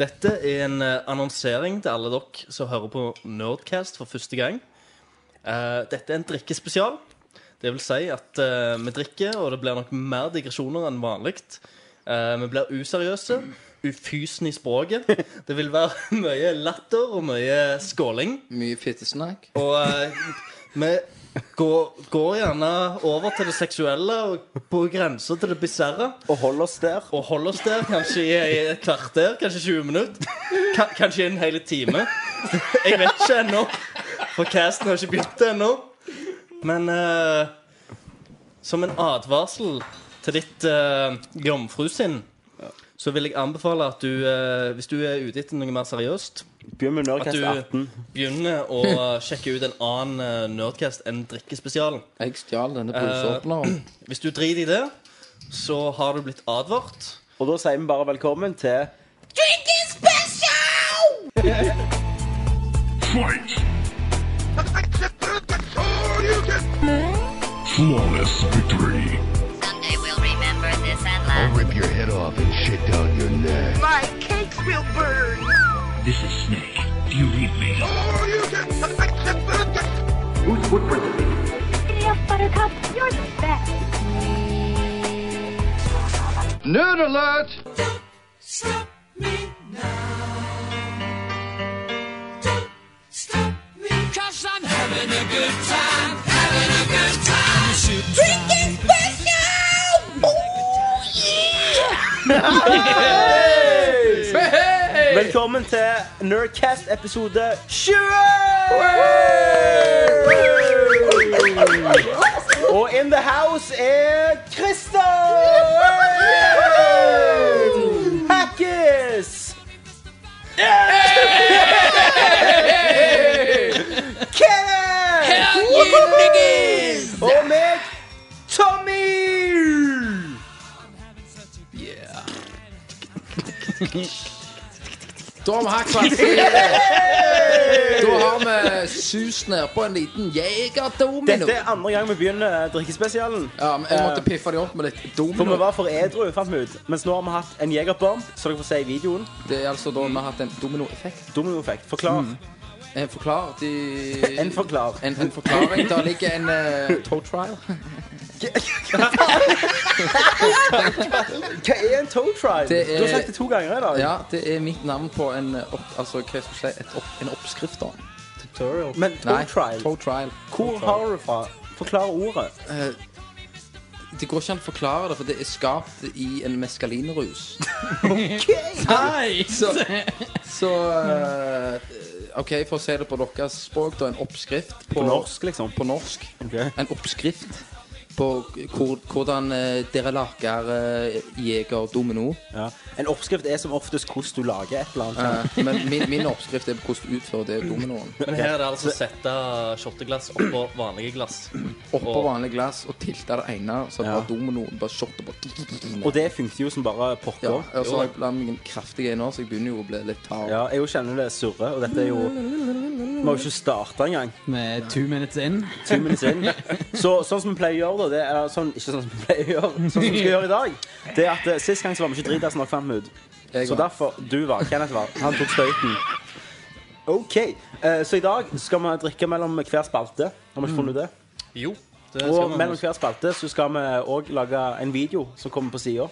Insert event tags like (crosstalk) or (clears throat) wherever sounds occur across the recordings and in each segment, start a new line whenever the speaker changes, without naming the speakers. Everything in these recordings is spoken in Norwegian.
Dette er en eh, annonsering til alle dere som hører på Nerdcast for første gang. Eh, dette er en drikkespesial. Det vil si at eh, vi drikker, og det blir nok mer digresjoner enn vanlig. Eh, vi blir useriøse, ufysende i språket. Det vil være (laughs) mye latter og mye skåling.
Mye fittesnakk.
Og eh, vi går, går gjerne over til det seksuelle og på grensa til det bisarre.
Og hold oss der.
Og hold oss der kanskje i i et kvarter, kanskje 20 minutter. Ka kanskje i en hel time. Jeg vet ikke ennå, for casten har ikke begynt ennå. Men eh, som en advarsel til ditt uh, jomfrusinn, så vil jeg anbefale at du, eh, hvis du er ute etter noe mer seriøst,
Begynn med
at
Nørkast
du
18.
begynner å sjekke ut en annen eh, Nerdcast enn drikkespesialen.
Jeg stjal denne poseåpneren.
Hvis du driter i det, så har du blitt advart.
Og da sier vi bare velkommen til
Flawless victory.
Someday we'll remember this and laugh.
Rip your head off and shit down your neck.
My cakes will burn.
This is Snake. Do you read me?
Or you can.
Nerd alert!
Velkommen til Nerdcast episode 20! Og in the house er Christer! Hackis! Kenneth! Og meg, Tommy!
Da har vi hatt kvarter. Da har vi sus nedpå en liten jegerdomino.
Dette er andre gang vi begynner eh, drikkespesialen.
Ja, men jeg måtte piffe de opp med litt
For vi
domino.
var for edru, fant vi ut. Mens nå har vi hatt en jegerbomb, som dere får se i videoen.
Det er altså da vi har hatt en dominoeffekt.
Dominoeffekt. Forklar.
Mm. En forklar til
En forklar.
en, en forklaring. Der ligger en uh, toe trial.
Hva er en toe tribe?
Det
Du har
er-
sagt det to ganger i dag.
Ja, det er mitt navn på en, eh, opp, altså, hva skal jeg si, et opp, en oppskrift, da.
Men toe
Nei,
tribe
toe trial.
Hvor har du det fra? Forklar ordet.
Eh, Det går ikke an å forklare det, for det er skapt i en meskalinrus.
(laughs)
Hei!
Så, så eh, OK, for å si det på deres språk, da. En oppskrift på,
På norsk, liksom.
På norsk.
Ok.
En oppskrift på hvor, hvordan eh, dere lager uh, jeger domino.
Ja. En oppskrift er som oftest hvordan du lager et eller annet.
Eh, men min, min oppskrift er på hvordan du utfører det dominoen.
Men her er det altså å sette shotteglass oppå vanlige glass.
Oppå
Og-
vanlig glass og tilte det ene, så
Ja.
bare dominoen bare shotter på.
Og det funker jo som bare
Ja,
pokker.
og så har jeg blandet meg en kraftig en nå, så jeg begynner jo å bli litt hard.
Ja, jeg jo kjenner det surrer, og dette er jo Vi har jo ikke starta engang.
Med Eh, two minutes in.
Two minutes in. Så sånn som vi pleier å gjøre, da det er, eller sånn, Ikke sånn som vi pleier å gjøre, sånn som vi skal gjøre i dag, det er at eh, sist gang så var vi ikke drita som dere fant vi ut.
Jeg
Så
var-
derfor Du var, Kenneth var. Han tok støyten. OK. eh, Så i dag skal vi drikke mellom hver spalte. Har vi ikke funnet ut det?
Jo, det skal
Og
man
mellom hver spalte så skal vi òg lage en video som kommer på sida.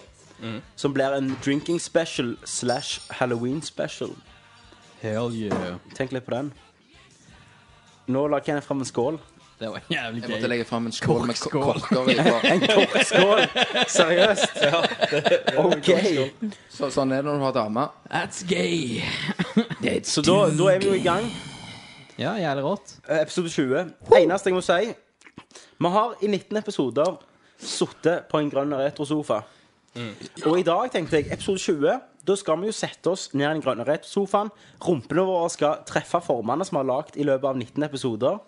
Som blir en drinking special slash Halloween special.
Hell yeah.
Tenk litt på den. Nå la Kenneth fram en skål.
Det var jævlig
Jeg måtte
gøy.
legge frem en skål med ko-
Korkskål.
korker i. for-
En korkskål! Seriøst? OK.
Så, sånn er det når du har dame.
That's gay.
Så da, da er vi jo i gang.
Ja, jævlig rått.
Eh, Episode 20. Eneste jeg må si Vi har i 19 episoder sittet på en grønn retrosofa. Og i dag tenkte jeg episode 20. Da skal vi jo sette oss ned i den grønne retrosofaen. Rumpene våre skal treffe formene som vi har lagd i løpet av 19 episoder,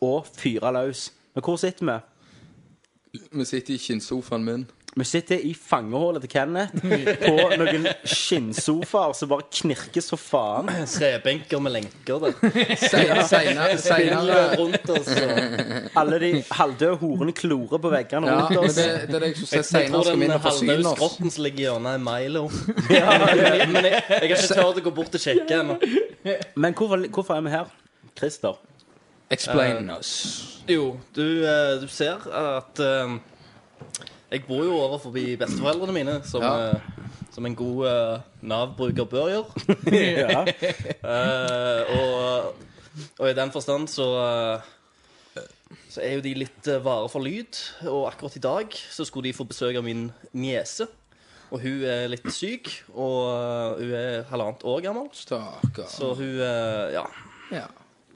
og fyre løs. Men hvor sitter vi?
Vi sitter i kinnsofaen min.
Vi sitter i fangehullet til Kenneth på noen skinnsofaer som bare knirker så faen.
Trebenker med lenker. Det.
Seinere, seinere
Rundt oss. og-
Alle de halvdøde horene klorer på veggene
Ja, men
rundt
det,
oss.
det er det jeg skulle si.
Jeg
Seinere
tror
skal vi
den
inn og forsyne
halvdøde
oss.
skrotten som ligger i hjørnet, er Milo. Ja, (laughs) men jeg, jeg har ikke turt å gå bort og sjekke ennå.
Men hvorfor, hvorfor er vi her? Christer.
Explain us.
Jo, du, eh, du ser at eh, Jeg bor jo over forbi besteforeldrene mine, som,
Ja.
eh, som en god eh, Nav-bruker bør gjøre.
Ja.
(laughs) Eh, og, og i den forstand så eh, Så er jo de litt eh, vare for lyd. Og akkurat i dag så skulle de få besøk av min niese. Og hun er litt syk, og eh, hun er halvannet år gammel.
Stakkar.
Så hun eh, Ja,
Ja.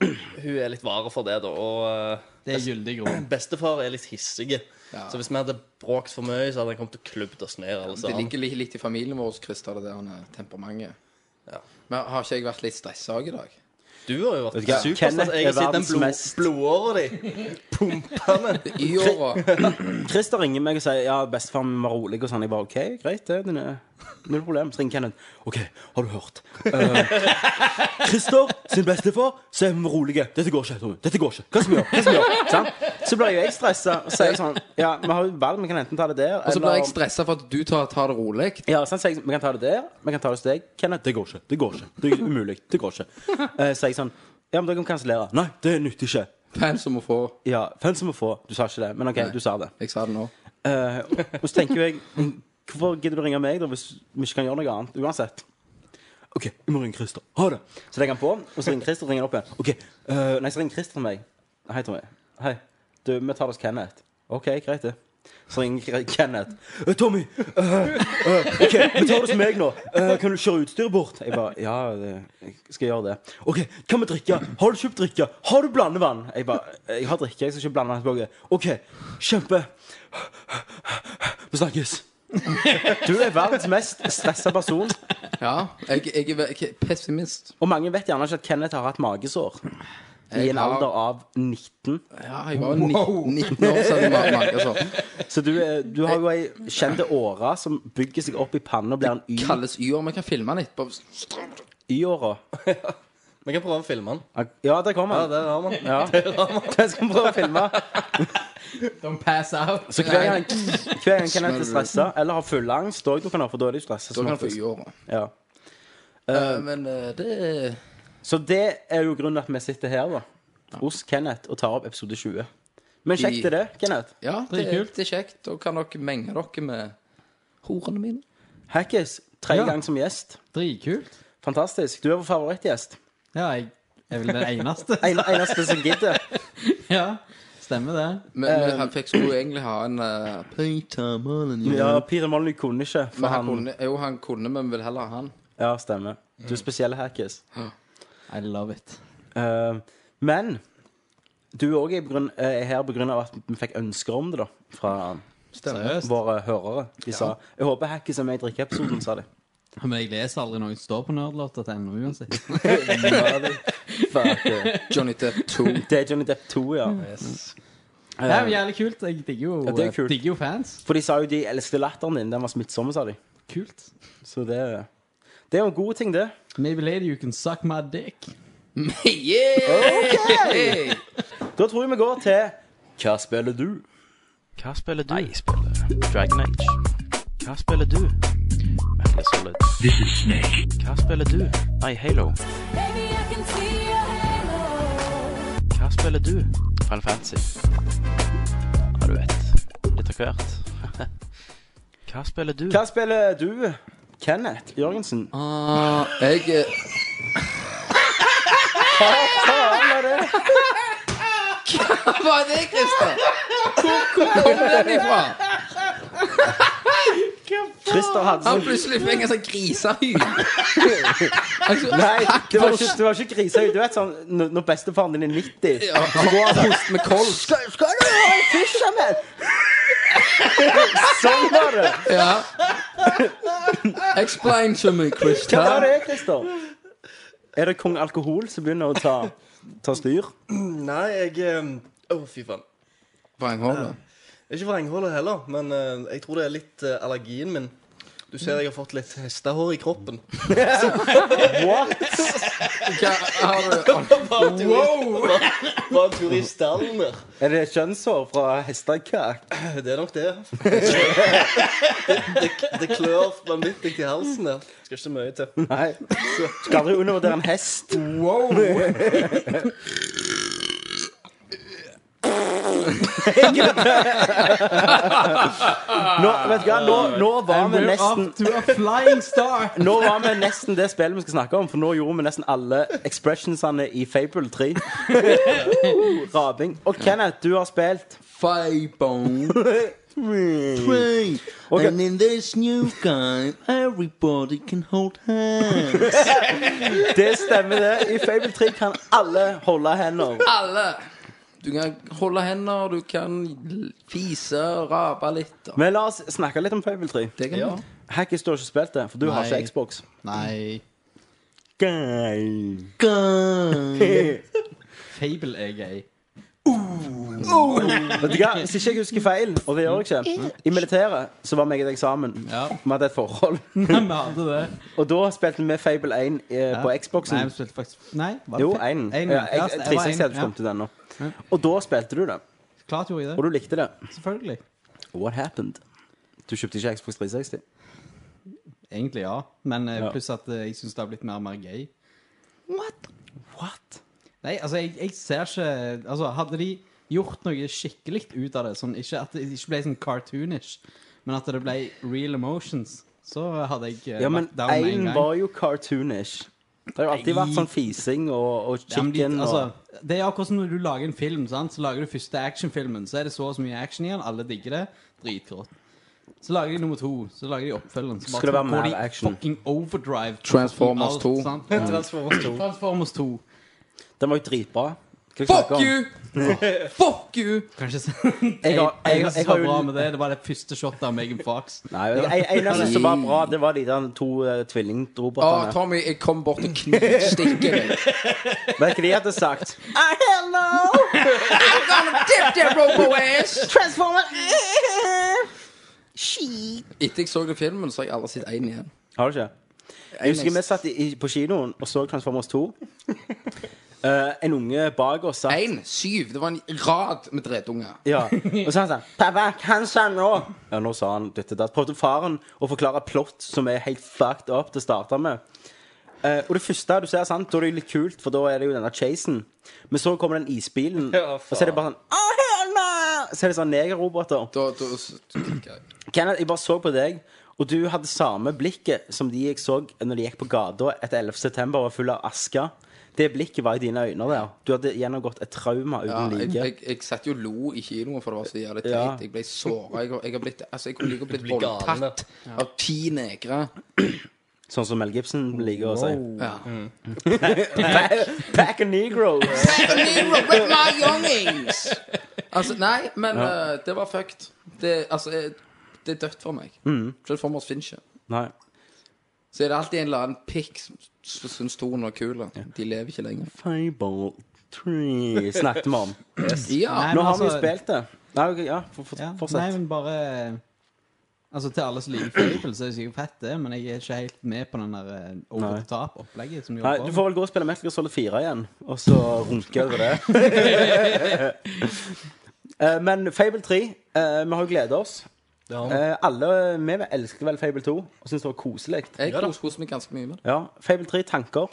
hun er litt vare for det, da. Og eh,
Det er gyldig grunn.
Bestefar er litt hissig.
Ja.
Så hvis vi hadde bråkt for mye, så hadde han kommet og klubbet oss ned. alle
Det
sammen.
ligger li- litt i familien vår, Christer, det der han er temperamentet.
Ja.
Men har ikke jeg vært litt stressa i dag?
Du har jo vært
du hva?
superstas.
Kenneth
Jeg
er
har sett den
verdens
blod,
mest-
blodåra di. (laughs) Pumpende.
I åra.
Christer ringer meg og sier ja, bestefar min var rolig og sånn. Jeg bare OK, greit, det. Den er eh, null problem. Så ringer Kenneth. OK, har du hørt? Eh, Christer sin bestefar så er vi rolige. Dette går ikke. Tommy. Dette går ikke. Hva skal vi gjøre? Hva skal vi gjøre? Sant? Så blir jo jeg stressa og sier sånn Ja, vi har jo valg. Vi kan enten ta det der,
Og så blir jeg stressa for at du tar, tar det rolig.
Ja, sant, så jeg, vi kan ta det der, vi kan ta det hos deg. Kenneth, det går ikke. Det går ikke. Det er umulig. Det går ikke. Eh, så jeg sånn Ja, men dere kan kansellere. Nei, det nytter ikke.
Hvem som må få
Ja, hvem som må få? Du sa ikke det, men OK, du sa det.
Jeg sa det nå.
Eh, og så tenker jo jeg mm, Hvorfor gidder du å ringe meg da hvis vi ikke kan gjøre noe annet? Uansett. OK, jeg må ringe Christer. Ha det. Så legger han på, og så ringer Christer og ringer han opp igjen. OK, eh, Nei, så ringer Christer til meg. Hei, Tommy. Hei. Du, vi tar det hos Kenneth. OK, greit, det. Så ringer Kre- Kenneth. «Eh, Tommy! eh, eh, OK, vi tar det hos meg nå. Eh, kan du kjøre utstyret bort? Jeg bare Ja, det, jeg skal gjøre det. OK, hva med drikke? Har du kjøpt drikke? Har du blandevann? Jeg bare Jeg har drikke, jeg skal ikke blande vann. OK, kjempe. Vi snakkes. Du er verdens mest stressa person.
Ja. Jeg, jeg, er ve- jeg er pessimist.
Og mange vet gjerne ikke at Kenneth har hatt magesår i
Jeg
en
har-
alder av 19.
Ja, jeg var jo 19, 19 år siden jeg var mage. Altså.
Så du, er- du har jo ei kjente åre som bygger seg opp i panna og blir en
Mm.
y-
Kalles Y-år. Vi kan filme den etterpå.
y-åre.
Vi kan prøve å filme den.
Ja, der kommer
Ja,
han.
der har vi den.
Ja. Den skal vi prøve å filme.
Don't pass out.
Så hver gang, hver gang Kenneth er stressa eller har full angst, da kan han for da er de stressa.
Da
som
kan du få
oftest.
Y-åra.
Ja.
Eh, men eh, det er
Så det er jo grunnen til at vi sitter her, da. Hos Kenneth og tar opp episode 20. Men kjekt er det, Kenneth.
Ja, det,
Det er
er
kult.
det er kjekt. Da kan dere menge dere med horene mine.
Hackis, tre
Ja.
ganger som gjest.
Dritkult.
Fantastisk. Du er vår favorittgjest.
Ja, jeg er vel den eneste.
En, eneste som gidder.
(laughs) Ja, stemmer det.
Men vi han fikk skulle jo egentlig ha en eh, Peter Mullen.
Ja, Peter Molly kunne ikke. For
Men han
han,
kunne, jo, han kunne, men vil heller ha han.
ja, stemmer. Du er spesiell, Hackis.
I love it.
Eh, men du er også i grunn- er her på grunn av at vi fikk ønsker om det, da. Fra
Seriøst.
våre hørere. De sa 'Jeg håper Hackis er med i drikkeepisoden', sa de.
Men jeg leser aldri noe som står på nerdlåt.no uansett.
Fuck, eh,
Johnny Depp 2.
Det er Johnny Depp 2, ja.
Det er jo jævlig kult. Jeg digger jo, eh,
det er kult.
digger jo fans.
For de sa jo de elsket latteren din. Den var smittsom, sa de.
Kult.
Så det Det er jo en god ting, det.
Maybe later you can suck my dick.
(laughs) yeah!
Da tror jeg vi går til Hva spiller du? Hva spiller du? Nei, jeg spiller Dragon Age. Hva spiller du? Metal Solid.
This is Snake.
Hva spiller du? Nei, Halo. Hva spiller du? Final Fantasy. Ja, du vet. Litt av hvert. (laughs) Hva spiller du? Hva spiller du? Kenneth Jørgensen.
Ah, jeg eh, (laughs) Hva var det, Christer? Hvor, hvor kom den ifra?
Christer
Han
Hansen.
plutselig fikk en sånn (laughs) grisehyl. Altså,
Nei,
takk
det var
for-
ikke, det var ikke grisa. Du vet sånn når- når bestefaren din er 90
Ja, Så går
(laughs)
han host med kols.
Skal du ha en fysja med? (laughs) Sånn var det. (laughs)
Ja. Explain to me,
Hva var
Christer.
det, Christer? Er det kong alkohol som begynner å ta, ta styr?
Nei, jeg eh, Å, fy faen.
Vranghålet.
Ikke vranghålet heller, men eh, jeg tror det er litt eh, allergien min. Du ser jeg har fått litt hestehår i (laughs) kroppen.
Hva har du
(laughs) Bare en tur i- bare- Bare en tur i (laughs) stallen der.
Er det kjønnshår fra hestekak?
Det er nok det. (laughs) det, det, det klør vanvittig i halsen der. Skal ikke så mye til. (laughs)
Nei. Skal aldri undervurdere en hest.
Wow!
Nå, vet du hva, nå, nå var vi
We're
nesten
off to a flying star!
Nå var vi nesten det spillet vi skal snakke om, for nå gjorde vi nesten alle expressionsene i Fable 3. Rabing. Og Kenneth, du har spilt
Five bone. Three.
Okay.
And in this new game, everybody can hold hands.
Det stemmer, det. I Fable 3 kan alle holde hender.
Alle! Du kan holde hender, du kan l- fise og rape litt. Og.
Men la oss snakke litt om Fable 3.
Det kan
Ja.
man.
Hackis, du har ikke spilt det, for du har
Nei.
ikke Xbox.
Nei.
Gøy.
Fable er (laughs) gøy.
Vet du hva, Hvis ikke jeg husker feil, og det gjør jeg ikke I militæret så var meg og deg sammen.
Ja.
Vi hadde et forhold.
Vi hadde det.
Og da spilte vi Fable 1 eh, på
Nei,
Xboxen.
vi spilte faktisk Nei, var det
Jo,
fe-
1.
en,
Ja,
ja,
jeg-
det var
360
en,
hadde
ja.
kommet ut ennå. Og da spilte du det,
Klart gjorde jeg
og
det.
du likte det.
Selvfølgelig.
What happened? Du kjøpte ikke Xbox 360?
Egentlig ja, men eh,
Ja.
pluss at eh, jeg syns det har blitt mer og mer gøy.
What?
Nei, altså, jeg, jeg ser ikke Altså, hadde de gjort noe skikkelig ut av det, sånn ikke at det ikke ble sånn cartoonish, men at det ble real emotions, så hadde jeg eh,
Ja, men
vært down med en
én
gang.
var jo cartoonish. Det har jo alltid
Nei.
vært sånn fising og, og
Ja, men de-
chicken
altså,
og
det er akkurat som når du lager en film. Sant? Så lager du første actionfilmen, så er det så og så mye action i den. Alle digger det. Dritgrått. Så lager de nummer to, så lager de oppfølgeren. Så bare
Skal det være
går
mer
de
action?
Fucking overdrive.
Transformers
i
2.
sant?
Transformers 2.
Transformers 2.
Den var jo dritbra. Hva skal jeg snakke
Fuck
om?
you! Fuck you!
Kanskje (laughs) sånn
Jeg har- jeg-
eneste
jeg
som var
har jo-
bra med det, det var det første shotet av Megan Fox.
Nei, jeg, jeg, eneste som var bra, det var de der to uh,
Å,
tvillingrobotene.
Tommy, jeg kom bort og knivstikker deg.
Vet du hva de hadde sagt?
I'm gonna dip that robo ass!
Transformer!
Etter jeg så det filmen, så har jeg aldri sett én igjen.
Har du ikke? Jeg husker vi satt i, i- på kinoen og så Transformers 2.
(laughs)
Eh, en unge bak oss sa
Én, syv. Det var en rad med drittunger.
Ja, og så han sånn Pappa, kan sa nå? Ja, nå sa han dette der. Prøvde faren å forklare plott som er helt fucked up til å starte med. Eh, og det første du ser, sant, da er det jo litt kult, for da er det jo denne chasen. Men så kommer den isbilen,
Ja, faen.
og så er det bare sånn «Å, hell no!» Så er det sånn negerroboter.
Da, da s- tenker jeg
Kenneth, jeg bare så på deg, og du hadde samme blikket som de jeg så når de gikk på gata etter 11. september og var full av aske. Det blikket var i dine øyne der. Du hadde gjennomgått et trauma
ja,
uten
jeg,
like.
jeg, jeg satt jo og lo i kinoen, for det var så jævlig teit.
Ja.
Jeg ble såra. Jeg, har- jeg har blitt Altså, jeg kunne like å blitt
blir galen,
voldtatt av ti negre.
Sånn som Mel Gibson liker å si.
Ja.
Pack of Negroes!
With my youngings! Altså, nei, men eh, det var fucked. Det, altså, eh, det er dødt for meg.
Mm.
Transformers finnes ikke.
Nei.
Så er det alltid en eller annen pikk som som syns toen var kul. og De lever ikke lenger.
Fable Tree snakket vi om.
Ja.
Nei,
Nå
men
har vi jo
altså-
spilt det. Nei, ok, ja, for, for,
Ja, nei,
fortsett.
men bare Altså, til alle som liker Fable, så er det sikkert fett, det, men jeg er ikke helt med på den der eh, over the top-opplegget som de
Nei,
holder
du
på
får vel gå og spille Metal Gear Solid 4 igjen, og så runke over det.
(laughs)
Eh, Men Fable 3, eh, vi har jo gleda oss.
Ja.
Eh, Alle vi elsker vel Fable 2 og syns det var koselig.
Eh.
Jeg
Ja da.
kos- koser meg ganske mye med det.
Ja, Fable 3 tanker.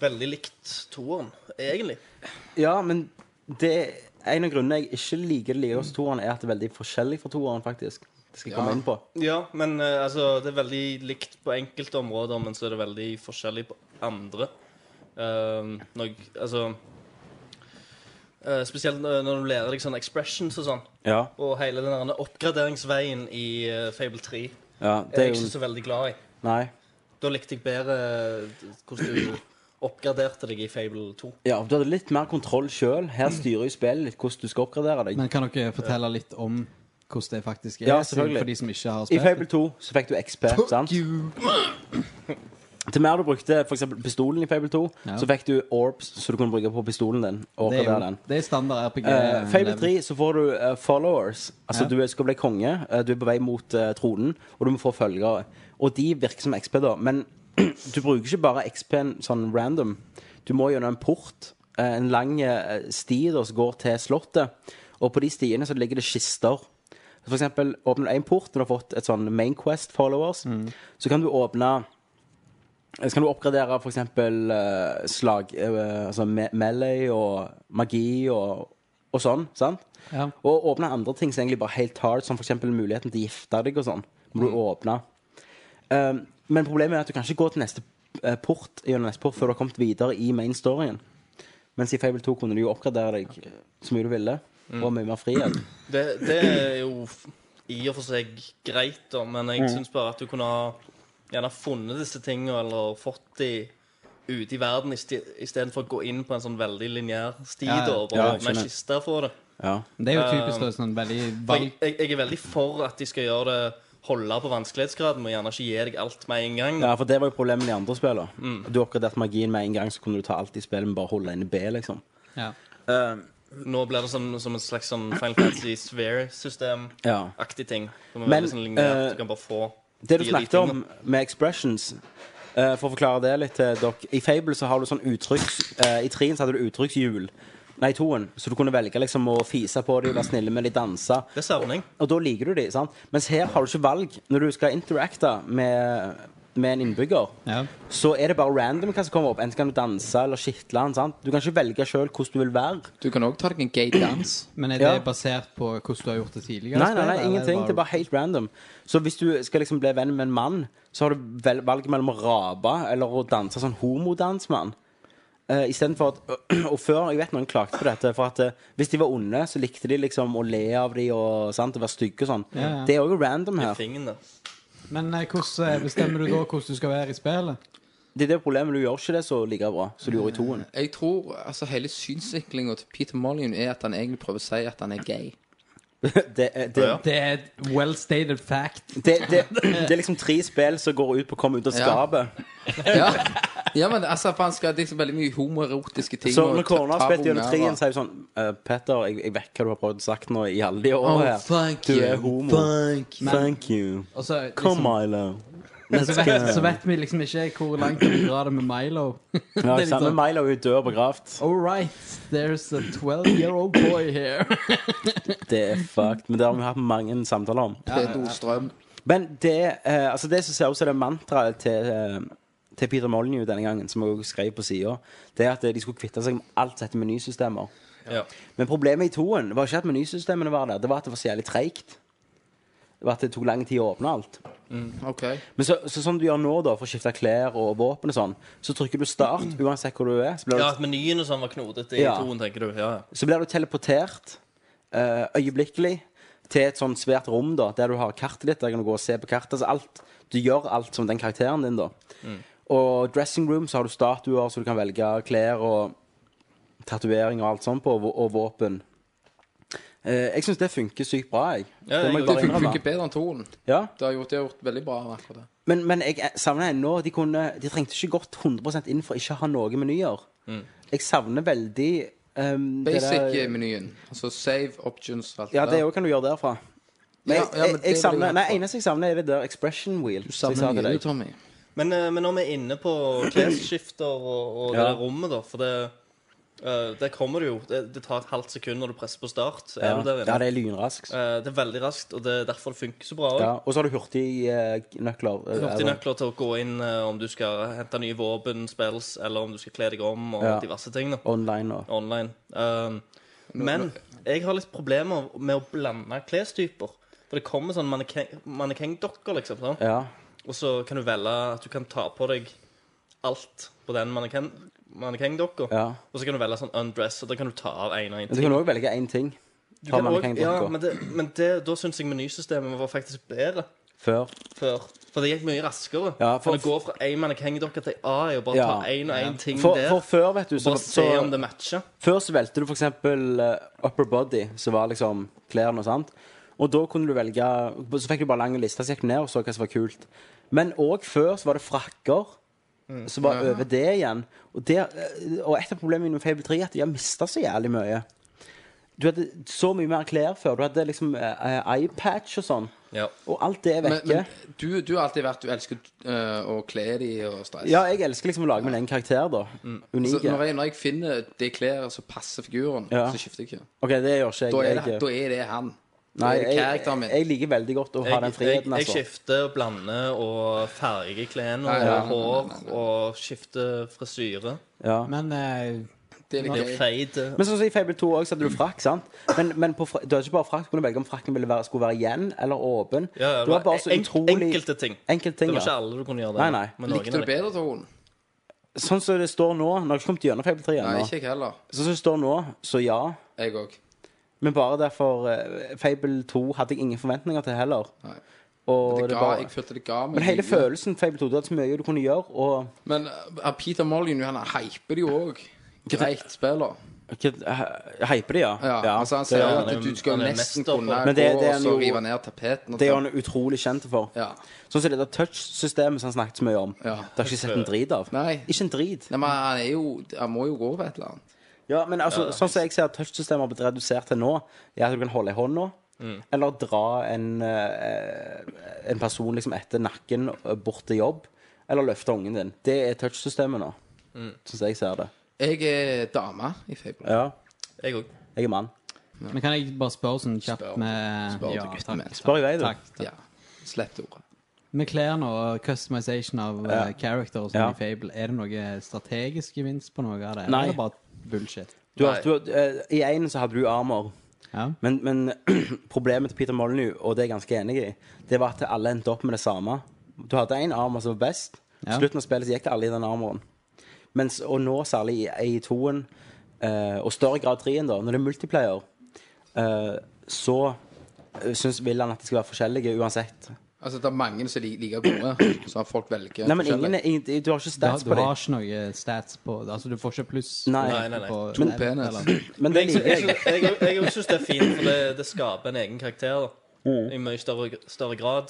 Veldig likt toeren, egentlig.
Ja, men det en av grunnene jeg ikke liker det like godt som toeren, er at det er veldig forskjellig fra toeren, faktisk. Det skal jeg komme inn på.
Ja, men eh, altså, det er veldig likt på enkelte områder, men så er det veldig forskjellig på andre. Ehm, når, jeg- altså eh, Spesielt når når du lærer deg sånn expressions og sånn,
Ja,
og hele den derne oppgraderingsveien i eh, Fable 3
ja
er
det
jeg
er
ikke
jo
så veldig glad i.
Nei.
Da likte jeg bedre eh, hvordan du oppgraderte deg i Fable 2.
Ja, for du hadde litt mer kontroll sjøl. Her styrer jo spillet litt hvordan du skal oppgradere deg.
Men kan dere fortelle litt om hvordan det faktisk er?
Ja,
siden-
selvfølgelig.
For de som ikke har
I
spilt.
Fable 2 så fikk du XP, sant?
You.
Til mer du brukte for eksempel pistolen i Fable 2,
Ja.
så fikk du orbs så du kunne bruke på pistolen din. Og
Det er,
oppgradere
jo,
den.
det er standard RPG.
Eh, Fable
level.
3 så får du eh, followers. Altså
Ja.
Du er- skal bli konge, eh, du er på vei mot eh, tronen, og du må få følgere. Og de virker som XP, da. Men (clears throat) du bruker ikke bare XP-en sånn random. Du må gjennom en port, eh, en lang eh, sti da, som går til slottet. Og på de stiene så ligger det kister. For eksempel, åpner du en port når du har fått et sånn Main Quest-followers, så kan du åpne eh, så kan du oppgradere f.eks. Uh, slag eh, Altså me melee og magi og, og sånn. sant?
Ja.
Og åpne andre ting som egentlig bare er helt hard, som f.eks. muligheten til å gifte deg og sånn. må du åpne. Um, men problemet er at du kan ikke gå til neste eh, port gjennom neste port før du har kommet videre i main storyen. Mens i Fable 2 kunne du jo oppgradere deg så mye du ville. Og mye mer frihet.
Det, det er jo f- i og for seg greit, da, men jeg syns bare at du kunne ha gjerne funnet disse tingene eller fått de ute i verden istedenfor å gå inn på en sånn veldig lineær sti
Ja, ja.
da, og
Ja,
bare
jeg
med
skjønner.
kister for det.
Ja.
Det er jo
Eh,
typisk da, sånn veldig
For jeg,
valg...
jeg, jeg er veldig for at de skal gjøre det holde på vanskelighetsgraden og gjerne ikke gi deg alt med en gang.
ja, for det var jo problemet med de andre spillene. Du oppgraderte magien med en gang, så kunne du ta alt i spillet, men bare holde inne B, liksom.
Ja.
Nå blir det som, som et slags sånn Final Fantasy Sphere-system-aktig
Ja.
ting. Som er
Men,
veldig sånn lineært.
eh,
du kan bare få
Det
de og
du
de
snakket om med expressions eh, For å forklare det litt til dere I Fable så har du sånn uttrykks eh, I 3 så hadde du uttrykkshjul Nei, i 2-en Så du kunne velge liksom å fise på dem Være snille med dem, danse
Det savner jeg.
Og da liker du dem, sant? Mens her har du ikke valg Når du skal interacte med, med en innbygger
Ja.
Så er det bare random hva som kommer opp Enten kan du danse eller skittle han, sant? Du kan ikke velge selv hvordan du vil være
Du kan òg ta deg en gay dance.
Men er det
Ja.
basert på hvordan du har gjort det
Nei,
tidligere?
nei,
spillet,
nei,
eller
ingenting. Det er bare helt random. Så hvis du skal liksom bli venn med en mann, så har du vel, valget mellom å rape eller å danse sånn homodans med han. Uh, Istedenfor at (clears throat) Og før, jeg vet noen klagde på dette, for at eh, hvis de var onde, så likte de liksom å le av de og sant, å være stygge og sånn.
Ja, ja.
Det er jo random her.
Tingen der.
Men eh, hvordan eh, bestemmer du da hvordan du skal være i spillet?
Det er det problemet. Du gjør ikke det så like bra som du gjorde i toen.
Jeg tror altså hele synsvinklinga til Peter Molyneux er at han egentlig prøver å si at han er gay.
(laughs) det, er- det,
Ja.
Det er et well stated fact.
det, det, det er liksom tre spill som går ut på å komme ut av
Ja.
skapet.
Ja, ja men altså, for han skal det er liksom veldig mye homoerotiske ting.
Så
og
når kona har
ta- ta
spilt gjennom
unger,
treen,
og-
så er det sånn eh, Petter, jeg, jeg vet hva du har prøvd sagt nå i alle de
Oh,
årene her.
thank
Du
you.
er homo. Thank, you.
Og så, liksom,
Come, Milo.
så, vet, så vet vi liksom ikke hvor langt vi drar det med (laughs) Milo.
Ja,
Det er litt
samme
sånn-
Milo er jo død og begravd.
All right, there's a 12 year old boy here.
Det er fucked. Men det har vi hatt mange samtaler om.
Pedostrøm.
Men det, eh, altså det som ser ut som det mantraet til, eh, til Peter Molyneux denne gangen, som jeg også skrev på sida, det er at de skulle kvitte seg med alt som heter menysystemer.
Ja.
Men problemet i toen var ikke at menysystemene var der, det var at det var så jævlig treigt. Det var at det tok lang tid å åpne alt.
OK.
Men så, så sånn du gjør nå, da, for å skifte klær og våpen og sånn, så trykker du start uansett hvor du er. Så blir
ja,
du,
at menyen og sånn var knotete i
Ja.
toen, tenker du. Ja, ja.
så blir du teleportert eh, øyeblikkelig til et sånn svært rom da, der du har kartet ditt. Der kan du gå og se på kartet. Altså alt, du gjør alt som den karakteren din, da. Og dressing room, så har du statuer, så du kan velge klær og tatoveringer og alt sånt på, og, og våpen. Eh, jeg syns det funker sykt bra, jeg.
Ja,
det må jeg
jeg-
Det
bare
fun-
innrømme.
funker bedre enn toen.
Ja.
Det har gjort, det har gjort veldig bra akkurat det.
Men, men jeg eh, savner ennå De, kunne, de trengte ikke gått 100 inn for ikke å ha noen menyer. Jeg savner veldig ehm, det der-
Basic-menyen. Altså save options og alt
Ja, det
der.
òg kan du gjøre derfra. Men
Ja,
jeg,
ja, men
jeg,
det
jeg
vil
savner,
jeg
nei,
ha.
eneste jeg savner, er det der expression wheel.
Du
som jeg sa
savner
til
mye,
deg.
du, Tommy.
Men, eh, men når vi er inne på klesskifter og, og det
Ja.
der rommet, da For det eh, Der kommer du jo. Det, det tar et halvt sekund når du presser på start. Så
Ja.
er du der inne.
ja, det er lynraskt.
Eh, det er veldig raskt, og det er derfor det funker så bra òg.
Ja. Og så har du hurtignøkler. Uh,
Hurtignøkler til å gå inn eh, om du skal hente nye våpen, spills, eller om du skal kle deg om, og
Ja.
diverse ting. da
Online og
online. Um, men jeg har litt problemer med å blande klestyper. For det kommer sånn manneken- mannekengdokker, liksom. Sånn.
Ja.
Og så kan du velge at du kan ta på deg alt på den manneken- mannekengdokka.
ja.
Og så kan du velge sånn undress, og da kan du ta av en og en
Men du
ting.
kan òg velge én ting.
Du
Ta
kan også- ja,
mannekengdokka
men det, men det, da syns jeg menysystemet var faktisk bedre
før.
før. For det gikk mye raskere.
Ja, for-
Kan du gå fra én mannekengdokke til AI og bare
Ja.
ta én og én ting
For,
der?
for før, vet du,
og
så,
bare se om
så
det matcher.
Før så valgte du f.eks. upper body, som var liksom klærne og sånt. Og da kunne du velge Så fikk du bare lang liste, så gikk du ned og så hva som var kult. Men òg før så var det frakker.
Mm.
Så bare over det igjen. Og, der, og et av problemene med Fable 3 er at de har mista så jævlig mye. Du hadde så mye mer klær før. Du hadde liksom eh, eyepatch og sånn.
Ja.
Og alt det er
Men,
vekke.
men du, du har alltid vært Du elsker eh, å kle de og stress.
Ja, jeg elsker liksom å lage min egen karakter, da.
Mm. så
Unike.
når jeg, når jeg finner de klær som passer figuren,
Ja.
så skifter jeg ikke.
Ok, det gjør ikke jeg.
Da er det,
jeg,
da er det han. Da
nei,
er det
jeg,
karakteren min.
jeg liker veldig godt å ha den
jeg,
friheten,
jeg
altså.
skifter, blander og farger klærne
Nei,
og
ja.
hår og skifter frisyre.
Ja.
Men eh,
det er
Blir
litt gøy.
fade.
Men sånn som i Fable 2 også, så hadde du frakk, sant? Men, men på, fra- du hadde ikke bare frakk, du kunne velge om frakken ville være, skulle være igjen eller åpen.
Ja, ja,
det var bare så
en-
utrolig
Enkelte ting. Det
enkelte ting.
var ikke
Ja.
alle du kunne gjøre det.
Nei,
med,
nei.
men noen
Likte
av de.
du bedre, Torun?
Sånn som det står nå, nå har jeg ikke kommet gjennom Fable 3
Nei,
ennå.
ikke jeg heller.
Sånn som det står nå, så ja.
Jeg òg.
Men bare derfor eh, Fable 2 hadde jeg ingen forventninger til heller.
Nei.
Og
Det
det
ga,
bare,
jeg følte det ga meg
men hele
mye.
følelsen Fable 2 Du hadde så mye du kunne gjøre, og
Men eh, Peter Molyneux, han hyper det jo òg. Greit spiller.
Heiper eh, det, ja.
Ja, altså han
det,
sier
er-
at du skal
han
jo
er
nesten
mester på-
kunne
Men det-
gå
det
og
er
så
han jo-
rive ned tapeten. og
det er jo
sånn.
han utrolig kjent for.
ja.
Sånn som det der touch-systemet som han snakket så mye om.
Ja.
Det har jeg ikke sett en drit av.
Nei.
Ikke en drit.
Nei, men han er jo Han må jo gå over et eller annet.
Ja, men altså, sånn som jeg ser at touchsystemet har blitt redusert til nå, er at du kan holde i hånda, eller dra en, eh, en person liksom etter nakken eh, bort til jobb, eller løfte ungen din. Det er touchsystemet nå, sånn som jeg ser det.
Jeg er dame i Fable.
Ja,
Jeg òg.
jeg er mann.
Men kan jeg bare spørre sånn kjapt
Spør.
med
Spør du,
ja,
gutten
takk,
min.
takk,
Spør i vei, du.
Takk, takk.
Ja. Slett ordet.
Med klærne og customization av eh, character og sånn
Ja.
i Fable, er det noe strategisk gevinst på noe av det?
Nei.
Eller er det bare bullshit?
Du har, du, har- eh, I en så hadde du armer,
Ja.
men, men (clears throat) problemet til Peter Molyneux, og det er jeg ganske enig i, det var at alle endte opp med det samme. Du hadde en armer som var best,
Ja.
slutten av spillet så gikk det alle i den armoren. Mens, og nå særlig i, i toen, eh, og større grad treen da, når det er multiplayer, eh, så eh, synes, vil han at det skal være forskjellige uansett.
Altså, det er mange som er li- like gode, så folk velger
Nei, men ingen,
forskjellig.
er- ingen, du har ikke
Du,
stats
du
på
har
dem.
ikke noe eh, stats på Altså, du får ikke pluss
Nei.
Nei, nei, nei.
på
To
event,
penis.
eller-
Men det
Jeg,
liker
jeg,
jeg.
jeg, jeg, jeg syns det er fint, for det, det skaper en egen karakter da.
Mm.
i mye større, større grad.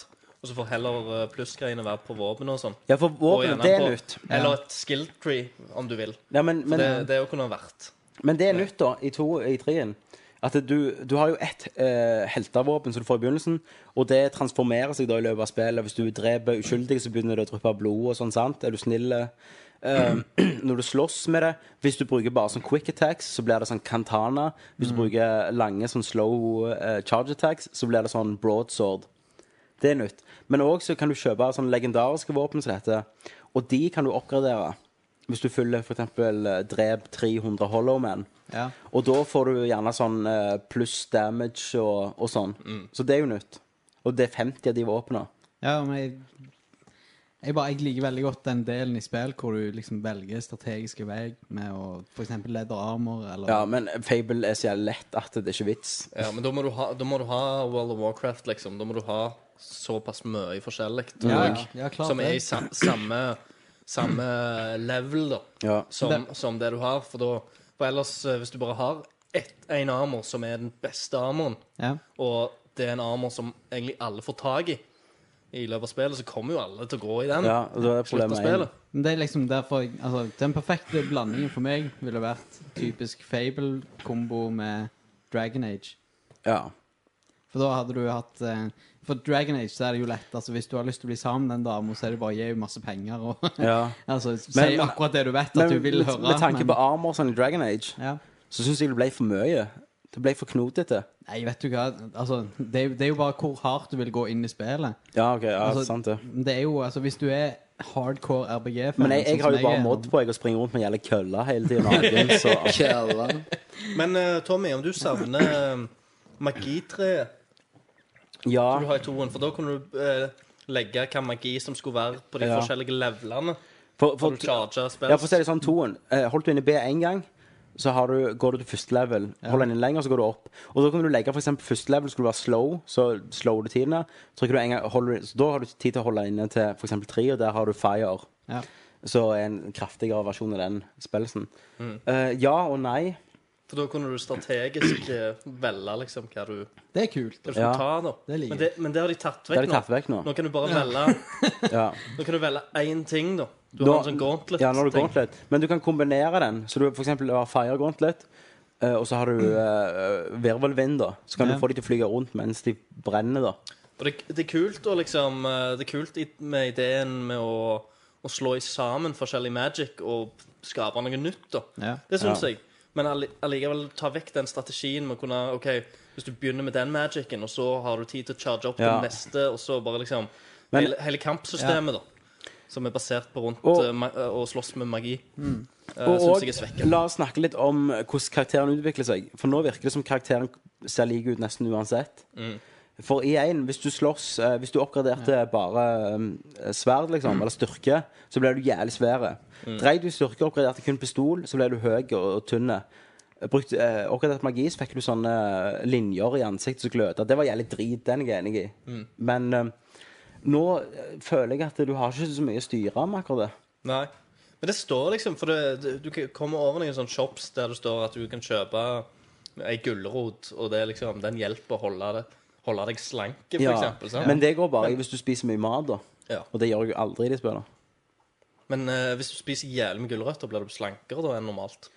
Og så får heller eh, plussgreiene være på våpen og sånn.
Ja, for
Og
våpenet,
gjerne
det er
på-
nytt.
Eller et skill tree, om du vil.
Ja, men, men,
det, det er jo kunne ha vært.
Men det er nytt da, i, to, i treen. At du, du har jo ett eh, heltevåpen som du får i begynnelsen, og det transformerer seg da i løpet av spillet. Hvis du dreper uskyldige, så begynner det å dryppe blod og sånn, sant? Er du snill? eh, eh, (clears throat) når du slåss med det Hvis du bruker bare sånn quick attacks, så blir det sånn kantana. Hvis du bruker lange sånn slow eh, charge attacks, så blir det sånn broadsword. Det er nytt. Men òg så kan du kjøpe sånne legendariske våpen som dette, og de kan du oppgradere. Hvis du følger f.eks. eh, drep 300 Hollowman.
Ja.
Og da får du gjerne sånn eh, pluss damage og, og sånn. Så det er jo nytt. Og det er 50 av de våpnene.
Ja, men jeg, jeg, bare, jeg liker veldig godt den delen i spill hvor du liksom velger strategiske vei med å f.eks. leder armor eller
Ja, men Fable er så jævlig lett at det er ikke vits.
Ja, men da må, du ha, da må du ha World of Warcraft, liksom. Da må du ha såpass mye forskjellig
Ja,
og-
ja. Ja, klart
som er i
det.
sa, samme, samme level, da,
Ja.
som, som det du har. For, da, for ellers, eh, hvis du bare har ett, en armor som er den beste armoren,
Ja.
og det er en armor som egentlig alle får tak i i løpet av spillet, så kommer jo alle til å gå i den.
Ja, og da
Slutt
er
av
problemet en.
spillet.
Men det er liksom derfor jeg, altså, Den perfekte blandingen for meg ville vært typisk Fable-kombo med Dragon Age.
Ja.
For da hadde du hatt eh, For Dragon Age så er det jo lett. Altså, hvis du har lyst til å bli sammen med den dama, så er det bare å gi henne masse penger og (laughs)
Ja.
altså, Si
Men- men-
akkurat det du vet at
Men
du vil
med,
høre.
med tanke
men-
på armor sånn i Dragon Age,
ja.
så syns jeg det ble for mye. Det ble for knotete.
Nei, vet du hva. Altså, det, er jo- det er jo bare hvor hardt du vil gå inn i spillet.
Ja, OK. Ja,
Altså,
sant det.
det er jo, altså, hvis du er hardcore RPG-fan
Men jeg, jeg har jo bare mod på jeg og springer rundt med en jævla kølle hele tiden. naken, så-
Kjeller.
Men eh, Tommy, om du savner eh, magitreet
Ja.
du har i toen, for da kunne du eh, legge hva magi som skulle være på de
Ja.
forskjellige levelene.
For,
For
for,
du charger spells.
ja, for å si det sånn, toen. eh, Holdt du inne B én gang, så har du, går du til første level. Holder den inn lenger, så går du opp. Og da kan du legge for eksempel første level skulle være slow, så slow du tidene. Trykker du en gang, holder, du- så da har du tid til å holde inne til for eksempel tre, og der har du fire.
(laughs) Ja.
Så er en kraftigere versjon av den spillelsen. Eh, ja og nei.
For da kunne du strategisk eh, velge liksom hva du, hva
Det er kult.
du skulle
Ja,
ta. da
det liker
men, det, men det har de tatt vekk
Det har de tatt vekk nå.
Nå kan du bare velge
Ja.
Nå kan du velge én ting, da. Du har en sånn gauntlet.
Ja, når du
ting.
gauntlet. Men du kan kombinere den. Så du for eksempel har fire gauntlet, eh, og så har du uh, virvelvind, da. Så kan
Ja.
du få de til å flyge rundt mens de brenner, da.
Og det, det er kult å liksom eh, Det er kult i- med ideen med å, å slå i sammen forskjellig magic og skape noe nytt, da.
Ja.
Det syns
Ja.
jeg. Men alli- allikevel ta vekk den strategien med å kunne OK, hvis du begynner med den magicen, og så har du tid til å charge opp
Ja.
den neste, og så bare liksom
Men-
hele, hele kampsystemet, da. Som er basert på rundt
Og- Mm.
eh, ma- eh, å slåss med magi. eh,
Og,
syns jeg er
og
svekket.
la oss snakke litt om hvordan karakteren utvikler seg. For nå virker det som karakteren ser lik ut nesten uansett.
Mm.
For i en, hvis du slåss eh, Hvis du oppgraderte bare eh, sverd,
Mm.
liksom, eller styrke, så ble du jævlig svære. Dreide du styrke og oppgraderte kun pistol, så ble du høy og, og tynne. Brukt, eh, oppgradert magi, så fikk du sånne eh, linjer i ansiktet som gløda. Det var jævlig drit, den er jeg enig i.
Mm.
Men eh, nå eh, føler jeg at du har ikke så mye å styre med akkurat det.
Nei. Men det står liksom For det, det, du kan- kommer over noen sånne shops der det står at du kan kjøpe ei gulrot, og det er liksom, den hjelper å holde, det, holde deg slanke, for
Ja,
eksempel. Sant?
Men det går bare hvis du spiser mye mat, da.
Ja.
Og det gjør jeg jo aldri i de spillene.
Men eh, hvis du spiser jævlig med gulrøtter, blir du slankere da enn normalt.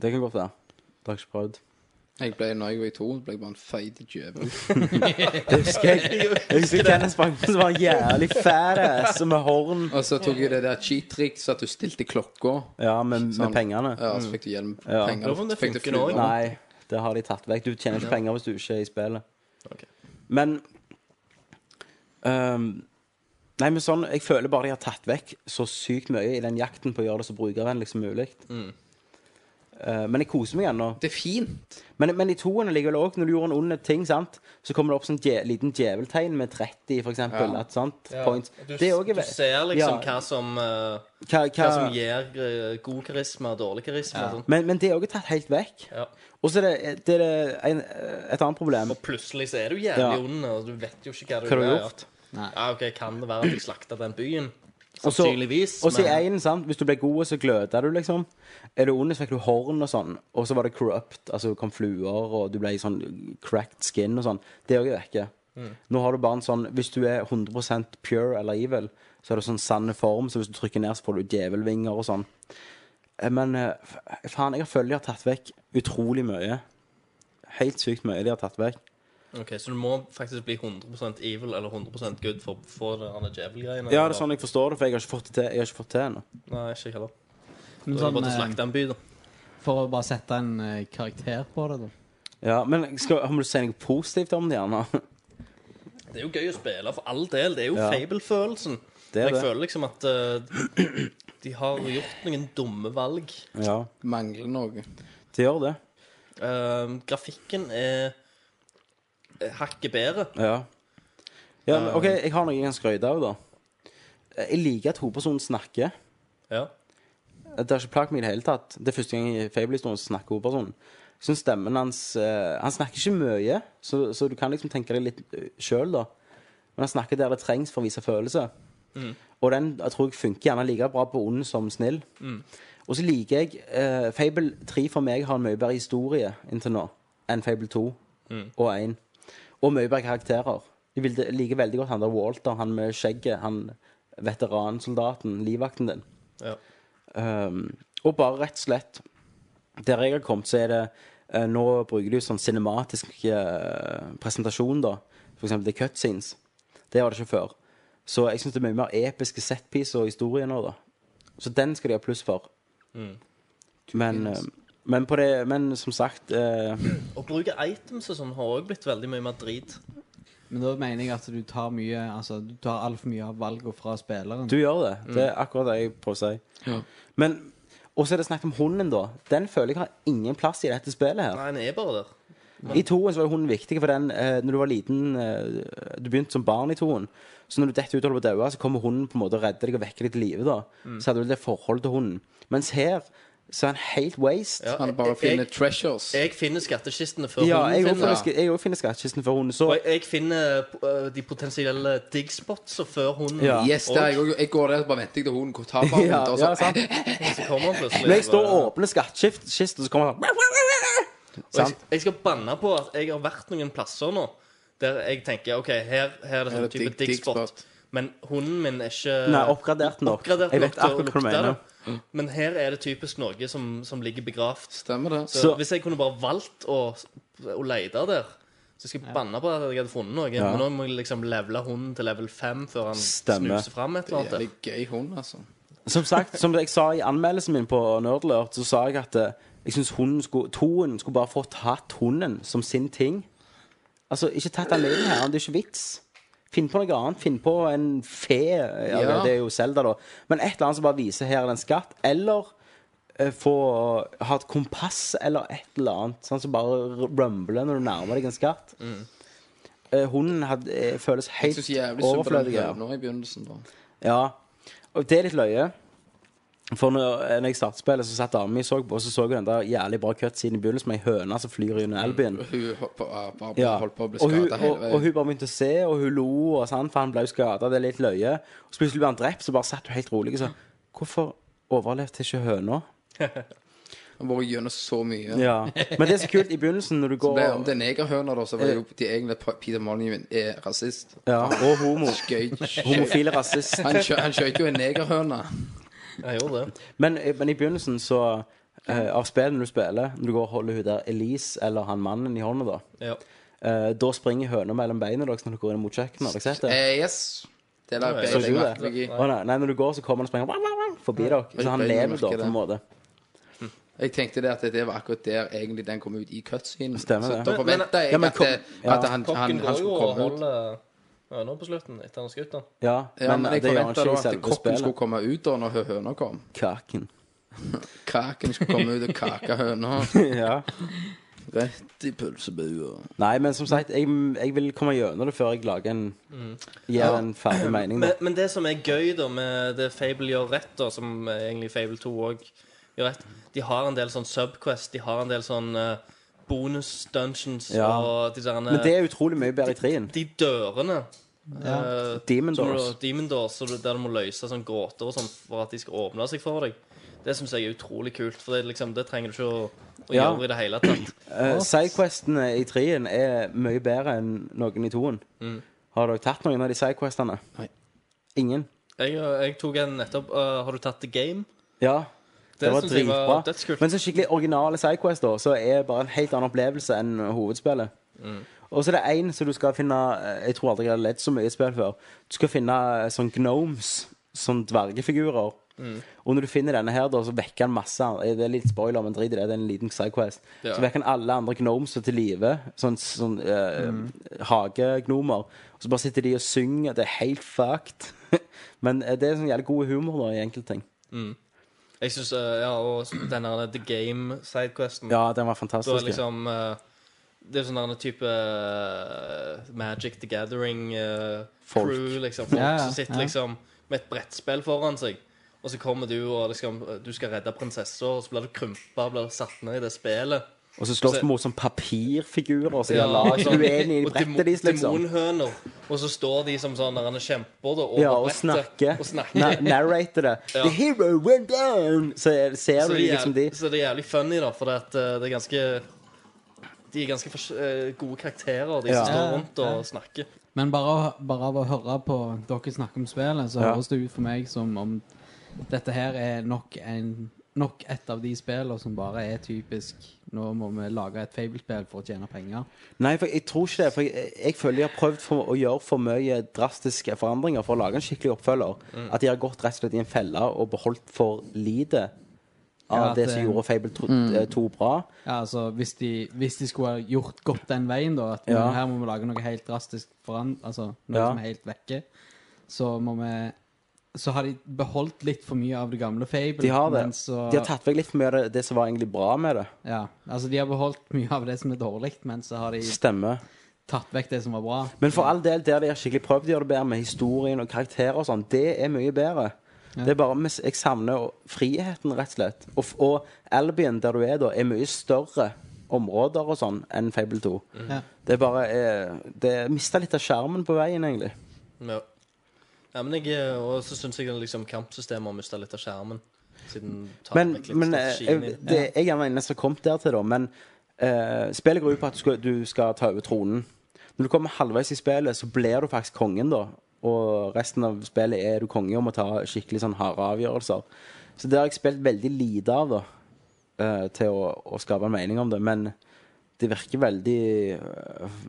Det kan godt være. Det har jeg ikke prøvd.
Jeg ble, når jeg var i to, ble jeg bare en feit djevel.
Jeg husker (laughs) jeg, jeg husker
(laughs)
Kenneth Spanken som var en jævlig fat ass med horn.
Og så tok jeg det der cheat-trikset at du stilte klokka.
Ja, med, med
Sånn.
pengene.
Ja, så fikk du hjelm
Ja.
Lurer på om
penger.
det
Fikk du
funker nå,
flue.
ja.
Nei, det har de tatt vekk. Du tjener ikke penger hvis du ikke er i spillet.
Ok.
Men ehm, Nei, men sånn, Jeg føler bare de har tatt vekk så sykt mye i den jakten på å gjøre det så brukervennlig som mulig. Eh, men jeg koser meg ennå.
Det er fint.
Men, men i toene ligger det òg, når du gjorde en ond ting, sant? så kommer det opp sånn dje, liten djeveltegn med 30, for eksempel.
Ja.
At, sant? Points.
Du,
det er også,
du ser liksom
ja,
hva som eh, Hva
hva, hva,
som gir eh, god karisma og dårlig karisma. og sånn.
men, men det er òg tatt helt vekk.
Ja.
Og så er det, det, er det en, et annet problem.
Og plutselig så er du jævlig
Ja.
ond, og du vet jo ikke hva du,
Hva du har
gjør.
gjort.
Ja, ok, Kan det være at jeg slakta den byen?
Og så-
Sannsynligvis.
Og så i
men-
én, sant. Hvis du ble god, så gløda du, liksom. Er du ond, så fikk du horn og sånn. Og så var det corrupt. Altså det kom fluer, og du ble i sånn cracked skin og sånn. Det òg er vekke. Nå har du bare en sånn Hvis du er 100 pure eller evil, så er det sånn sann form, så hvis du trykker ned, så får du djevelvinger og sånn. Eh, Men eh, f- faen, jeg føler de har tatt vekk utrolig mye. Helt sykt mye de har tatt vekk.
Ok, Så du må faktisk bli 100 evil eller 100 good for å få det andre djevel-greiene?
Ja,
eller?
det er sånn jeg forstår det, for jeg har ikke fått det til, jeg har ikke fått det ennå.
Nei, ikke jeg heller.
Men
Da er det bare til å
sånn, eh,
slakte en by, da.
for å bare sette en eh, karakter på det, da.
Ja, men skal, må du si noe positivt om det, gjerne?
Det er jo gøy å spille, for all del. Det er jo
Ja.
fable-følelsen.
(laughs) Det
Men
er
jeg
det.
føler liksom at eh, de har gjort noen dumme valg.
Ja,
Mangler noe.
det gjør det.
Ehm, grafikken er er hakket bedre.
Ja. ja men, OK, jeg har noe jeg kan skryte av, da. Jeg liker at hovedpersonen snakker.
Ja.
Det har ikke plaget meg i det hele tatt. Det er første gang i Fable-historien som snakker hovedpersonen. Jeg synes stemmen hans eh, Han snakker ikke mye, så, så du kan liksom tenke deg litt sjøl, da. Men han snakker der det trengs for å vise følelse. Og den jeg tror jeg funker gjerne like bra på ond som snill. Og så liker jeg eh, Fable 3 for meg har en mye bedre historie inntil nå enn Fable 2 og 1. Og mye bedre karakterer. Jeg vil- liker veldig godt han der Walter, han med skjegget, han veteransoldaten, livvakten din.
ja.
Um, og bare rett og slett Der jeg har kommet, så er det eh, Nå bruker de jo sånn cinematisk eh, presentasjon, da. For eksempel The Cutscenes. Det var det ikke før. Så jeg syns det er mye mer episke setpiece og historier nå, da. Så den skal de ha pluss for. Men, eh, men, på det, men som sagt eh,
Å bruke items og sånn har òg blitt veldig mye mer drit.
Men da mener jeg at du tar mye Altså, du tar altfor mye av valgene fra spilleren.
Du gjør det. Det er akkurat det jeg prøver å si. Men Og så er det snakk om hunden, da. Den føler jeg har ingen plass i dette spillet her.
Nei, en er bare der.
I toen så var jo hunden viktig, for den, eh, når du var liten eh, Du begynte som barn i toen. Så når du detter ut og holder på å daue, så kommer hunden på en måte og redder deg og vekker deg til live. da
Mm.
Så hadde du det forholdet til hunden. Mens her så er han helt waste. Ja,
Ja,
Han bare
jeg-
finner
jeg,
treasures.
jeg finner skattkistene før
jeg
hunden
òg
finner
finner,
dem.
sk- jeg også finner skattkisten for hunden. Så
Og jeg, jeg finner eh, de potensielle diggspots før hunden
Ja.
Yes, det er jeg òg. Jeg går der og bare venter jeg til hun tar bare
(laughs) ja,
rundt, og så
ja,
(laughs)
sant?
Og så kommer han plutselig.
Når jeg står og
bare-
åpner skattkisten, så kommer han sånn-
Og jeg, jeg skal banne på at jeg har vært noen plasser nå der jeg tenker OK, her, her er det
Her er
sånn type
digg-
diggspot.
diggspot.
Men hunden min er ikke
Nei, oppgradert nok.
oppgradert
Jeg
nok
vet
til å
akkurat hva du
lukte
mener.
det.
Mm.
Men her er det typisk noe som, som ligger begravd.
Stemmer det.
Så,
Så-
hvis jeg kunne bare valgt å, å lete der Så jeg skal banne på at jeg hadde funnet noe.
Ja.
Men nå må jeg liksom levele hunden til level 5 før han
Stemmer.
snuser fram et eller
Jævlig
annet.
gøy hund, altså.
Som sagt, som jeg sa i anmeldelsen min på Nerdlert, så sa jeg at eh, jeg syns hunden skulle Toen skulle bare fått hatt hunden som sin ting. Altså, ikke tatt han med inn her, det er ikke vits. Finn på noe annet. Finn på en fe. Ja,
Ja.
Det er jo Selda, da. Men et eller annet som bare viser her er det en skatt. Eller eh, få ha et kompass eller et eller annet. Sånn som bare rumbler når du nærmer deg en skatt. Eh, hunden hadde, eh, føles
Mm. Jeg
helt
synes jævlig synd på den
overflødig. her.
høna i begynnelsen, da.
Ja. Og det er litt løye. For når, eh, når jeg startet spillet, så satt damen min og så på, og så så hun den der jævlig bra cutscene i begynnelsen med ei høne som flyr
(laughs)
gjennom elbyen.
Hun ho- på- ah, bare
Ja.
holdt på å bli
og, hun,
skada hele
og,
veien.
og hun bare begynte å se, og hun lo, og sånn, for han ble jo skada. Det er litt løye. Og så plutselig ble han drept, så bare satt hun helt rolig og sa Hvorfor overlevde ikke høna?
Hun har vært gjennom så mye.
Ja. Men det er så kult i begynnelsen
(laughs)
når du går
Det, om det er negerhøner, da, så var det
Eh.
jo de egentlig at Peter Molyneux er rasist.
ja, Og homo.
Skøy.
(laughs) Homofil
(laughs)
rasist.
Han, skjø, han skjøt jo en negerhøne.
Jeg gjorde det.
Men, men i begynnelsen så eh, Av spillene du spiller, når du går og holder hun der Elise eller han mannen i hånda, da
Ja.
Eh, da springer høna mellom beina deres når dere går inn mot kjøkkenet. Har dere sett det?
Eh, yes. Det la
Nei,
jeg
så
jeg
du
merke meg i.
Å, nei, nei, når du går, så kommer den og springer wah, wah, wah, forbi dere. Så han
beina
lever
merker
da, på en måte.
Jeg tenkte det at det var akkurat der egentlig den kom ut i cutscenen.
Stemmer
så
det.
da forventa jeg
Ja, men
at,
kom-
det,
ja.
at han, han,
Kokken
han
går jo
skulle
og
komme ut.
holder høna på slutten etter han har skutt den.
Ja,
Ja, men, jeg
det gjør han
forventa
ikke
da
i
at
selve
kokken skulle
spillet.
komme ut da når hø- høna kom. (laughs)
Kaken.
Kaken skulle komme ut og kake
(laughs)
høna.
ja.
Rett i pølsebua.
Nei, men som sagt, jeg, jeg vil komme gjennom det før jeg lager en
Mm.
Gir en ferdig mening.
Men,
Da.
men det som er gøy da med det Fable gjør rett, da, som eh, egentlig Fable 2 òg gjør rett De har en del sånn Subquest, de har en del sånn eh, bonus dungeons
Ja.
og de der
Men det er utrolig mye bedre i trien.
De dørene eh,
Demon
som du-
Doors.
Demon Doors så du- der du må løse sånne gåter og sånn for at de skal åpne seg for deg. Det syns jeg er utrolig kult, for det, er liksom, det trenger du ikke å, å
Ja.
gjøre i det hele tatt.
Eh, Sidequestene i trien er mye bedre enn noen i toen. Har dere tatt noen av de sidequestene?
Mm. Nei.
Ingen?
Jeg, eh, jeg tok en nettopp eh, Har du tatt The Game?
Ja. Det, var
synes jeg var
dritbra.
dødskult.
Men så skikkelig originale Sidequest, da, så er det bare en helt annen opplevelse enn hovedspillet.
Mm.
Og så er det én som du skal finne eh, Jeg tror aldri jeg har ledd så mye i et spill før. Du skal finne sånn gnomes, sånn dvergefigurer.
Mm.
Og når du finner denne her, da, så vekker han masse andre- Det er litt spoiler, men drit i det. Det er en liten Sidequest.
Ja.
Så vekker han alle andre gnomes til live. Sånn, sånn eh,
Mm.
hagegnomer. Og så bare sitter de og synger. Det er helt fucked. (laughs) men eh, det er sånn jævlig god humor da, i enkelte
Mm.
ting.
Jeg synes, eh, ja, Og den der The Game-sidequesten.
Ja, den
Da
var
er
fantastisk.
liksom eh, Det er sånn der en type eh, Magic the
Folk.
Gathering-crew, liksom. Folk
Ja, ja,
som sitter
ja.
liksom med et brettspill foran seg. Og så kommer du og liksom, eh, du skal redde prinsessa, og så blir du krympa blir du satt ned i det spillet.
Og så slåss
Altså-
du mot sånn papirfigurer som
Ja,
ja, lag
sånn.
du er enig i
Og
brettet deres,
demo-
liksom.
Demonhøner. Og så står de som sånn der en kjemper da, over
Ja, og
brettet,
snakke.
Og snakker.
Na narrate det.
Ja.
The hero went down! Så er- ser
Så
du
det, er,
liksom de.
jæv- så det er jævlig funny, da, for det, at, eh, det er ganske De er ganske fors- eh, gode karakterer, de
Ja.
som står
Ja,
rundt og snakker.
Men bare, å- bare av å høre på dere snakke om spillet, så
Ja.
høres det ut for meg som om dette her er nok, en, nok et av de spillene som bare er typisk Nå må vi lage et fabelspill for å tjene penger.
Nei, for jeg tror ikke det. For jeg, jeg føler de har prøvd for, å gjøre for mye drastiske forandringer for å lage en skikkelig oppfølger.
Mm.
At de har gått rett og slett i en felle og beholdt for lite av
Ja, at
det som
det- Mm.
gjorde Fable 2, bra.
Ja, altså Hvis de, hvis de skulle ha gjort godt den veien, da At
Ja.
nå her må vi lage noe helt drastisk foran, Altså noe
Ja.
som er helt vekke, så må vi Så har de beholdt litt for mye av det gamle Fable.
De har det.
men så-
De har tatt vekk litt for mye av det, det som var egentlig bra med det.
Ja, altså De har beholdt mye av det som er dårlig, men så har de
Stemmer.
tatt vekk det som var bra.
Men for all del, der de har skikkelig prøvd å gjøre det bedre med historien og karakterer og sånn, det er mye bedre. Det er bare, mis- Jeg savner å- friheten, rett og slett. Og, f- og Albion, der du er da, er mye større områder og sånn enn Fable 2.
Ja.
Det er bare eh, Det mista litt av skjermen på veien, egentlig.
Ja. ja men jeg, eh, og så syns jeg liksom kampsystemet har mista litt av skjermen. Siden du tar
Men,
vekk litt
men eh,
strategien i
jeg,
det.
det, jeg er den eneste som har kommet der til, da. Men eh, spillet går ut på at du skal, du skal ta over tronen. Når du kommer halvveis i spillet, så blir du faktisk kongen, da. Og resten av spillet er du konge og må ta skikkelig sånn harde avgjørelser. Så det har jeg spilt veldig lite av, da. eh, til å, å skape en mening om det. Men det virker veldig eh,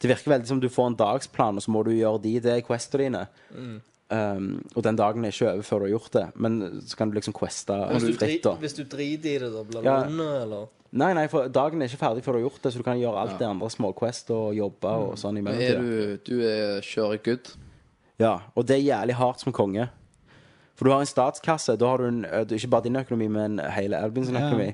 Det virker veldig som du får en dagsplan, og så må du gjøre de, det er questene dine.
Mm.
Um, og den dagen er ikke over før du har gjort det. Men så kan du liksom queste
Hvis du, dri,
fritt, da.
hvis du driter i det, da blir du
Ja.
ond, eller?
Nei, nei, for dagen er ikke ferdig før du har gjort det, så du kan gjøre alt det andre. Småquest og jobbe og sånn i
Mm. Er
mellomtida.
du, du er kjører good?
Ja, og det er jævlig hardt som konge. For du har en statskasse. Da har du en, eh, ikke bare din økonomi, men hele Albins sin
Ja.
økonomi.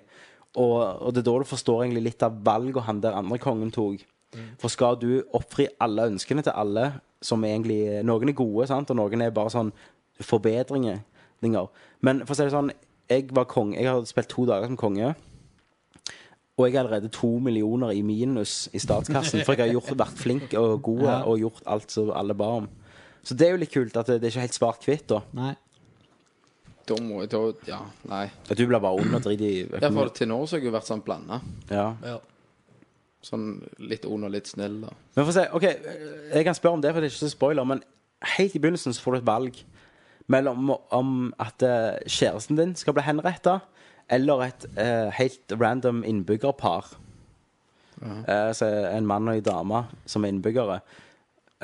Og, og det er da du forstår egentlig litt av valget han der andre kongen tok.
Mm.
For skal du oppfri alle ønskene til alle, som egentlig Noen er gode, sant, og noen er bare sånn forbedringer. dinger. Men for å si det sånn, jeg var konge. Jeg har spilt to dager som konge. Og jeg er allerede to millioner i minus i statskassen, for jeg har gjort, vært flink og god
(laughs) Ja.
og gjort alt som alle ba om. Så det er jo litt kult at det, det er ikke helt svart-hvitt. da.
Nei.
Da må jeg da Ja, nei.
At du blir bare ond og drit i
Ja, for
økonomi.
til nå så har jeg jo vært sånn blanda.
Ja.
Ja.
Sånn litt ond og litt snill. Da.
Men for å si, ok, Jeg kan spørre om det, for det er ikke så spoiler, men helt i begynnelsen så får du et valg mellom om at eh, kjæresten din skal bli henretta, eller et eh, helt random innbyggerpar. Eh, så en mann og en dame som er innbyggere.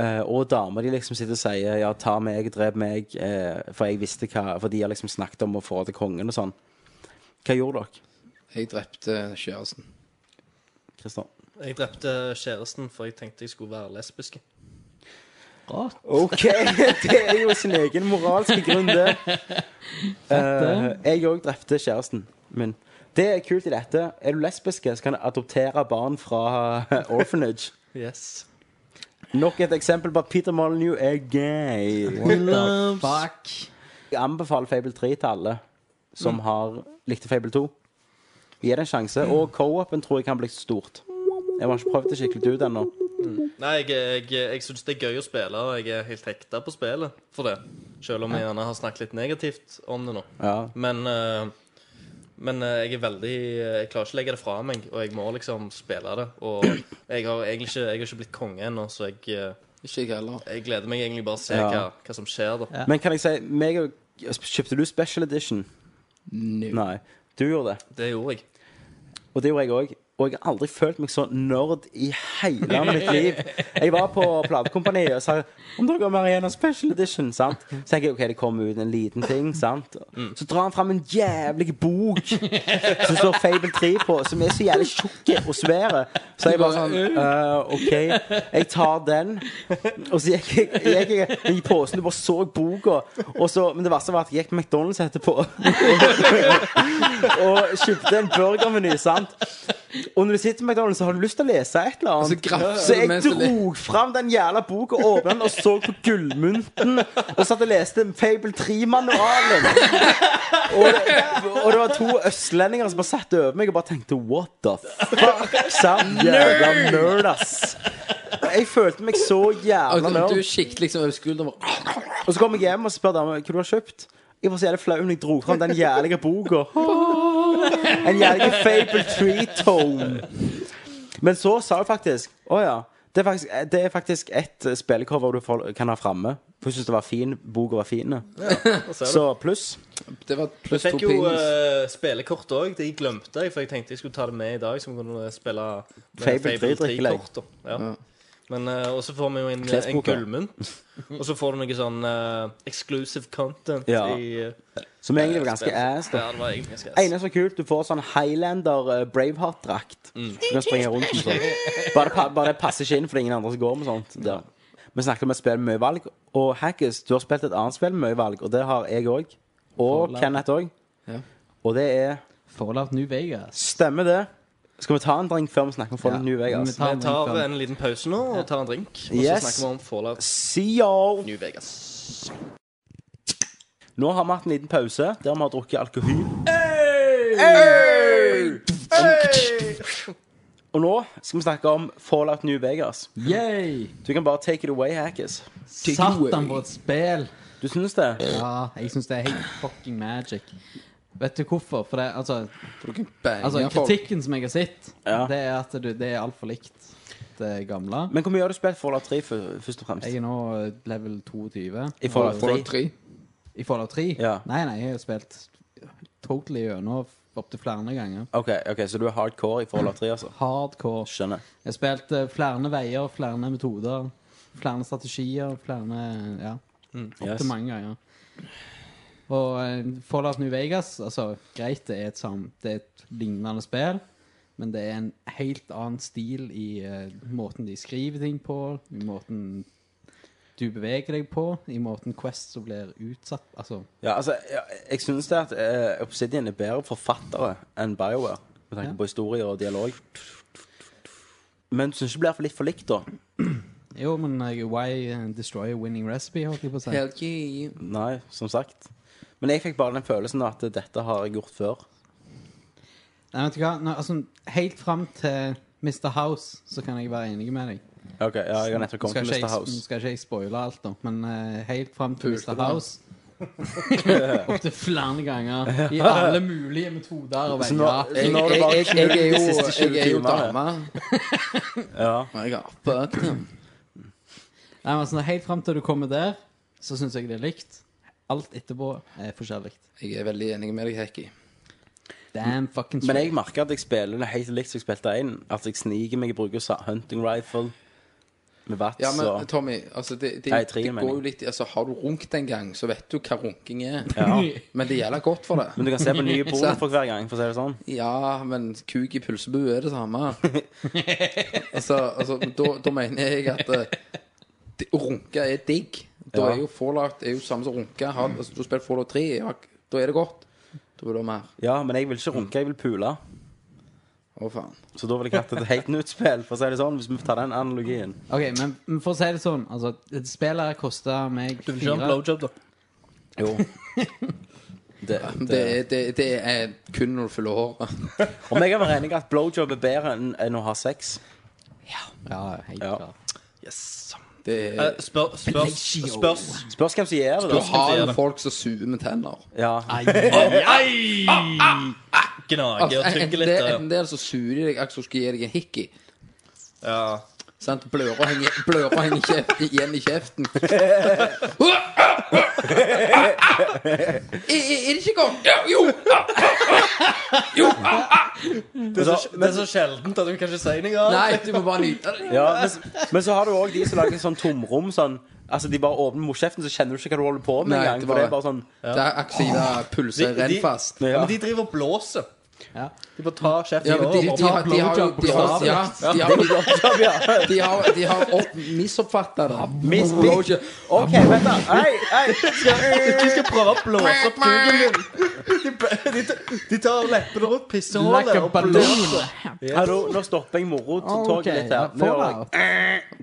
Eh, og damer de liksom sitter og sier Ja, ta meg, drep meg, eh, for jeg visste hva For de har liksom snakket om å få til kongen og sånn. Hva gjorde dere,
Jeg drepte kjæresten.
Kristian?
Jeg drepte kjæresten, for jeg tenkte jeg skulle være lesbisk.
Rart.
OK, (laughs) det er jo sin egen moralske grunn, det. Eh, jeg òg drepte kjæresten min. Det er kult i dette. Er du lesbiske, så kan du adoptere barn fra eh, orphanage.
Yes.
Nok et eksempel på at Peter Molyneux er gay.
The fuck.
Jeg anbefaler Fable 3 til alle som har likte Fable 2. Gi det en sjanse. Og co-open tror jeg kan bli stort. Jeg har ikke prøvd det skikkelig ut ennå.
Nei, jeg, jeg, jeg syns det er gøy å spille, og jeg er helt hekta på spillet for det. Selv om jeg gjerne har snakket litt negativt om det nå.
Ja.
Men, eh, men eh, jeg er veldig Jeg klarer ikke å legge det fra meg, og jeg må liksom spille det. Og jeg har egentlig ikke, jeg har ikke blitt konge ennå, så jeg, eh,
Ikke jeg heller.
jeg gleder meg egentlig bare å se
Ja.
hva, hva som skjer, da.
Men kan jeg si meg og, Kjøpte du special edition?
No.
Nei. Du gjorde det.
Det gjorde jeg.
Og det gjorde jeg òg. Og jeg har aldri følt meg så nerd i hele mitt liv. Jeg var på platekompaniet og sa om dere har Mariana Special Edition. sant? Så tenker jeg ok, det kommer ut en liten ting. sant? Så drar han fram en jævlig bok som står Fable 3 på, som er så jævlig tjukk og svær. Så jeg bare sånn «Øh, OK, jeg tar den. Og så gikk jeg, gikk jeg i posen og bare så boka. Og så, men det verste var at jeg gikk på McDonald's etterpå og kjøpte en burgermeny, sant? Og når du sitter på McDonald's, så har du lyst til å lese et eller
Og så grafser
annet.
du
Altså, Så jeg
mens du le-
dro fram den jævla boka, åpna den og så på gullmynten. Og satt og leste Fable 3-manualen. Og, det- og det var to østlendinger som bare satt over meg og bare tenkte What the fuck? Sant? Jævla nerd, ass. Og Jeg følte meg så jævla
Og
nerd.
Altså, du kikket liksom over skulderen og bare
Og så kom jeg hjem og spør dama hva du har kjøpt. Jeg var så jævlig flau når jeg dro fram den jævlige boka. En jævlig Fable Tree-tone. Men så sa hun faktisk Å ja. Det er faktisk, det er faktisk ett spillecover du får- kan ha framme. For hun syntes det var fin. Boka var fin. Så pluss.
Det var
Jeg
pluss to
fikk jo
penis.
eh, spillekort òg. Det jeg glemte jeg, for jeg tenkte jeg skulle ta det med i dag. Så vi kunne eh, spille med
Fable
Fable
3 drikkelag.
3-kort. da. Ja. Men eh, Og så får vi jo en, en
Klesbok, ja.
gullmynt. Og så får du noe sånn eh, exclusive content
Ja.
i eh,
Som egentlig var ganske
spillet.
ass. da
Ja, det var egentlig ganske ass.
Eneste som er kult, du får sånn Highlander eh, Braveheart-drakt. Du kan springe rundt med sånn. Bare, det pa- bare det passer ikke inn, for det er ingen andre som går med sånt. Ja. Vi snakker om et spill med mye valg, og Hackers, du har spilt et annet spill med mye valg, og det har jeg òg. Og
Forlag.
Kenneth òg.
Ja.
Og det er
Fallout New Vegas.
Stemmer det. Skal vi ta en drink før vi snakker om Fallout New Vegas?
Vi tar
Vi tar
den.
en liten pause nå og tar en drink. Og
Yes.
så snakker vi om Fallout
See y'all!
New Vegas.
Nå har vi hatt en liten pause der vi har drukket alkohol. Og nå skal vi snakke om Fallout New Vegas.
Yay!
Du kan bare take it away, Hackers. Eh.
Take it away.
Satan, for et spill!
Du syns det?
Ja, jeg syns det er helt fucking magic. Vet du hvorfor? For det, altså,
For du kan bange
altså
folk.
kritikken som jeg har sett,
Ja.
det er at du, det er altfor likt det gamle.
Men hvor mye har du spilt Fallout 3 fø- først og fremst?
Jeg er nå eh, level 22.
I Fallout
Får
3?
du tre?
I Fallout 3?
Ja.
Nei, nei, jeg har spilt totally gjennom opptil flere ganger.
Ok, ok, Så du er hardcore i Fallout 3, altså?
Hardcore.
Skjønner.
Jeg har spilt eh, flere veier, flere metoder, flere strategier, flere Ja. Opptil
Yes.
mange ganger. Og eh, Fallout New Vegas, altså greit, det er et, sam det er et lignende spill. Men det er en helt annen stil i eh, måten de skriver ting på, i måten du beveger deg på, i måten Quest som blir utsatt Altså
Ja, altså, jeg, jeg syns det at eh, Obsidian er bedre forfattere enn BioWare. Med tanke
Ja.
på historie og dialog. Men du syns ikke det blir for litt for likt, da?
Jo, men eh, why destroy a winning recipe, holdt jeg på å si.
Helt gi-
Nei, som sagt. Men jeg fikk bare den følelsen at dette har jeg gjort før.
Nei, vet du hva? Nå, altså, helt fram til Mr. House så kan jeg være enig med deg.
Ok, ja, jeg har nettopp kommet
Skal
til
ikke
Mr.
jeg-
House.
Skal ikke jeg spoile alt, da, men eh, helt fram til
Pulte
Mr.
da.
(laughs)
House Opptil flere ganger. I alle mulige metoder og
Så Altså, nå,
veier.
så nå er det
Jeg,
bare
jeg, jeg, er jo,
de siste 20
jeg er jo
timene.
dame.
Ja.
Og jeg er ape.
Nei, men sånn, Helt fram til du kommer der, så syns jeg det er likt. Alt etterpå er forskjellig.
Jeg er veldig enig med deg, Hekki.
Damn fucking
Men
straight.
jeg merker at jeg spiller det helt likt som jeg spilte én. At jeg sniker meg, jeg bruker sa- hunting rifle med vats
Ja, men
og
Tommy, altså det, det,
Nei, tre,
det
mener
går
jeg.
jo litt i- altså, Har du runket en gang, så vet du hva runking er.
Ja.
(laughs) Men det gjelder godt for
Men
det.
du kan se
(laughs)
på nye porno for hver gang, for å si det sånn.
Ja, men kuk i pølsebu er det
(laughs)
samme. altså, altså da, da mener jeg at eh, det, å runke er digg. Da
Ja.
er jo Fallout er jo samme som runke. Har, altså, du spiller Fallout 3, ja, da er det godt. Da vil du ha mer.
Ja, men jeg vil ikke runke, jeg vil pule.
Å, faen.
Så da vil jeg hatt et helt nytt spill, for å si det sånn, hvis vi tar den analogien.
Ok, men, men for å si det sånn, altså, et spill her koster meg
Du vil ikke ha en
fire
blowjob, da?
(laughs)
Jo. Det,
Det,
det.
er- det, det er kun når du fyller håret.
Om jeg kan være enig i at blowjob er bedre enn, enn å ha sex?
Ja, helt
Ja.
klart.
Yes.
Det
Eh,
er,
spør, spør,
Pleasure.
spørs
Spørs hvem som gjør det,
du
da.
har jo folk som suger med tenner.
Ja.
Ah,
Ai! Gnager
Altså,
og tygger
enten,
litt.
det,
ja.
enten det, eller så suger de deg, akkurat som skal gi deg en hickey.
Ja.
Sant? Blører henger, blører henger i kjeften, igjen i kjeften. er, er er det ikke godt? Ja, jo! jo!
Det, er så, det er så sjeldent at du kan ikke si noe
Nei,
annet.
du må bare nyte det.
ja men, s- men så har du òg de som lager sånn tomrom sånn Altså, de bare åpner motkjeften, så kjenner du ikke hva du holder på med
Nei,
engang.
det
For
bare-
det er bare sånn
Det er aktive pulser
De- de-
renn fast.
Ja,
ja.
Men de driver og blåser.
Ja.
De bare tar kjeften
Ja,
i
men de, de,
over.
de, har- de har jo de har- ja, de har- De har, de har opp- misoppfattet det.
Misoppfattet. OK, vent, da. Hei, hei.
De skal prøve å blåse opp kuken din. (laughs) De, b- de, t- de tar leppene rundt pissehullet
Like a
og
balloon.
blåser.
Hallo, nå stopper jeg morotoget litt her. Nå gjør jeg-
Fallout.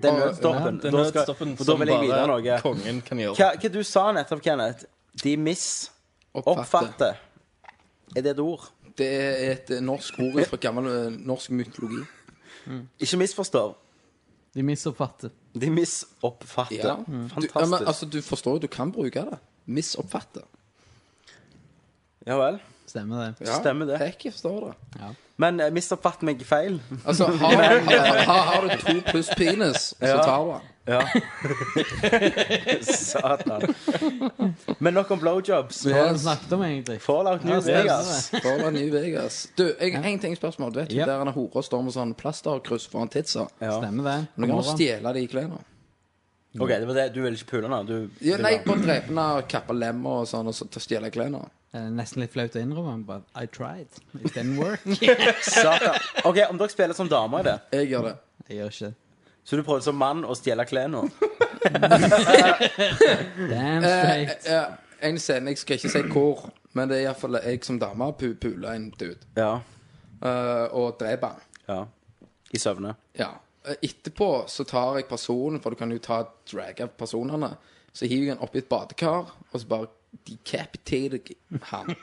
Det er nødstoppen.
Det er
Da skal-
nødstoppen
for Da
som
vil jeg videre
bare
noe.
kongen kan gjøre.
Hva, hva du sa nettopp, Kenneth? De miss...
Oppfatte.
Oppfatte. Er det et ord?
Det er et eh, norsk ord fra gammel eh, norsk mytologi.
Ikke misforstå.
De misoppfatter.
De misoppfatter.
Ja. Du,
Mm. Fantastisk.
ja, men, altså, du forstår jo, du kan bruke det. Misoppfatte.
Ja vel.
Stemmer det.
Ja,
Stemmer det.
Hekki forstår det.
Men eh, misoppfatt meg feil. (laughs)
Altså, har, eh, har, har du to pluss penis, så
Ja.
tar du den.
Ja. Satan. Men nok om blowjobs.
Hva har du snakket om, egentlig?
Fallout New
Ja, stemmer
Vegas.
det.
Forla New Vegas. Du, jeg, en ting spørsmål. Du vet
Ja.
jo der han hora står med sånn plasterkryss foran titsa.
Ja.
Stemmer det.
Nå kan du
Morgen.
stjele de klærne.
OK, det var det. du ville ikke pule nå? Du
Ja, nei, bare drepe den og kappe lemmer og sånn, og så ta- stjele klærne.
Eh, Nesten litt flaut å innrømme, but I tried. It didn't
(laughs)
work.
Satan. OK, om dere spiller som damer i det,
Jeg gjør det.
Jeg gjør ikke det.
så du prøvde som mann å stjele klærne?
Damn
Eh,
straight.
eh, en scene, jeg skal ikke si hvor, men det er iallfall jeg som dame pu- puler en dude
Ja.
eh, og dreper han.
ja. I søvne.
Ja. Eh, Etterpå så tar jeg personen, for du kan jo ta drag av personene. Så hiver jeg han oppi et badekar, og så bare decapitater jeg han.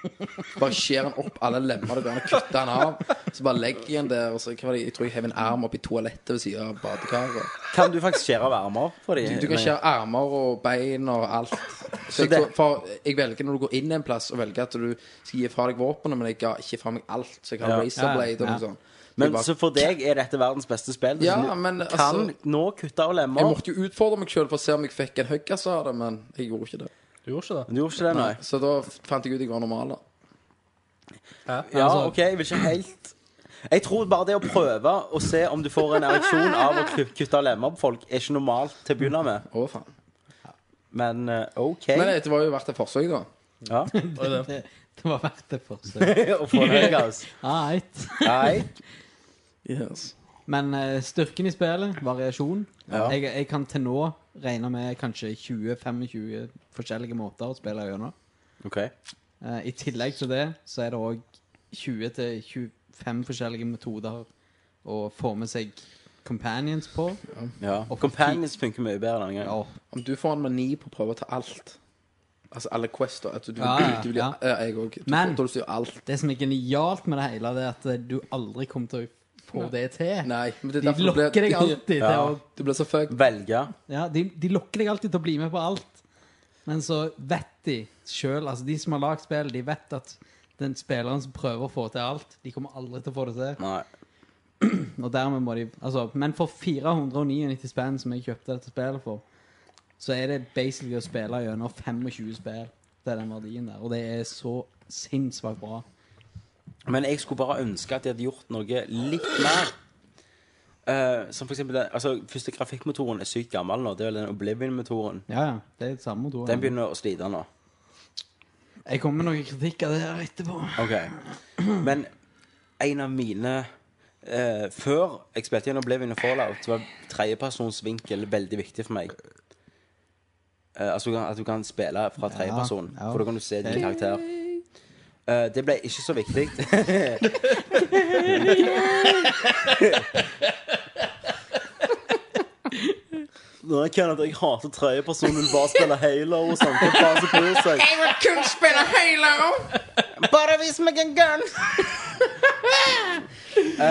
Bare skjærer han opp alle lemmene der, og kutter han av. Så bare legger jeg han der, og så hva var det, jeg tror jeg hever en arm oppi toalettet ved siden av badekaret.
Kan du faktisk skjære av ermer på de?
Du kan skjære armer og bein og alt. Så jeg,
det-
tror- for jeg velger når du går inn en plass, og velger at du skal gi fra deg våpenet, men jeg ga ikke fra meg alt. Så jeg har
Ja.
Razorblade og
Ja, ja.
noe sånt. Så jeg
Men
bare-
så for deg er dette verdens beste spill.
Ja,
Du
men
kan
altså-
nå kutte av lemmer.
Jeg måtte jo utfordre meg sjøl for å se om jeg fikk en huggas av det, men jeg gjorde ikke det.
Du gjorde ikke det?
Men du gjorde ikke det, nei.
Så da fant jeg ut jeg var normal, da.
Ja,
altså-
OK, jeg vil ikke helt Jeg tror bare det å prøve å se om du får en ereksjon av å ku- kutte av lemmer på folk, er ikke normalt til å begynne med.
Å, faen.
Men eh, OK.
Men det var jo verdt et forsøk, da.
Ja. (laughs)
eh.
Det, det var verdt det for seg.
Å få deg, altså.
Alright.
Nei.
Yes.
Men eh, styrken i spillet, variasjon jeg, jeg kan til nå regne med kanskje 20-25 forskjellige måter å spille gjennom.
OK.
Eh, I tillegg til det så er det òg 20-25 forskjellige metoder å få med seg companions på.
Ja. Companions funker mye bedre enn en gang.
Ja,
Om du får en mani på å prøve å ta alt Altså alle quester at du, du,
Ja, ja,
du blir,
ja.
ja, Jeg òg. Du
Men-
får til å si alt.
Det som er genialt med det hele, det er at eh, du aldri kommer til å få det til.
Nei, men det er
De
derfor du
lokker
blir,
deg
(laughs)
alltid til å
Du blir så fuck.
Velge.
Ja, de, de lokker deg alltid til å bli med på alt. Men så vet de sjøl, altså de som har lagd spill, de vet at den spilleren som prøver å få til alt, de kommer aldri til å få det til.
Nei.
Og dermed må de altså, Men for 499 spenn som jeg kjøpte dette spillet for, så er det basically å spille gjennom 25 spill. Det er den verdien der. Og det er så sinnssykt bra.
Men jeg skulle bare ønske at de hadde gjort noe litt mer. Eh, som for eksempel den altså, første grafikkmotoren er sykt gammel nå. Det er vel den Oblivion-motoren.
Ja, ja. Det er det samme motor.
Den begynner å slite nå.
Jeg kommer med noen kritikk av det her etterpå.
Ok Men en av mine eh, Før jeg spilte gjennom Oblivion og Fallout, så var tredjepersonsvinkel veldig viktig for meg. Eh, altså at du kan spille fra tredjeperson,
ja.
for da kan du se din karakter. Eh, det ble ikke så (laughs) viktig. Nå er Kenneth, jeg hater tredjeperson, vil bare spille Halo og sånt. Jeg bare så bryr seg. Bare vis meg en gun!
Å,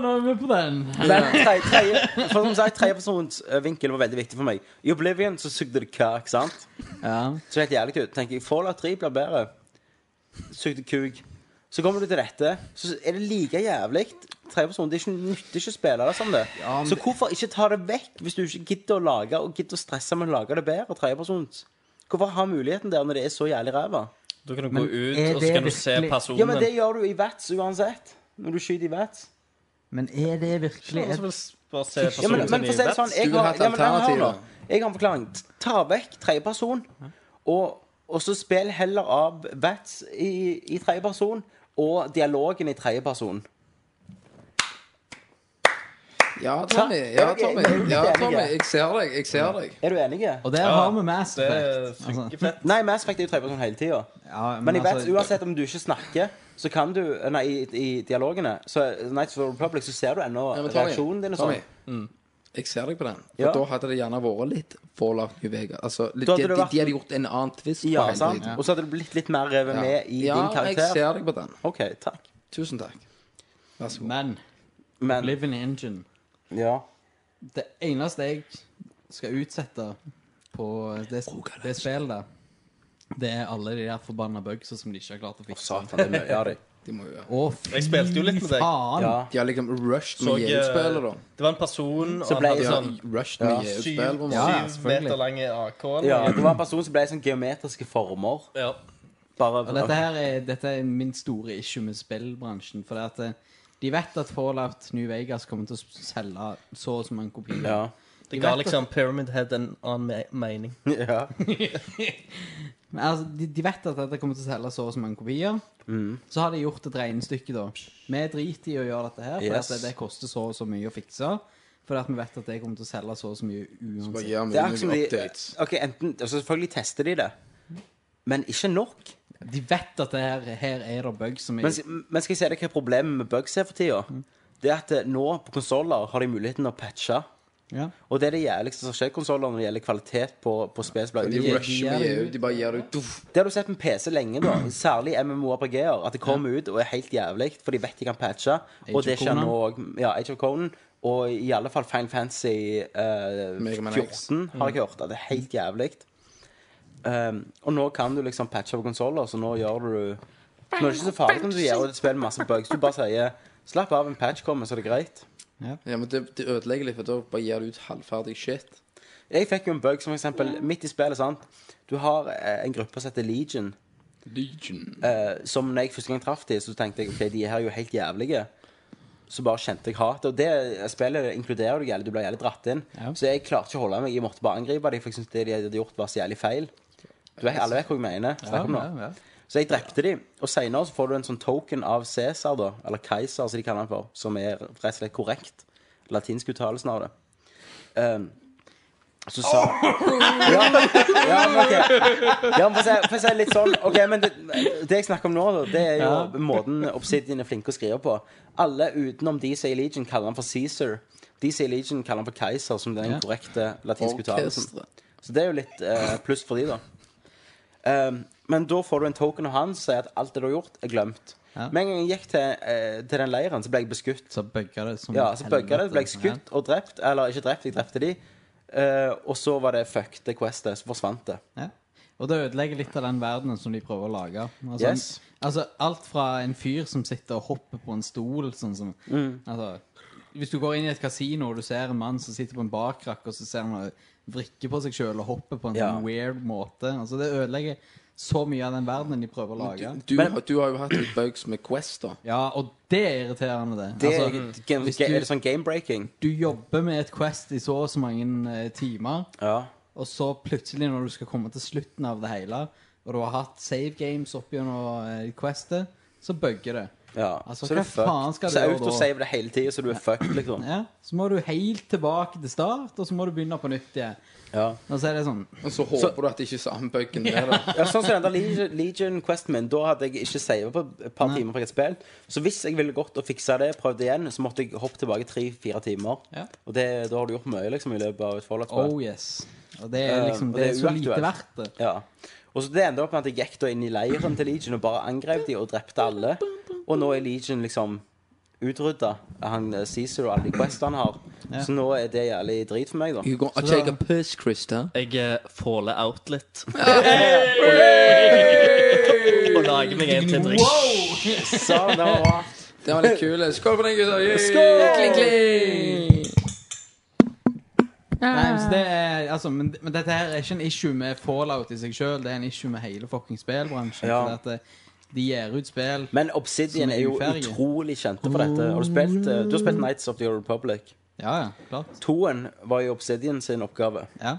nå er vi på den.
Men tre- tre- for som sagt, tredjepersons eh, vinkel var veldig viktig for meg. I Oblivion så sugde det kuk, sant?
Ja.
Så helt jævlig ut. Tenker jeg, Fallout 3 blir bedre. Sugde kuk. Så kommer du til dette, så er det like jævlig. Tredjeperson. Det er ikke nyttig ikke å spille det som det. så hvorfor ikke ta det vekk hvis du ikke gidder å lage og gidder å stresse med å lage det bedre? Tredjepersons. Hvorfor ha muligheten der når det er så jævlig ræva?
Da kan du gå ut,
er
og
det
så kan du se
virkelig-
personen.
Ja, men det gjør du i Vats uansett. Når du skyter i Vats.
Men er det virkelig
Noen som
et
vil s- bare se
Ja, men,
personen
men for å si det sånn
Du
Jeg
vil
har,
ha et
ja, men, hør
alternativ,
nå.
da.
jeg har en forklaring. Ta vekk tredjeperson, og, og så spill heller av Vats i, i tredjeperson og dialogen i tredjeperson.
Ja, Tommy. Ja, Tommy. Ja, Tommy. Jeg ser deg. Jeg ser deg.
Er du enig?
Og der har vi Mass Effect.
Det funker
Altså,
fett.
Nei, Mass Effect er jo tredjeperson hele tida.
ja,
Men jeg vet,
altså-
uansett om du ikke snakker, så kan du Nei, i, i dialogene Så Nights of the Republic, så ser du ennå
Ja, men Tommy,
reaksjonen din og sånn.
Tommy. Jeg ser deg på den. For
Ja.
da hadde det gjerne vært litt Fallout New Vegas. Altså, litt,
Da
de,
hadde det
de,
vært-
de hadde gjort en annen twist. på
Ja,
hele
sant?
driten.
Og så hadde du blitt litt mer revet med i
ja,
din
jeg
karakter.
ser deg på den.
OK, takk.
Tusen takk. Vær så god.
Men
Men
Live in Engine
Ja.
Det eneste jeg skal utsette på det, det spillet der, det er alle de der forbanna bugsa som de ikke har klart å fikse.
Satan, det er mye av deg.
De, må, jo gjøre.
Å, fy
Jeg spilte jo litt med deg.
faen!
Ja.
de har liksom rushed
Så
med
jeg,
EU-spillet, da.
Det var en person, og
Så
han
ble
hadde
jeg
De har
sånn
rushed med
syv,
EU-spill. hvor man-
Ja, ja,
syv
selvfølgelig.
meter lange AK. eller
Ja,
noe.
det var en person som ble i sånn geometriske former.
Ja.
Bare
Og dette her er, dette er min store issue med spillbransjen. For det at eh, de vet at Fallout New Vegas kommer til å selge så og så mange kopier.
ja.
Det
De
ga
vet at-
liksom Pyramid Head en annen me- mening.
ja.
Men altså, de, de vet at dette kommer til å selge så og så mange kopier.
Mm.
Så har de gjort et regnestykke, da. Vi driter i å gjøre dette her, for
Yes.
at det, det koster så og så mye å fikse. For at vi vet at det kommer til å selge så og så mye
Bare
uansett.
gjør
Det er akkurat
mye
som de
updates.
Ok, enten altså Selvfølgelig tester de det, men ikke nok.
De vet at det her, her er det bugs som er
Men, men skal jeg si deg hva problemet med bugs er for tida? Det er at eh, nå på konsoller har de muligheten å patche.
ja.
Og det er det jævligste som skjer i konsoller når det gjelder kvalitet på, på spill som blir
De
utgitt.
rusher med EU. De bare gir deg duff.
Det har du sett med PC lenge, da. Særlig MMORPG-er. At det kommer ut og er helt jævlig, for de vet de kan patche.
of
Og det skjer
Conan.
nå òg. Ja, Age of Conan. Og i alle fall Fine Fancy eh,
Mega Man X.
14 har jeg hørt at det er helt jævlig. Ehm, og nå kan du liksom patche på konsoller, så nå gjør du Nå er det ikke så farlig om du gjør og det spiller masse bugs. Du bare sier 'slapp av, en patch kommer, så er det greit'.
Ja, men det, det ødelegger litt, for da bare gir du ut halvferdig shit.
Jeg fikk jo en bug som for eksempel midt i spillet. sant? Du har eh, en gruppe som heter Legion.
Legion.
eh, som når jeg første gang traff dem, så tenkte jeg ok, de her er jo helt jævlige. Så bare kjente jeg hatet. Og det spillet inkluderer du jævlig. Du blir jævlig dratt inn.
Ja.
Så jeg klarte ikke å holde meg. Jeg måtte bare angripe dem, for jeg syntes det de hadde gjort, var så jævlig feil. Du vet, alle vet hva jeg mener. Snakk om nå.
ja, ja.
Så jeg drepte dem. Og senere så får du en sånn token av Cæsar, da. Eller Keiser, som de kaller han for. Som er rett og slett korrekt. Latinsk uttalelsen av det. Ehm, så sa ja, ja, men ok. Ja, men for å si- for å si det litt sånn Ok, men det, det jeg snakker om nå, da, det er jo
Ja.
måten Obsidian er flinke å skrive på. Alle utenom de som er i Legion, kaller han for Caesar. De som er i Legion, kaller han for Keiser, som den
Ja.
korrekte latinske uttalelsen.
Orkestre.
Så det er jo litt eh, pluss for de da. Ehm, men da får du en token av han som sier at alt det du har gjort, er glemt.
Ja.
Med en gang jeg gikk til, eh, til den leiren, så ble jeg beskutt.
Så bugga det som
Ja, så bugga det,
helvete. liksom.
ble jeg skutt og drept. Eller ikke drept, jeg drepte de. Eh, og så var det fuck det questet, så forsvant det.
Ja. Og det ødelegger litt av den verdenen som de prøver å lage. Altså,
Yes.
altså alt fra en fyr som sitter og hopper på en stol sånn som,
Mm.
altså, Hvis du går inn i et kasino og du ser en mann som sitter på en barkrakk, og så ser han og vrikker på seg sjøl og hopper på en
Ja.
sånn weird måte altså, Det ødelegger så mye av den verdenen de prøver å
Du,
lage.
du,
Men-
har- du har jo hatt litt bugs med Quest, da.
Ja, og det er irriterende, det.
det
altså,
er, game,
hvis
ga-
du-
er det sånn game-breaking?
Du jobber med et quest i så og så mange eh, timer.
Ja.
Og så plutselig, når du skal komme til slutten av det hele, og du har hatt save games opp gjennom eh, questet, så bugger det.
ja.
Altså,
er
hva
du fucked.
faen skal du
så
gjøre da?
autosave det hele tida, så du er fucked, liksom.
Ja, så må du helt tilbake til start, og så må du begynne på nytt igjen.
Ja.
Og så er det sånn
Og så håper du at det ikke er samme bugen der, da.
Ja, sånn som den der Legion, Legion Questen min, da hadde jeg ikke savet på et par timer. på et spill Så hvis jeg ville gått og fiksa det, prøvd det igjen, så måtte jeg hoppe tilbake tre-fire timer.
Ja.
Og det, da har du gjort mye liksom i løpet av et Fallout-spill.
Oh yes. Og det er
Eh,
liksom
og
det er
det er
så lite
uaktuelt.
verdt det.
Ja. Og så Det endte opp med at jeg gikk da inn i leiren til Legion og bare angrep de og drepte alle. Og nå er Legion liksom utrydda. Han eh, Caesar og alle de questene han har. Så nå er det jævlig drit for meg, da.
You gonna take a piss, Christer.
Jeg eh, faller out litt. (laughs) Og lager meg en til drink.
Så, Sånn, det var bra.
Det var litt kul. Skål for den, gutter.
Skål!
Kling, kling.
Nei, men så det er, altså, men, men dette her er ikke en issue med fallout i seg sjøl, det er en issue med hele fucking spillbransjen.
Ja.
fordi At eh, de gir ut spill
Men Obsidian
Som er
er jo
uferdig.
utrolig kjente for dette. Har du spilt, eh, du har spilt Nights of the Old Republic.
Ja, ja, klart.
Toen var jo Obsidian sin oppgave.
Ja.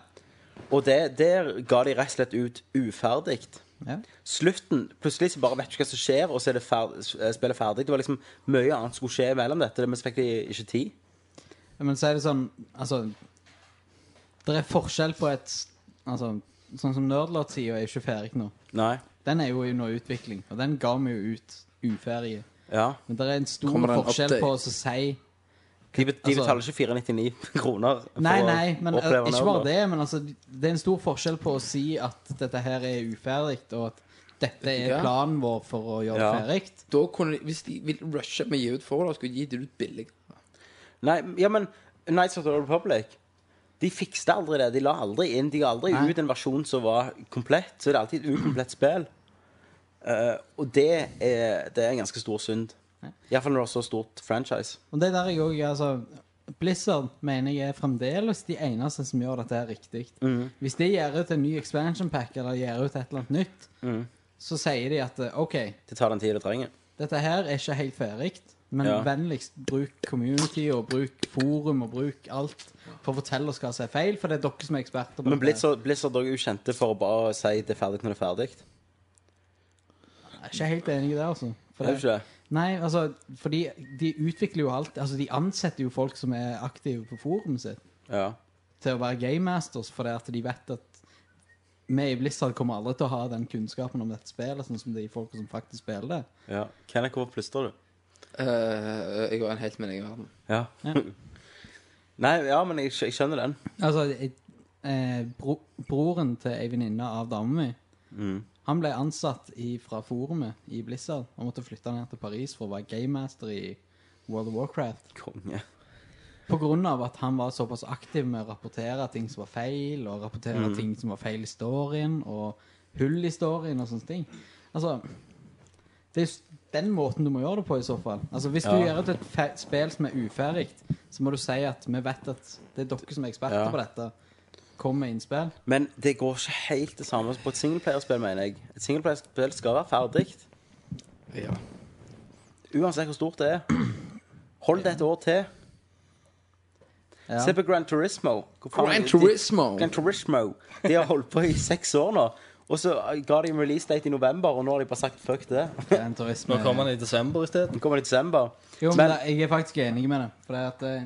Og det, der ga de rett og slett ut uferdig.
ja.
Slutten Plutselig så bare vet du hva som skjer, og så er det fer spillet ferdig. Det var liksom mye annet som skulle skje mellom dette, men så fikk de ikke tid.
Men så er det sånn Altså Det er forskjell på et Altså Sånn som Nerdlot-sida er jo ikke ferdig nå.
Nei.
Den er jo under utvikling, og den ga vi jo ut uferdig.
Ja.
Men det er en stor
Kommer det en
forskjell
update?
på å si
De, be- de
Altså-
betaler ikke 499 kroner for
Nei, nei, men
å
eh,
oppleve
ikke bare
Nerdlord.
det. Men altså, det er en stor forskjell på å si at dette her er uferdig, og at dette er
Ja.
planen vår for å gjøre
Ja.
det ferdig.
Da kunne de, Hvis de vil rushe med å gi ut Fallout, skulle de gi det ut billig.
Nei, ja, men Nights of the Old Republic De fikste aldri det. De la aldri inn De ga aldri
Nei.
ut en versjon som var komplett. Så det er alltid et ukomplett spill. Eh, og det er, det er en ganske stor synd. Iallfall når det er så stort franchise.
Og det der jeg òg altså, Blizzard mener jeg er fremdeles de eneste som gjør dette her riktig.
Mm.
Hvis de gir ut en ny expansion pack eller gir ut et eller annet nytt,
Mm.
så sier de at eh, OK,
Det tar den tida det trenger.
dette her er ikke helt ferdig, men
Ja.
vennligst bruk community og bruk forum og bruk alt for å fortelle oss hva som er feil, for det er dere som er eksperter. på
Men
dette.
Blizzard, Blizzard er jo kjente for å bare si det er ferdig når det er ferdig.
Jeg er ikke helt enig i det, altså. For
Er det
det,
ikke det?
nei, altså, fordi de utvikler jo alt Altså, de ansetter jo folk som er aktive på forumet sitt.
Ja.
til å være game masters fordi at de vet at vi i Blizzard kommer aldri til å ha den kunnskapen om dette spillet, sånn som de folka som faktisk spiller det.
ja. Kenneth, hvorfor plystrer du?
Eh, jeg var en helt min egen verden.
Ja. (laughs) Nei, ja, men jeg, skj- jeg skjønner den.
Altså, jeg, eh, bro, broren til ei venninne av dama mi, han ble ansatt i, fra forumet i Blizzard og måtte flytte ned til Paris for å være game master i World of Warcraft.
Konge.
På grunn av at han var såpass aktiv med å rapportere ting som var feil, og rapportere ting som var feil i storyen, og hull i storyen og sånne ting. Altså, det er jo den måten du må gjøre det på i så fall. Altså, hvis du gjør det til et fe- spill som er uferdig, så må du si at vi vet at det er dere som er eksperter
Ja.
på dette. Kom med innspill.
Men det går ikke helt det samme som på et singleplayerspill, mener jeg. Et singleplayerspill skal være ferdig.
Ja.
Uansett hvor stort det er. Hold det et år til.
Ja.
Se på Gran Turismo. Hvor faen-
Gran Turismo.
De, Gran Turismo. De har holdt på i seks år nå. Og så ga de en release date i november, og nå har de bare sagt fuck det. (laughs)
Det er en turisme-
Nå kommer han i desember isteden.
Nå kommer det i desember.
Jo, men,
Men-
da- jeg er faktisk enig med det. For det at eh,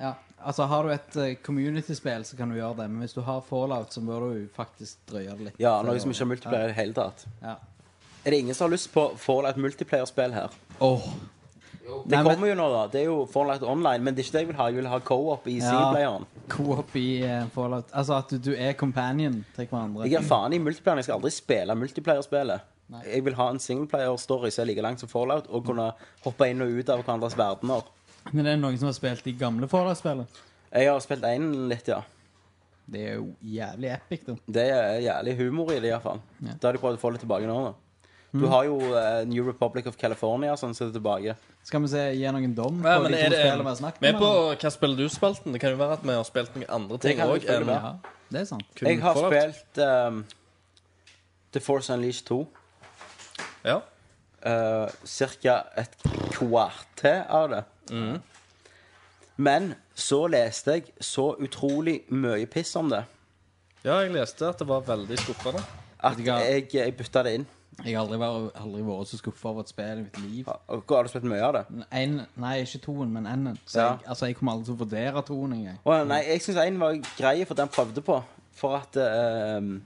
Ja, altså har du et eh, community-spill, så kan du gjøre det. Men hvis du har fallout, så bør du faktisk drøye det litt.
Ja, noe som ikke har multiplayer i det hele tatt.
Ja.
Er det ingen som har lyst på Fallout multiplayer-spill her?
Åh,
Det
Nei, men-
kommer jo nå, da. Det er jo Fallout online, men det er ikke det jeg vil ha. Jeg vil ha co-op i
Ja.
singleplayeren.
Co-op i eh, fallout. Altså at du, du er companion til hverandre.
Jeg gir faen i multiplayeren. Jeg skal aldri spille multiplayer-spillet. Jeg vil ha en singleplayer-story som er like langt som Fallout, og kunne hoppe inn og ut av hverandres verdener.
Men er det noen som har spilt de gamle fallout-spillene?
Jeg har spilt én litt, ja.
Det er jo jævlig epic, da.
Det er jævlig humor i det, iallfall.
Ja.
Da har de prøvd å få det tilbake nå. da. Du har jo eh, New Republic of California sånn som er tilbake.
Skal vi se, gi noen dom på
Ja, men
de
er
to
det,
spillene vi har snakket
vi er på
eller?
Hva spiller du-spalten. Det kan jo være at vi har spilt noen andre ting
kan jo
òg.
selvfølgelig være.
Ja, det er sant.
Jeg har spilt ehm, The Force Unleashed 2.
Ja.
eh, cirka et kvarter av det. Men så leste jeg så utrolig mye piss om det
ja, jeg leste at det var veldig skuffende.
at
Vet du hva?
jeg, jeg bytta det inn.
Jeg har aldri vært, aldri vært så skuffa over et spill i mitt liv.
Og Har du spilt mye av det?
En, nei, ikke toen, men enden. Så
Ja.
jeg, altså, jeg kommer aldri til å vurdere toen engang.
Å, nei, jeg syns én var grei for den prøvde på. For at ehm,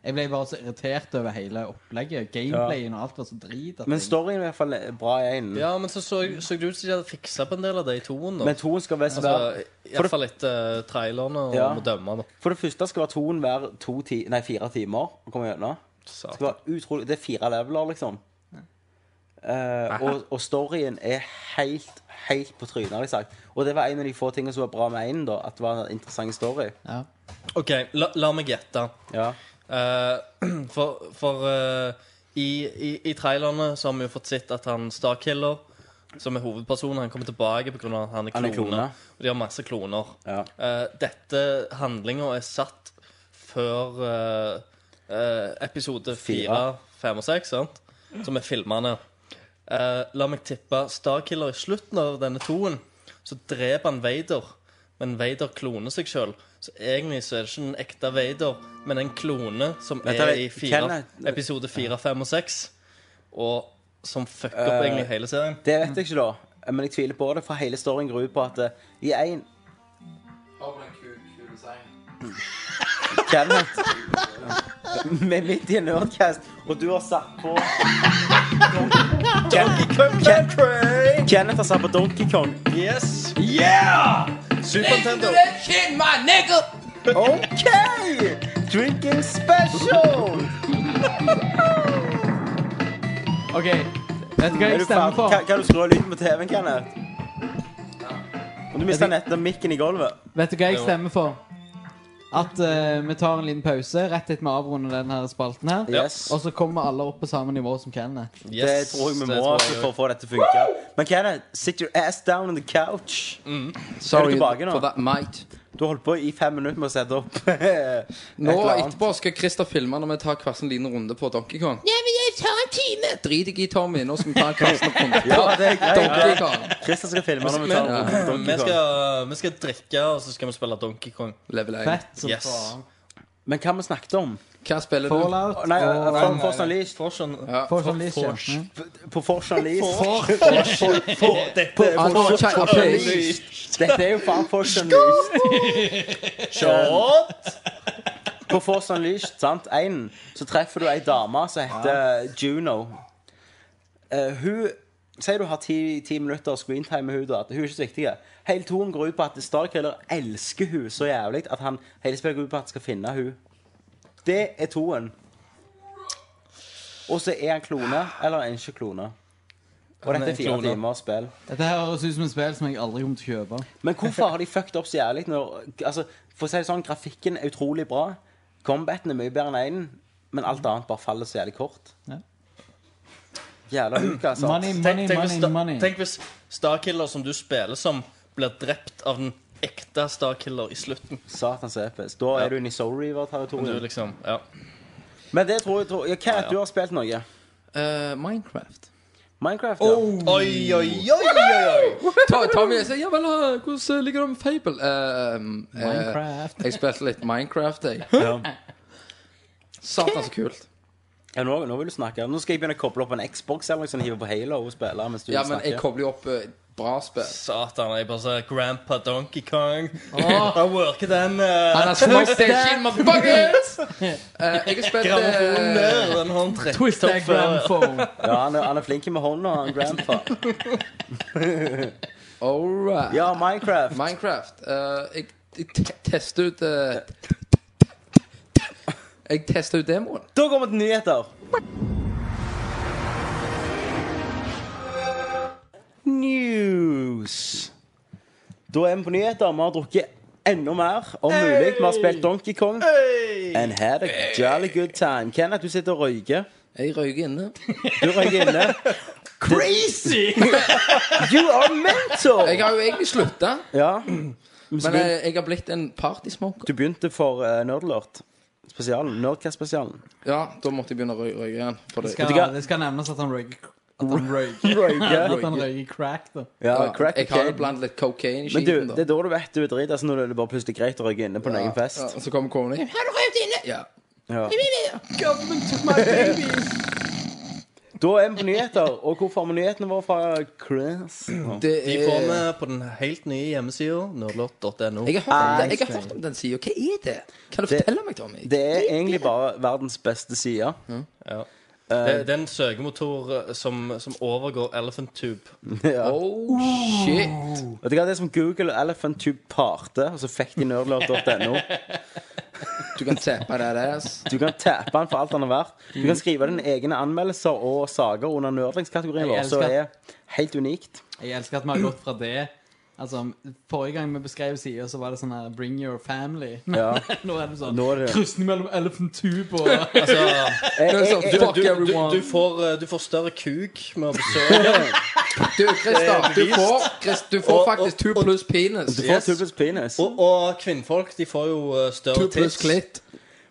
Jeg ble bare så irritert over hele opplegget. Gameplayen og alt var så drit. at
Men
jeg-
storyen er i hvert fall bra i én.
Ja, men så så, så det ut som de hadde fiksa på en del av det i toen. da.
Men toen skal visst
Altså,
være for,
Iallfall etter uh, trailerne og
Ja.
må dømme. da.
det- for det første skal være toen hver to ti, nei, fire timer å komme gjennom. Det skal
Satan.
være utrolig Det er fire leveler, liksom. Eh, og, og storyen er helt, helt på trynet, har de sagt. Og det var en av de få tingene som var bra med én, da. At det var en interessant story.
Ja.
OK, la, la meg gjette.
Ja.
Eh, (clears throat) for for eh, i, i, i trailerne så har vi jo fått sett at han Starkiller, som er hovedpersonen, han kommer tilbake pga. at han er
Han er
klone.
klone.
Og de har masse kloner.
Ja.
Eh, dette handlinga er satt før eh, eh, episode fire,
Fire.
fem og seks, sant? som er filmene. Eh, la meg tippe Starkiller i slutten av denne toen. Så dreper han Vader, men Vader kloner seg sjøl. Så egentlig så er det ikke en ekte Vader, men en klone som
Vent,
er
jeg-
i fire,
Kenneth-
episode fire, fem og seks. Og som fucker
Eh,
opp egentlig hele serien.
Det vet jeg ikke, da. Men jeg tviler på det, for hele storyen går ut på at eh, i én Kenneth Vi er midt i en nerdcast, og du har satt på Donkey Kong Country! Kenneth har satt på Donkey Kong.
Yes! Yeah! Super Nintendo.
OK! Drinking special!
OK. Vet du hva
Er
jeg
du
stemmer
ferdig?
for?
Kan, kan du skru av lyden på TV-en, Kenneth? Og du mista nettopp mikken i gulvet.
Vet du hva jeg stemmer for? At eh, vi tar en liten pause rett etter vi avrunder denne spalten her.
Yes.
Og så kommer alle opp på samme nivå som Kenneth.
det tror jeg vi
det tror
må
jeg
altså,
også.
for å få dette til å funke. Men Kenneth, sit your ass down on the couch.
Mm.
Sorry
tilbake nå?
for that might.
Du har holdt på i fem minutter med å sette opp (laughs) et
Nå
eller annet.
etterpå skal Christer filme når vi tar hver sin liten runde på Donkey Kong. Ja, men jeg tar en time! Drit ikke i Tommy. Nå skal vi ta en Christer-runde på
(laughs) Ja, det er
Donkey
greit.
Kong.
Christer skal filme når vi tar
Men,
opp
vi,
Donkey Kong.
skal, vi skal drikke, og så skal vi spille Donkey Kong.
Level 1.
Fett som
Yes.
faen.
Men hva vi snakket om?
Hva spiller du?
Fallout
Nei, eh,
og
For- sånn- Force Unleashed.
Forsen,
Ja.
For som Liz, ja.
Force.
På sånn Force Unleashed. (laughs)
Dette er
Ah,
Forsen.
Force Unleashed.
Dette er jo faen sånn
(laughs)
Force Unleashed.
Shot.
På Force Unleashed, sant, en, så treffer du ei dame som heter Juno. Eh, hun Sier du har ti, ti minutter screentime med hun da, at hun er ikke så viktig. Hele toen går ut på at Starkiller elsker hun så jævlig at han hele spillet går ut på at han skal finne hun. Det er toen. Og så er han klone, eller er han ikke klone. Og dette er fire
Kloner.
timer spill.
Dette her høres ut som et spill som jeg aldri kommer til å kjøpe.
Men hvorfor har de fucked opp så jævlig når altså, For å si det sånn, grafikken er utrolig bra. Combaten er mye bedre enn einen, men alt annet bare faller så jævlig kort.
Ja.
Jævla altså. Lucas.
Money, money,
Tenk, tenk, hvis,
money, money.
sta, tenk hvis Starkiller som du spiller som, blir drept av den ekte Starkiller i slutten.
Satans episk. Da
Ja.
er du inne i Soul
Du,
River-territoriet.
liksom, ja.
Men det tror jeg tror, ja, Hva er det du har spilt noe? Mm.
Eh, Minecraft.
Minecraft, ja.
Oi, oi, oi, oi, oi!
Ta, Tommy jeg sier ja vel, eh, hvordan ligger det med Fable? Eh, eh,
Minecraft.
jeg spilte litt Minecraft, jeg.
Ja.
Satan, så kult.
Ja, nå, nå vil du snakke. Nå skal jeg begynne å koble opp en Xbox eller noe sånt, hive på Halo og spille mens du
Ja, men jeg
snakker.
kobler jo opp eh, bra spill.
Satan, jeg bare sier Grandpa Donkey Kong. Jeg worker den uh,
Ah. Han har smakt station, motherfuckers! Eh, jeg har spilt
grammofonen
eh,
der. Den har en
Twist that
trekktopper.
grandphone.
ja, han, er, han er flink med hånda, han grandpa.
All right.
Ja, Minecraft.
Minecraft. eh, jeg jeg te tester ut eh, Jeg tester ut demoen.
Da går vi til nyheter. News. Da er vi på nyheter. Vi har drukket enda mer, om mulig. Vi har spilt Donkey Kong. And had a jolly good time. Kenneth, du sitter og røyker.
Jeg røyker inne.
Du røyker inne.
Crazy!
(laughs) You are mental!
Jeg har jo egentlig slutta,
Ja.
men jeg, jeg har blitt en partysmoker.
Du begynte for uh, Nerdlert. Spesialen. Nerdcast-spesialen.
Ja, da måtte jeg begynne å røy røyke igjen. For det.
Vet du hva?
Skal, det skal nevnes at han røyker At
(laughs)
han røyker,
Røyker.
(laughs) at han røyker crack, da.
Ja,
Ja,
crack
jeg har jo
cocaine.
blandet litt cocaine i
Men du,
skiten,
det
da.
er da du vet du er drit. Altså når det bare plutselig er greit å røyke inne på en
Ja,
egen fest.
ja, og så kommer kona. Har du røykt inne? Ja.
Ja.
Government took my babies.
Da er vi på nyheter. Og hvor får vi nyhetene våre fra Chris?
Det
De
er
får vi eh, på den helt nye hjemmesida, nerdlot.no.
jeg har, hørt om den, jeg har hørt om den sida. Hva er det? Kan du
Det-
fortelle meg, Tommy?
Det er egentlig bare verdens beste side.
Ja. Det, det er en Eh, søkemotor eh, som, som overgår Elephant Tube.
Ja.
Oh, shit.
Vet du hva, Det er som Google og Elephant Tube parte, og så fikk de nerdlord.no.
Du kan tappe that ass.
Du kan tappe den for alt den er verdt. Du kan skrive dine egne anmeldelser og saker under nerdlingskategorien vår,
Jeg
som
elsker-
er helt unikt.
Jeg elsker at vi har gått fra det. Altså, Forrige gang vi beskrev sida, så var det sånn her Bring your family.
Ja.
(laughs) Nå er det sånn
Nå er det-
Kryssende mellom Elephant Tube
(laughs)
og
Altså,
Jeg, jeg,
sånn,
jeg,
du,
Fuck
du, du,
everyone.
du, får, eh, du får større kuk med å
(laughs)
besøke
Du, Christer,
Det er
du
bevist.
får, Chris, du får
Og- og-
faktisk to pluss penis.
du får
Yes.
tubus penis.
Og, og kvinnfolk de får jo eh,
To
større
pluss
tiss.
klitt.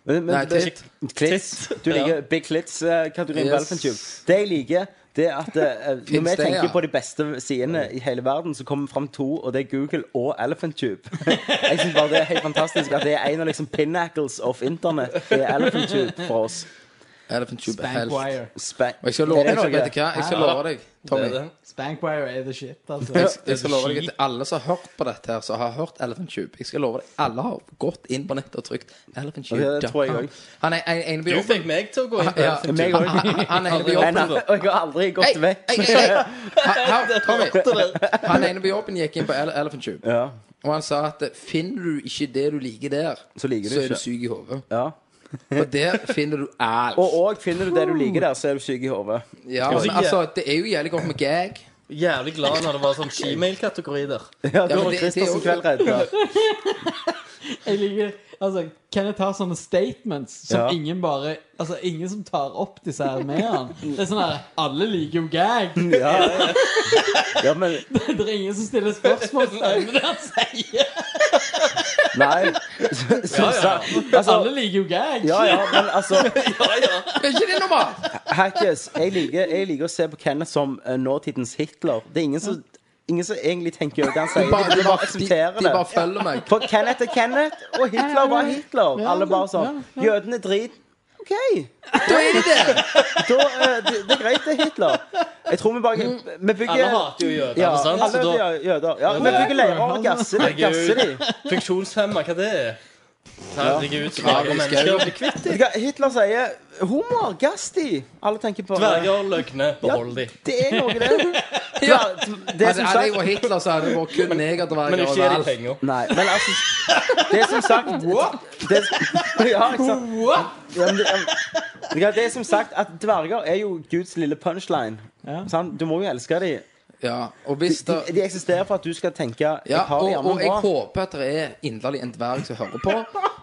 Men, men,
Nei,
det-
titt.
Klits.
Titt.
Du liker
Ja.
Big Klits-kategorien
Yes.
på Elephant Tube. Det jeg liker, det er
(laughs)
at eh, når vi
det,
tenker
ja?
på de beste sidene i hele verden, så kommer vi fram to, og det er Google og Elephant Tube. (laughs) jeg synes bare det er helt fantastisk at det er en av liksom pinnacles of internett. Det er Elephant Tube for oss.
Elephant tube er helt.
Spankwire.
Spa-
Og jeg skal
Er
love
det
deg,
noe?
vet du hva? Jeg skal
Ja.
love deg, Tommy.
Det er det.
Spankwire er the shit, altså.
Jeg, jeg skal
det
love deg
skit?
til alle som har hørt på dette her, som har hørt Elephant Tube. Jeg skal love deg, alle har gått inn på nettet og trykt Elephant Tube.
Ja, det tror jeg også.
Han er en, en på
Du
jobben.
fikk meg til å gå inn på
Ja,
Elephant
meg
han,
også.
Tube.
han, han er en på
Aldri.
jobben.
Nei, og jeg har aldri
Hei,
gått vekk.
hei, hei. Her- her, Tommy. Han ene på jobben gikk inn på Ele- Elephant Tube,
Ja,
og han sa at finner du ikke det du liker der,
Så liker du
så er
ikke.
du syk i hodet.
ja.
For der finner du alt.
Og og finner du det du liker der, så er du syk i hodet. (laughs)
Ja,
Skal vi
men
si-
altså, det er jo jævlig godt med gag.
Jævlig glad når det var sånn Gmail-kategori der.
Ja, da
men
var
det-
Christersen
det er jo-
kveld redd.
Jeg liker Altså, Kenneth har sånne statements som
Ja.
ingen bare Altså, ingen som tar opp disse her med
(laughs)
han. Det er sånn her Alle liker jo
(laughs)
gag. (laughs)
Ja. ja, men
Det er ingen som stiller spørsmålstegn ved det han sier.
(laughs)
(laughs) Nei. Altså,
Alle liker jo gag.
ja, ja, men altså
Er ikke det normalt?
Hackers, jeg liker, jeg liker å se på Kenneth som eh, nåtidens Hitler. Det er ingen som, ingen som egentlig tenker over hva han sier.
Bare-
De, de bare
de,
aksepterer
de bare
det.
følger meg.
For Kenneth er Kenneth, og Hitler var Hitler. Alle bare sånn. Jødene er drit. OK.
Da er det det!
Da, eh, det, det er greit, det er Hitler. Jeg tror vi bare Vi bygger
Mm. Alle hater jo jøder.
ja,
sant?
alle
Så da
er jøder. Ja, vi bygger leirer og gasser de. Gasser de.
Funksjonshemma, hva det er? Herregud, så
Ja,
mange
vi
mennesker
skal jo-
blir kvitt
Vet
dem.
du hva? Hitler sier 'homoer, gass de'. Alle tenker på
Dverger, løgne, behold de.
Det er noe,
(laughs)
det.
Ja.
Det er
Altså, Hadde
som
hadde jeg
sagt
vært Hitler, så hadde det vært kun negerdverger
Men
og
ikke gir de
alt.
penger.
Nei, men altså Det er som sagt det, (laughs) ja, ikke sant? Ja, men det, ja, men- det er som sagt at dverger er jo Guds lille punchline. Sant? Du må jo elske dem.
Ja, og hvis
De,
det
de eksisterer for at du skal tenke
ja,
Jeg har
og,
de
og
jammen
jeg
bra.
håper at det er inderlig en dverg som hører på.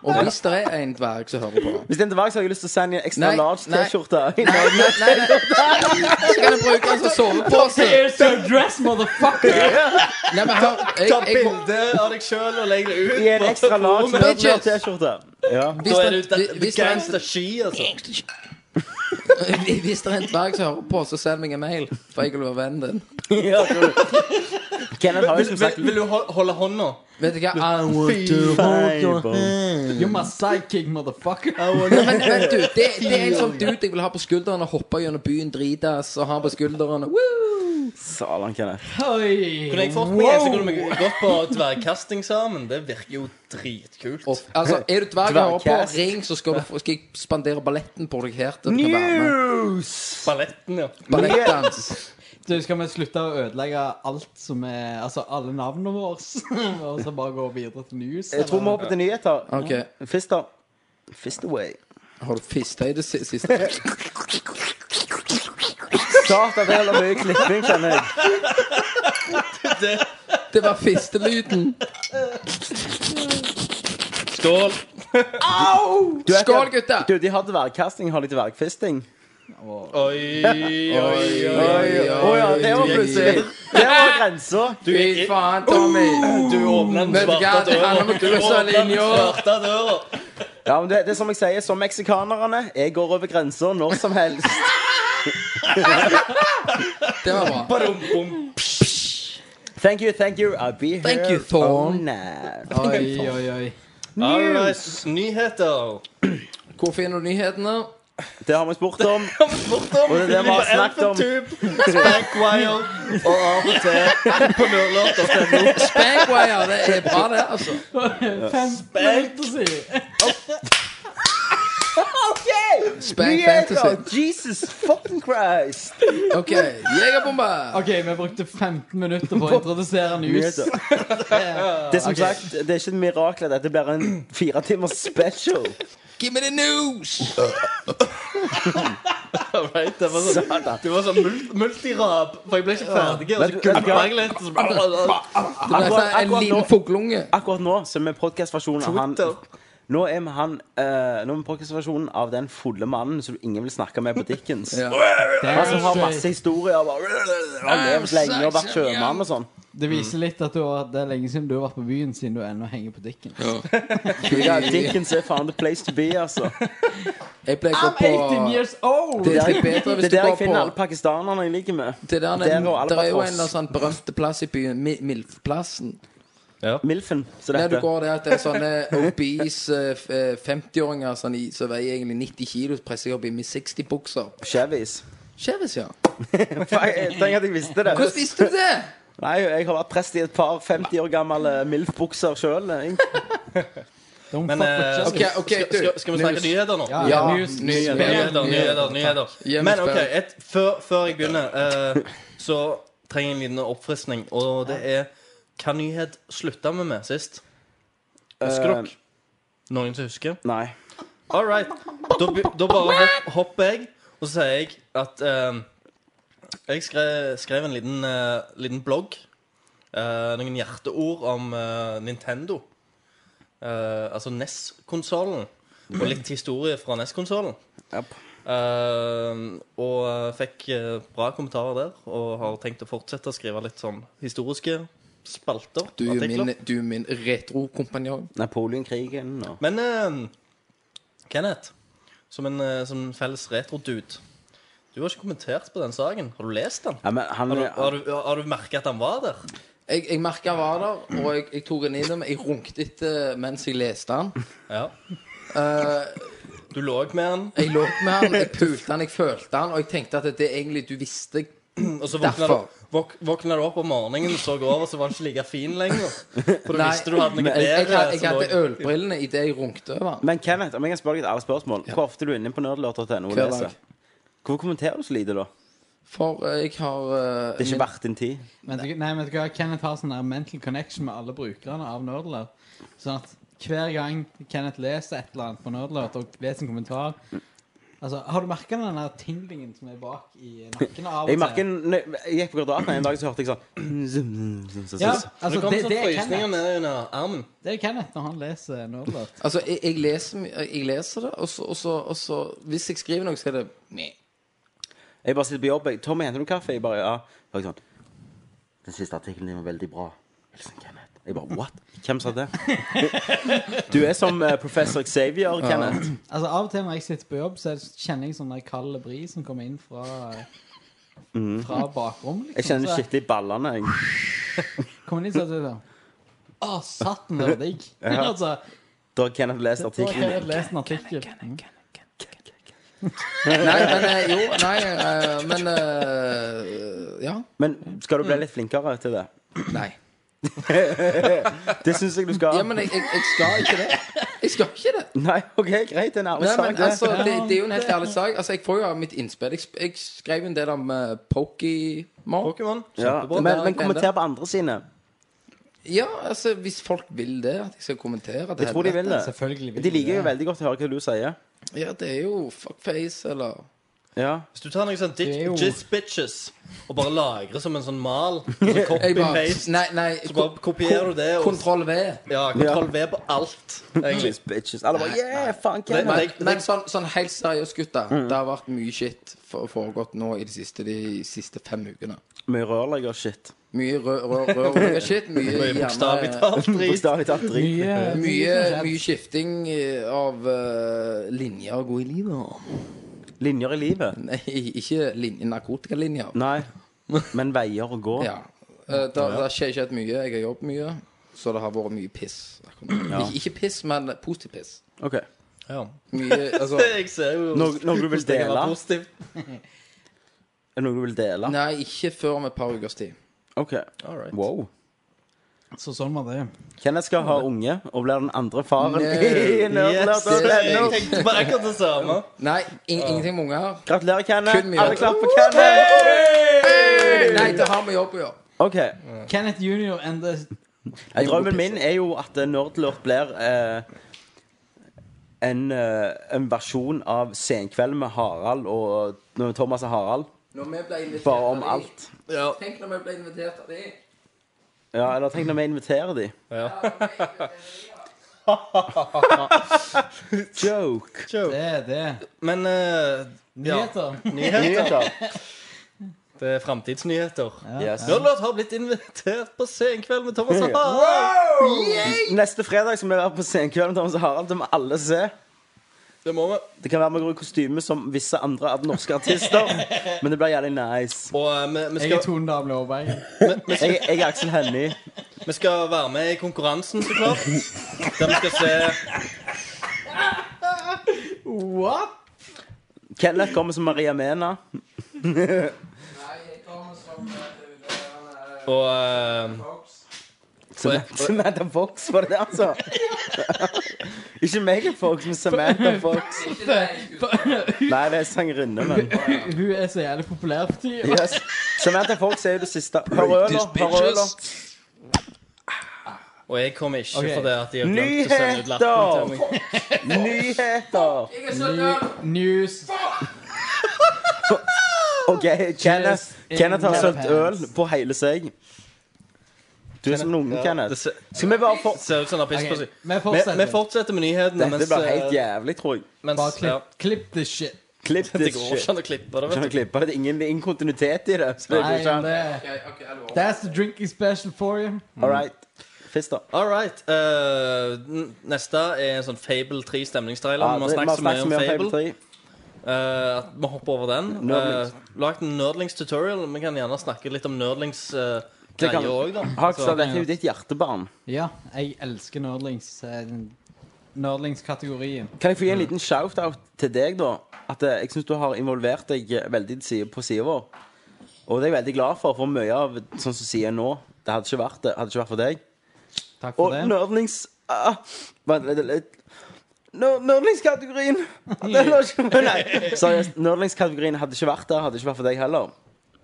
Og hvis det er en dverg som hører på
Hvis det er en dverg, så har jeg lyst til å sende en ekstra
Nei,
large
nei.
T-skjorte. (laughs)
Nei, nei, nei, nei. (laughs) Så kan jeg bruke den som sovepose.
Here's your dress, motherfucker!
Nei, men hør, jeg,
Ta
jeg,
bilde av deg sjøl og legg det ut.
I en
på
ekstra large
forumet.
Bitches.
Nerdlord T-skjorte. Ja.
Da er du
hvis det, hvis, det er
gangster ski, altså.
en, (laughs) hvis det er en dverg som hører på, så send meg en mail, for jeg vil være vennen din.
ja tror du. Kenneth har jo
Vil,
som
vil,
sagt
vil du hol- holde hånda?
Vet du hva? I want to
Fiber.
(laughs) You're my sidekick, motherfucker.
Nei, men, men du, det, det er en sånn dude jeg vil ha på skulderen og hoppe gjennom byen dritas og ha på skulderen. og Woo!
Satan, Kenneth.
Kunne jeg fått meg en, så kunne vi gått på dvergkasting sammen. Det virker jo dritkult.
Og, altså, er du dverg og hører
Dvergcast.
på, ring, så skal, du, få- skal jeg spandere balletten på deg her. Til du kan være med.
News!
Balletten, ja.
Ballettdans.
Du, skal vi slutte å ødelegge alt som er Altså, alle navnene våre? (laughs) og så bare gå videre til news?
Jeg tror vi hopper til nyheter.
Ok,
Fist da. Fist away.
Har du fista i det si- siste?
Satan, det gjelder mye klipping, kjenner jeg.
Det var fistelyden.
Skål.
Du vet
Skål,
at-
gutta!
Du, de har dvergkasting. Har de dvergfisting?
Oi, (laughs) oi, oi.
Å ja, det var plutselig. Det var grensa.
Du,
Fy faen, Tommy.
du åpna den
Vet du hva,
svarte
det handler om
døra.
å
Du
krysse
åpnet den
linjer.
svarte døra.
Ja, men det, det er som jeg sier, som meksikanerne. Jeg går over grensa når som helst.
Det var bra.
Badum, bum.
Thank you, thank you. I'll be here.
Thank you, Thorn.
all night.
Oi, oi, oi.
All right, Nyheter.
Hvor finner du nyhetene?
Det har vi spurt om.
Bortom
Og det er det vi har snakket om.
Spackwire og av og til på nordlåt.no.
Spangwire, det er bra, det, altså.
Fem minutter siden.
OK!
Spank Fantasy.
oh, Jesus fucking Christ.
OK. Jegerbombe.
OK, vi brukte 15 minutter på å introdusere news.
Nyheter. (laughs)
Eh,
Det er som
Ok.
sagt, det er ikke et mirakel at dette blir en fire timers special.
Give me the news!
All right, Det var sånn,
Satan.
det var sånn mul- multirap, for jeg ble ikke ferdig. Og så
Vet du- vet du
gulpa
hva?
jeg litt. Og så bare,
Det ble
Akkurat-
sånn en
akkurat nå-
liten fuglunge.
Akkurat nå så er vi podcastversjonen av han
Twitter.
Nå er vi han eh, Nå er vi podcastversjonen av den fulle mannen som ingen vil snakke med på Dickens.
(laughs) Ja.
Han som har masse historier. og Bare, han har levd lenge og vært sjømann og sånn.
Det viser litt at du har, det er lenge siden du har vært på byen, siden du ennå henger på dikken.
Ja, Dickens er faen the place to be, altså.
Jeg pleier å gå på
years old!
(laughs) Det
Det
er
er
litt bedre
der
hvis du
jeg
går
finner alle
på
pakistanerne jeg liker med.
det der,
Der
den,
og
der er jo en
Albatross.
sånn berømte plass i byen, Mi- Milfplassen.
Milfen. Så
Der du
dette.
går der at det er sånne obese eh, f- eh, 50-åringer sånn, i- som veier egentlig 90 kilo, presser opp i med 60-bukser. (laughs)
Chevys.
Kjevis, ja.
Fuck, jeg- Tenk at jeg visste det.
Hvordan visste du det?
Nei, jeg har vært prest i et par 50 år gamle MILF-bukser eh, sjøl.
Don't
Men
fuck with
eh,
Jesus.
Ok,
skal,
ok,
skal,
du,
skal, skal vi snakke
news.
nyheter nå?
Ja,
Ja,
news.
nyheter,
Nyheter, nyheter,
nyheter.
nyheter.
Hjemmespill.
Men ok, et, før, før jeg begynner, eh, så trenger jeg en liten oppfriskning. Og det er Hva nyhet slutta vi med sist? Husker dere? Noen som husker?
Nei.
All right. Da, be- da bare hopp, hopper jeg, og så sier jeg at eh, Jeg skrev, skrev en liten, eh, liten blogg. eh, noen hjerteord om eh, Nintendo. Eh, altså NES-konsollen. Og litt historie fra NES-konsollen.
Japp.
og eh, fikk eh, bra kommentarer der, og har tenkt å fortsette å skrive litt sånn historiske spalter.
Du er jo
artikler.
min, du er min retrokompanjong.
Napoleonkrigen og
Men eh, Kenneth, som en eh, som felles retro-dude Du har ikke kommentert på den saken. Har du lest den?
ja, men han,
Har du,
han,
har du, har du merket at han var der?
Jeg, jeg merka jeg var der, og jeg, jeg tok den inn i meg. Jeg runket etter mens jeg leste den.
Ja.
Eh,
Du lå med han,
jeg lå med han, jeg pulte han, jeg følte han, og jeg tenkte at det er egentlig du visste
og så våkna du,
Derfor.
våk, våkna du opp om morgenen og så over, så var han ikke like fin lenger. For du
Nei,
visste du hadde noe
men jeg, jeg,
bedre.
had- jeg
som lå-
hadde ølbrillene idet jeg runket over han.
Men Kenneth, om jeg kan spørre deg et ærlig spørsmål Hvor ofte er du inne på nerdlåter.no og
Hver
leser?
dag.
Hvorfor kommenterer du så lite, da?
For eh, jeg har eh,
Det er
min-
ikke verdt din tid.
Vet du, nei, vet du hva? Kenneth har sånn der mental connection med alle brukerne av Nerdler. Sånn at hver gang Kenneth leser et eller annet på Nerdler og leser en kommentar, Altså, har du merka den der tinglingen som er bak i nakken av og
Jeg merker, når jeg gikk på kvadraten en dag, så hørte jeg (clears throat) sånn
det
Ja, altså,
kom
det,
sånn
det, er
frysninger
Kenneth,
ned under armen.
det er Kenneth når han leser Nerdlert.
Altså, jeg, jeg, leser, my- eh, jeg leser det, og så, og, så, og så Hvis jeg skriver noe, så er det meh.
Jeg bare sitter på jobb. Jeg, Tommy, henter du kaffe? Jeg bare, ja. Så er jeg sånn, Den siste artikkelen din var veldig bra. Hilsen Kenneth. Jeg bare, what? Hvem sa det? Du er som eh, professor Xavier, Kenneth.
Altså, av og til når jeg sitter på jobb, så er det- kjenner jeg sånn der kald bris som kommer inn fra Fra bakrommet.
Mhm. Jeg kjenner
Så
skitt i ballene. Jeg.
Kommer den inn, så er det sånn Å, satan, det var digg. (laughs) altså,
Da har Kenneth lest
da har
artikkelen
jeg
din.
lest en artikkel.
Nei, men eh, jo, nei, eh, men eh, Ja.
Men skal du bli litt flinkere til det?
Nei.
Det syns jeg du skal.
Ja, men jeg, jeg, jeg skal ikke det. Jeg skal ikke det.
Nei, OK, greit. Det er en ærlig
Nei,
sak.
men
det.
altså, det, det er jo en helt ærlig sak. Altså, Jeg får jo av mitt innspill. Jeg, sp- jeg skrev en del om uh, Pokémon.
Pokémon.
ja.
Kjempebra.
men, men kommenter på andre sine.
Ja, altså, hvis folk vil det, at jeg skal kommentere det
Jeg tror de vil det.
Selvfølgelig vil
De liker jo veldig godt å høre hva du sier.
Ja, det er jo fuckface, eller
Ja.
Hvis du tar noe sånn
Det er jo-
jizz bitches og bare lagrer som en sånn mal så
jeg bare,
Copy-paste.
Nei, nei.
Så bare kopierer du det og
Kontroll V.
ja, kontroll V på alt. Egentlig.
Bitches, bitches. Alle bare, yeah, faen,
Det,
Kenneth.
det, det,
Men sånn, sånn helt seriøst, gutter.
Mm.
Det har vært mye shit for- foregått nå i de siste, de siste fem ukene.
Mye rørlegger-shit.
Mye rød, rød, rød, shit.
(laughs)
Mye,
det er
gjerne-
bokstavelig talt drit.
Bokstavelig talt drit.
Mye,
(laughs)
Mye, mye skifting eh, av eh, linjer å gå i livet.
Linjer i livet?
Nei, ikke lin- narkotikalinjer.
Nei. Men veier å gå?
Ja. Eh, Det har skjedd mye. Jeg har jobbet mye. Så det har vært mye piss. Ikke, ikke piss, men positiv piss.
Ok.
Ja.
Mye,
(laughs)
altså,
(laughs) Jeg ser jo
Noe, noe du vil
(laughs) det kan
dele?
være
(laughs)
positivt.
Er det noe du vil dele?
nei, ikke før om et par ukers tid.
Ok.
All right.
Wow.
Så sånn var det.
Kenneth skal ha unge og blir den andre faren
Nei.
i (laughs)
Yes,
Nerdlert og
jeg
Venner.
tenkte bare akkurat det samme.
Nei, ing, ingenting med unger.
Gratulerer,
Kun
Kenneth.
mye.
Alle klapper for Kenneth.
Nei, det har med jobb å gjøre.
Ok.
Kenneth Junior and the
Drømmen min er jo at Nerdlert blir eh, en, eh, en versjon av Senkveld med Harald og når Thomas og Harald.
Når vi ble invitert
Bare om
av de-
alt.
Ja.
Tenk når vi ble invitert av de.
Ja, eller tenk når vi inviterer de. (laughs) Joke.
Det er det.
Men eh, ja.
Nyheter.
nyheter. Det er framtidsnyheter.
Yes.
Nerdlert har blitt invitert på Senkveld med Thomas og
(laughs)
Harald.
Neste fredag skal vi være på Senkveld med Thomas og Harald. Det må alle se.
Det må vi.
Det kan være vi går i kostyme som visse andre av norske artister, men det blir jævlig nice.
Og eh, vi, vi,
Jeg er
skal,
Tone Damli Aaberg.
Jeg, jeg er Aksel Hennie.
vi skal være med i konkurransen, så
(laughs)
klart. Der vi skal se
Kenneth kommer som Maria Mena.
Og eh,
Samantha Fox, var det det, altså? Ikke Megan Fox, men Samantha Fox. Nei, det er sangerinne, men
Hun er så jævlig populær for tida.
yes. Samantha Fox er jo det siste. Hør øler, hør øler.
Og jeg kommer ikke
Ok.
fordi at de har glemt å sende ut lappen til meg.
Nyheter!
News.
OK, Kenneth, Kenneth har
Cheers.
sølt øl på hele seg. Du er som en unge,
Ja, det
Kenneth.
ser,
Skal vi bare få
ser ut som han har piss på
Ok,
seg.
Vi
Vi, vi
fortsetter.
fortsetter med nyhetene.
Dette
mens,
blir helt
eh,
jævlig, tror jeg.
mens,
Bare
ja.
klipp, klipp the shit.
Klipp
Det
this
går
shit.
ikke an å klippe det,
Kan
vet
du klippe det? Ingen det er ingen kontinuitet i det. Så det
Nei,
blir sånn.
eh,
det That's the drinking special for you.
All right. Fist up.
du. All right. eh, n- neste er en sånn Fable 3-stemningstrailer.
Ja,
vi
det-
har snakket så mye om Fable.
Fable 3.
Eh, at vi hopper over den.
Nerdlings.
Uh, Lagt en Nerdlings-tutorial. Vi kan gjerne snakke litt om Nerdlings uh,
Det kan-
greier òg, da.
Hakstad,
Så-
dette er jo ditt hjertebarn.
Ja, jeg elsker nerdlings. eh, Nerdlingskategorien.
Kan jeg få gi en liten shout-out til deg, da? At eh, jeg syns du har involvert deg eh, veldig side- på sida vår. Og det er jeg veldig glad for, for mye av sånn som sier nå, det hadde ikke vært det. Hadde ikke vært for deg.
Takk for
Og
det.
nerdlings... Ah, vent litt, litt. Ner- (laughs) Nerdlingskategorien! Det lå ikke men Nei, seriøst. Nerdlingskategorien hadde ikke vært der, hadde ikke vært for deg heller.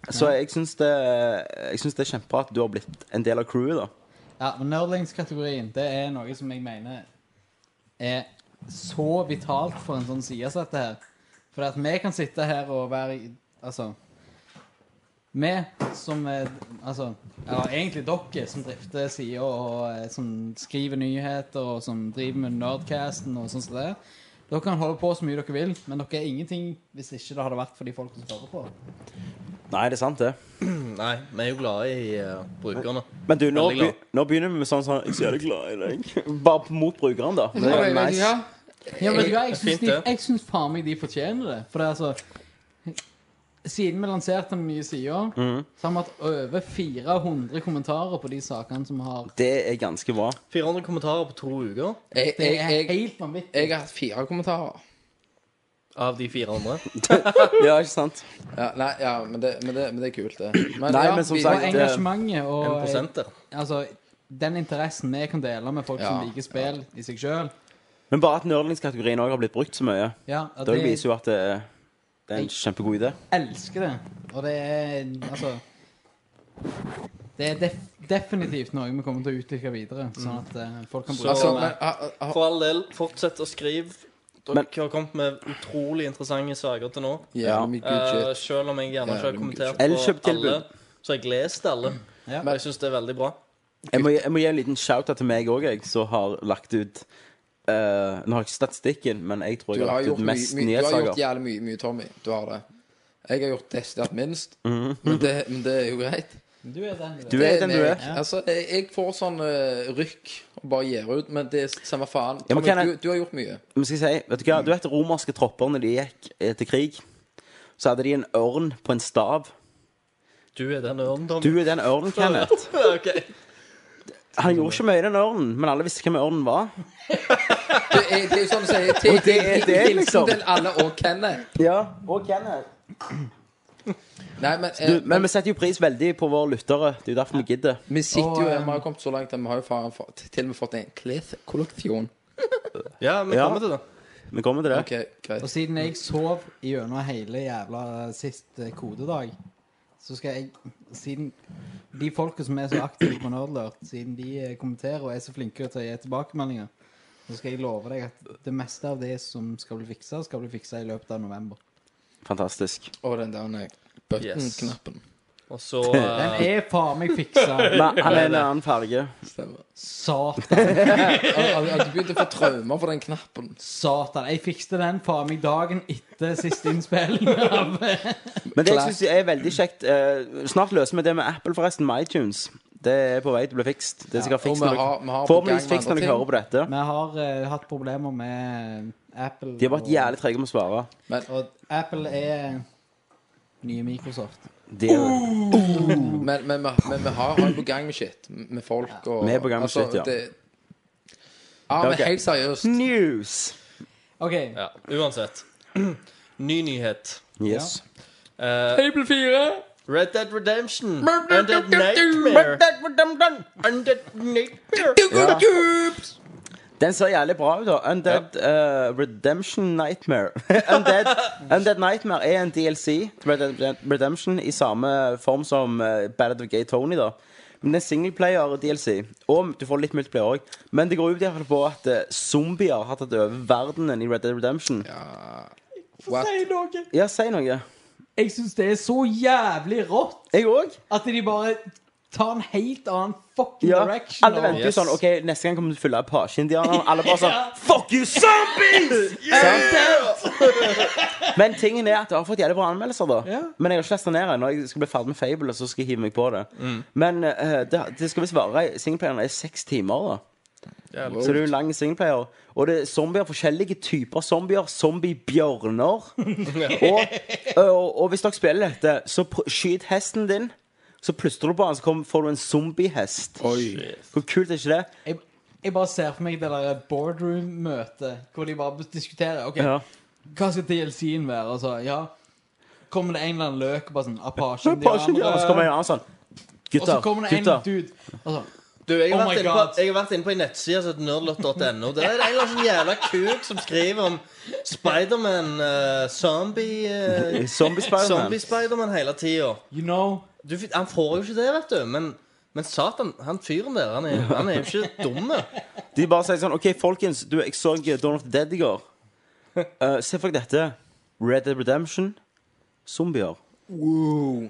Så jeg syns det, eh, jeg synes det er kjempebra at du har blitt en del av crewet, da.
Ja, men Nerdlingskategorien det er noe som jeg mener er så vitalt for en sånn side som dette her. For at vi kan sitte her og være i- Altså Vi som er Altså Eller egentlig dere som drifter sida og eh, som skriver nyheter og som driver med Nerdcasten og sånn som det. Dere kan holde på så mye dere vil, men dere er ingenting hvis ikke det hadde vært for de folkene som hører på.
Nei, det er sant, det.
Nei, vi er jo glade i eh, brukerne.
Men du, nå,
Veldig glad.
be- nå begynner vi med sånn sånn Jeg er så jævlig glad i deg. (laughs) Bare mot brukeren, da. Det er
Vet
jo
du
nice.
hva?
Ja, men vet du hva, jeg
Det er fint,
syns, de,
det.
jeg syns faen meg de fortjener det. For det er altså Siden vi lanserte den nye sida, så har vi hatt over 400 kommentarer på de sakene som har
Det er ganske bra.
400 kommentarer på to uker
Jeg,
Det
jeg,
er
jeg,
helt vanvittig.
jeg har hatt fire kommentarer.
av de 400.
Ja, ikke sant?
Ja, nei, ja, men det, men det, men det er kult, det. Men,
Nei,
ja,
men som
vi-
Og
sagt-
engasjementet og
1 der.
altså, den interessen vi kan dele med folk som
Ja,
liker spill i seg sjøl
Men bare at nerdlingskategorien òg har blitt brukt så mye,
ja, at
det
det-
viser jo at det, det er en kjempegod idé.
elsker det. Og det er altså Det er def definitivt noe vi kommer til å utvikle videre, sånn at eh, folk kan bruke
Så-
altså,
det.
men, ha, ha,
For all del, fortsett å skrive. Dere
Men-
har kommet med utrolig interessante saker til nå.
jævlig mye good shit.
Eh, selv om jeg gjerne ikke har
Jævlig mye
kommentert på
Elkjøptilbud.
alle, så har jeg lest alle.
Ja.
Og jeg syns det er veldig bra.
Jeg må, gi- jeg må gi en liten shout-out til meg òg, jeg, som har lagt ut eh, Nå har jeg ikke statistikken, men jeg tror
Du
jeg
har
har lagt
gjort,
ut
mye,
mest
mye, du har gjort
nyhetssaker.
jævlig mye, mye, Tommy. Du har det. Jeg har gjort desidert minst,
Mhm.
men, det, men det er jo greit.
Du er den du er.
Du er den du
Men jeg-
er.
Altså, jeg, jeg får sånn eh, rykk og bare gir ut, men det er samme faen.
Ja, men
Tommy,
kan jeg-
du, du har gjort mye.
Men skal jeg si, vet Du hva, du vet romerske tropper når de gikk eh, til krig, så hadde de en ørn på en stav.
Du er den ørnen, Tom.
Du er den ørnen, Kenneth.
(laughs) Ok.
Han gjorde ikke mye i den ørnen, men alle visste hvem ørnen var.
Det er, det er jo sånn å
(laughs)
si til-
Og det er
til-
det,
hilsen
liksom.
til alle og Kenneth.
Ja, og Kenneth.
Nei, men, eh,
Du, men vi setter jo pris veldig på våre lyttere. Det er jo derfor vi gidder.
vi sitter jo
Og,
her,
eh,
vi har kommet så langt at vi har jo faen fått, til og med fått en kleskolleksjon.
Ja, vi
Ja.
kommer til det.
Vi kommer til det.
Ok, greit.
Og siden jeg sov gjennom hele jævla siste kodedag, så skal jeg Siden de folka som er så aktive på Nerdlert, siden de eh, kommenterer og er så flinke til å gi tilbakemeldinger, så skal jeg love deg at det meste av det som skal bli fiksa, skal bli fiksa i løpet av november.
Fantastisk.
Og den der eh, button-knappen.
Og (laughs) så
Den
eh,
er faen meg fiksa!
Men han er en annen farge.
Stemmer.
Satan!
At at du begynte å få traumer for den knappen.
Satan! Jeg fikste den faen meg dagen etter siste innspilling. (laughs) av-
Men det jeg synes er veldig kjekt eh, Snart løser vi det med Apple, forresten, med iTunes. Det er på vei til å bli fikst. Det er sikkert
Ja, og
fikst
vi
når
har- vi
dere
har på gang
Forhåpentligvis
med
fikst når
andre
dere hører på dette.
Vi har eh, hatt problemer med eh, Apple.
De har vært
og-
jævlig trege med å svare.
Og Apple er nye Microsoft.
De er det.
Men, men, vi- men vi har, har jo på gang med shit. Med folk og altså,
Vi er på gang med shit, ja.
det- ja, men
Ok.
helt seriøst.
News!
OK.
Ja, uansett. (clears throat) Ny nyhet.
Yes.
Eh, Red Dead Redemption. Undead Nightmare. Undead Nightmare.
Den ser jævlig bra ut, da. Undead eh, Redemption Nightmare. (laughs) Undead, Undead Nightmare er en DLC til Red Dead Redemption i samme form som eh, Ballad of Gay Tony, da. Men det er singleplayer-DLC, og du får litt multiplayer òg. Men det går ut i hvert fall på at eh, zombier har tatt over verdenen i Red Dead Redemption. Ja,
What?
si noe.
Jeg syns det er så jævlig rått
Jeg òg.
at de bare tar en helt annen fucking
Ja.
direction.
Alle venter jo
Yes.
sånn OK, neste gang kommer du til å fylle Apache-indianerne. Alle bare
(laughs)
sånn Fuck you, zombies! Men tingen er at det har fått jævlig bra anmeldelser, da.
Ja.
Men jeg har ikke lest den ned ennå. Jeg skal bli ferdig med Fable, og så skal jeg hive meg på det.
Mm.
Men eh, det, det skal visst vare Singleplayeren er seks timer, da. Så det er jo en lang singleplayer. Og det er zombier, forskjellige typer zombier. Zombiebjørner. og, og, og hvis dere spiller dette, så pr- skyt hesten din. Så plystrer du på den, så kommer- får du en zombiehest. Hvor kult er ikke det?
Jeg, jeg bare ser for meg det der boardroom-møtet hvor de bare diskuterer. OK,
Ja.
hva skal DLC-en være? Altså, ja Kommer det en eller annen løk og bare sånn Apache
Bare skyt, ja, og så kommer
indianere?
en annen sånn.
Og så
Gutter,
kommer det en
gutter.
dude. Altså,
Du, jeg har,
Oh my
vært inne
God.
på, jeg har vært inne på en nettside som heter nerdlot.no. Der er det en eller annen sånn jævla kuk som skriver om Spiderman, uh, zombie eh,
Zombie-Spider-Man.
Zombie Spiderman hele tida.
you know
Han får jo ikke det, vet du. Men, men satan, han fyren der, han er, han er jo ikke dum.
De bare sier sånn OK, folkens, du, jeg så Dawn of the Dead i går. Eh, se for deg dette. Red Dead Redemption, zombier.
Wow.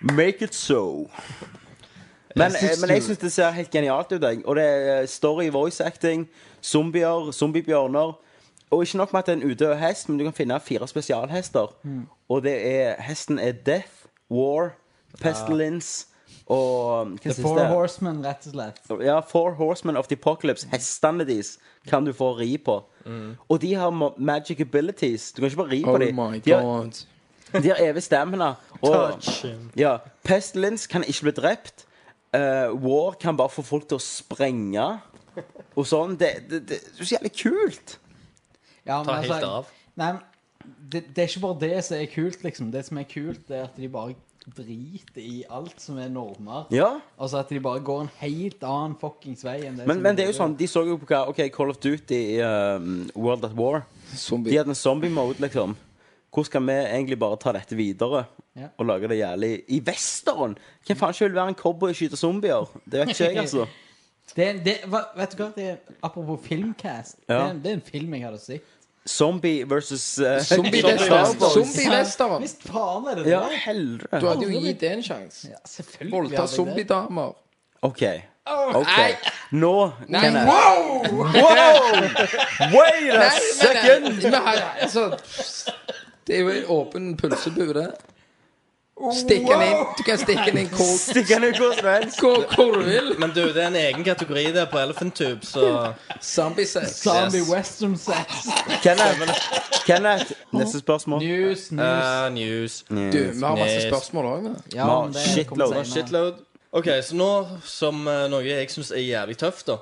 Make it so. Men, eh, men jeg syns det ser helt genialt ut. jeg. Og det er eh, story, voice acting, zombier, zombiebjørner. Og ikke nok med at det er en udød hest, men du kan finne fire spesialhester.
Mm.
Og det er hesten er Death, War, Pestilence og Hva
Ah. The
siste
Four
er?
Horsemen, rett og slett.
Ja, Four Horsemen of the Apocalypse. Hestene deres kan du få ri på. Og de har ma- magic abilities. Du kan ikke bare ri
Mm. Oh
på dem.
my
De har,
god.
de har evig
(laughs)
stamina. Og, ja, Pestilence kan ikke bli drept. Eh, War kan bare få folk til å sprenge. Og sånn. Det, det, det, det er så jævlig kult.
Ja, men altså,
Ta helt av.
Nei, men det, det er ikke bare det som er kult, liksom. Det som er kult, det er at de bare driter i alt som er normer.
Ja.
Altså at de bare går en helt annen fuckings vei enn det
Men,
som
men det er jo sånn, de så jo på hva OK, Call of Duty i ehm, World at War. De
Zombie.
hadde en zombie-mode, liksom. Hvordan skal vi egentlig bare ta dette videre?
Ja.
Og lage det jævlig i western? Hvem faen ikke vil være en cowboy og skyte zombier? Det vet ikke jeg, altså.
Det, er- det, hva, vet du hva, det er, apropos filmcast, det,
Ja.
er, en- det er en film jeg hadde sett.
Zombie versus eh,
Zombie-western. Zombie-western.
Visst faen er det det?
Ja,
Du
helvete.
hadde jo gitt det en sjanse.
Ja, selvfølgelig.
Voldta
hadde jeg det.
zombiedamer.
OK. OK. Nå
Nei,
Kenneth.
wow!
Wow! Wait a
Nei, men, eh,
second!
men, han- altså, det er jo en åpen pølsebu, det. Stikk den inn. Du kan stikke den inn hvor,
Stikk den ut hvor som helst.
hvor, hvor du vil.
Men du, det er en egen kategori der på Elephant Tube, så
Zombie-sex.
Zombie
Yes.
western
(laughs)
sex.
Kenneth, Kenneth, neste spørsmål. Mm.
News, news.
eh, News.
Du, vi har masse
Yes.
spørsmål òg, vi.
Ja, men det
Ah, shitload,
kommer
da,
senere.
Shitload. OK, så nå som eh, noe jeg syns er jævlig tøft, da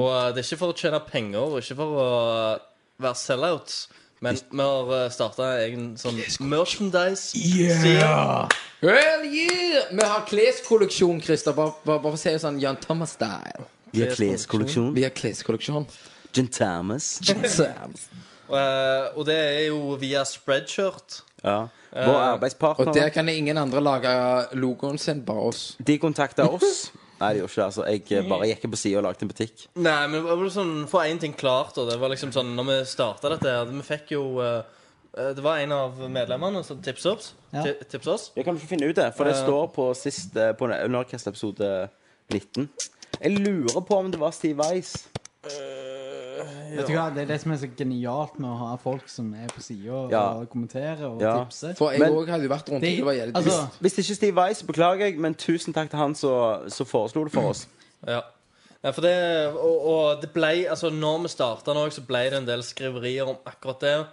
Og eh, det er ikke for å tjene penger og ikke for å eh, være sellouts, men vi har starta egen sånn merchandise. Yeah!
Hell yeah! Vi har kleskolleksjon, Christer. Bare, bare, bare si det sånn Jan Thomas-style.
Vi har kleskolleksjon.
Vi har kleskolleksjon.
Jim Thomas.
Og
eh, og det er jo via spreadshirt.
Ja. Vår
der
arbeidspartner.
kan ingen andre lage logoen sin, bare oss.
De kontakta oss. (laughs) Nei, de gjorde ikke det. altså Jeg eh, bare gikk på sida og lagde en butikk.
Nei, men det var sånn, for én ting klart, og det var liksom sånn Når vi starta dette her Vi fikk jo eh, eh, Det var en av medlemmene som tipset oss.
Ja.
ti- tipset oss.
Jeg kan ikke finne ut det, for det
Ja.
står på sist eh, På Nordcast episode 19. Jeg lurer på om det var Steve Weiss.
Vet du hva, Det er det som er så genialt med å ha folk som er på sida og
Ja.
kommenterer og
Ja.
tipser.
For jeg
Men-
òg hadde jo vært rundt.
Det,
Det var jævlig
altså,
trist.
Hvis det ikke er Steve Weiss, beklager jeg, men tusen takk til han som som foreslo det for oss.
Ja. Nei, for det, og, og det ble, altså når vi starta nå, så ble det en del skriverier om akkurat det.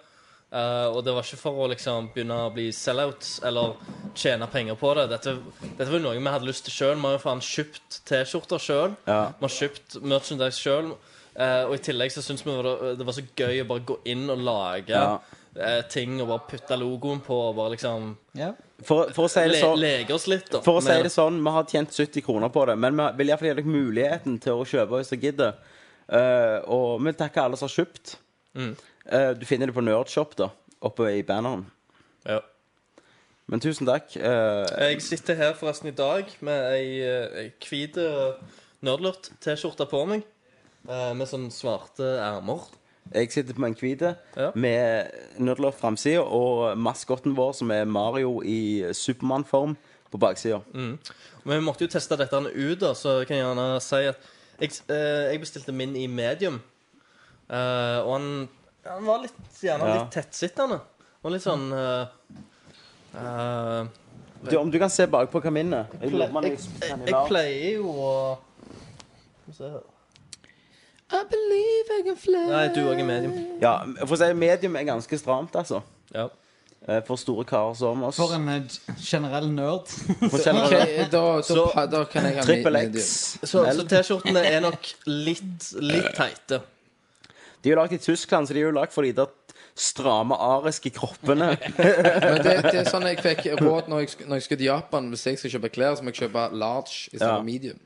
Eh, og det var ikke for å liksom begynne å bli sellouts eller tjene penger på det. Dette, dette var jo noe vi hadde lyst til sjøl. Vi har jo faen kjøpt T-skjorter sjøl.
Ja.
Vi har kjøpt merchandise sjøl. og i tillegg så syns vi det- det var så gøy å bare gå inn og lage
Ja.
eh, ting og bare putte logoen på og bare liksom
ja.
For, for å si det
le,
sånn
leke oss litt, da.
For å si
med
det sånn, vi har tjent 70 kroner på det, men vi vil iallfall gi dere muligheten til å kjøpe hvis dere gidder. Eh, og vi takker alle som har kjøpt. Eh, du finner det på Nerdshop, da, oppe i banneren.
Ja.
Men tusen takk. eh,
Jeg sitter her forresten i dag med ei, eh, ei hvit eh, nerdlurt T-skjorte på meg. eh, Med sånne svarte ermer.
jeg sitter på en hvit
Ja.
med Nerdlord framsida og maskotten vår, som er Mario i Supermann-form, på baksida.
Men vi måtte jo teste dette her ut, da, så jeg kan gjerne si at jeg, eh, jeg bestilte min i medium. Eh, og han, han var litt, gjerne
Ja.
litt tettsittende. Og litt sånn eh, eh,
Du, Om du kan se bakpå kaminen Jeg lurer på om
jeg,
jeg-
jeg, jeg pleier jo å Skal vi se her.
I believe I can fly.
Nei, du òg er medium.
Ja, for å si medium er ganske stramt, altså.
Ja.
Eh, For store karer som oss.
For en eh, g- generell nerd. (laughs)
For generelt.
Ok, da, da,
Så-
da kan jeg ha
Trippel
med-
Altså, X.
Så, så T-skjortene er nok litt, litt teite.
De er jo lagd i Tyskland, så de er jo lagd for de der stramme ariske kroppene.
Men det, det er sånn jeg fikk råd når jeg, sk- når jeg skal til Japan. Hvis jeg skal kjøpe klær, så må jeg kjøpe large istedenfor
Ja.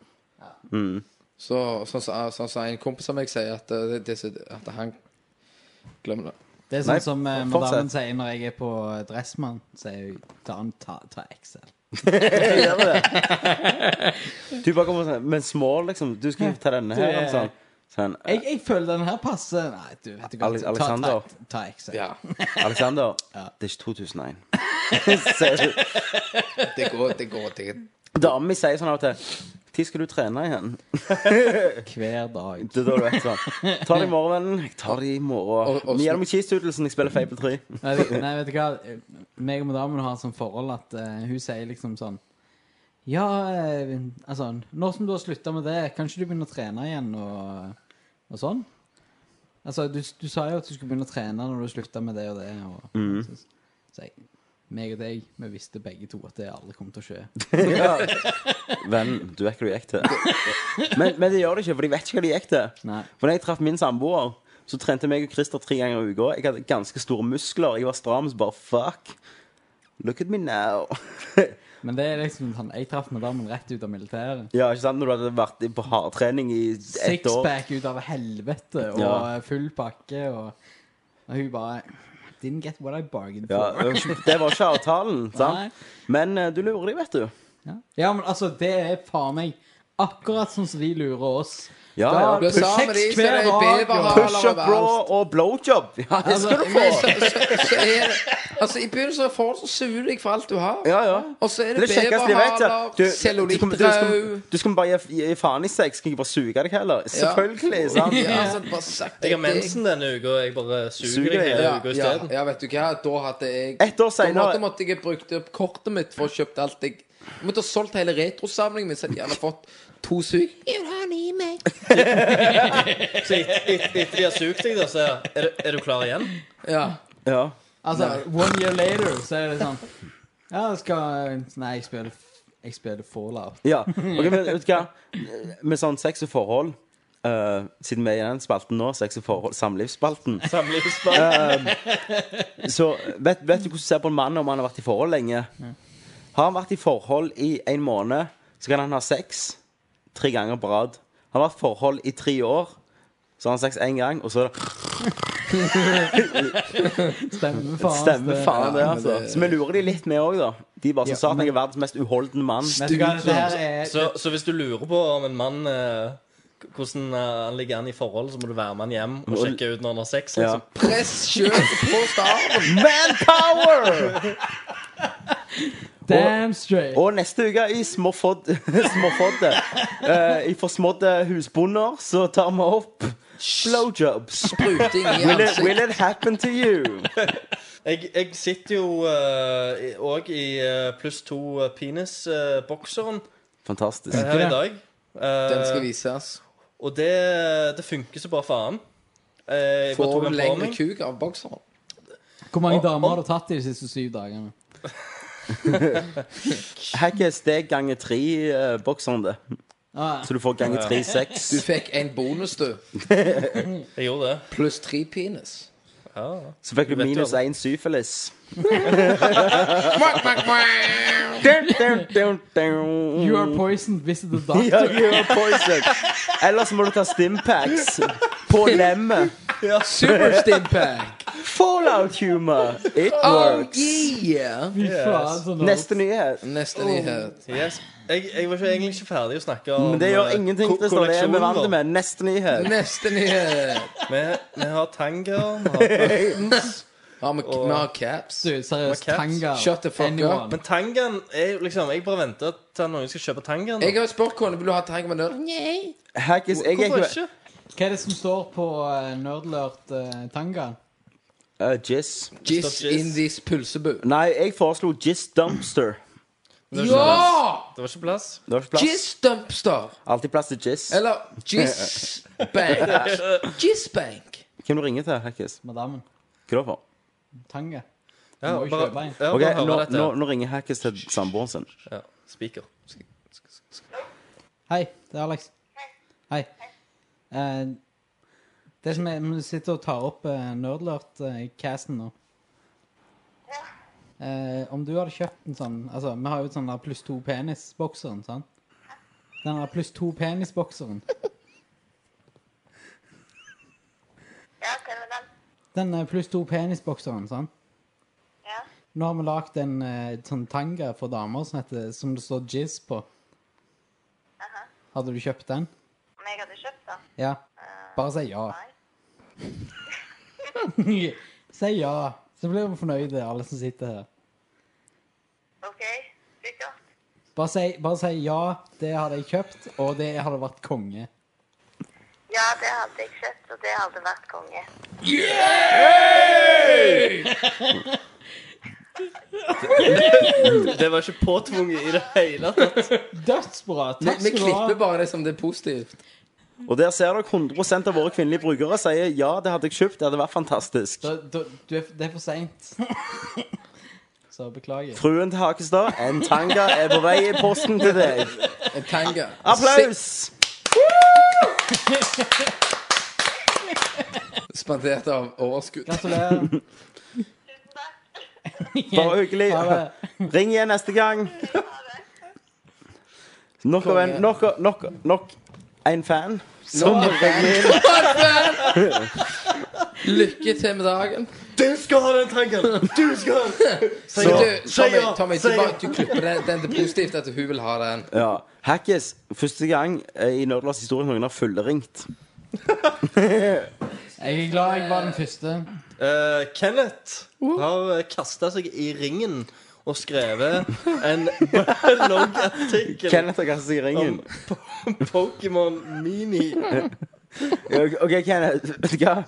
Mm.
medium. Så, sånn som sånn, som en kompis av meg sier, at, eh, det, det, er så- at han Glem det.
Det er
Nei,
sånn som eh,
fortsett.
madammen sier når jeg er på eh, Dressmann. Sier hun ta, en- ta, ta XL.
Jeg gjør det. Du bare kommer sånn Men small, liksom. Du skal ta denne her. Sånn. Sånn,
Jeg, jeg føler den her passer Nei, du vet du
Ale- Alexander.
Ta, ta, ta X.
Ja,
Alexander, det er ikke (laughs) 2001. Ser du?
det går, det går det.
Damen min sier sånn av og til Når skal du trene igjen?
Hver dag.
Det er da du vet sånn. Ta det i morgen, vennen. Jeg tar det i morgen.
Og- og-
Gi meg cheesedoodlesen. Jeg spiller Fable 3.
Nei, vi- nei, vet du hva? Meg og damen har et sånt forhold at eh, hun sier liksom sånn Ja, eh, altså Nå som du har slutta med det, kan ikke du begynne å trene igjen og, og sånn? Altså, du, du sa jo at du skulle begynne å trene når du slutta med det og det. Og, så, så jeg, meg og deg, vi visste begge to at det aldri kom til å skje.
(laughs) Venn, du vet hva du gikk til. Men, men det gjør det ikke, for de vet ikke hva de gikk til.
Nei.
For når jeg traff min samboer, så trente meg og Christer tre ganger i uka. Jeg hadde ganske store muskler. Jeg var stram, så bare fuck. Look at me now.
Men det er liksom sånn Jeg traff madammen rett ut av militæret.
ja, ikke sant? Når du hadde vært i- på hardtrening i ett år.
Sixpack ut av helvete og
Ja.
full pakke, og, og hun bare Didn't get what I bargained
Ja,
for.
det var ikke- det var ikke avtalen,
Nei.
sant? Men eh, du lurer de, vet du.
Ja. ja, men altså, det er faen meg akkurat sånn som de lurer oss.
Ja,
Du
ja.
er sammen med de, så er det
Push-ups hver dag,
beverhaler
Push up bra og blowjob. Ja, det skal du
Men
få.
så, så, så er det Altså, i begynnelsen av forhold så suger du deg for alt du har.
Ja, ja.
Og så er
Det
det,
er det kjekkeste jeg vet. ja.
beverhaler,
Du- Du, du, skal,
cellulittdrau
du skal bare gi, gi faen i sex. Skal jeg bare suge deg heller? Selvfølgelig. sant?
Ja, altså, bare sagt
Jeg har mensen denne uka, og jeg bare
Suger
suger deg
deg,
hele
Ja,
uka
ja,
isteden.
ja, vet du hva, da hadde jeg
Ett år
Da måtte,
senere
måtte jeg brukt opp kortet mitt for å kjøpt alt jeg Jeg måtte ha solgt hele retrosamlingen min, så jeg hadde fått to
Så
sug.
et- et- etter de har sugd deg, da, så er jeg, er, du- er du klar igjen?
Ja.
ja.
Altså, one year later, så er det sånn Ja, jeg skal Nei, jeg spiller, jeg spiller Fallout.
ja. Ok, men vet du hva? Med sånn sex og forhold eh, Siden vi er i den spalten nå, sex og forhold, samlivsspalten Eh,
Samlivsbarn.
Så vet, vet du hvordan du ser på en mann om han har vært i forhold lenge? Har han vært i forhold i en måned, så kan han ha sex tre ganger på rad. Har han vært i forhold i tre år, så har han sex én gang, og så er det
Stemmer faen.
Stemmer faen det,
Ja, men
altså.
det-
Så vi lurer de litt med òg, da. De bare som
Ja,
sa at jeg er verdens mest uholdende mann.
Vet du hva, det her
altså.
er
Så, så hvis du lurer på om en mann eh, k- hvordan eh, han ligger an i forhold, så må du være med han hjem og sjekke ut når han har sex.
Ja.
Liksom.
Press sjøl på starten.
(laughs) Manpower!
damn straight.
Og neste uke i (laughs) Småfodd Småfodde. eh, I forsmådde husbonder så tar vi opp blowjobs.
Spruting i
Will it, will
ansiktet.
it happen to you?
Jeg, jeg sitter jo òg i eh, pluss to eh, penis-bokseren
Fantastisk.
her i dag. Eh,
Den skal vises.
og det, det funker så bare faen. Eh, jeg bare tok
Får
den
du
på
lengre
meg.
kuk av bokseren?
Hvor mange
og-
damer har du tatt i de siste syv dagene?
Hack er steg ganger tre-bokseren, det.
Ah,
Så du får ganger tre seks.
Du fikk en bonus, du.
Jeg gjorde det.
Pluss tre penis.
Ja.
Så fikk du
vet jo
minus
aldri.
én syfilis.
Quack, quack, quack.
Dun, dun, dun, dun.
you are poisoned, visit the
(laughs) Ja,
doctor.
you are poison. Ellers må du ta stimpacks på lemmet.
Super stimpack.
Fallout humor. It
(laughs) Oh,
works.
yeah.
Fy faen, så nå-
Neste nyhet.
Neste nyhet.
Yes. Jeg, jeg var ikke, egentlig ikke ferdig å snakke om
Men det gjør
eh,
ingenting.
ko-
Det står det vi
kolleksjonen
vant
vår.
med. Neste nyhet.
Neste nyhet.
Vi, vi har tanga, vi
(laughs)
har buttons
Har vi, vi har caps?
Du, seriøst,
Macaps.
tanga.
Shut the fuck
anyone.
up.
Men tangaen er jo liksom Jeg bare venter til noen skal kjøpe tangaen.
Jeg har jo spurt kona vil du ha tang med nøtt. Nei.
Hackis, jeg er
Hvorfor
ikke
ikke?
Hva er det som står på uh, nerdlørt eh, tanga?
Eh, Jizz.
Jizz
Stopp jizz.
in this pølsebu.
Nei, jeg foreslo Jizz Dumpster.
Ja!
Det var ikke plass.
Det var ikke plass.
Jizz dumpster.
Alltid plass til Jizz.
Eller jizz (laughs) bank. Jizz bank.
Hvem du ringer til, Hackis?
Madammen.
Hva da for?
Tanga.
Ja,
må jo
bare,
kjøpe en.
ja,
Ok,
bare høre
nå,
dette.
nå, nå ringer Hackis til samboeren sin.
Ja, Speaker.
Hei, det er Alex. Hei. Eh, det som er, Vi sitter og tar opp uh, nerdlørt-casten nå. Eh, om du hadde kjøpt en sånn Altså, Vi har jo sånn der pluss to penis-bokseren, sant? Den der pluss to penis-bokseren.
Ja, stemmer den.
Den eh, pluss to penis-bokseren, sant?
Ja.
Nå har vi lagd en eh, sånn tanga for damer som, heter, som det står jizz på. Hadde du kjøpt den?
Om jeg hadde kjøpt den?
Ja.
Eh,
Bare si ja. (laughs)
Nei.
si ja, så blir vi fornøyde, alle som sitter her.
OK, sikkert.
Bare si, bare si ja, det hadde jeg kjøpt, og det hadde vært konge.
Ja, det hadde jeg kjøpt, og det hadde vært konge.
Det var ikke påtvunget i det hele tatt.
Dødsbra!
Vi,
Takk
vi
skal du ha.
klipper bare det som det er positivt.
Og der ser dere 100 av våre kvinnelige brukere sier ja, det hadde jeg kjøpt, det hadde vært fantastisk.
Da, da, du er, det er for seint. (laughs) Så beklager.
Fruen til Hakestad, en tanga er på vei i posten til deg.
En tanga.
Applaus!
Se- Spandert av overskudd.
Gratulerer. (laughs)
Tusen takk.
Bare hyggelig.
Ha det.
Ring igjen neste gang.
Ha det.
Nok av en Nok, av- nok, nok en fan.
Nå er det Lykke til med dagen.
Du skal ha den tanken! Du skal ha den! (laughs)
Så, du,
si
Tommy,
ja,
Tommy
si
du, bare,
ja.
du klipper den, den det er positivt at hun vil ha den.
Ja. Hackes, første gang eh, i Nerdlas historie noen har fullringt.
Jeg er glad jeg var den første.
Eh, Kenneth har kasta seg i ringen og skrevet en (laughs) bloggartikkel
Kenneth har kastet seg i ringen.
(laughs) om Pokémon Mini.
Ja, ok- OK, Kenneth. Vet du hva?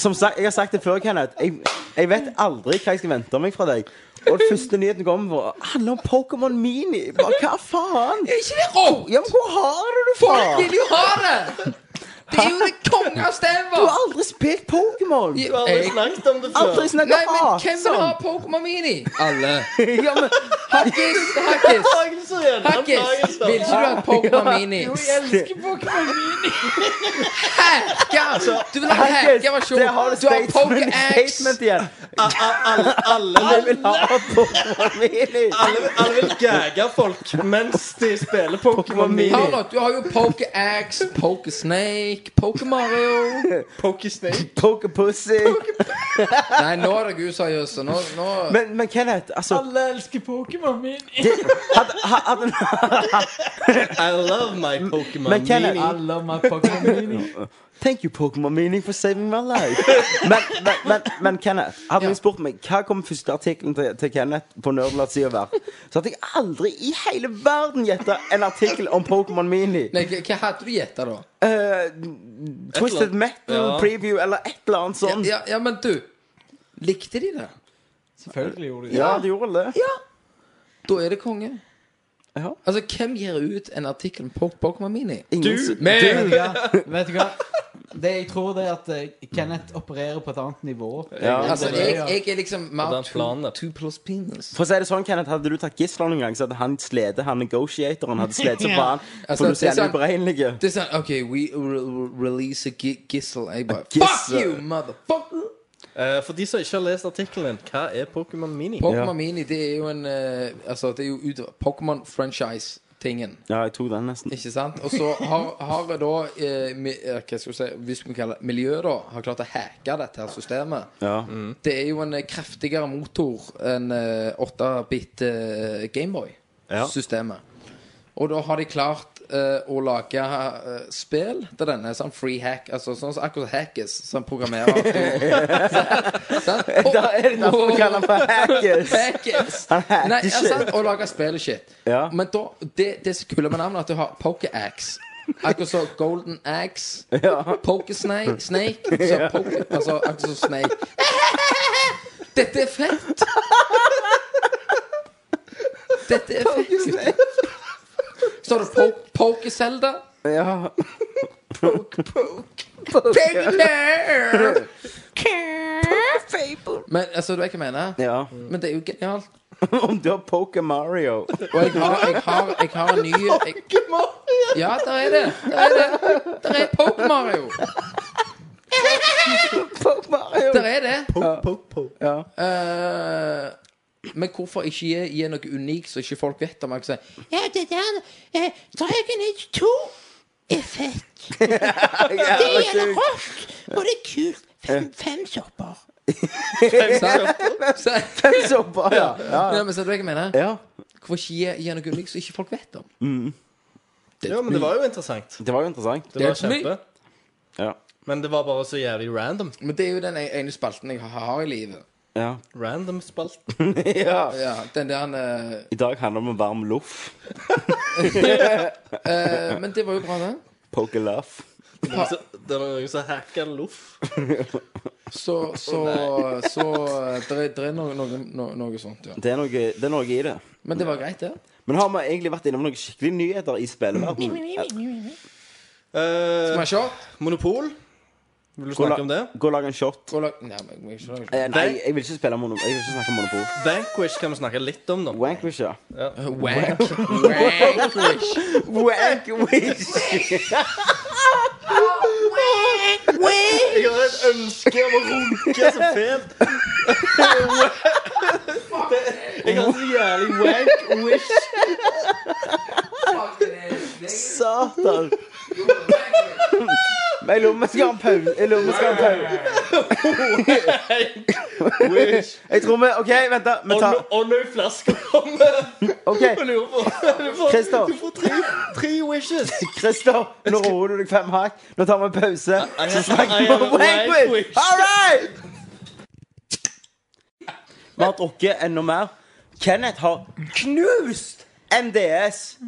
Som sagt, jeg har sagt det før, Kenneth. Jeg, jeg vet aldri hva jeg skal vente meg fra deg. Og den første nyheten kommer, var- handler om Pokémon Mini. Bare, hva faen?
Er ikke det rått?
Ja, men hvor har du det fra?
Folk vil jo ha det! Det er jo det konge av stemmer!
Du har aldri spilt Pokémon!
Du har aldri snakket om det før.
Aldri snakket sånn.
Nei, men hvem vil ha
sånn.
avstand!
Pokémon Mini? Alle.
(laughs)
Ja, men
Hakkis, Hakkis,
Anklagelser igjen!
Hakkis.
anklagelser.
Vil ikke du ha Pokémon Mini? Hacker!
Altså,
Du vil ha
Hackes,
hackerversjon.
der har du
Du har
statement,
Pokéax.
statement igjen.
A- a- Alle, alle,
Jeg vil ha Pokémon Mini!
alle, alle vil gage folk mens de spiller Pokémon Mini.
Harlot, du har jo Pokéax, Pokésnake, Pokémario
Pokésnake.
Pokepussy.
Nei, nå er det useriøst. så Nå, nå
Men, men Kenneth, altså
Alle elsker Pokémon Mini.
det, hadde, ha- hadde,
I love my Pokémon
Men Kenneth-
Mini.
Alle om Pokémon Mini.
Thank you, Pokémon Mini, for saving my life. Men, men, men, men Kenneth, hadde
Ja.
jeg spurt meg hva kom første artikkelen til, til Kenneth på Nerdlat-sida være, så hadde jeg aldri i hele verden gjetta en artikkel om Pokémon Mini.
Nei, hva- hva hadde du gjetta, da?
Eh,
eller
Twisted
annet.
Metal
Ja.
preview eller et eller annet
Ja,
sånt.
ja, ja, men du Likte de det?
Selvfølgelig gjorde de det.
Ja, det gjorde det.
Ja. Da er det konge.
Ja.
Altså, hvem gir ut en artikkel om Pok- Pokémon Mini?
Ingen s-
Vet
Men
(laughs)
du hva? Vet du hva? Det jeg tror, det er at eh, Kenneth opererer på et annet nivå.
altså,
det-
jeg, jeg er liksom
Og
mer
den
two,
planen.
two plus penis.
For å si det sånn, Kenneth, Hadde du tatt gisler noen gang, så hadde han slitt. Han negotiatoren hadde slitt som
Ja.
faen.
Altså,
For du
det er
ser han
sånn-
uberegnelig.
Det er sånn OK, we re- release a gi- gissel. Jeg bare Fuck
gissel.
you, motherfucker!
Eh, for de som ikke har lest artikkelen, hva er Pokémon Mini?
Pokémon
Ja.
Mini, det er jo en eh, Altså, det er jo ut Pokémon-franchise-tingen.
Ja, jeg tok den nesten.
Ikke sant? Og så har, har da eh, mi, eh, Hva skal vi si Hvis vi kaller det miljøet, da, har klart å hacke dette her systemet.
Ja.
Det er jo en eh, kraftigere motor enn eh, 8-bit eh,
Ja.
Gameboy-systemet. Og da har de klart eh, å lage eh, spill til denne. Sånn free hack. Altså sånn som akkurat Hackes, som programmerer.
(laughs)
(laughs) Sant?
Da er det derfor vi kaller han for Hackers.
Hackers.
Han hacker
Nei,
shit.
altså, å lage spill og shit.
Ja.
Men da, det, det som er kult med navnet, er at du har Pokeax. Akkurat som Golden Axe, Pokesnake
(laughs)
Snake, så poke, altså, akkurat som Snake. Dette er fett! Dette er fett, gutter. Så har du po Pokeselda.
Ja.
Men altså, du vet hva jeg mener?
ja.
Men det er jo genialt.
Om du har Poker Mario
Og jeg har, jeg har, jeg har en ny jeg, Ja, der er det. Der er, det. Der er Poke-Mario.
(laughs) Poke Mario!
Der er det.
Ja.
Eh, men hvorfor ikke gi, gi noe unikt så ikke folk vet om? Jeg kan si, ja, det der eh, Dragon Age 2 er fett. Det gjelder rock, og det er kult. Fem, fem sopper. Så,
Så bra. Ja. Ja.
ja, men så du hva jeg mener?
ja.
Hvorfor ikke gi, gi noe unikt så ikke folk vet om?
Ja, men det var jo interessant.
Det var jo interessant.
Det var
That's me.
kjempe.
Ja.
Men det var bare så jævlig random.
Men det er jo den e-, ene spalten jeg har i livet.
ja.
Random-spalt.
(laughs) ja.
Ja, den der eh,
I dag handler det om en varm loff.
eh, Men det var jo bra, det.
Poke laugh.
Noen som- Det var noen som hacka loff.
Så, så, (laughs) så eh, Det er- det er noe, noe, noe, noe sånt, ja.
Det er noe, det er noe i det.
Men det var greit, det.
Men har vi egentlig vært innom noen skikkelige nyheter i spilleverdenen?
Eh,
Skal vi ha shot?
Monopol. Vil du
Gå og la-
snakke om det?
Gå og lag en shot.
Gå og lag- Nei, men jeg må ikke lage sånn.
Eh, nei, jeg vil ikke spille mono, Jeg vil ikke snakke om Monopol.
Vanquish kan vi snakke litt om, da.
Wankwish, ja.
Wank. (laughs) Wank.
Wankwish!
Jeg har et ønske om å runke så fælt. Det- Jeg har så jævlig wank-wish.
Satan! Men Jeg lurer på om vi skal ha en pause. Jeg lurer på om vi skal ha en pause.
Wish.
Jeg tror vi OK, vent, da. Vi
Og
tar
nå- Og nå er flaska kommet. Jeg
(laughs) OK.
lurer på Du får-
Christer.
Du får tre, tre wishes.
Christer, nå roer du deg fem hakk. Nå tar vi en pause.
I
Så
have-
snakker
I
vi om
have a wank
Wankwish!
wish.
All right! Vi har drukket enda mer. Kenneth har knust MDS.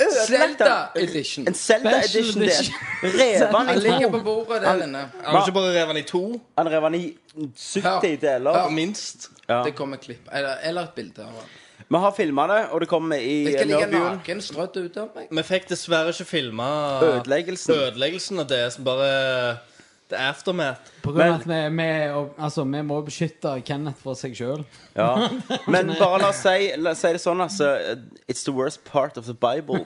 Ødelagt
Zelda
den.
edition.
En Zelda
Special
edition DS.
edition.
Revan
Han
i
ligger
to.
på bordet der inne.
Kan du ikke bare rev den i to?
Han rev den i 70 deler.
Hør.
Minst.
Det kommer et klipp. Eller, eller et bilde. av han.
Vi har filma det, og det kommer i
Jeg skal ligge
Nerdbuen.
naken strødd ut av meg.
Vi fikk dessverre ikke filma
Ødeleggelsen.
ødeleggelsen av det som bare The aftermath.
På grunn av at vi, vi, og- altså, vi må beskytte Kenneth for seg sjøl.
Ja. Men bare la oss si, la oss si det sånn, altså. It's the worst part of the Bible.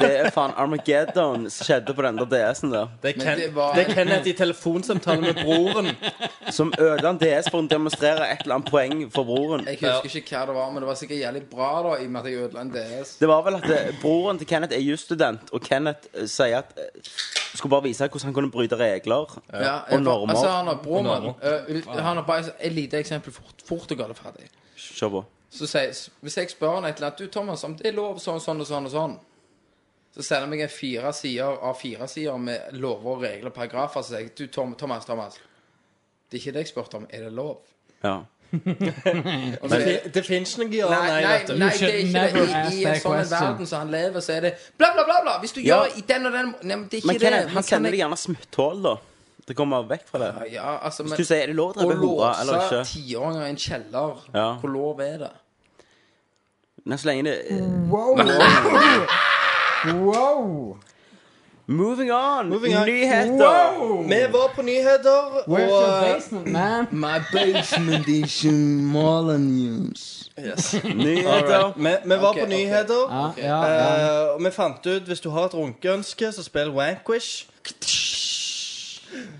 Det er faen Armageddon som skjedde på den der DS-en der.
Det er,
Men
Ken, det,
det var-
er Kenneth i telefonsamtale med broren.
Som ødela en DS for å demonstrere et eller annet poeng for broren.
Jeg husker ikke hva det var, men det var sikkert jævlig bra, da, i og med at jeg ødela en DS.
Det var vel at eh, broren til Kenneth er jusstudent, og Kenneth eh, sier at eh, Skulle bare vise hvordan han kunne bryte regler.
Ja,
Og
jeg-
normer.
Altså, han har broren
Og
øh, Han har bare et lite eksempel fort, fort og galt ferdig.
Se på.
Så sies Hvis jeg spør han et eller annet Du, Thomas, om det er lov sånn, sånn og sånn og sånn Så sender han meg en fire sider av fire sider med lover og regler og paragrafer. Så sier jeg Du, Tom, Thomas, Thomas. Det er ikke det jeg spurte om. Er det lov?
Ja.
Og så
Det,
er-
fin- det fins ikke ja
Nei, nei,
nei, vet du.
nei, det
should
er ikke
never
det.
ask
I, i en
that
sånn
question.
verden som han lever, så er det bla, bla, bla, bla. Hvis du
Ja.
gjør i den og den Nei, men det er ikke
Men
det.
Kenneth, han sender deg gjerne smutthull, da. Det kommer vekk fra det.
gjerne ja, altså, men,
Hvis du sier er det lov å
Å
drepe hora eller
låse
ikke?
tiåringer i en kjeller,
Ja.
hvor lov er det?
Nei, så lenge
(laughs)
det
Mm.
Wow!
Moving on!
Moving on.
Nyheter!
Vi var på nyheter,
Where's your
og
basement, man?
My basement is in Marlon News.
Nyheter.
vi, vi var
Ok,
på
ok.
nyheter.
Ja, ja, ja.
eh, og vi fant ut hvis du har et runkeønske, så spill Wankwish.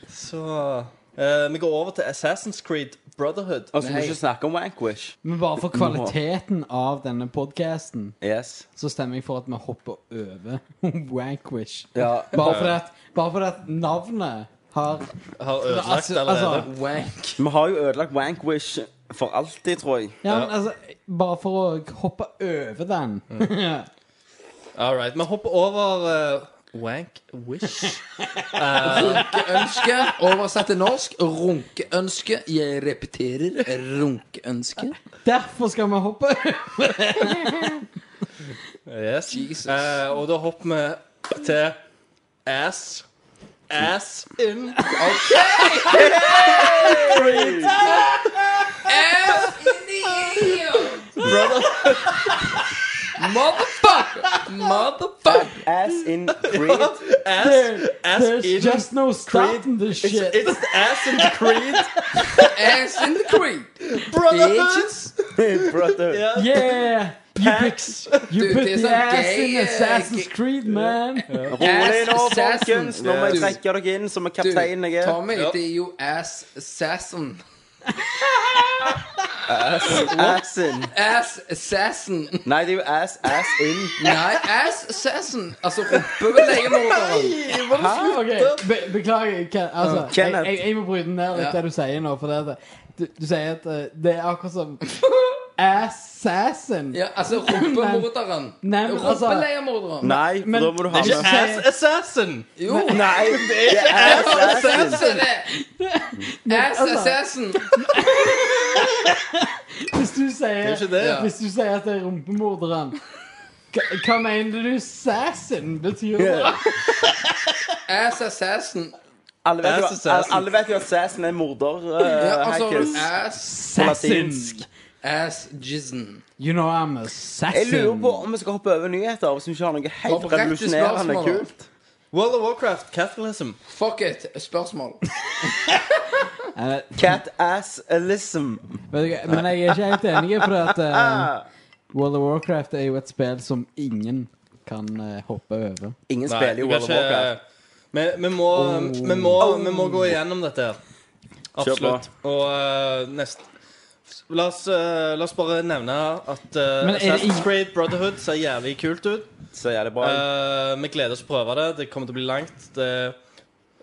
Så eh, Vi går over til Assassin's Creed Brotherhood.
Altså,
Og så må Altså, vi ikke snakke om Wankwish.
Men bare for kvaliteten av denne podkasten
Yes.
så stemmer jeg for at vi hopper over (laughs) Wankwish.
Ja.
Bare fordi at, bare fordi at navnet har
Har ødelagt
Altså-
allerede.
altså,
Wank.
Vi har jo ødelagt Wankwish for alltid, tror jeg.
ja, men altså, Bare for å hoppe over den.
Mm.
(laughs)
All right, Vi hopper over eh, Wankwish.
Runkeønske. Oversatt (laughs) til norsk. Runkeønske. Jeg repeterer. Runkeønske.
Derfor skal vi hoppe over.
Yes.
Jesus.
Eh, og da hopper vi til ass. Ass in.
Motherfucker! Motherfucker!
Ass in Creed.
Ass, ass
There's
in.
just no stopping this
It's,
shit.
it's ass in
(laughs)
Creed.
Ass in the creed.
Brotherhood.
Brother.
Yeah.
Yeah! You put,
Ass.
you
Dude,
put
det er
the
sånn
ass
gay,
in
eh,
Assassin's
gay-
Creed, man.
Rolig nå,
Ass assassin.
folkens. Nå må jeg
Yes.
trekke dere inn som en
Du,
kaptein jeg er.
Tommy, det er jo ass assassin.
Ass in.
Ass assassin.
Nei, det er jo ass, ass in.
Nei, ass assassin. Altså rumpebeleggemorderen.
Okay. Be beklager, Ken, altså, jeg,
Kenneth.
jeg, jeg må bryte ned litt
Ja.
det du sier nå. For det, at- du, du sier at eh, det er akkurat som assassin.
Ja, altså rumpemorderen.
Nei, men altså-
Rumpeleiermorderen.
Nei, for
Men-
da må du ha
Ikke
med
Ass Assassin!
Jo,
Nei, det er
assassin!
Assassin.
(laughs)
Ass
altså-
assassin.
Hvis du
Det
sier,
er ikke det.
Ja.
Hvis du sier at det er rumpemorderen hva- hva mener du assassin betyr? da?
Ass assassin.
Alle vet,
Ass
jo,
Assassin.
alle vet jo at Assassin er morder.
Ja,
Uh,
altså
Hackers.
ass
På latinsk.
Ass jizzen.
You know I'm
Jeg
assassin.
lurer på om vi skal hoppe over nyheter, hvis vi ikke har noe
Hopp
helt
rett til
revolusjonerende
spørsmålet.
kult.
World of Warcraft, Catholicism.
Fuck it. Spørsmål.
Eh,
Cat-ass-lism.
vet du, hva, men jeg er ikke helt enig, for at eh, World of Warcraft er jo et spill som ingen kan eh, hoppe over.
Ingen
Nei,
spiller
du
jo
kan
World of Warcraft.
Vi, vi, må,
Oh.
vi, må, vi må gå igjennom dette her. Absolutt. Og eh, nest La oss, eh, la oss bare nevne at eh,
Men er det
Assassin's
ingen-
Creed Brotherhood ser jævlig kult ut.
Så jævlig bra.
Eh, vi gleder oss å prøve det. Det kommer til å bli langt. Det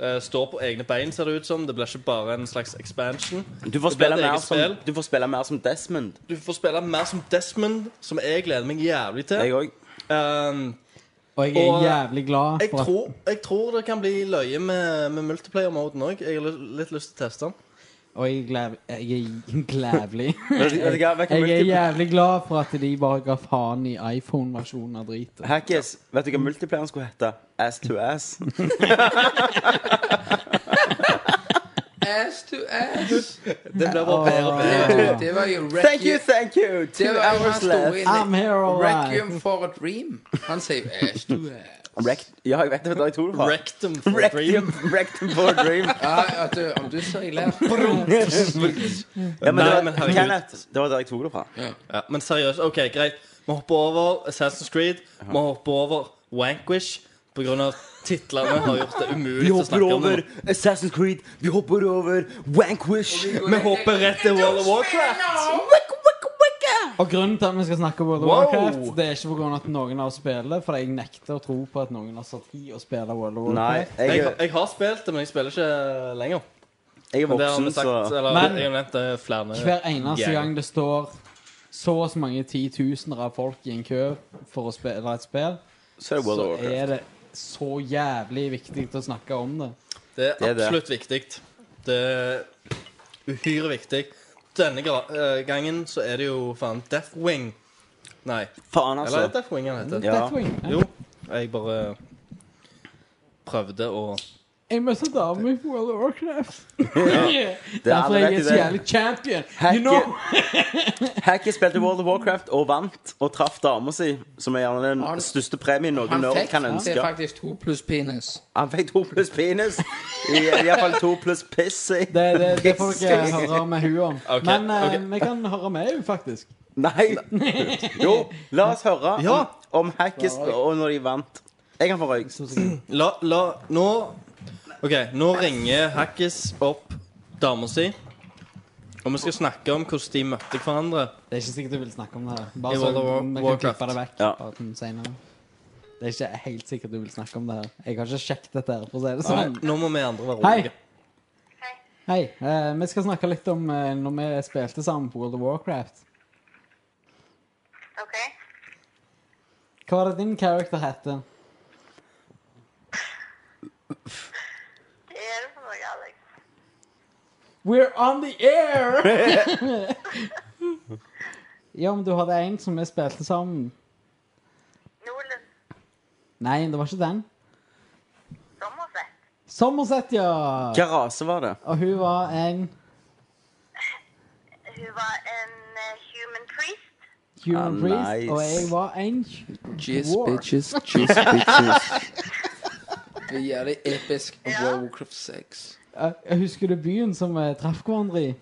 eh, står på egne bein, ser det ut som. Det blir ikke bare en slags expansion.
Du får,
det blir
spille
et
mer
eget
som,
spill.
du får spille mer som Desmond.
Du får spille mer som Desmond, som jeg gleder meg jævlig til.
Jeg òg.
Eh,
Og jeg er
Og, eh,
jævlig glad
jeg,
for at
tror, jeg tror det kan bli løye med, med multiplayer-moden òg. Jeg har li- litt lyst til å teste den.
Og jeg er glæv- jeg er (laughs) glævlig.
Vet du- vet du hva, vet du hva
Jeg er
multi-
jævlig glad for at de bare ga faen i iPhone-versjonen av dritet.
Hackis, vet du hva multiplayeren skulle hete? Ass to ass.
Ass to ass.
Det blir bare bedre og bedre.
Det, det var jo
Oh. Thank you,
Requiem.
thank you!
Det
Two
var jo
hours
hans store
left.
I'm here all right.
Requiem for a dream. Han sier jo ass to ass.
Rekt ja, jeg vet det, jeg tror det var.
Rectum for
Rectum, (laughs)
Dream.
rectum for a
(laughs)
dream.
Ja, Ah, ja, du, om du sier lært
Ja, men det
Nei,
var,
men herregud.
Kenneth, det var der jeg tok det fra.
Ja, men seriøst, ok, greit. Vi hopper over Assassin's Creed. Vi hopper over Wanquish på grunn av titlene har gjort det umulig å snakke om. det.
Assassin's Creed, vi hopper over Wankwish.
Vi hopper rett til World of Warcraft.
Og grunnen til at vi skal snakke om World of
Wow.
Warcraft, det er ikke pga. at noen av oss spiller, for jeg nekter å tro på at noen har satt i å spille World of
Nei,
Warcraft.
Jeg,
jeg,
jeg har spilt det, men jeg spiller ikke lenger.
jeg er
Men det har
voksen,
vi sagt, eh,
så
eller
Men-
jeg har nevnt det flere
Hver eneste
ganger.
gang det står så og så mange titusener av folk i en kø for å spille et spill,
Så er det World
så
of Warcraft.
er det så jævlig viktig å snakke om det.
Det er
Det er det.
absolutt viktig. Det er uhyre viktig. Denne gra- eh, gangen så er det jo faen Deathwing. Nei,
Faen,
eller er det
altså.
Deathwing han heter?
Ja.
Deathwing.
Jo, jeg bare prøvde å
Jeg møtte dama mi på World of Warcraft. (laughs)
alle
Derfor er
vet
jeg er
jo
så
det.
jævlig champion. You
Hacke-
know
Hacky spilte World of Warcraft og vant og traff dama si, som er gjerne den
Han-
største premien noen
Han
nerd
fikk
kan
han
ønske.
sier faktisk to pluss penis.
Han fikk to pluss penis. I Iallfall to pluss piss. i-
Det, det, det får dere høre med
(laughs)
hun om.
Ok,
Men eh,
ok.
vi kan høre med hun, faktisk.
Nei. Jo, la oss høre
Ja.
om, om Hackis og når de vant. Jeg kan få røyk.
La, la Nå OK, nå ringer Hackis opp dama si. Og vi skal snakke om hvordan de møtte hverandre.
Det er ikke sikkert du vil snakke om det. her. Bare
I
så
World of War-
vi kan
Warcraft.
klippe det vekk.
Ja.
bare til senere. Det er ikke helt sikkert du vil snakke om det her. Jeg har ikke sjekket dette her, for å si det sånn.
Nå må vi andre være
Hei.
rolige.
Hei. eh, vi skal snakke litt om uh, når vi spilte sammen på World of Warcraft.
OK?
Hva var det din character het?
Det er det for noe, Alex.
We're on the air! (laughs) ja, men du hadde en som vi spilte sammen.
Nolan
Nei, det var ikke den.
Sommerset.
Somerset, ja!
Hva rase var det?
Og hun var en
Hun var en eh, human priest.
human
Ah,
priest,
nice.
og jeg var en
Jizz
War.
(laughs)
bitches, jizz bitches. Det er jævlig episk om World of Warcraft 6.
Eh, Jeg husker du byen som vi traff hverandre i?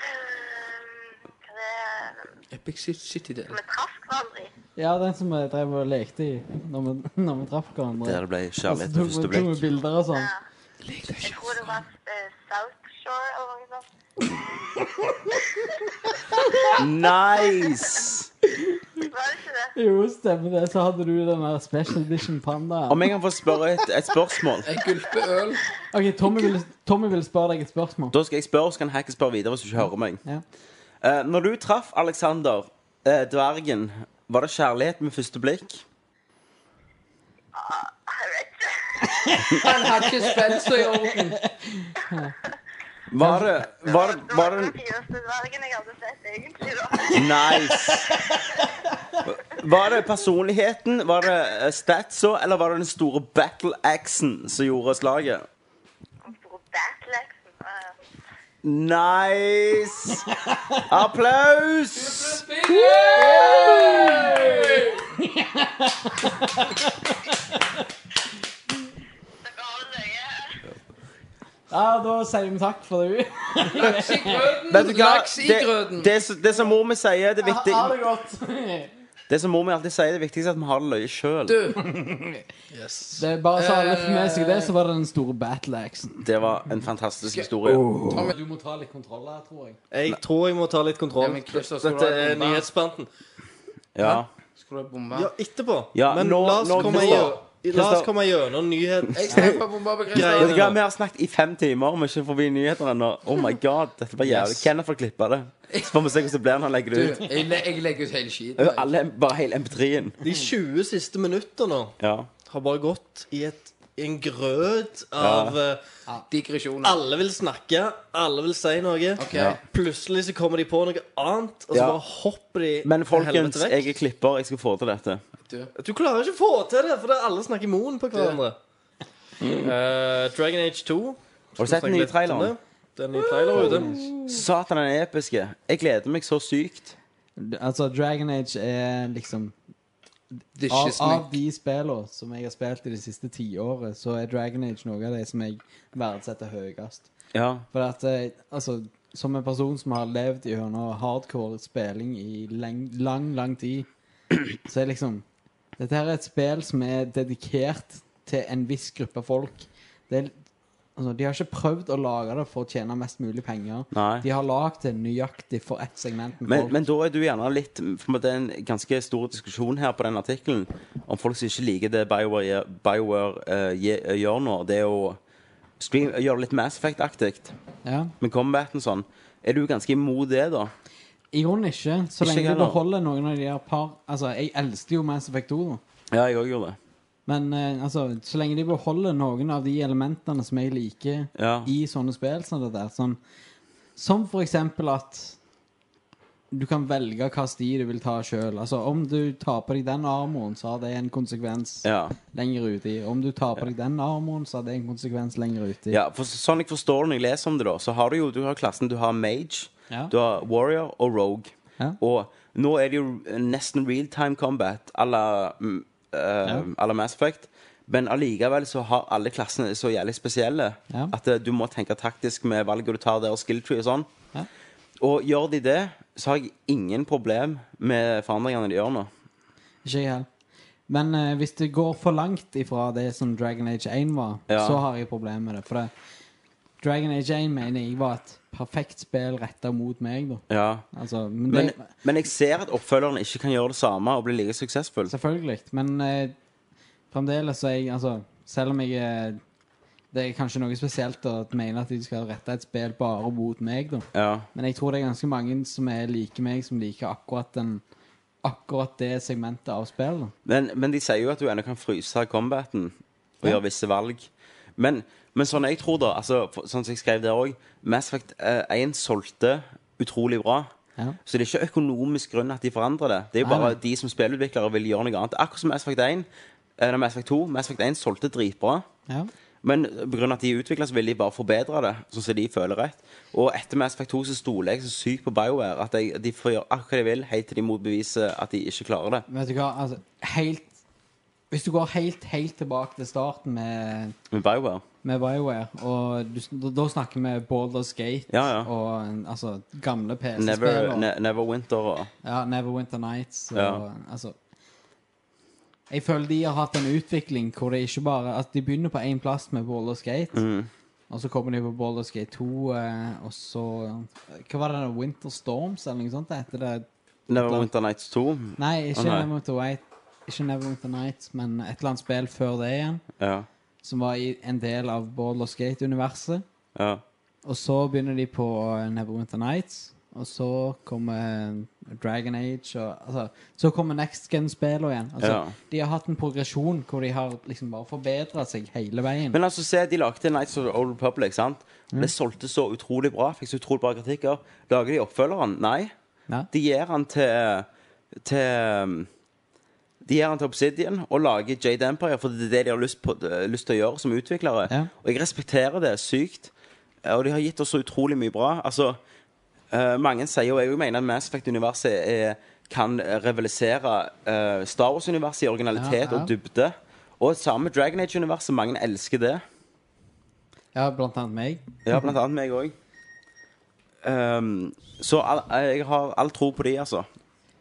Um, hva det er
Epic shit, shit i det.
Vi traff hverandre i.
Ja, den som vi drev og lekte i når vi, (laughs) når vi traff hverandre. Altså,
Der det ble
Og så
kjærlighet ved
tok
første
vi tok vi
blikk.
bilder og sånn.
Jeg tror det var eh, South Shore eller noe sånt.
Nice!
Var det ikke det?
Jo, stemmer det. Så hadde du den der special edition pandaen.
Om jeg kan få spørre et, et spørsmål?
Jeg gulper øl.
OK, Tommy vil, Tommy vil spørre deg et spørsmål.
Da skal jeg spørre, så kan Hackis spørre videre hvis du ikke hører meg.
Ja.
Eh, når du traff Alexander, eh, dvergen, var det kjærlighet med første blikk?
Jeg vet ikke.
Han hadde ikke spenst i orden.
Var det, var,
Det var
var
den
det
fineste dvergen jeg hadde sett, egentlig. (laughs) da.
Nice! Var det personligheten, var det eh, statsa, eller var det den store battle axen som gjorde slaget?
Den store batlexen. eh,
Nice! Applaus!
Det ga det løye.
Ja, da sier vi takk for det.
Laks i grøten.
Vet du hva?
Laks i
Det,
grøten.
det, som- det som mor mi sier, det er viktig
Ha det godt.
Det som mor mi alltid sier, det er viktigst at vi har det løye sjøl.
Du,
Det er bare så alle får med seg det, så var det den store battle-axen.
Det var en fantastisk historie.
Du må ta litt kontroll her, tror jeg.
Jeg tror jeg må ta litt
Ja,
kontroll.
men Christer, skal du
Dette
ha
er
bomba?
nyhetsspalten.
Ja.
Skal du ha bomba?
Ja, etterpå.
Ja,
Men
nå-
la oss
nå-
komme
nå-
gjø- la oss
Kristian-
komme gjennom nyhet.
Jeg skal ha bomba på
Vet
Christer.
du hva, Vi har snakket i fem timer, og vi er ikke forbi nyheter ennå. Oh my god, dette var jævlig.
Yes.
Kenneth får klippe det. Så får vi se hvordan det blir når han legger det
Du,
ut.
jeg, le- jeg legger ut hele skiten.
Over
jeg.
Alle, bare hele MP3-en.
De 20 siste minuttene
Ja.
har bare gått i et, i en grøt av eh,
Digresjoner.
Alle vil snakke, alle vil si noe.
Ok.
Ja.
Plutselig så kommer de på noe annet, og så
Ja.
bare hopper de
Men folkens,
helvete
jeg er klipper. Jeg skal få til dette.
Du klarer ikke å få til det, for det er alle snakker moen på hverandre. Eh, Dragon Age 2.
Har du sett den nye traileren?
Den nye traileren ute.
Satan, den er episke. Jeg gleder meg så sykt.
Altså, Dragon Age er liksom
Det er ikke
av, av
snakk.
de spillene som jeg har spilt i det siste tiåret, så er Dragon Age noe av det som jeg verdsetter høyest.
Ja.
For at, eh, altså, som en person som har levd gjennom hardcore spilling i lang, lang, lang tid, så er liksom Dette her er et spill som er dedikert til en viss gruppe folk. Det er, altså, de har ikke prøvd å lage det for å tjene mest mulig penger.
Nei.
De har lagd det nøyaktig for ett segment med
Men,
folk.
men da er du gjerne litt For det er en ganske stor diskusjon her på den artikkelen om folk som ikke liker det BioWare, gjør- BioWare eh, gje- gjør nå. Det er å stream, gjøre det litt Mass Effect-aktig
ja.
med combat og sånn. Er du ganske imot det, da?
I grunnen ikke, så
Ikke jeg
lenge du
heller.
beholder noen av de der par Altså, jeg elsker jo Mass Effect 2, da.
Ja, jeg òg gjorde det.
Men eh, altså, så lenge de beholder noen av de elementene som jeg liker
Ja.
i sånne spill, som det der, sånn, som for eksempel at du kan velge hva sti du vil ta sjøl. Altså, om du tar på deg den armoren, så har det en konsekvens
Ja.
lenger uti. Om du tar på deg den armoren, så har det en konsekvens lenger uti.
Ja, for sånn jeg forstår det når jeg leser om det, da, så har du jo du har klassen du har Mage,
Ja.
du har Warrior og Rogue.
Ja.
Og nå er det jo nesten real time combat à la, mm, eh, à la Mass Effect. Men allikevel så har alle klassene så jævlig spesielle
Ja.
at eh, du må tenke taktisk med valget du tar der, og skill tree og sånn.
Ja.
Og gjør de det, så har jeg ingen problem med forandringene de gjør nå.
Ikke jeg heller. Men eh, hvis det går for langt ifra det som Dragon Age 1 var,
Ja.
så har jeg problemer med det. For det, Dragon Age 1 mener jeg var et perfekt spill retta mot meg, da.
Ja.
Altså, men det,
Men, men jeg ser at oppfølgeren ikke kan gjøre det samme og bli like suksessfull.
Selvfølgelig. Men eh, fremdeles så er jeg Altså, selv om jeg eh, Det er kanskje noe spesielt å mene at de skal rette et spill bare mot meg, da.
Ja.
Men jeg tror det er ganske mange som er like meg, som liker akkurat, den, akkurat det segmentet av spillet.
Men, men de sier jo at du ennå kan fryse combaten og gjøre visse valg. Men, men sånn jeg tror, da altså, for- Sånn som jeg skrev der òg Mass Effect eh, 1 solgte utrolig bra.
Ja.
Så det er ikke økonomisk grunn at de forandrer det. Det er jo
Nei,
bare
nei.
de som spillutviklere vil gjøre noe annet. Akkurat som Mass Effect 1. Eller Mass Effect 2. Mass Effect 1 solgte dritbra.
Ja.
Men pga. at de utvikler, så vil de bare forbedre det. Sånn som de føler rett. Og etter Mass Effect 2 så stoler jeg så sykt på BioWare at jeg, de får gjøre akkurat hva de vil, helt til de motbeviser at de ikke klarer det.
Vet du hva, altså helt, Hvis du går helt, helt tilbake til starten med,
Med BioWare.
med Bioware og du, da, da snakker vi Baldur's Gate
Ja, ja.
og en- altså, gamle PC-spill
Never,
og
ne, Neverwinter og
ja, Neverwinter Nights og
Ja.
altså Jeg føler de har hatt en utvikling hvor det ikke bare At de begynner på én plass med Baldur's Gate,
Mm.
og så kommer de på Baldur's Gate 2, eh, og så Hva var det, Winter Storms eller noe sånt? det Heter det
Neverwinter Nights 2.
Nei, ikke
Å, nei.
Neverwinter White. Ikke Neverwinter Nights, men et eller annet spill før det igjen.
Ja.
Som var i en del av Baldur's Gate-universet.
ja.
Og så begynner de på eh, Neverwinter Nights. Og så kommer eh, Dragon Age og altså, Så kommer Next Gen-spillene igjen. Altså,
Ja.
De har hatt en progresjon hvor de har liksom bare forbedra seg hele veien.
Men altså, se, de lagde Nights of the Old Public, sant? Det solgte så utrolig bra, fikk så utrolig bra kritikker. Lager de oppfølgeren? Nei.
Nei.
De gir han til, til um, De gir han til Obsidian og lager Jade Empire, for det er det de har lyst, på, lyst til å gjøre som utviklere.
Ja.
Og jeg respekterer det sykt. Eh, Og de har gitt oss så utrolig mye bra. Altså, eh, mange sier, og jeg mener at Mass Effect-universet er- kan rivalisere eh, Star Wars-universet i originalitet
Ja, ja.
og dybde. Og samme med Dragon Age-universet. Mange elsker det.
Ja, blant annet meg.
Ja, blant annet meg òg. så all, eh, jeg har all tro på de, altså.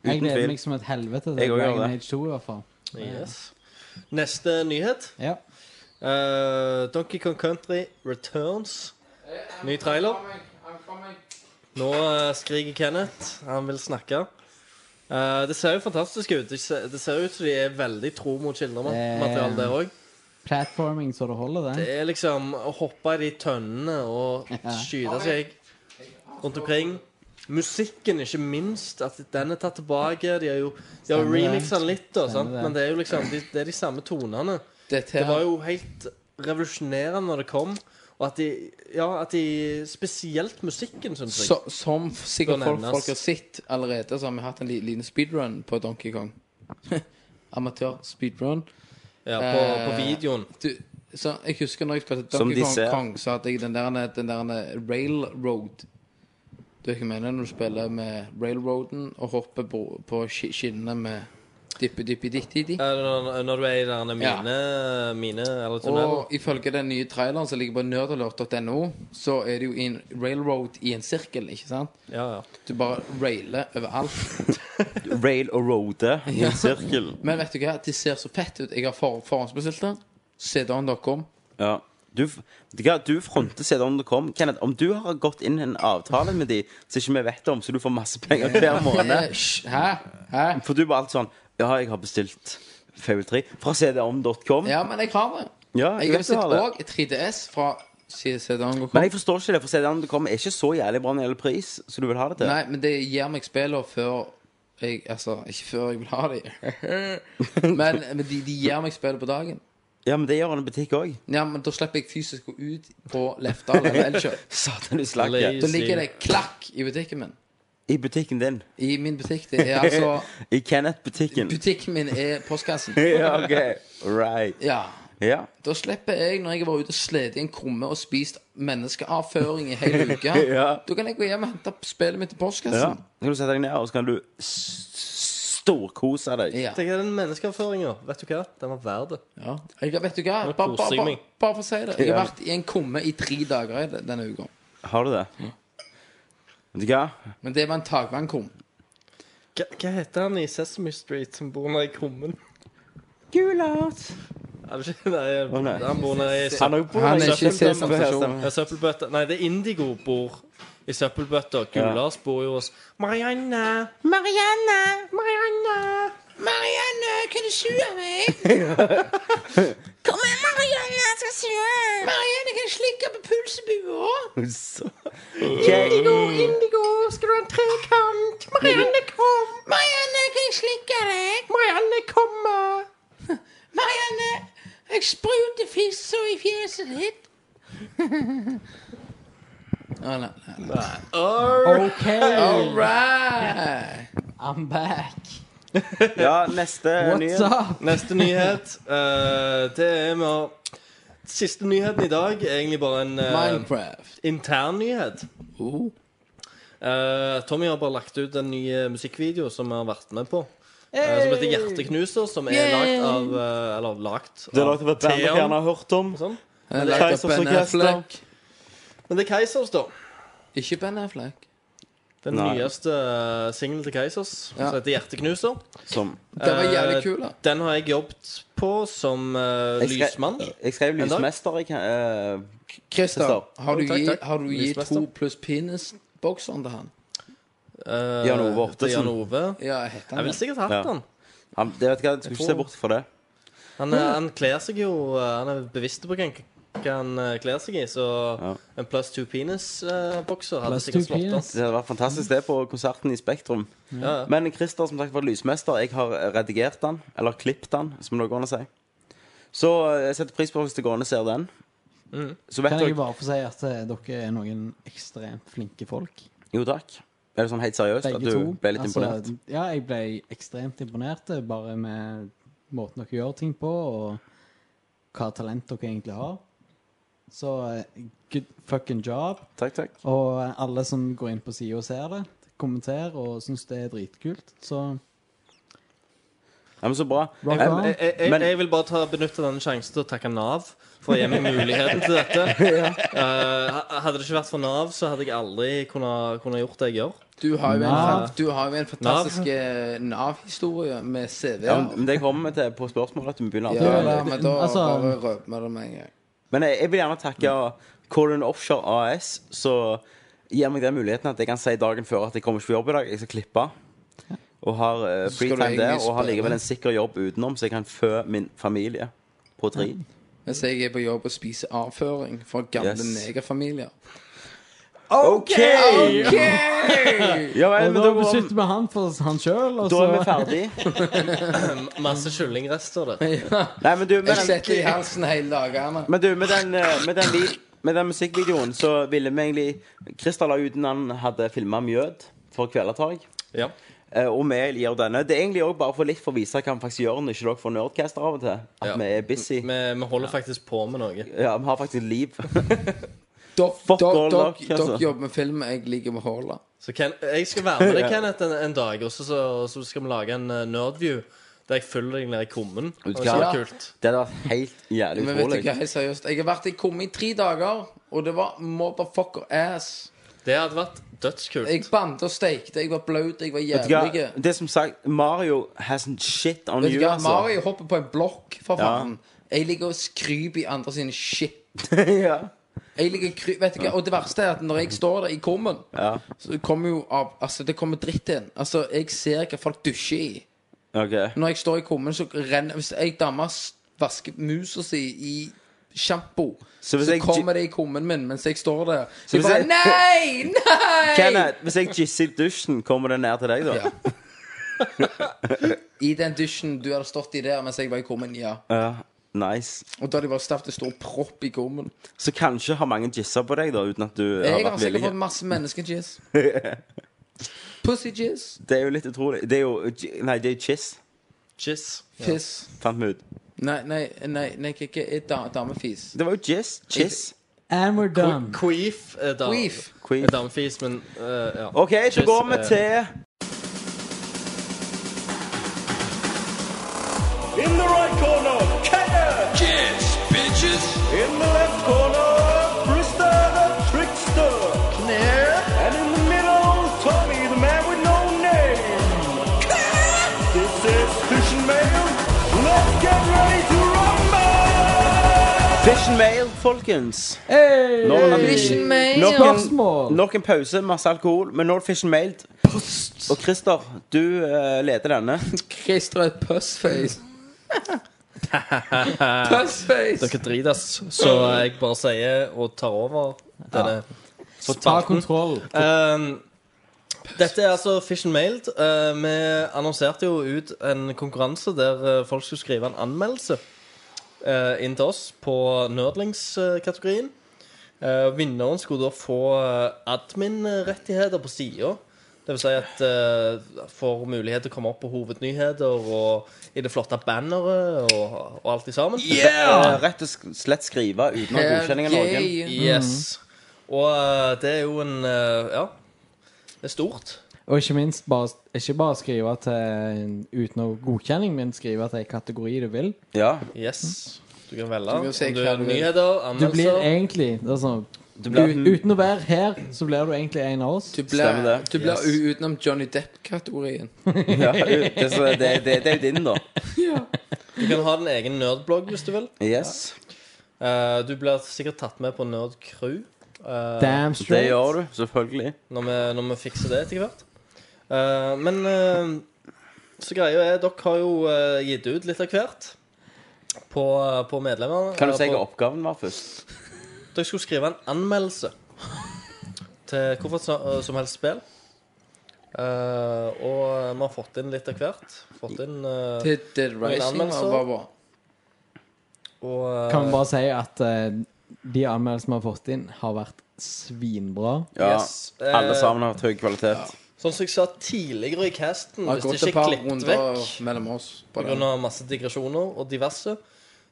Jeg
Uten
gleder
tvil.
meg som et helvete
Jeg
til
også gjør
Dragon
det.
Age 2, i hvert fall.
Yes. Neste nyhet.
Ja.
Eh, Donkey Kong Country Returns. Ny trailer. Nå eh, skriker Kenneth. Han vil snakke. Eh, det ser jo fantastisk ut. Det ser, det ser ut som de er veldig tro mot
Eh.
kildematerialet der òg.
Platforming så det holder,
Det
det.
er liksom å hoppe i de tønnene og skyte seg rundt omkring. Musikken, ikke minst. At den er tatt tilbake. De har jo de har
Stemmer det.
remixa den litt, da, sant?
Stemmer det.
men det er jo liksom de, det er de samme tonene.
Dette
Det
her,
var jo helt revolusjonerende når det kom. Og at de, ja, at de Spesielt musikken, syns jeg.
så, som f- sikkert
Skal
folk,
nevnes.
folk har sett allerede, så har vi hatt en li- liten speedrun på Donkey Kong. (laughs) Amatør-speedrun.
Ja, på, på
eh,
videoen.
Du, så jeg husker når jeg spilte
Som
Donkey
de
Kong,
ser.
Kong, så hadde jeg den der, den der railroad. Du vet hva jeg mener når du spiller med railroaden og hopper på, på sk- skinnene med dippi-dippi-ditti-di.
Eh, Når, når du er i denne mine, mine eller tunnel.
Og ifølge den nye traileren som ligger på nerdalert.no, så er det jo en railroad i en sirkel, ikke sant?
Ja, ja.
Du bare railer overalt.
Rail og roade i en sirkel.
Men vet du hva, det ser så fett ut. Jeg har for, forhåndsbestilt den. CD-en.com.
Ja. Du, f- du, hva, du fronter CD-en du kom. Kenneth, om du har gått inn en avtale med de som ikke vi vet om, så du får masse penger hver måned
Hæ? Hæ?
For du bare alt sånn Ja, jeg har bestilt Fable 3 fra cdom.com.
Ja, men jeg har det.
Ja, jeg
jeg har
vet du har
bestilt
det.
òg 3DS fra E CD-en.com.
Men jeg forstår ikke det, for cdom.com er ikke så jævlig bra når det gjelder pris, så du vil ha det til.
Nei, men det gir meg spillene før jeg, Altså, ikke før jeg vil ha
(laughs)
dem. men men de, de gir meg spillene på dagen.
Ja, men det gjør en butikk òg.
Ja, men Da slipper jeg fysisk å ut på Lefdal eller Elkjøp.
Satan, du slakker.
Da ligger det klakk i butikken min.
I butikken din.
I min butikk. Det er altså
(laughs) I Kenneth-butikken.
Butikken min er postkassen.
(laughs) ja, OK. Right.
Ja.
Ja.
Da slipper jeg, når jeg har vært ute og slitt i en krumme og spist menneskeavføring i hele uka,
(laughs) Ja.
da kan jeg gå hjem og hente spillet mitt i
Ja.
postkassen.
Så kan du sette deg ned, og så kan du s- storkose deg.
Ja.
Tenk deg den menneskeavføringa. Vet du hva? Den var verd det.
Ja. Jeg, vet du hva? Bare,
Nå
bare,
koser jeg
bare,
meg.
bare for å si det. Jeg har
Ja.
vært i en kumme i tre dager i det- denne uka.
Har du det? Vet du hva?
Men det var en takvannkum.
Hva, hva heter han i Sesame Street som bor nede i krummen? Er det ikke? Nei,
nei.
han bor nede i
Han er,
Han er ikke i Sesam
(laughs)
Stasjon.
Ja, søppelbøtta Nei, det er Indigo bor i søppelbøtta. Gulas bor jo hos Marianne. Marianne! Marianne!
Marianne, kan du sue meg?
Kom igjen, Marianne, jeg skal sue!
Marianne, kan jeg slikke på pulsebua?
Indigo,
Indigo, skal du ha en trekant? Marianne, kom!
Marianne, kan jeg slikke deg?
Marianne, kommer!
Marianne, jeg spruter fissa i fjeset (laughs) ditt. Å, Ah, nei, nei.
OK,
All
Eh,
right.
I'm back.
Ja, neste
What's
nyhet.
up?
Neste nyhet, eh, det er med å Siste nyheten i dag er egentlig bare en eh,
Minecraft.
intern nyhet.
Oh.
Uh-huh.
Eh, Tommy har bare lagt ut en ny eh, musikkvideo som vi har vært med på. eh, som heter Hjerteknuser, som er lagt av eh, Eller lagt
Det er lagt av et band dere gjerne
Theon.
har hørt om.
Sånn.
Han er
det er
lagt opp
Keisers
Ben
Orkester.
Affleck.
Men det er Keisers, da.
Ikke Ben Affleck.
Den
Nei.
nyeste eh, singelen til Keisers,
Ja.
som heter Hjerteknuser.
Som
Det var jævlig
Eh,
kul, da.
Den har jeg jobbet på som eh,
Jeg skrev-
lysmann.
Jeg skrev
dag.
lysmester. Jeg, kan- eh,
Christer, har du
Takk,
gi-
takk.
har du gitt
Lysmester.
to pluss penis-bokseren til han?
Eh,
Jan Ove Ottesen.
til Jan Ove.
Ja, heter
Jeg
han
vil
det?
sikkert ha
Ja.
hatt han.
han, det vet jeg, hva, jeg skulle ikke se bort fra det.
Han, eh, han kler seg jo eh, Han er bevisst på hva han hva han eh, kler seg i. Så
Ja.
en pluss two penis-bokser hadde
Plus
sikkert
two
slått an.
penis.
Det hadde vært fantastisk, det, på konserten i Spektrum.
Ja. ja.
Men Christer som sagt var lysmester. Jeg har redigert den, eller klippet den, som det går an å si. Så eh, jeg setter pris på hvis det går an å se den. Så vet
Kan jeg
dere
bare få si at eh, dere er noen ekstremt flinke folk?
Jo takk. Er det sånn helt seriøst at du
Begge to.
ble litt
Altså,
imponert?
Ja, jeg ble ekstremt imponert eh, bare med måten dere gjør ting på, og hva talent dere egentlig har. Så eh, good fucking job.
Takk, takk.
Og eh, alle som går inn på sida og ser det, kommenter og syns det er dritkult. Så
Ja, men Så bra.
Rock
Eh,
on.
Jeg, jeg,
Men-
jeg vil bare ta, benytte denne sjansen til å takke Nav for å gi meg muligheten til dette.
(laughs)
Eh, ha- hadde det ikke vært for Nav, så hadde jeg aldri kunnet, kunnet gjort det jeg gjør.
Du har jo en,
Nav.
fa- du har jo en fantastisk eh, Nav-historie med
Ja,
CV-er.
men det kommer vi til på spørsmålet. at vi begynner
Ja,
alltid.
det-
ja, men da
altså-
bare røper vi det med en gang.
Men jeg, jeg vil gjerne takke
Mm.
Colin Offshore AS, som gir meg den muligheten at jeg kan si dagen før at jeg kommer ikke på jobb i dag. Jeg skal klippe. Og har eh,
Så skal
free
du
time der,
egentlig
og har likevel
spille.
en sikker jobb utenom, så jeg kan fø min familie på tre.
Mm. Mens jeg er på jobb og spiser avføring for gamle
Yes.
negerfamilier. (laughs)
OK! ja vel,
Og
men
da
da, går-
beskytter vi han for han sjøl, og
da
så
er vi ferdig.
Eh, Masse kyllingrester der.
Nei, men du, med
Jeg
den,
setter i halsen hele dagene.
men du, med den, eh, med den, vi- med den musikkvideoen så ville vi egentlig Christer la ut den han hadde filma Mjød for Kvelertak.
Ja.
Eh, Og vi gjør denne. Det er egentlig også bare for litt for å vise hva vi faktisk gjør når ikke dere får Nerdcaster av og til. At
Ja.
vi er busy.
Vi, vi holder faktisk på med noe.
Ja, vi har faktisk (laughs) liv.
Dere
Fuck
dere-
all luck,
dere-
altså.
dere jobber med film, jeg ligger med håla.
Så Ken, jeg skal være med deg, Kenneth, en, en dag, og så, så, så skal vi lage en eh, nerdview der jeg følger deg ned i kummen. Og det skal
Ja.
være kult.
Det hadde vært helt jævlig
Men vet du hva,
utrolig.
helt seriøst, jeg har vært i komme i tre dager, og det var motherfucker ass.
Det hadde vært dødskult.
Jeg bandt og steikte, jeg var blaut, jeg var
Vet du hva?
jævlig.
Det er som sagt, Mario hasn't shit on
Vet du
you,
hva,
altså.
Mario hopper på en blokk, for
Ja.
faen. Jeg ligger og skryper i andre sine shit.
(laughs) ja.
Jeg ligger og kry... Vet du hva, og det verste er at når jeg står der i kummen,
ja.
så kommer jo av Altså, det kommer dritt inn. Altså, jeg ser hva folk dusjer i.
OK.
Når jeg står i kummen, så renner Hvis ei dame s- vasker musa si i sjampo,
Så
så,
hvis jeg-
kommer det i kummen min mens jeg står der. Så jeg
hvis
bare
jeg-
Nei! Nei!
Kenneth, hvis jeg jisser i dusjen, kommer det ned til deg, da?
Ja. I den dusjen du hadde stått i der mens jeg var i kummen, ja.
Ja. nice.
Og da hadde jeg bare stappet en stor propp i kummen.
Så kanskje har mange jissa på deg, da, uten at du har
Jeg har
vært
sikkert
villig.
fått masse menneskejizz. Pussy-jizz.
Det er jo litt utrolig. Det er jo Nei, det er chiss,
Chiss.
Piss.
fant vi ut.
Nei, nei, nei, nei ikke, ikke et da- damefis.
Det var jo jizz. Chiss.
And we're done.
Queef er dam-
Queef.
er
Queen.
damefis, men eh, ja. eh,
OK, så
Chiss
går vi
eh,
er-
til
In the right corner, Kenneth. Yes, bitches. In the left corner, Brister the trickster. Knair. And in the middle, Tommy, the man with no name. this is Fish and Mail. Let's get ready to rumble!
Fish and Mail, folkens. Nå,
Vision Mail.
nok, en,
Spørsmål.
nok en pause, masse alkohol, men nå er det Fish and Mail. Og Christer, du eh, leder denne.
Christer er et pussface. pussface.
Dere driter, ass. Så jeg bare sier og tar over denne
Ta
spalten.
kontroll.
Ehm, dette er altså Fish and Mailed. Eh, vi annonserte jo ut en konkurranse der eh, folk skulle skrive en anmeldelse eh, inn til oss på nerdlingskategorien. Eh, vinneren skulle da få eh, admin-rettigheter på sida. Det vil si at eh, får mulighet til å komme opp på hovednyheter og i det flotte banneret og, og alt i sammen.
Eh, rett og slett skrive uten å ha godkjenning av noen.
Yay.
Yes. Og eh, det er jo en eh, Ja, det er stort.
Og ikke minst bare, ikke bare skrive til uten noe godkjenning, men skrive til en kategori du vil.
Ja,
Yes. Du kan velge.
kan
Om
si
du
hva
er
du vil.
nyheter,
Mm. Du blir
anmeldelser
egentlig altså, du
blir-
Uten å være her, så blir du egentlig en av oss.
Du
Stemmer
blir,
det.
du blir
Yes.
u- utenom Johnny Depp-kategorien.
(laughs) ja det, det, det, det er jo din, da.
Du kan ha din egen nerdblogg hvis du vil.
Yes.
Eh, du blir sikkert tatt med på Nerd Crew eh,
Damn
Det
straight.
gjør du, selvfølgelig.
når, vi, når vi fikser det etter hvert. Eh, men eh, så greia er dere har jo eh, gitt ut litt av hvert. på, på medlemmene.
Kan du
eller
si
på-
hva oppgaven var først?
Dere skulle skrive en anmeldelse til hvorfor så- som helst spill. Eh, og vi har fått inn litt av hvert. Fått inn eh,
Til Dead Rising
anmeldelse?
var bra.
og, eh,
Kan vi bare si at eh, de anmeldelsene vi har fått inn, har vært svinbra.
Ja.
Yes. Eh,
Alle sammen har hatt høy kvalitet.
Sånn som jeg sa tidligere i casten,
Det har
hvis det
gått et
ikke
par
er klippet
runder
vekk
mellom oss. På den.
pga. masse digresjoner og diverse,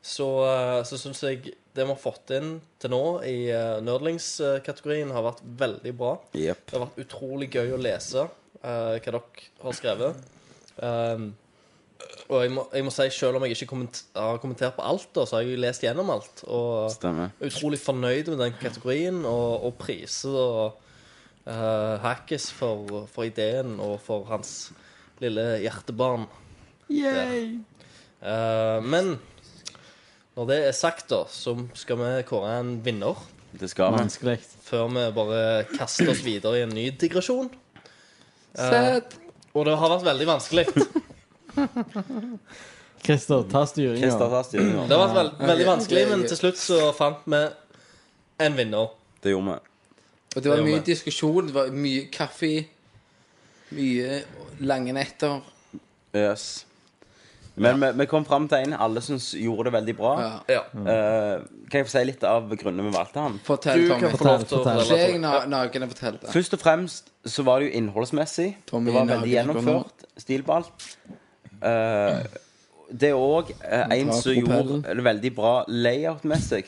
så, eh, så syns jeg det vi har fått inn til nå i eh, nerdlingskategorien, har vært veldig bra.
Jepp.
Det har vært utrolig gøy å lese eh, hva dere har skrevet. Um, og jeg må, jeg må si, selv om jeg ikke komment har kommentert på alt, da, så har jeg jo lest gjennom alt. Og
Stemmer.
er utrolig fornøyd med den kategorien, og, og priser og uh, Hackes for, for ideen og for hans lille hjertebarn.
Yay!
Eh, men når det er sagt, da, så skal vi kåre en vinner
Det skal vi.
Vanskelig.
før vi bare kaster oss videre i en ny digresjon.
Sett.
Og det har vært veldig vanskelig. Det
Christer, ta styringa.
Christer tar styringen nå.
har vært veld veldig vanskelig,
ok.
men til slutt så fant vi en vinner.
Det gjorde vi.
Og det var
Det gjorde
mye
vi.
diskusjon, det var mye kaffe, mye lange netter.
Yes. Men vi, vi kom fram til en alle syns gjorde det veldig bra.
Ja.
Ja.
Eh, kan jeg få si litt av grunnene vi valgte han?
Du
Fortell,
kan
Tommy.
få lov til å
Fortell,
Ikke jeg
fortelle.
na- naken og fortell det.
Først og fremst så var det jo innholdsmessig.
Tommy
det var
Nagen
veldig
er ikke
gjennomført. Stil på alt. Eh, det er òg eh, en
tar
som
propellen.
gjorde det veldig bra layout-messig.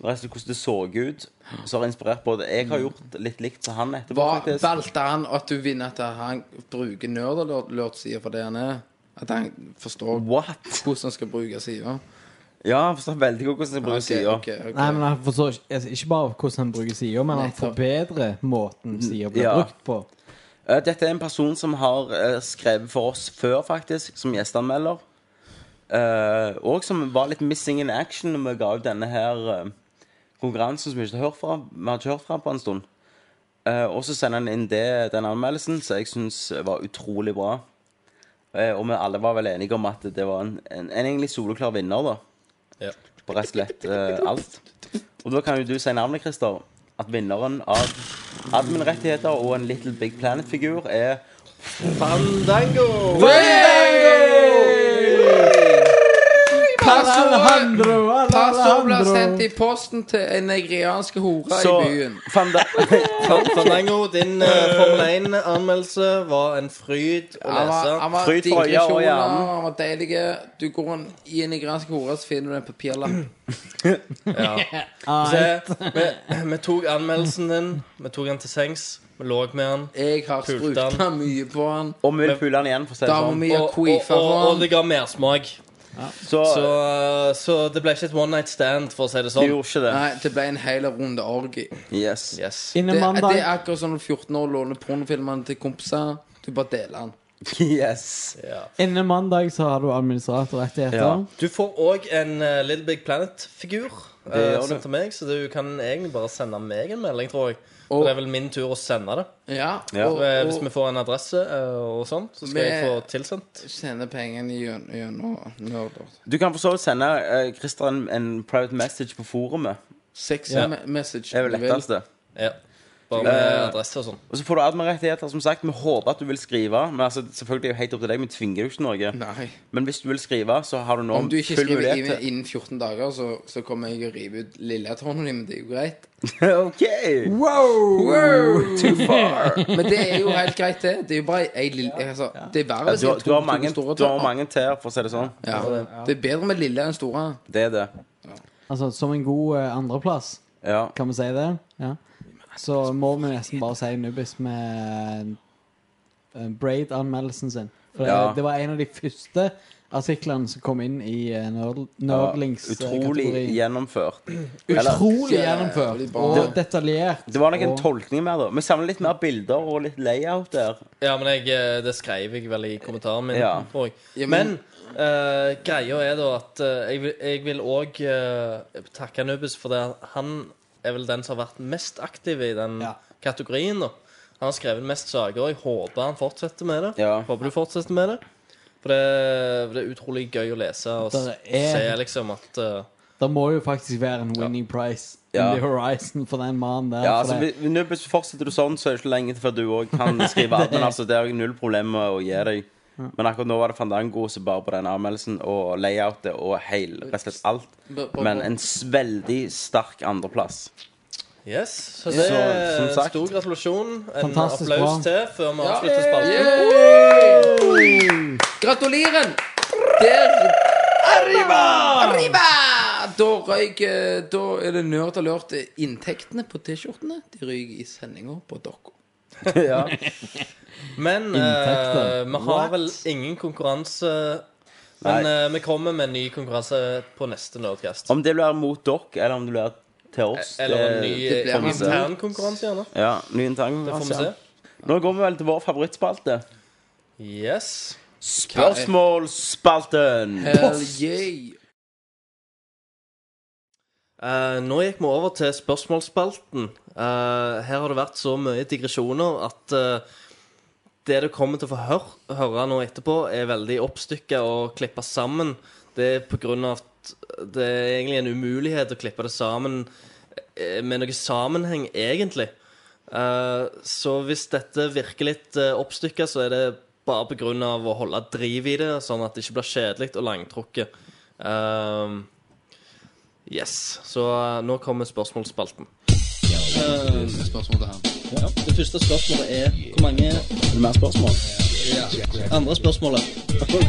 Rett og slett hvordan det så ut. Som har inspirert både Jeg har gjort litt likt som han etterpå,
Hva
faktisk.
valgte han at du vinner at han bruker nerdalert sida for det han er? At han forstår
What?
hvordan han skal bruke sida?
Ja, jeg forstår veldig godt hvordan jeg bruker sida.
Nei, men han forstår ikke, altså, ikke bare hvordan han bruker sida, men han
Nettopp.
forbedrer måten sida
Mm,
blir
Ja.
brukt på.
Eh, Dette er en person som har eh, skrevet for oss før, faktisk, som gjesteanmelder. Eh, og som var litt missing in action når vi ga ut denne her eh, konkurransen som vi ikke har hørt fra, vi har ikke hørt fra på en stund. Eh, og så sender han inn det, den anmeldelsen, som jeg syns var utrolig bra. Eh, og vi alle var vel enige om at det var en, en, en egentlig soleklar vinner, da.
Ja.
På rett og slett eh, alt. Og da kan jo du si navnet, Christer. At vinneren av admin-rettigheter og en Little Big Planet-figur er
Fandango!
Passord ble sendt
Alejandro!
i posten til en nigeriansk hore i
Så
byen.
Fanda
Fan- Fandango, din eh, Formel 1-anmeldelse var en fryd å
Han var,
lese.
han var
Fryd for øya og
digresjoner,
hjernen.
han var deilig. Du går inn i en nigeriansk hore, så finner du en
(clears throat)
papirlapp.
Se, vi, vi tok anmeldelsen din, vi tok den til sengs, vi lå med den.
Jeg har
Pulte
spruta mye på han.
Og vi vil pule han igjen, for å si det
Da må
sånn.
vi ha
Og, og, og,
queefa på
og
han.
det ga mersmak.
Så,
Så, eh, så det ble ikke et one night stand, for å si det
vi
sånn.
gjorde ikke det.
Nei, det ble en hel runde orgi.
Yes.
Yes.
Det,
Innen
det er
mandag
akkurat som når 14 år låner pornofilmene til kompiser. Du bare deler den.
yes.
Ja.
Innen mandag så har du administratorrettigheter.
Ja.
Du får òg en eh, Little Big Planet-figur
Det
uh,
gjør du.
sendt til meg, så du kan egentlig bare sende meg en melding, tror jeg.
Og-
Og det er vel min tur å sende det.
Ja,
Ja.
og,
Så, eh, Hvis vi
og
får en adresse eh, og sånn, så skal
Vi-
jeg få tilsendt.
sender pengene gjennom- gjennom nerder.
Du kan for så vidt sende eh, Christer en, en private message på forumet.
Sex
Ja.
me- message.
Det er vel
du vil.
letteste.
Ja. Bare med
Eh,
adresse og sånn.
Og så får du admin-rettigheter, som sagt. Vi håper at du vil skrive. Men altså, selvfølgelig er det jo helt opp til deg. Vi tvinger deg jo ikke til noe.
Nei.
Men hvis du vil skrive, så har du nå
Om du ikke
full
skriver
mulighet
innen, innen 14 dager, så, så kommer jeg å rive ut lilletårnet din, men det er jo greit.
til (laughs) OK! Too
(laughs)
far!
Men det er jo helt greit, det. Det er jo bare ei lille altså, Det er verre å
Ja, du,
si
har- du har
to- to
mange,
store
du har
tårn.
mange til, for å si det sånn.
Ja. Det er bedre med lille enn store.
Det er det.
Altså, som en god eh, andreplass,
Ja.
kan vi si det? Ja. Så må vi nesten bare si Nubis med eh, Braid-anmeldelsen sin. For det,
Ja.
det var en av de første artiklene som kom inn i eh, nerd,
Ja,
nerdlings-kategorien.
Utrolig gjennomført.
(clears throat)
Eller-
Utrolig
Jævlig
gjennomført
bra.
og
Det-
detaljert.
Det var nok en
og-
tolkning mer, da. Vi samler litt mer bilder og litt layout der.
Ja, men jeg, eh, det skrev jeg vel i kommentaren min,
Ja.
tror jeg.
Ja,
men
men-
eh, greia er da at eh, jeg vil- jeg vil òg takke Nubis for det. Han er vel den som har vært mest aktiv i den
Ja.
kategorien. da. Han har skrevet mest saker, og jeg håper han fortsetter med det.
Ja.
Håper du fortsetter med det. For det, for det er utrolig gøy å lese og s-
Det er-
se liksom at eh,
Det må jo faktisk være en winning price
Ja.
in the horizon for den mannen der.
Ja,
for
altså,
det-
vi- vi- nå hvis Fortsetter du sånn, så er det ikke lenge til før du òg
(laughs)
kan skrive alt. Men altså, det har jeg null problemer med å gi deg. Men akkurat nå var det Fandango som bare på den anmeldelsen, og layoutet og hele, rett og slett alt. Men en s- veldig sterk andreplass.
Yes. Så
Så,
det er
som
en
sagt-
stor gratulasjon. En
Fantastisk
applaus
bra.
til før vi avslutter spalten.
Yay! Gratulerer! Der Arriba! Arriba! Da røyk eh, Da er det nerd alert. Inntektene på T-skjortene De ryker i sendinga på dere.
(laughs) Men
Inntekter.
eh, vi har vel ingen konkurranse. Men eh, vi kommer med en ny konkurranse på neste Nerdcast.
Om det blir mot dere, eller om det blir til oss
E- Eller en
det-
ny
det blir
eh,
en
intern konkurranse, gjerne.
Ja, ny intern.
Det får vi se.
Nå går vi vel til vår favorittspalte.
Yes.
Spørsmålsspalten!
Hell yeah!
Eh, nå gikk vi over til spørsmålsspalten. Eh, her har det vært så mye digresjoner at eh, det du kommer til å få hør høre nå etterpå, er veldig oppstykka og klippa sammen. Det er på grunn av at eh, det er egentlig en umulighet å klippe det sammen eh, med noe sammenheng, egentlig. Eh, så hvis dette virker litt uh, oppstykka, så er det bare på grunn av å holde driv i det, sånn at det ikke blir kjedelig og langtrukket. Eh, Yes, så eh, nå kommer spørsmålsspalten.
Spørsmål til han.
Det første spørsmålet er hvor mange
Mer spørsmål?
andre spørsmålet.
(laughs)
Skal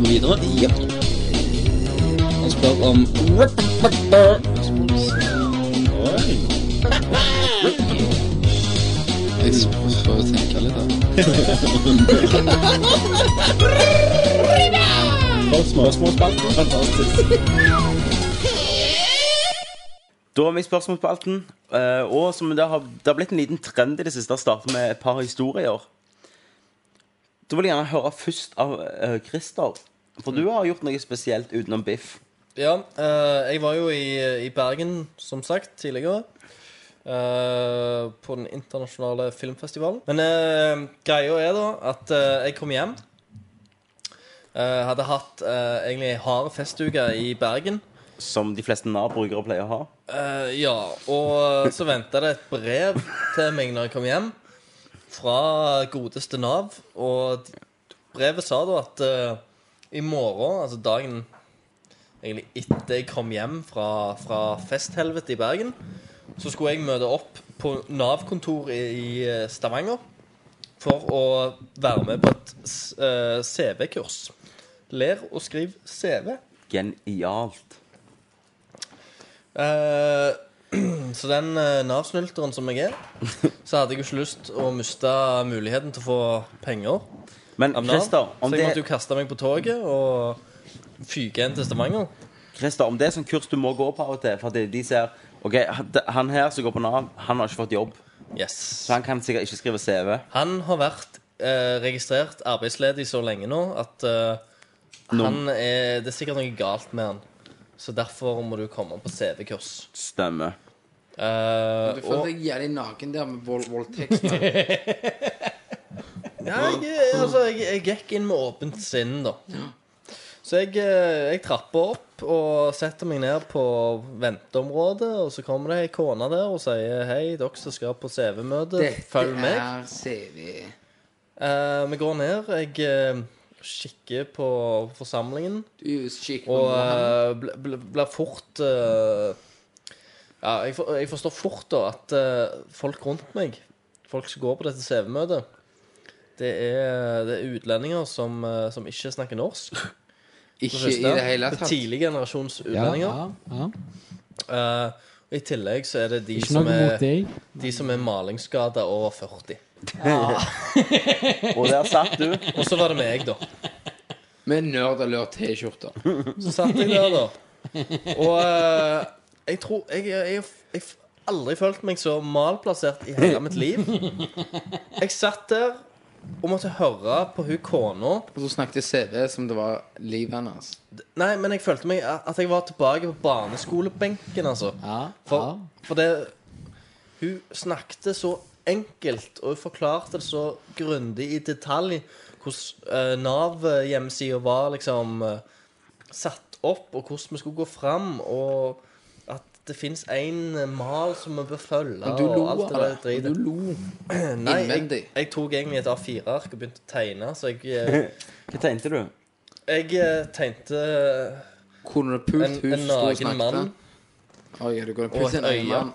vi gå videre? Ja. Han spør om
Jeg s- får jo tenke
(laughs)
litt, da.
Spørsmålsspalten. Fantastisk. Da er vi i spørsmålsspalten. eh, Og som det har, det har blitt en liten trend i det siste, å starte med et par historier. Da vil jeg gjerne høre først av eh, Christer. For du har gjort noe spesielt utenom biff.
Ja, eh, jeg var jo i, i Bergen, som sagt, tidligere. eh, på den internasjonale filmfestivalen. Men eh, greia er da at eh, jeg kom hjem. Eh, hadde hatt eh, egentlig ei hard festuke i Bergen.
Som de fleste Nav-brukere pleier å ha.
Eh, ja, og eh, så venta det et brev til meg når jeg kom hjem, fra godeste Nav. Og d- brevet sa da at eh, i morgen, altså dagen egentlig etter jeg kom hjem fra, fra festhelvete i Bergen, så skulle jeg møte opp på Nav-kontor i, i eh, Stavanger for å være med på et s- eh, CV-kurs. Ler og skriv CV.
Genialt.
Eh, (clears throat) så den eh, Nav-snylteren som jeg er, så hadde jeg jo ikke lyst å miste muligheten til å få penger
Men
av Nav.
Christer, om,
så jeg måtte
det-
jo kaste meg på toget og fyke inn til Stavanger.
Christer, om det er sånn kurs du må gå på av og til Fordi de ser OK, han her som går på Nav, han har ikke fått jobb.
Yes.
Så han kan sikkert ikke skrive CV.
Han har vært eh, registrert arbeidsledig så lenge nå at eh, han er, det er sikkert noe galt med han. Så derfor må du komme på CV-kurs.
Stemmer.
Eh, og-
Du følte deg jævlig naken der med vold, voldtekt. da.
Ja, jeg, altså, jeg, jeg gikk inn med åpent sinn, da. Så jeg, eh, jeg trapper opp og setter meg ned på venteområdet, og så kommer det ei kone der og sier hei, dere som skal på CV-møte, følg meg.
er CV.
Eh, vi går ned. Jeg eh, kikker på forsamlingen
Du er skikk på
og
han.
eh, bl- bl- blir fort eh, Ja, jeg, for, jeg forstår fort da at eh, folk rundt meg, folk som går på dette CV-møtet, det er, det er utlendinger som, eh, som ikke snakker norsk. for det
Ikke i
første.
det hele tatt.
Tidlig generasjons utlendinger.
ja, ja.
Eh, og I tillegg så er det de
Ikke
som
noe mot
er,
deg.
de som er malingsskada over 40.
Og der satt du.
Og så var det meg, da.
Med nerdalert T-skjorter.
Så satt jeg der, da. Og eh, jeg tror Jeg jeg- jeg har aldri følt meg så malplassert i hele mitt liv. Jeg satt der og måtte høre på hun kona.
Og så snakket CV som det var livet hans.
Nei, men jeg følte meg at jeg var tilbake på barneskolebenken, altså.
Ja,
For, for det Hun snakket så enkelt og hun forklarte det så grundig i detalj hvordan Nav-hjemmesida var liksom eh, satt opp, og hvordan vi skulle gå fram, og at det fins én mal som vi bør følge,
Men du lo
og alt det der
av det.
dritet.
Du lo.
Nei, jeg,
innvendig.
jeg tok egentlig et A4-ark og begynte å tegne, så jeg eh,
(laughs)
Hva tegnte du?
Jeg eh, tegnte eh,
Kunne du pult
en,
hus
en
sto og
naken
snakket?
mann.
Oi, du kunne
Og
pult
et
en
øye.
øye. mann.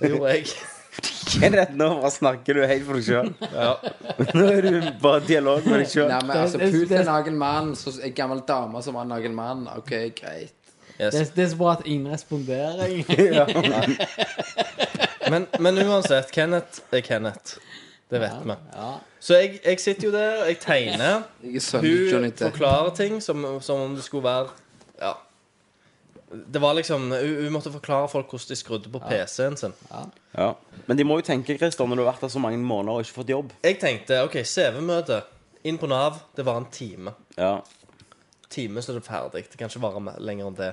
Det gjorde jeg.
Hva er dette nå? Hva snakker du helt for deg sjøl? Nå er du bare i dialog med deg sjøl.
Nei, men altså,
Det- det-
pult en
det-
naken mann, så en gammel dame som var en naken mann. OK, greit.
Yes.
Det, er- det er så bra at ingen responderer, egentlig.
(laughs)
Men, men uansett, Kenneth er Kenneth. Det vet vi.
Ja.
Så jeg, jeg sitter jo der, jeg tegner.
Jeg er sønnen til Johnny
Hun
Depp.
forklarer ting som, som om det skulle være Ja. Det var liksom Hun, hun måtte forklare folk hvordan de skrudde på PC-en sin.
Ja. Men de må jo tenke, Christer, når du har vært der så mange måneder og ikke fått jobb.
Jeg tenkte OK, CV-møte. Inn på Nav. Det var en time.
Ja.
time så er det ferdig. Det kan ikke vare me- lenger enn det.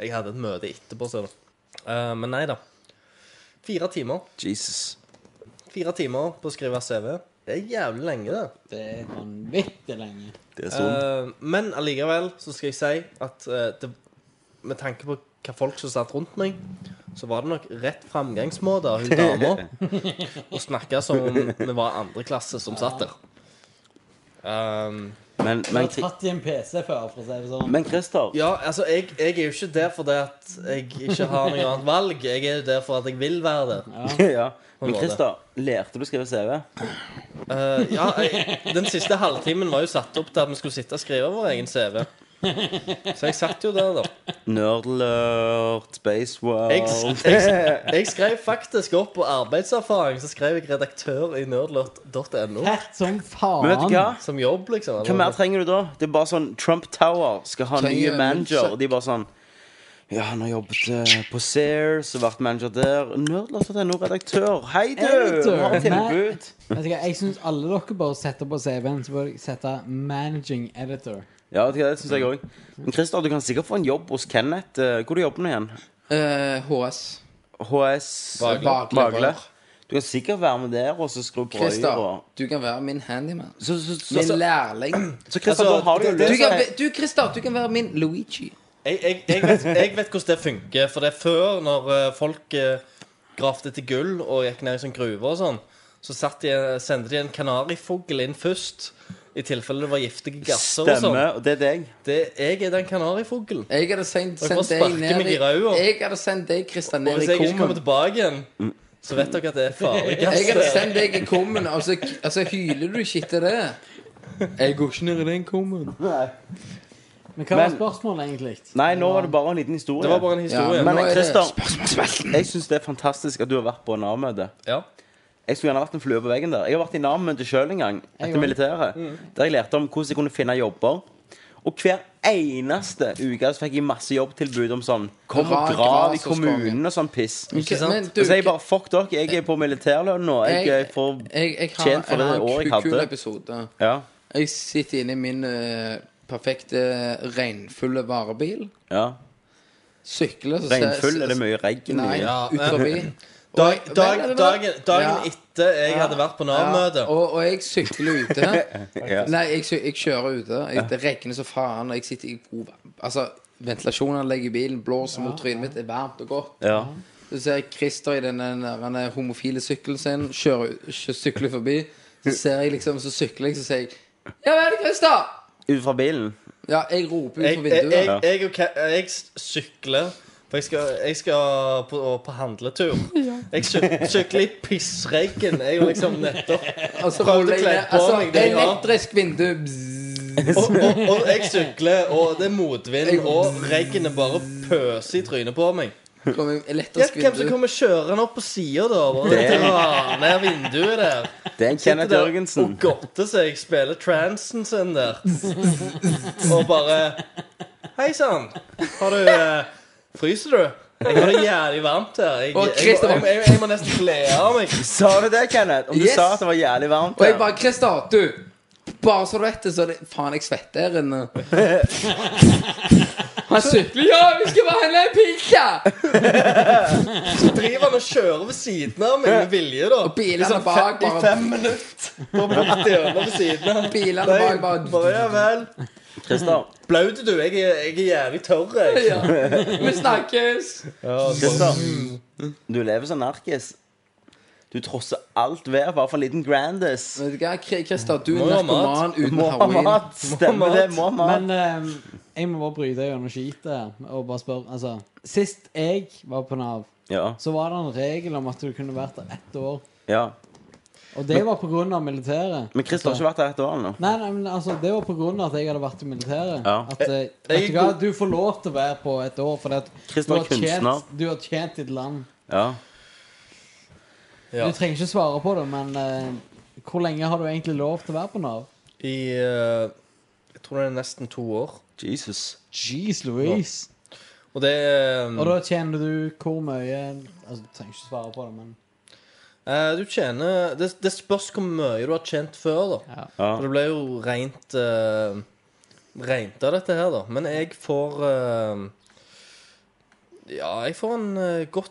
Jeg hadde et møte etterpå, ser du. Eh, men nei da. Fire timer.
Jesus.
Fire timer på å skrive CV. Det er jævlig lenge, det.
Det er vanvittig lenge.
Det er sånn.
Eh, men allikevel så skal jeg si at eh, det, med tanke på hva folk som satt rundt meg, så var det nok rett framgangsmåte av hun
(laughs) Eh,
dama å snakke som om vi var andre klasse som satt der. Um,
Men,
Du
men,
har tatt i en PC før, for å si det sånn.
men Christer,
Ja, altså, jeg, jeg er jo ikke der fordi at jeg ikke har noe annet valg. Jeg er jo der for at jeg vil være der.
(laughs) ja.
var
men
det.
Christer, lærte du å skrive CV?
Eh, ja, jeg, den siste halvtimen var jo satt opp til at vi skulle sitte og skrive vår egen CV. Så jeg satt jo der, da.
Nerdlert, Space World
Jeg, jeg,
(laughs)
jeg skrev faktisk opp på arbeidserfaring, så skrev jeg redaktør i nerdlot.no
Tett som faen.
Men vet du hva?
som jobb, liksom.
Hva mer trenger du da? Det er bare sånn Trump Tower skal ha
Trenger
nye
en
manager,
sek-
og de er bare sånn ja, han har jobbet eh, på Sears og vært manager der. Nerdlast.no, redaktør. Hei, du!
Hei, du!
Vi har et
Nei.
tilbud.
Vet du hva? Jeg syns alle dere bør sette på CV-en så bør dere sette 'managing editor'.
Ja, vet du hva, det syns jeg òg. Men Christer, du kan sikkert få en jobb hos Kenneth. Eh, Hvor du jobber du igjen?
Eh, HS.
HS
Vagle.
Vagle.
Vagle.
Du kan sikkert være med der og så skru brøyer
Christer,
og
du kan være min handyman.
Så, så, så,
Min
så,
lærling.
så Christer,
Altså,
da har du jo
det-
Du,
løst
kan,
det.
være- du Christer, du kan være min Luigi.
Jeg, jeg, jeg, vet, jeg vet hvordan det funker. For det er før, når eh, folk eh, gravde etter gull og gikk ned i sånn gruve og sånn, så satt de, sendte de en kanarifugl inn først. I tilfelle det var giftige gasser og sånn.
Stemme, og det er deg.
Det, jeg er den kanarifuglen.
Jeg hadde sendt,
Dere må
sendt deg
sparke
ned
meg i
i
ræva.
Jeg hadde sendt deg, Christer,
Og
ned i
hvis jeg ikke kommer
kummen.
tilbake igjen, så vet dere at det er farlig
Jeg hadde
gass.
sendt deg i kummen, og så og så hyler du ikke etter det. Jeg går ikke ned i den kummen.
Men hva var
Men-
spørsmålet, egentlig?
Nei, nå var det bare en liten historie.
Det var bare en
Ja,
historie.
men
Men
nå er det
Christer, jeg syns det er fantastisk at du har vært på Nav-møte.
Ja.
Jeg skulle gjerne vært en flue på veggen der. Jeg har vært i Nav-møte sjøl en gang, etter
òg.
militæret,
Mm.
der jeg lærte om hvordan jeg kunne finne jobber. Og hver eneste uke så fikk jeg masse jobbtilbud om sånn Kom
Bra,
og grav
bra,
i
så
kommunen og sånn piss. Og
Ikke sant? Men du-
så sier jeg bare fuck dere, jeg er på militærlønn nå. Jeg,
Jeg-
eh, får
Jeg, jeg har,
tjent for det
jeg har
året jeg
en kul
hadde.
episode.
Ja.
Jeg sitter inne i min eh, perfekte regnfulle varebil.
ja.
Sykler så ser-
Regnfull er det mye regn
Nei,
i.
Ja,
ut forbi.
(laughs) Dag,
Og-
dag,
Vel, er det da?
dagen, dagen
Ja.
etter jeg hadde vært på Nav-møte
Ja, og, og jeg sykler ute.
(laughs) Ja.
Nei, jeg, sy- jeg kjører ute. Jeg, det regner så faen, og jeg sitter i god Altså, ventilasjonanlegget i bilen blåser mot trynet mitt, det er varmt og godt.
Ja.
Så ser jeg Christer i den der- den der homofile sykkelen sin, kjører, kjø- sykler forbi. Så ser jeg liksom, så sykler jeg, så sier jeg Ja vel, Christer!
Ut fra bilen.
Ja, jeg roper ut
jeg,
fra
jeg,
vinduet.
jeg, jeg, og Ke- jeg s- sykler For jeg skal, jeg skal på, på
(laughs)
handletur Jeg syk- sykler i pissregn Jeg er jo liksom nettopp
Og så
prøvde
ruller
å
jeg
kle
ned.
på
Altså,
meg det jeg har.
elektrisk
(laughs)
vindu. bzzz.
og, og, og jeg sykler, og det er motvind Og regnet bare pøser i trynet på meg
Kommer elektrisk
Gjett hvem som
vindu.
kommer kjørende opp på siden da Bare
Det-
drar ned vinduet der
(laughs) Det er
Sitter
Kenneth
der
Jørgensen.
Og godter seg, spiller transen sin der. Og bare Hei sann, har du eh, Fryser du? Jeg har det jævlig varmt her. Jeg,
Og
jeg, jeg,
Christopher-
jeg, jeg må nesten kle av meg.
Sa du det, Kenneth? Om du
Yes.
sa at det var jævlig varmt
Og jeg
der?
bare Christer, du!
(laughs)
Bare så du vet det, så er det Faen, jeg svetter her inne. Han sykler. Ja, vi skal bare handle en pizza!
Driver han og kjører ved siden av meg med vilje, da?
Og bilene bak
I
bare
fem minutter. Bare bort i øynene ved siden av.
Bilene
Nei,
bak bare
(laughs) Bare, ja vel.
Christer,
Blaut du? Jeg er, jeg er jævlig tørr, jeg.
ja. Vi snakkes!
Christer, du lever som narkis. Du trosser alt vær bare for en liten Grandis.
Vet du hva, Kri- Christer, du
Må
er
ha
narkoman uten
Må ha
heroin.
mat. (laughs) Stemmer det. Må ha mat.
Men eh, jeg må bare bryte gjennom skitet og bare spørre Altså, sist jeg var på Nav,
Ja.
så var det en regel om at du kunne vært der ett år.
ja.
Og det var på grunn av militæret.
Men Christer har ikke vært der et år ennå.
Nei, nei, men altså, Det var på grunn av at jeg hadde vært i militæret.
Ja.
At
Jeg-
eh, vet du, hva, du får lov til å være på et år fordi at du
Christer er
har, tjent,
kunstner.
du har tjent ditt land.
Ja.
Ja.
Du trenger ikke svare på det, men eh, hvor lenge har du egentlig lov til å være på Nav?
I eh, Jeg tror det er nesten to år.
Jesus.
Jeez Louise.
Og det eh,
Og da tjener du hvor mye Altså, Du trenger ikke svare på det, men
eh, Du tjener det, det spørs hvor mye du har tjent før, da.
ja.
Ja.
For det ble jo rent eh, Rent av dette her, da. Men jeg får eh, Ja, jeg får en eh, godt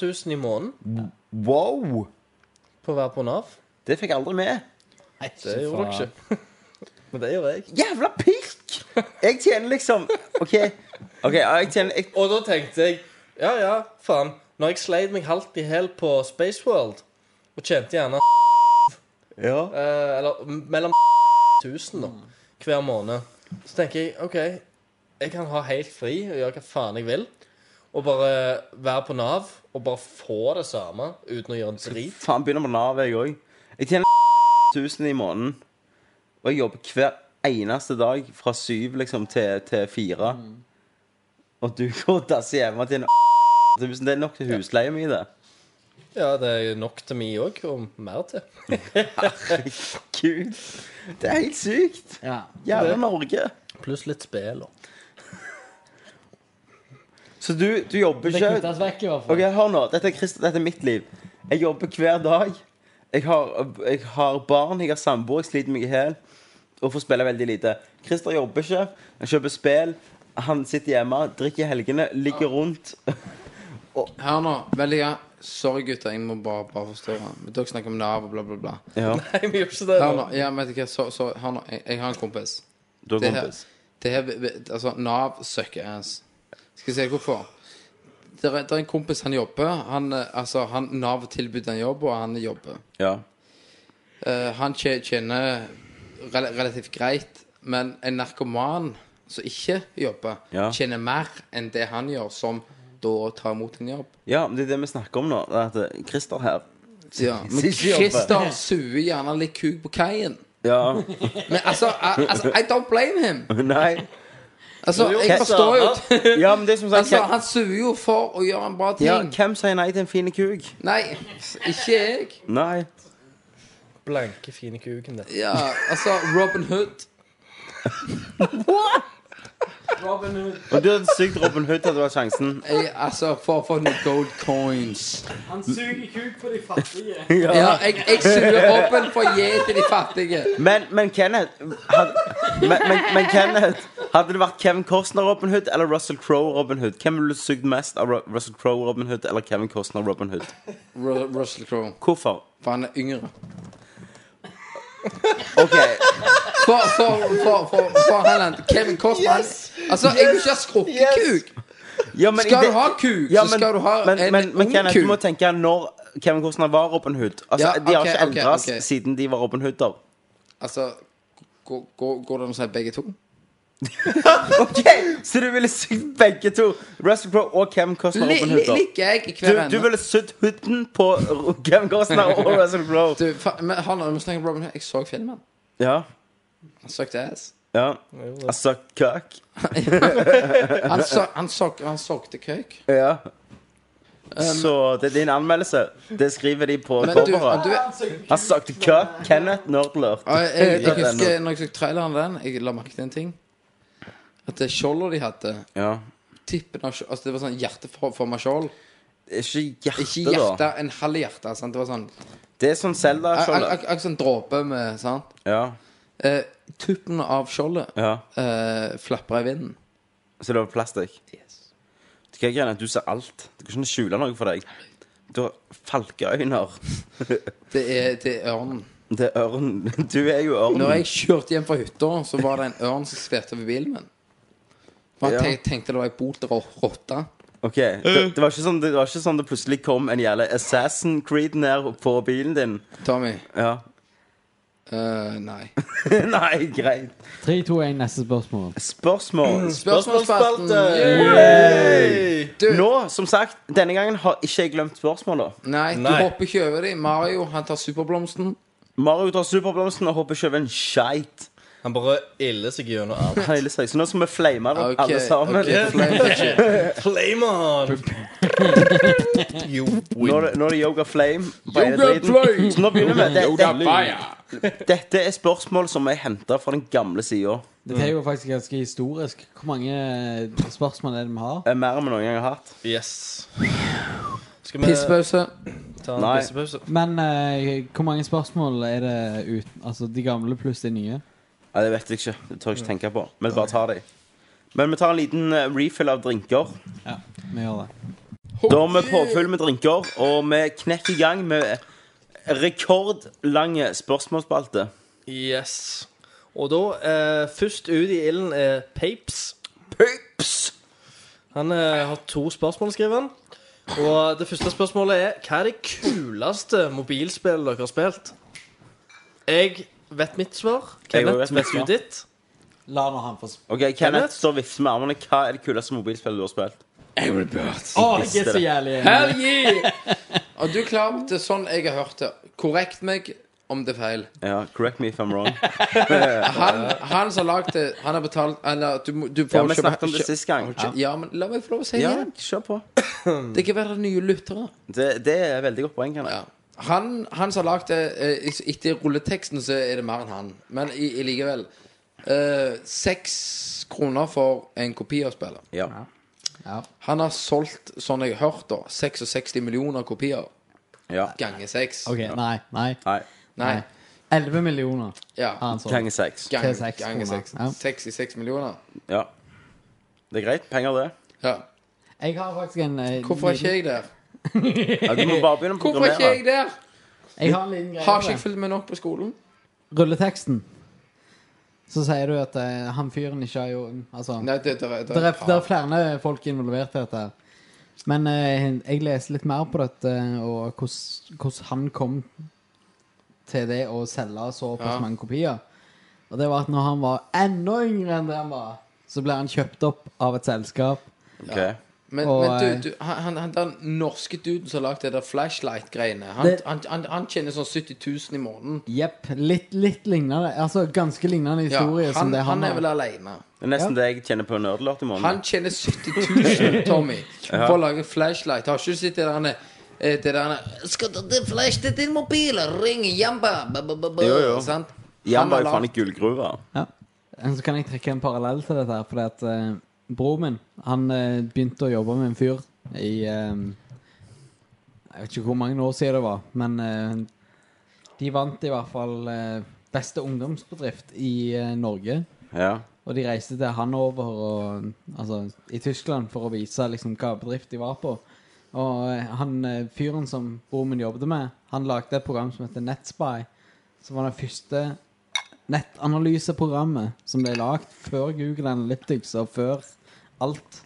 1000 i måneden
Wow!
på å være på Nav.
Det fikk jeg aldri med.
Nei,
Det gjorde
faen.
dere ikke. (laughs) Men det gjør jeg.
Jævla pikk! Jeg tjener liksom OK. Ok, ja, jeg tjener jeg,
Og da tenkte jeg Ja, ja, faen. Når jeg sleit meg halvt i hæl på Spaceworld og tjente gjerne
Ja.
eh, Eller m- mellom 1000 da, hver måned, så tenker jeg OK, jeg kan ha helt fri og gjøre hva faen jeg vil. Og bare være på Nav og bare få det samme uten å gjøre en drit.
Faen, begynner på Nav, jeg òg. Jeg tjener (laughs) 1000 i måneden. Og jeg jobber hver eneste dag fra syv liksom til, til fire. Og du (laughs) går og dasser hjemme og tjener (laughs) 1000. Det er nok til husleie mi, det.
Ja, det er nok til meg òg, og mer til.
Gud. Det er helt sykt.
Ja.
Jævla Norge.
Pluss litt spill. og-
Så du, du jobber
Det
ikke
kuttes vekk, i hvert
Ok,
fall.
hør nå. Dette er, Christ, dette er mitt liv. Jeg jobber hver dag. Jeg har, jeg har barn, jeg har samboer, jeg sliter meg i hjel. Og får spille veldig lite. Christer jobber ikke. Han kjøper spill. Han sitter hjemme, drikker i helgene, ligger rundt.
Hør nå. Veldig ja. Sorry, gutter. Jeg må bare, bare forstyrre. Men Dere snakker om Nav og bla, bla, bla.
Ja,
Nei, vi gjør ikke det.
Hør
nå.
nå. Ja, men vet du hva. Så, så, hør nå. Jeg, jeg har en kompis.
du har
Det her,
kompis.
det her Altså, Nav sucker ass. Skal jeg si deg hvorfor? Det er, det er en kompis, han jobber. Han, eh, altså, han, Nav tilbød han jobb, og han jobber.
Ja.
Eh, han tje- tjener rel relativt greit, men en narkoman som ikke jobber,
Ja.
tjener mer enn det han gjør, som da tar imot en jobb.
ja, men det er det vi snakker om nå. Det er at eh, Christer her
Ja, men
Ikke jobber.
Christer suger gjerne litt kuk på kaien.
Ja. (laughs)
Men altså, I, altså, I don't blame him.
Nei.
Altså, jeg forstår (laughs) jo
Ja, men det er som sagt
Altså,
hvem,
Han suger jo for å gjøre en bra ting.
ja, hvem sier nei til en fin kuk?
Nei, ikke jeg.
Nei.
Blanke, fine kuken der.
Ja, altså, Robin Hood.
Og du hadde sykt Robin Hood til at du hadde sjansen.
Jeg, altså, for å få noen gold coins.
Han suger kuk på de fattige.
(laughs)
Ja, jeg, jeg suger Robin for å gi til de fattige.
Men, men Kenneth had, men, men, men Kenneth Hadde det vært Kevin Costner Robin Hood eller Russell Crowe Robin Hood? Hvem ville du sugd mest av Ru- Russell Crowe Robin Hood eller Kevin Costner Robin Hood?
Ru- Russell Crowe.
Hvorfor?
For han er yngre.
OK.
For, for, for, for, for Haaland, Kevin Costner han- Altså, jeg vil ikke ha skrukkekuk.
Ja, men
Skal
i det-
du ha kuk,
Ja,
så skal du ha
men,
en
men, men
ung
Kenneth,
kuk.
du må tenke når Kevin Costner var Robin Hood. Altså,
Ja,
De har
ok,
ikke
ok,
endret
ok.
siden de var Robin Hooder.
Altså, går, går, går det an å si begge to?
OK, Så du ville sugd begge to? Russell Crowe og Kevin Costner
Li-
Robin
li-
Hooder.
Ligger jeg i hver
Du, du
ende?
ville sugd hooden på Ru- Kevin Costner og Russell Crowe.
Du, fa- men Haaland, vi snakker om Robin Hood. Jeg så filmen.
Ja.
Han søkte ass.
ja. Altså, I suck cock.
Han så- han så- han søkte køk.
Ja. så det er din anmeldelse. Det skriver de på
Um, Men du,
coveret.
du
Han sagte kø. Kenneth Nerdlert.
Ja, jeg, jeg, jeg
Dot
husker når jeg så traileren den, jeg la merke til en ting. At det skjoldet de hadde
Ja.
Tippen av skjold Altså, det var sånn hjerteforma skjold.
Ikke hjerte,
Ikke
da.
hjerte, en halv hjerte. Sant? Det var sånn
Det er sånn
ak-
Zelda-skjoldet.
ak- Akkurat sånn dråpe med Sant?
Ja.
Eh, tuppen av skjoldet
ja.
eh, flapra i vinden.
Så det var plastikk? Det kan ikke hende at Du ser alt. Det går ikke an å skjule noe for deg. Du har falkeøyne.
Det er, det er ørnen.
(laughs) Det er ørn. Du er jo ørn.
Når jeg kjørte hjem fra hytta, så var det en ørn som skvelte over bilen min. For
Ja.
han te- tenkte det var en bolter og rotte.
Ok, det, det, var ikke sånn, det var ikke sånn det plutselig kom en jævla Assassin Creed ned på bilen din.
Tommy.
Ja. (laughs)
eh, nei.
Nei, greit.
3, 2, 1, neste spørsmål.
Mm.
Spørsmål.
Spørsmålsspalten.
Spørsmålsspalte!
Du,
Nå, som sagt, denne gangen har ikke jeg glemt spørsmåla.
nei, du
Nei.
hopper ikke over dem. Mario han tar superblomsten.
Mario tar superblomsten og hopper ikke over en skeit.
Han bare iller seg gjennom (laughs) alt.
Hele seg. Så nå skal vi flame det opp,
Ok,
alle sammen.
ok, flame that shit.
Flame on! You
Nå er
win.
det, nå er det Yoga Flame. på hele
Yoga
driten.
Flame!
Så nå begynner vi.
Yoga
Dette,
fire.
dette er spørsmål som er henta fra den gamle sida.
Dette er jo faktisk ganske historisk. Hvor mange eh, spørsmål er det vi har?
Mer enn vi noen gang har hatt.
Yes. Skal
Pissepause.
ta en
Nei.
pissepause?
Men eh, hvor mange spørsmål er det uten Altså de gamle pluss de nye?
Nei, det vet jeg ikke. Det tør jeg ikke tenke på. Men bare ta dem. Men vi tar en liten eh, refill av drinker.
Ja, vi gjør det.
Da har vi påfyll med drinker, og vi knekker i gang med rekordlange spørsmålsspalte.
Yes. Og da, eh, først ut i ilden er Papes.
Pups!
Han eh, har to spørsmål, skriver han. Og det første spørsmålet er Hva er det kuleste mobilspillet dere har spilt? Jeg vet mitt svar.
Jeg
Kenneth
vet mitt
vet du
svar.
ditt.
La nå han få spørre.
Ok, Kenneth står og vifter med armene. Hva er det kuleste mobilspillet du har spilt?
Å, jeg er så jævlig enig.
Hell yeah! Og du er klar til sånn jeg har hørt det. Korrekt meg om det er feil.
Ja, correct me if I'm
(laughs)
wrong.
Han, han som har lagd det, han har betalt Eller du, må- du får
Ja, vi
kjøpe-
snakket om det sist gang.
kjø- Ja, men la meg få lov å si det
Ja,
igjen.
kjør på.
Det kan være nye lyttere.
Det, det er et veldig godt poeng, Kenneth.
Ja. Han, han som har lagd det eh, i- Etter rulleteksten så er det mer enn han. Men i, i likevel. Eh, Seks kroner for en kopi av spillet.
Ja.
Han har solgt, sånn jeg har hørt, da 66 millioner kopier
ja.
ganger seks.
OK, nei. nei
Nei.
Nei.
11 millioner
Sånn. Ja.
har han solgt.
Ganger seks.
Ganger
til seks
ganger
kroner.
seks.
Ja.
66 millioner.
Ja. Det er greit. Penger,
(laughs)
det.
Ja.
Jeg har faktisk en eh,
Hvorfor er ikke jeg der?
Ja, du må bare begynne å
Hvorfor er ikke jeg
programmere.
der?
(laughs) Jeg har en liten greie.
Har
på
ikke jeg
det.
fulgt med nok på skolen?
Rulleteksten. Så sier du at eh, han fyren ikke har jo Altså
Nei, det, det, det,
Det er, det er flere folk involvert i dette. her. Men eh, jeg leser litt mer på dette, eh, og hvordan- hvordan han kom til det å selge såpass
Ja.
mange kopier. Og det var at når han var enda yngre enn det han var, så ble han kjøpt opp av et selskap.
Ok.
Men,
Og, eh,
men du, du han, han, han den norske duden som lagde det der flashlight-greiene, han,
Det-
han, han, han tjener sånn 70 000 i måneden.
Jepp. Litt, litt lignende. Altså ganske lignende
Ja,
historie som
han,
det han,
han er vel
har.
aleine.
Det er nesten det jeg tjener på nerdelåt i
Han
måneden.
tjener 70
(laughs)
000, Tommy, for å lage flashlight. Har ikke du sett det der han er- eh, det der han er, Skal du det flash til din mobil? Ring Jamba! Ba, ba, ba, ba,
Jo, jo.
Sant?
Jan var
har
jo faen i
lagd-
gullgruva.
Ja. Men Eh, Så kan jeg trekke en parallell til dette her, fordi at eh, broren min, han eh, begynte å jobbe med en fyr i eh, Jeg vet ikke hvor mange år siden det var, men eh, de vant i hvert fall eh, beste ungdomsbedrift i eh, Norge.
Ja.
Og de reiste til Hanover og, altså, i Tyskland for å vise liksom, hva bedrift de var på. Og eh, han eh, fyren som broren min jobbet med, han lagde et program som heter Netspy. Som var det første nettanalyseprogrammet som ble lagd før Google Analytics og før alt.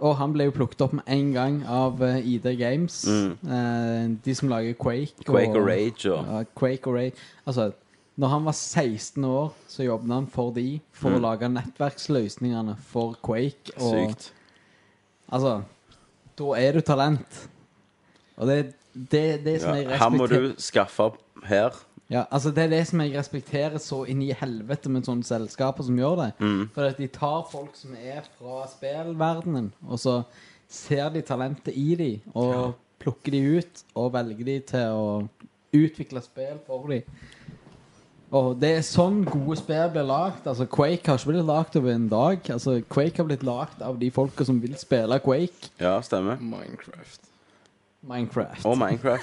Og han ble jo plukket opp med en gang av eh, ID Games. Eh, de som lager Quake.
Mm. Quake og Rage og
Ja, Quake og Ray Altså, når han var 16 år, så jobbet han for de for
Mm.
å lage nettverksløsningene for Quake. Og,
Sykt.
Altså, da er du talent. Og det det, er det som
Ja,
jeg
her må
respekterer
du skaffe opp her.
ja, altså Det er det som jeg respekterer så inn i helvete med sånne selskaper som gjør det. For at de tar folk som er fra spillverdenen, og så ser de talentet i de og plukker de ut og velger de til å utvikle spill for de. Og det er sånn gode spill blir lagd. Altså, Quake har ikke blitt lagd over en dag. Altså, Quake har blitt lagd av de folka som vil spille Quake.
Ja, stemmer.
Minecraft.
Minecraft.
Og Minecraft.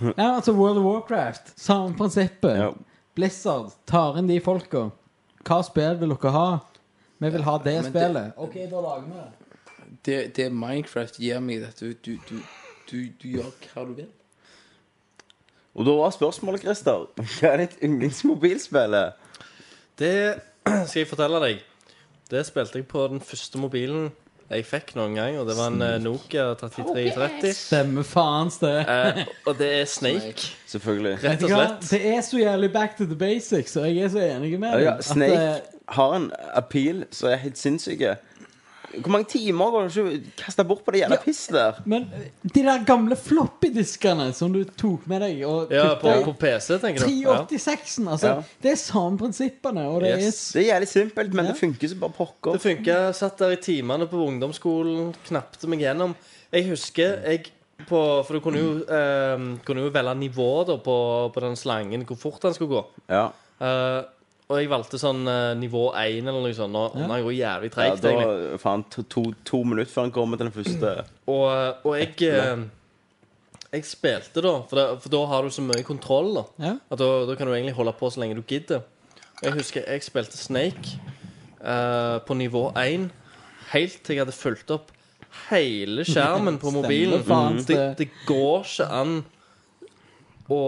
Nei, altså World of Warcraft. Samme prinsippet.
Ja.
Blizzard tar inn de folka. Hva spill vil dere ha? Vi vil ha det
men det-
spillet. OK, da lager vi det.
Det, det Minecraft gir meg, at du, du, du, du, du gjør hva du vil.
Og da var spørsmålet, Christer, hva er ditt yndlingsmobilspill?
Det (clears throat) skal jeg fortelle deg. Det spilte jeg på den første mobilen jeg fikk noen gang, og det var en eh, Nokia 3330.
Stemmer faens det.
Eh, og det er Snake,
Selvfølgelig.
rett
Vet
og
du hva?
slett.
(laughs) Det er så jævlig back to the basics, og jeg er så enig med deg.
Ja,
at, eh,
Snake har en appeal som er helt sinnssyk. Hvor mange timer går du ikke kasta bort på det jævla pisset der?
Men eh, de der gamle floppydiskene som du tok med deg og
Ja, på,
putta i
på PC, tenker du. Ja.
386-en, altså.
Ja.
Det er samme prinsippene, og det
Yes.
Det er jævlig simpelt, men det funker som bare pokker.
Det funka. Satt der i timene på ungdomsskolen, knapte meg gjennom. Jeg husker jeg på, For du kunne jo, eh, kunne jo velge nivå da, på, på den slangen, hvor fort den skulle gå.
Ja.
Eh, og jeg valgte sånn eh, nivå 1 eller noe sånt. Og, og den går jævlig
ja,
treigt,
da
egentlig.
faen to, to, to minutter før han kommer til den første.
Og, og jeg eh, Jeg spilte da for, da, for da har du så mye kontroll. Da
Ja.
At da, da kan du egentlig holde på så lenge du gidder. Og Jeg husker jeg spilte Snake eh, på nivå 1 helt til jeg hadde fulgt opp hele skjermen på
Stemmer,
mobilen. Mm.
faen,
det,
det-
det går ikke an å,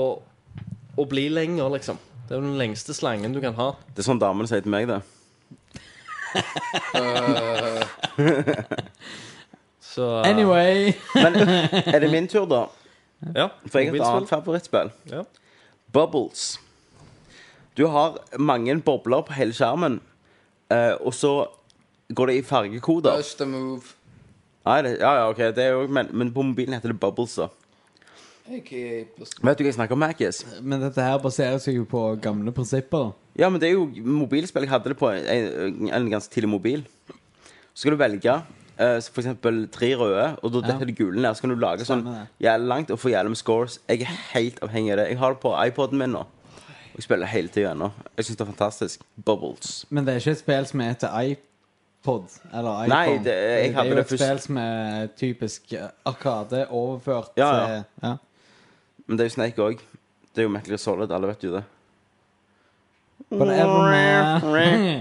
å bli lenger, liksom. Det er den lengste slangen du kan ha.
Det er sånn damene sier til meg, det.
Så eh,
Anyway.
Men er det min tur, da?
ja,
For jeg har et
mobilspill.
annet favorittspill.
Ja.
Bubbles. Du har mange bobler på hele skjermen, eh, og så går det i fargekoder.
Push the move.
Nei, det, ja, ja, ok, det er jo, men, men på mobilen heter det Bubbles, da.
Okay, push-
Vet du hva jeg snakker om, Mackis?
Men dette her baserer seg jo på gamle prinsipper.
Ja, men det er jo mobilspill. Jeg hadde det på en, en ganske tidlig mobil. Så skal du velge eh, så for eksempel tre røde, og da
Ja.
detter det gule ned. Så kan du lage sånn
Stemmer det.
jævlig langt og få jævlig med scores. Jeg er helt avhengig av det. Jeg har det på iPoden min nå. Og jeg spiller hele tida ennå. Jeg syns det er fantastisk. Bubbles.
Men det er ikke et spill som heter iPod eller iPhone.
Nei, det- jeg hadde
er jo
det
et
først-
spill som er typisk eh, Arkade overført
Ja, ja.
til ja.
Men det er jo Snake òg. Det er jo Metal Gear Solid. Alle vet jo det.
Whatever,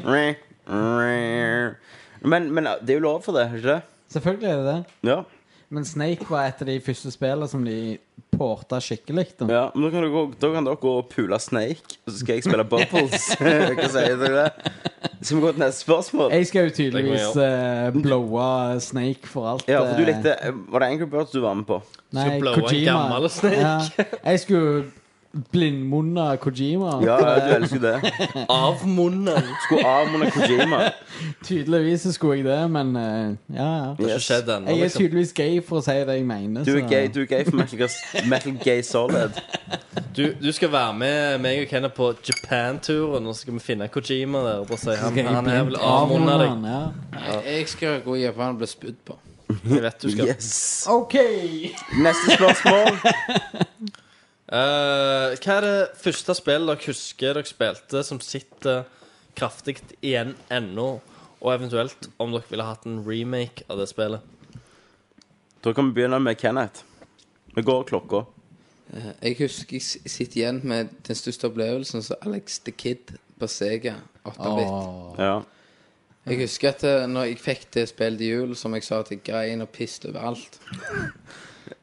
man.
(laughs) Men, men det er jo lov for det, er det ikke det?
Selvfølgelig er det det.
Ja.
Men Snake var et av de første spillene som de porta skikkelig. Da.
Ja, men da kan, dere, gå- da kan dere gå og pule Snake, og så skal jeg spille Bubbles. Hva sier dere? Skal vi gå til neste spørsmål?
Jeg skal jo tydeligvis eh, blowe Snake for alt
Ja, for du
eh,
likte Var det Angry Birds du var med på?
nei,
Skal blowe en gammel Snake.
Ja. Jeg skulle blindmunne Kojima. Eh,
Ja, du elsker det.
Av
(laughs)
munnen!
Skulle avmunne Kojima.
Tydeligvis så skulle jeg det, men eh, ja, ja.
Det har ikke skjedd ennå,
Jeg er
liksom.
tydeligvis gay for å si det jeg mener.
Du er
så-
gay, du er gay for Metal, Gear- Metal Gay Solid.
Du, du skal være med meg og Kenneth på Japan-turen, og så skal vi finne Kojima der. Og bare si han,
Skal jeg
han er vel
blindt
avmunna deg.
avmunne han,
Nei, jeg skal gå og gjøre hva han ble spydd på.
Jeg vet du skal.
Yes.
ja. OK.
Neste spørsmål.
Eh, hva er det første spillet dere husker dere spilte, som sitter kraftig igjen ennå? Og eventuelt om dere ville hatt en remake av det spillet.
Da kan vi begynne med Kenneth. Vi går klokka.
Jeg husker jeg s- sitter igjen med den største opplevelsen som Alex the Kid på Sega 8-bit.
Ja.
Jeg husker at eh, når jeg fikk det spillet til jul, som jeg sa, at jeg grein og piste overalt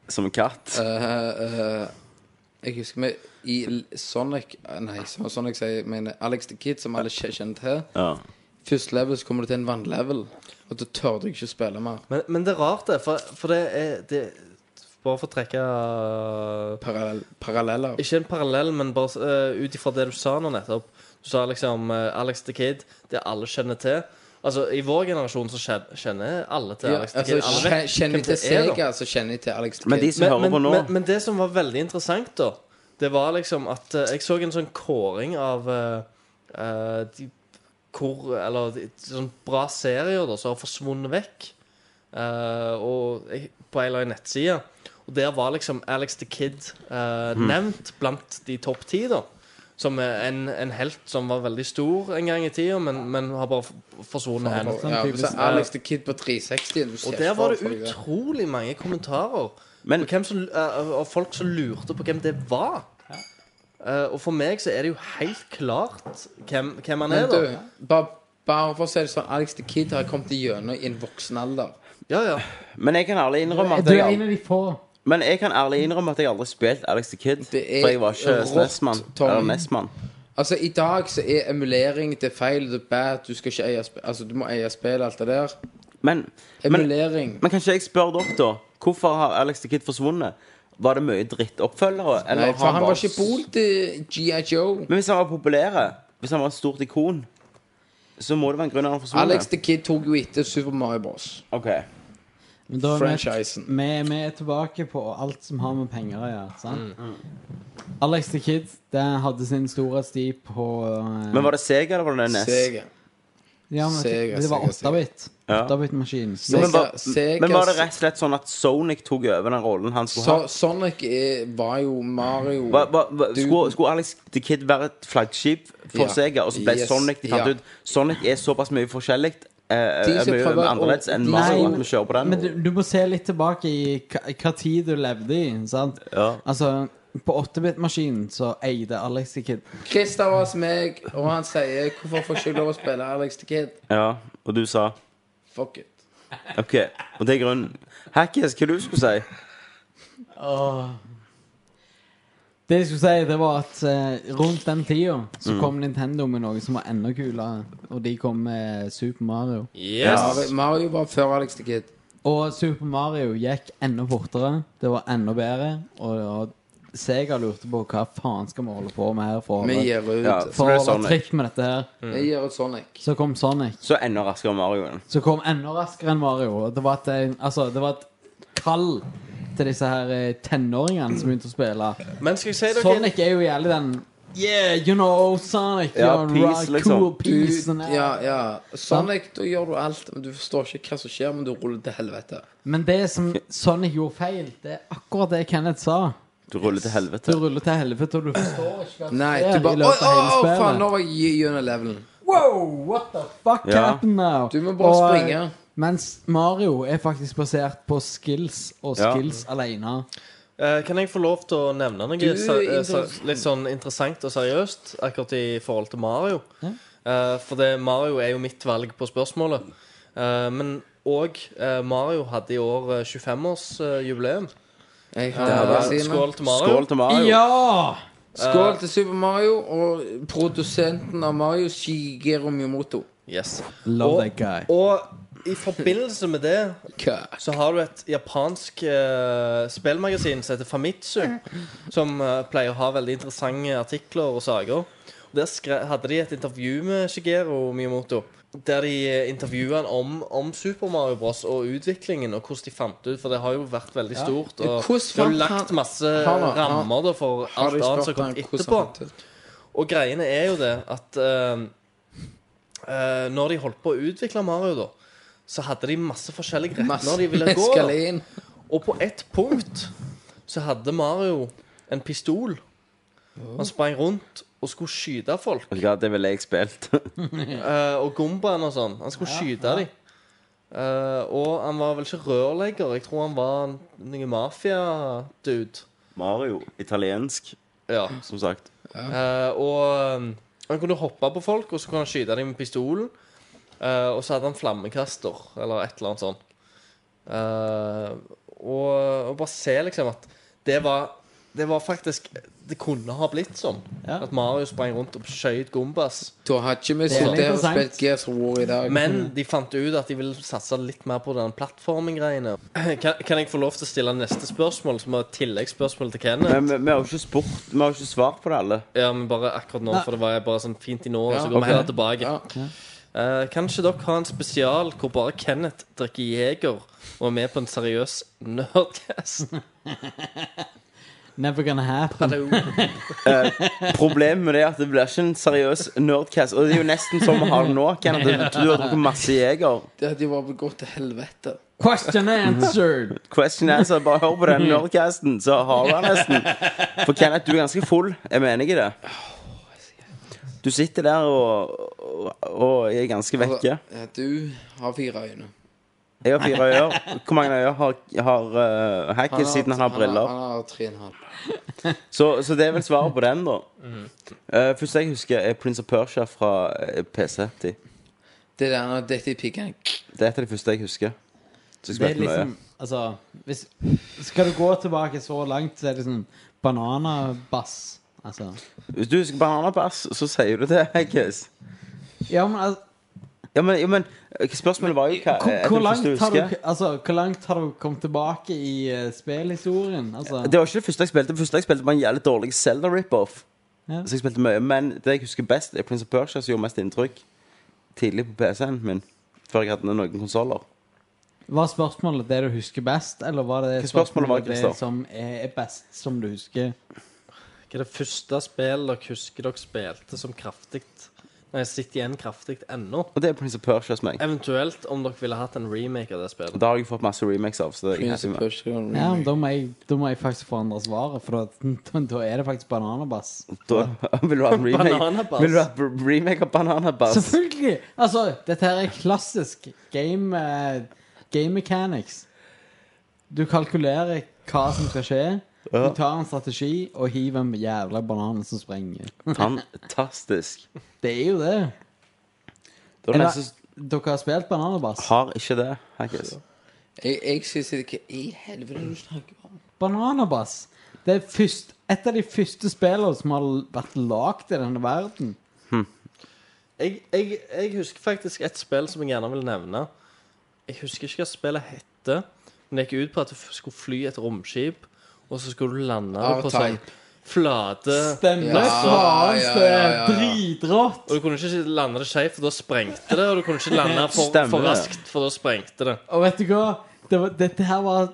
Som en katt.
Eh, eh, Jeg husker vi i L- Sonic eh, Nei, som Sonic sier, jeg mener Alex the Kid, som alle kje- kjenner til.
Ja.
Første level så kommer du til en vannlevel, og da tør du ikke å spille mer.
Men, men det er rart, det. For, for det er det, Bare for å trekke eh,
Parallell, paralleller.
Ikke en parallell, men bare eh, ut ifra det du sa nå nettopp. Du sa liksom eh, Alex the Kid, det alle kjenner til. Altså, I vår generasjon så kjen- kjenner alle til
Ja,
Alex the
altså,
Kid. Alle
kjen-
vet
kjenner
hvem
jeg til
det er, da.
Sega, så kjenner jeg til Alex the
Men de
Kid.
som hører
men,
på
men,
nå
men, men det som var veldig interessant, da, det var liksom at eh, Jeg så en sånn kåring av eh, eh, de, hvor, Eller de, sånn bra serier da, som har forsvunnet vekk eh, og, jeg- på ei eller annen nettside. Og der var liksom Alex the Kid eh,
Mhm.
nevnt blant de topp ti, da. Som er en, en helt som var veldig stor en gang i tida, men, men har bare f- forsvunnet hen.
Ja, og så Alex the Kid på 360. Du ser
Og
ikke
der var det
for deg
utrolig mange kommentarer
Men-
på hvem som, eh, av folk som lurte på hvem det var. Eh, og for meg så er det jo helt klart hvem, hvem han
Men
er, da.
du, bare, Bare for å si det sånn, Alex the Kid har kommet igjennom i en voksen alder.
Ja, ja.
Men jeg kan ærlig innrømme at
Du er
jeg,
en av de få.
men jeg, kan ærlig innrømme at jeg aldri spilte Alex the Kid.
Det er
For jeg var ikke
rått,
SNES-mann.
Tom.
Eller NES-mann.
Altså, I dag så er emulering det er feil, det er bad, du skal ikke eie spill Altså, du må eie spill, alt det der.
Men, men,
Emulering.
men kanskje jeg spør dere, da. Hvorfor har Alex the Kid forsvunnet? Var det mye drittoppfølgere? eller
Nei,
har
for han var
bare-
ikke bol til GI Joe.
Men hvis han var populær, hvis han var et stort ikon, så må det være en grunn til at han forsvant.
Alex the Kid tok jo etter Super Mario Bros.
Ok.
Men da er vi,
Franchisen.
vi, vi er tilbake på alt som har med penger å gjøre. sant? Alex the Kid den hadde sin storhetstid på eh,
Men var det Sega eller var det E NES?
Sega.
ja, men,
Sega,
Det var
Sega, Sega.
8-bit.
Ja.
8-bit-maskin.
Sega,
Men var,
Sega
men var det rett og slett sånn at Sonic tok over den rollen han skulle
so
ha?
Sonic er, var jo Mario
Hva, hva, hva,
Du-
skulle, skulle Alex the Kid være et flaggskip for
Ja.
Sega, og så ble
Yes.
Sonic De fant
Ja.
ut Sonic er såpass mye forskjellig eh, eh,
skal
Mye
prøve å-
annerledes enn
de-
Mario
Nei,
at vi kjører på den.
Men du, du må se litt tilbake i hva, hva tid du levde i. sant?
Ja.
Altså, På 8-bit-maskinen så eide Alex the Kid.
Christer var hos meg, og han sier 'Hvorfor får ikke jeg lov å spille Alex the Kid?'
ja, og du sa
Fuck it.
OK. Og det er grunnen. Hackis, hva du skulle si?
Det jeg skulle si, det var at eh, rundt den tida så
Mm.
kom Nintendo med noe som var enda kulere. Og de kom med Super Mario.
Mario- Mario var før Alex the Kid.
Og Super Mario gikk enda fortere. Det var enda bedre. Og, og Sega lurte på hva faen skal vi holde på med her for,
Vi
å-
gir ut,
Ja, så
for
ble
å
det
holde
Sonic.
tritt med dette her.
vi gir ut Sonic.
Så kom Sonic.
Så enda raskere Mario.
som kom enda raskere enn Mario. Og Det var et, altså, det var et kall til disse her eh, tenåringene som begynte å spille.
Men skal jeg si dere
Sonic er jo jævlig den Yeah, you know, oh, Sonic.
Ja,
you're
peace,
rock,
liksom.
Cool,
Du,
peace, sånn her.
ja, ja. Sonic, da gjør du alt, men du forstår ikke hva som skjer, men du ruller til helvete.
Men det som Sonic gjorde feil, det er akkurat det Kenneth sa.
Du ruller til
Du
helvete.
ruller til helvete, og du forstår ikke hva som
Nei,
skjer
du
i
bare Å,
løpet av hele spillet.
faen, nå var jeg gi- gjennom levelen.
(clears throat) Wow, what the fuck
Ja.
happened now?
Du må bare
Og, eh,
springe.
Mens Mario er faktisk basert på skills, og
Ja.
skills alene.
Eh, Kan jeg få lov til å nevne noe
Du,
se- eh, se-
interessant.
litt sånn interessant og seriøst akkurat i forhold til Mario? Eh, for det, Mario er jo mitt valg på spørsmålet. Eh, men òg Mario hadde i år eh, 25-årsjubileum.
Jeg
Ja,
har
vel.
vaksine.
Skål til Eh, Mario.
Skål til Mario.
Ja!
Skål til Super Mario og produsenten av Mario, Shigeru Miyamoto.
Yes.
Love
og,
that guy.
Og i forbindelse med det
Hva?
så har du et japansk eh, spillmagasin som heter Famitsu, som eh, pleier å ha veldig interessante artikler og saker. Og Der skre hadde de et intervju med Shigeru Miyamoto, der de intervjua han om, om Super Mario Bros. og utviklingen, og hvordan de fant det ut, for det har jo vært veldig stort.
Ja,
Og
hvordan
det har jo
fant han-
lagt masse
Har han- har-
rammer da, for
Har
alt
de
annet som
spurt
har
han
kommet
hvordan
etterpå.
han fant ut?
Og greiene er jo det at eh, eh, når de holdt på å utvikle Mario, da, så hadde de masse forskjellige
Masse
retninger de ville gå. da.
meskalin.
Og på ett punkt så hadde Mario en pistol. Han sprang rundt og skulle skyte folk.
Vet du hva, det ville jeg spilt. (laughs)
eh, og gombaen og sånn. Han skulle skyte dem. Eh, og han var vel ikke rørlegger. Jeg tror han var en- noen mafia-dude.
Mario. Italiensk,
Ja.
som sagt.
Eh, og um, han kunne hoppe på folk, og så kunne han skyte dem med pistolen. Eh, og så hadde han flammekaster, eller et eller annet sånt. Eh, og, og bare se liksom at det var Det var faktisk Det kunne ha blitt sånn.
Ja.
At Mario sprang rundt og skjøt Gombas.
Da har ikke vi
er
sittet her og
interessant.
spilt Gears of War i dag.
Men de fant ut at de ville satse litt mer på den plattformen-greiene. (clears throat) Kan, kan jeg få lov til å stille neste spørsmål, som er et tilleggsspørsmål til Kenneth?
Men vi, vi har jo ikke spurt Vi har jo ikke svart på det alle.
Ja, men bare akkurat nå, for det var bare sånn fint i nå, og så
Ja,
går
ok.
vi heller tilbake.
Ja.
Eh, kanskje dere har en spesial hvor bare Kenneth drikker Jeger og er med på en seriøs nerdcast?
Never gonna happen.
Problemet med det er at det blir ikke en seriøs nerdcast. Og det er jo nesten som vi har det nå. Kenneth. Du, du har drukket masse Jeger.
Det hadde jo bare gått til helvete.
Question answered.
Question answer. Bare hør
Mm.
på den nerdcasten, så har du den nesten. For Kenneth, du er ganske full. Jeg mener ikke det. Du sitter der og, og, og er ganske vekke.
Ja, eh, Du har fire øyne.
Jeg har fire øyer. Hvor mange øyer har, har eh, Hackis siden han har briller?
Han har, han har tre og en halv.
Så, så det er vel svaret på eh, den, da. Mm. første jeg husker, er Prince of Persia fra eh, PC. -tid.
Det der når dette i piggen
Det er et av de første jeg husker. Så jeg
Det er
spilte mye.
liksom Altså, hvis Skal du gå tilbake så langt, så er det sånn bananabass. Altså
Hvis du husker Bananabass, så sier du det, (laughs) Heggis.
Ja, men altså
Ja, men, ja, men eh, spørsmålet var jo hva
hvor,
er det
hvor,
første
langt har du,
husker?
altså, hvor langt har du kommet tilbake i eh, spillhistorien? Altså,
Det var ikke det første jeg spilte. Det første jeg spilte var en jævlig dårlig Zelda rip-off.
Ja.
Så jeg spilte mye, Men det jeg husker best, er Prince of Persia, som gjorde mest inntrykk tidlig på PC-en min. Før jeg hadde noen konsoller.
var spørsmålet det du husker best, eller var det
Hva spørsmålet var, Christer?
det som er er best, som du husker?
(laughs) Hva er det første spillet dere husker dere spilte som kraftig Nei, sitter igjen kraftig ennå?
Og det er Prince of Persia hos meg.
Eventuelt om dere ville hatt en remake av det
Og
spillet.
det har jeg fått masse remakes av. Så det er jeg
Prince
happy
of
med.
Persia og
Ja, men
remake.
da må jeg, da må jeg faktisk forandre svaret, for da, (laughs) da, da er det faktisk bananabass.
Da- Vil du ha en remake?
Bananabass.
Vil du ha en remake av Bananabass?
Selvfølgelig! Altså, dette her er klassisk game, eh, game mechanics. Du kalkulerer hva som skal skje. Du tar en strategi og hiver en jævla banan som sprenger.
Fantastisk.
Det er jo det.
Da er det
Eller,
nesten
dere har spilt bananabass?
Har ikke det, Haggis.
Jeg, jeg synes ikke Hva i helvete er det du snakker om?
Bananabass! Det er først, et av de første spillene som har vært lagd i denne verden.
Jeg, jeg, jeg husker faktisk et spill som jeg gjerne vil nevne. Jeg husker ikke hva spillet hette, men det gikk ut på at du f- skulle fly et romskip, og så skulle du lande det på sånn
R-Type.
flate
Stemmer!
Ja, ja,
Faen,
ja,
det er
ja, ja.
dritrått!
Og du kunne ikke lande det skjevt, for da sprengte det. Og du kunne ikke lande for,
Stemmer
for
det.
raskt, for da sprengte det.
Og vet du hva? Det var, dette her var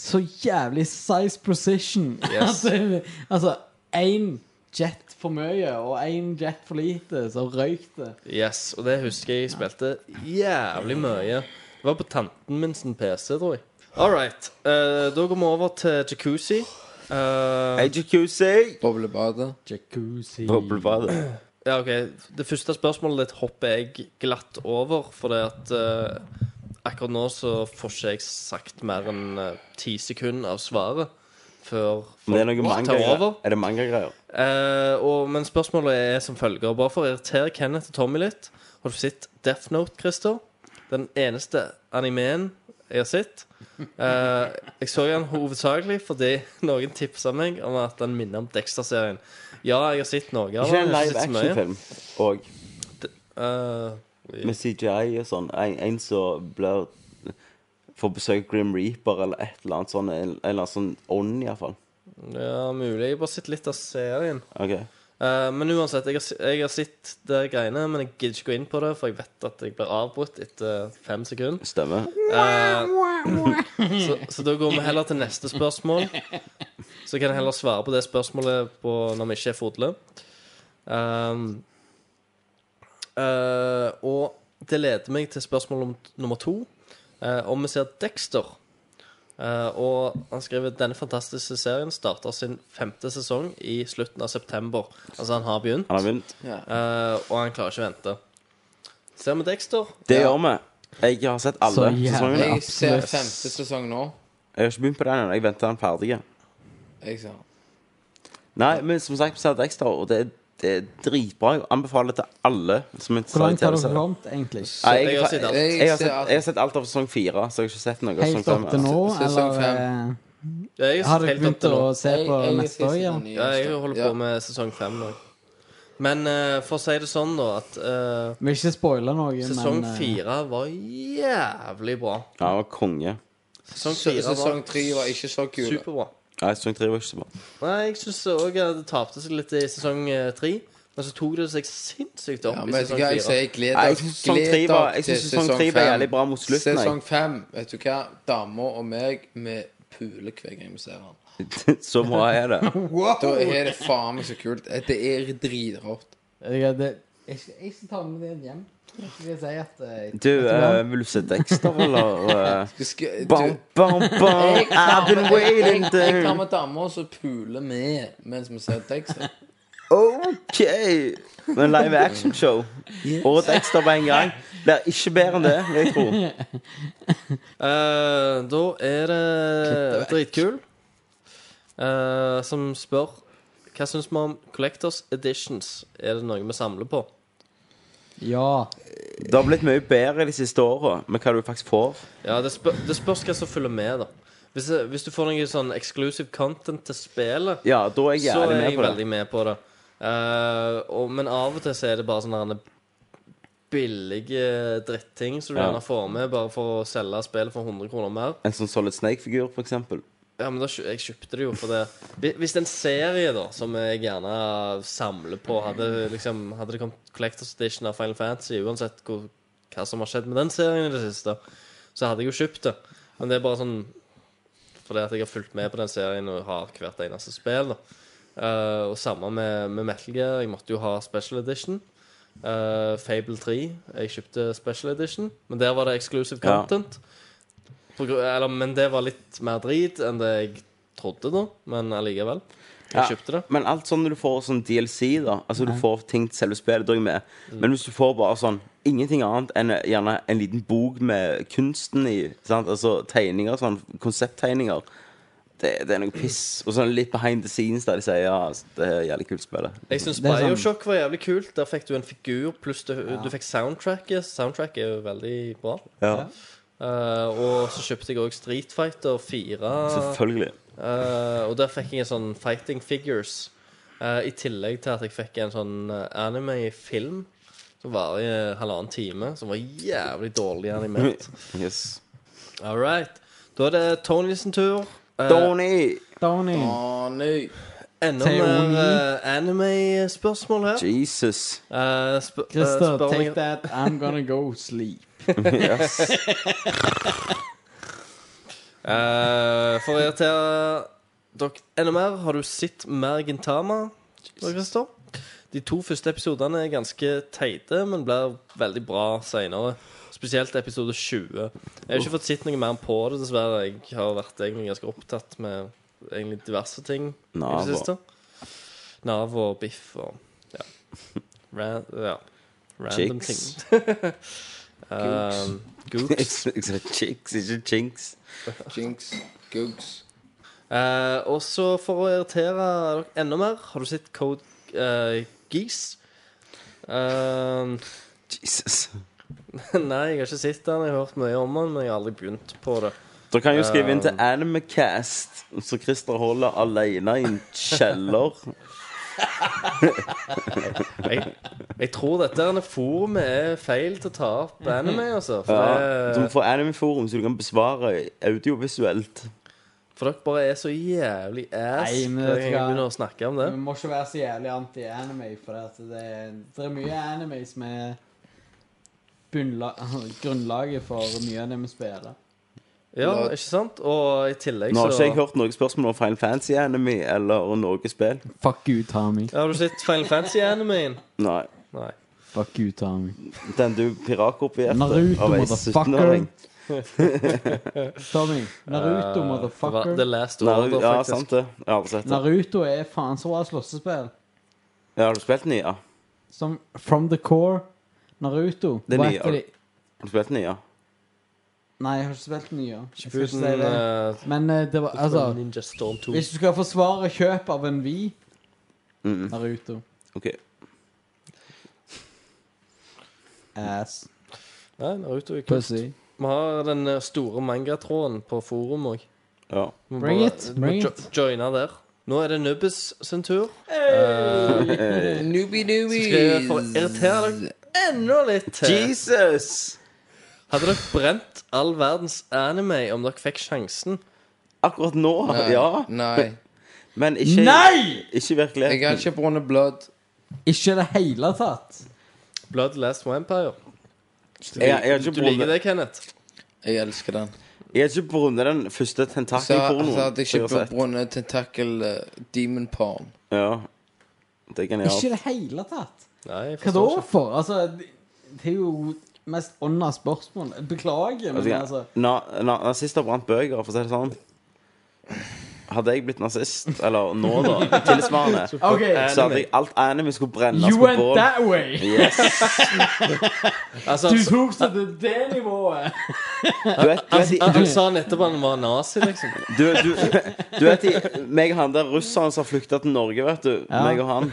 så jævlig size precision. (laughs)
Yes.
Altså, altså, én jet for mye og én jet for lite, så røyk det.
Yes, Og det husker jeg jeg spilte jævlig mye. Det var på tanten min sin PC, tror jeg. All right. eh, da går vi over til jacuzzi. Eh,
AJQC!
Boblebadet.
Jacuzzi.
Boblebadet.
ja, ok Det første spørsmålet ditt hopper jeg glatt over, fordi at eh, akkurat nå så får ikke jeg sagt mer enn eh, ti sekunder av svaret før
Men det er noe
folk tar
manga-greier.
over.
Er det manga-greier?
Eh, og, men spørsmålet er som følger. Bare for å irritere Kenneth og Tommy litt. Har du sett Death Note, Christer? Den eneste animeen jeg har sett. Eh, jeg så den hovedsakelig fordi noen tipsa meg om at den minner om Dexter-serien. Ja, jeg har sett noe av
Ikke
den.
en
jeg har ikke
live
sett så mye.
action-film. Og
Eh,
med CGI og sånn. En, en som blir Får besøk av Grim Reaper eller et eller annet sånn En en eller annen sånn ånd, iallfall.
ja, mulig. Jeg har bare sett litt av serien.
OK.
Eh, men uansett, jeg har, se- jeg har sett det greiene, men jeg gidder ikke gå inn på det, for jeg vet at jeg blir avbrutt etter fem sekunder.
Stemmer.
Så, så da går vi heller til neste spørsmål. Så kan jeg heller svare på det spørsmålet på, når vi ikke er fodle. Ehm, eh, og det leder meg til spørsmål om, nummer to. Eh, om vi ser Dexter. Eh, og han skriver denne fantastiske serien starter sin femte sesong i slutten av september. Altså han har begynt,
Han har begynt.
eh, og han klarer ikke å vente. Ser vi Dexter?
Det gjør vi. Jeg har sett alle
Så jævlig.
sesongene.
Jeg
Jeg
ser femte sesong nå.
har ikke begynt på den ennå. Jeg venter til den er ferdig.
Jeg ser.
Nei, men som sagt, vi ser Dexter, og det, er- det er dritbra. Jeg anbefaler det til alle som er
Hvor
interessert i
langt har dere
TV-serier.
kommet, egentlig?
Nei,
Jeg har sett alt.
Jeg
Jeg har
ser
sett,
alt.
jeg har sett alt av sesong fire, så jeg har ikke sett noe av sesong
Helt
fem.
opp til nå,
Sesong
eller
fem.
eh,
Jeg
har dere
helt opp
begynt
til
å
nå.
se
Jeg-
på
jeg er siste
neste år igjen?
den
Ja, jeg
nyeste.
holder
Ja.
på med sesong fem nå. Men eh, for å si det sånn, da, at eh,
Vil ikke spoile noe,
sesong
men eh,
fire var jævlig bra.
Ja, han var konge.
Sesong
Se-
fire
Sesong
var
tre var ikke så kul.
superbra.
Nei, sesong tre var ikke så bra. (laughs)
Nei, jeg syns òg det tapte seg litt i sesong eh, tre. Men så tok det seg sinnssykt opp
Ja,
i
men vet du
sesong
hva, jeg
fire.
sier gled
Nei, jeg
dere
synes sesong tre var- jeg synes sesong tre var jævlig bra mot slutten, jeg.
Sesong fem, vet du hva. Dama og meg, vi puler hver gang vi ser han.
Så bra er det.
Da er det faen meg så kult. Det er dritrått.
jeg- det- Jeg jeg skal ta med den hjem. Jeg skal si at eh,
Du, eh, vil du se Dexter,
(laughs)
eller? eh,
Du skal, du,
bom, bom, bom,
jeg
I've
tar
been
med- jeg-
waiting
jeg- jeg tar
there.
med dama, og så puler vi mens vi ser teksten.
OK. Men live action show. Og Dexter på en gang. Blir ikke bedre enn det, vil jeg tro.
Eh, da er det dritkul eh, som spør Hva syns vi om Collectors Editions? Er det noe vi samler på?
Ja.
Det har blitt mye bedre de siste åra med hva du faktisk får.
Ja, det, spør, det spørs hva som følger med, da. Hvis, det- hvis du får noe sånn exclusive content til spillet,
Ja, da er jeg
så
jævlig
er
med
jeg
på det.
veldig med på det. Eh, og, men av og til så er det bare sånne herne billige dritting som du
Ja.
gjerne får med bare for å selge spillet for 100 kroner mer.
En sånn Solid Snake-figur, for eksempel.
Ja, men da, kjø- Jeg kjøpte det jo for det. Hvi- Hvis en serie da, som jeg gjerne samler på Hadde, liksom, hadde det kommet Collectors Edition av Final Fantasy, uansett hvor, hva som har skjedd med den serien i det siste, så hadde jeg jo kjøpt det. Men det er bare sånn fordi at jeg har fulgt med på den serien og har hvert eneste spill. da. Eh, og samme med, med Metal Gear. Jeg måtte jo ha Special Edition. Eh, Fable 3. Jeg kjøpte Special Edition, men der var det exclusive
Ja.
content. På gru- eller, men det var litt mer drit enn det jeg trodde, da. Men allikevel. Jeg
Ja.
kjøpte det.
Men alt sånn når du får sånn DLC, da Altså du får ting til selve spillet, da er jeg med.
Mm.
Men hvis du får bare sånn ingenting annet enn gjerne en liten bok med kunsten i, sant? altså tegninger, sånn konsepttegninger det, det er noe
Mm.
piss. Og sånn litt behind the scenes der de sier ja, altså, det er jævlig kult spillet.
Jeg syns
Det er sånn-
Bioshock var jævlig kult. Der fikk du en figur, pluss du, du fikk soundtracket. Soundtracket er jo veldig bra.
Ja,
Eh, og så kjøpte jeg òg Street Fighter 4.
Selvfølgelig.
eh, og der fikk jeg en sånn Fighting Figures. eh, I tillegg til at jeg fikk en sånn eh, anime-film som varer i eh, halvannen time. Som var jævlig dårlig
(laughs)
animert.
Yes.
All right. Da er det Tony sin tur. Eh,
Donny!
Donny.
Donny.
Enda
Tony.
mer eh, anime-spørsmål her.
Jesus. (laughs)
Eh, sp eh,
Christer,
spør
take
meg-
that. I'm gonna go sleep.
Yes.
Eh, For å irritere dere enda mer, har du sett mer Gintama? Dere forstår? De to første episodene er ganske teite, men blir veldig bra seinere. Spesielt episode 20. Jeg har ikke fått sett noe mer på det, dessverre. Jeg har vært egentlig ganske opptatt med egentlig diverse ting i
Nav
det
og-
siste. Nav og biff og ja. Ran, ja. Random
Chicks.
ting. um,
Jeg
Gooks.
sa chicks, ikke chinks.
Jinx. Googs.
Eh, og så for å irritere dere enda mer, har du sett Code eh, Geese? Eh, (laughs)
Jesus.
nei, jeg har ikke sett den. Jeg har hørt mye om den, men jeg har aldri begynt på det.
Dere kan jo skrive inn til Animecast, så Christer holder alene i en kjeller.
Jeg, jeg tror dette her forumet er feil til å ta opp anime, altså. For,
Mhm. Ja, så
det-
vi får Animeforum, så du kan besvare audiovisuelt.
for dere bare er så jævlig ass
Nei, men
hver gang
vet du
jeg
hva?
begynner å snakke om det.
Vi må ikke være så jævlig anti-anime, for det, at det, er, det er mye anime som er bunnla- (laughs) grunnlaget for mye av det vi spiller.
Ja, ikke sant? Og i tillegg
Nå
så
har ikke jeg hørt noe spørsmål om Final Fantasy Anime eller Norges Spill.
Fuck you, Tommy.
Ja, Har du sett Final Fantasy-animeen?
Nei.
Nei.
Fuck you, Tommy.
Den du piratkopierte
Naruto,
av ei
motherfucker.
17-åring.
(laughs) Tommy, Naruto,
Det var
motherfucker.
The Last Order,
Naru- Ja,
faktisk.
sant det. Jeg har aldri sett det.
Naruto er faen så bra slåssespill.
Ja, har du spilt den nye? Har
Som From the Core, Naruto
Det er
var
nye,
et av de-
du spilt den nye?
Nei, jeg har ikke spilt den nye. Jeg skal ikke
Uten
si det.
eh,
Men eh, det var Altså,
Ninja Storm 2.
hvis du skal forsvare kjøp av en Wii
Mm.
Naruto
OK.
Ass.
Nei, Naruto er kult.
Pussy.
Vi har den eh, store mangatråden på forum òg.
Ja.
Bring it, bring it.
Joine der. Nå er det Nubbes sin tur.
Noobie
Skrevet for å
doobies.
irritere dere enda litt til.
Jesus!
Hadde dere brent all verdens anime om dere fikk sjansen?
Akkurat nå, ja.
Nei.
Men ikke,
Nei!
ikke i
Jeg har
virkeligheten.
ikke brunnet blod.
Ikke i det hele tatt.
Blood Last Vampire.
Jeg, jeg har ikke
Du liker
brunnet-
det, Kenneth?
Jeg elsker den.
jeg har ikke brunnet den første
Så,
tentakelpornoen.
altså, at jeg
som jeg har
ikke
sett.
brunnet tentakel eh, demon porn.
Ja. Det er
Ikke i
genialt.
det hele tatt.
Nei, jeg
Hva da
forstår ikke.
for? Altså, det er jo mest ånda spørsmål. Beklager, men altså
na, na, nazister brant bøker, for å si det sånn. Hadde jeg blitt nazist, eller nå, da, tilsvarende,
(laughs) OK,
så hadde jeg alt anime skulle brennes
you
på
went
bål.
that way!
Yes.
Altså,
Du
han,
tok så til det nivået.
Du vet, du vet,
han, han sa nettopp han var nazi, liksom.
du,
(laughs)
du, du vet de, meg og han der russeren som har flykta til Norge, vet du. Meg og han.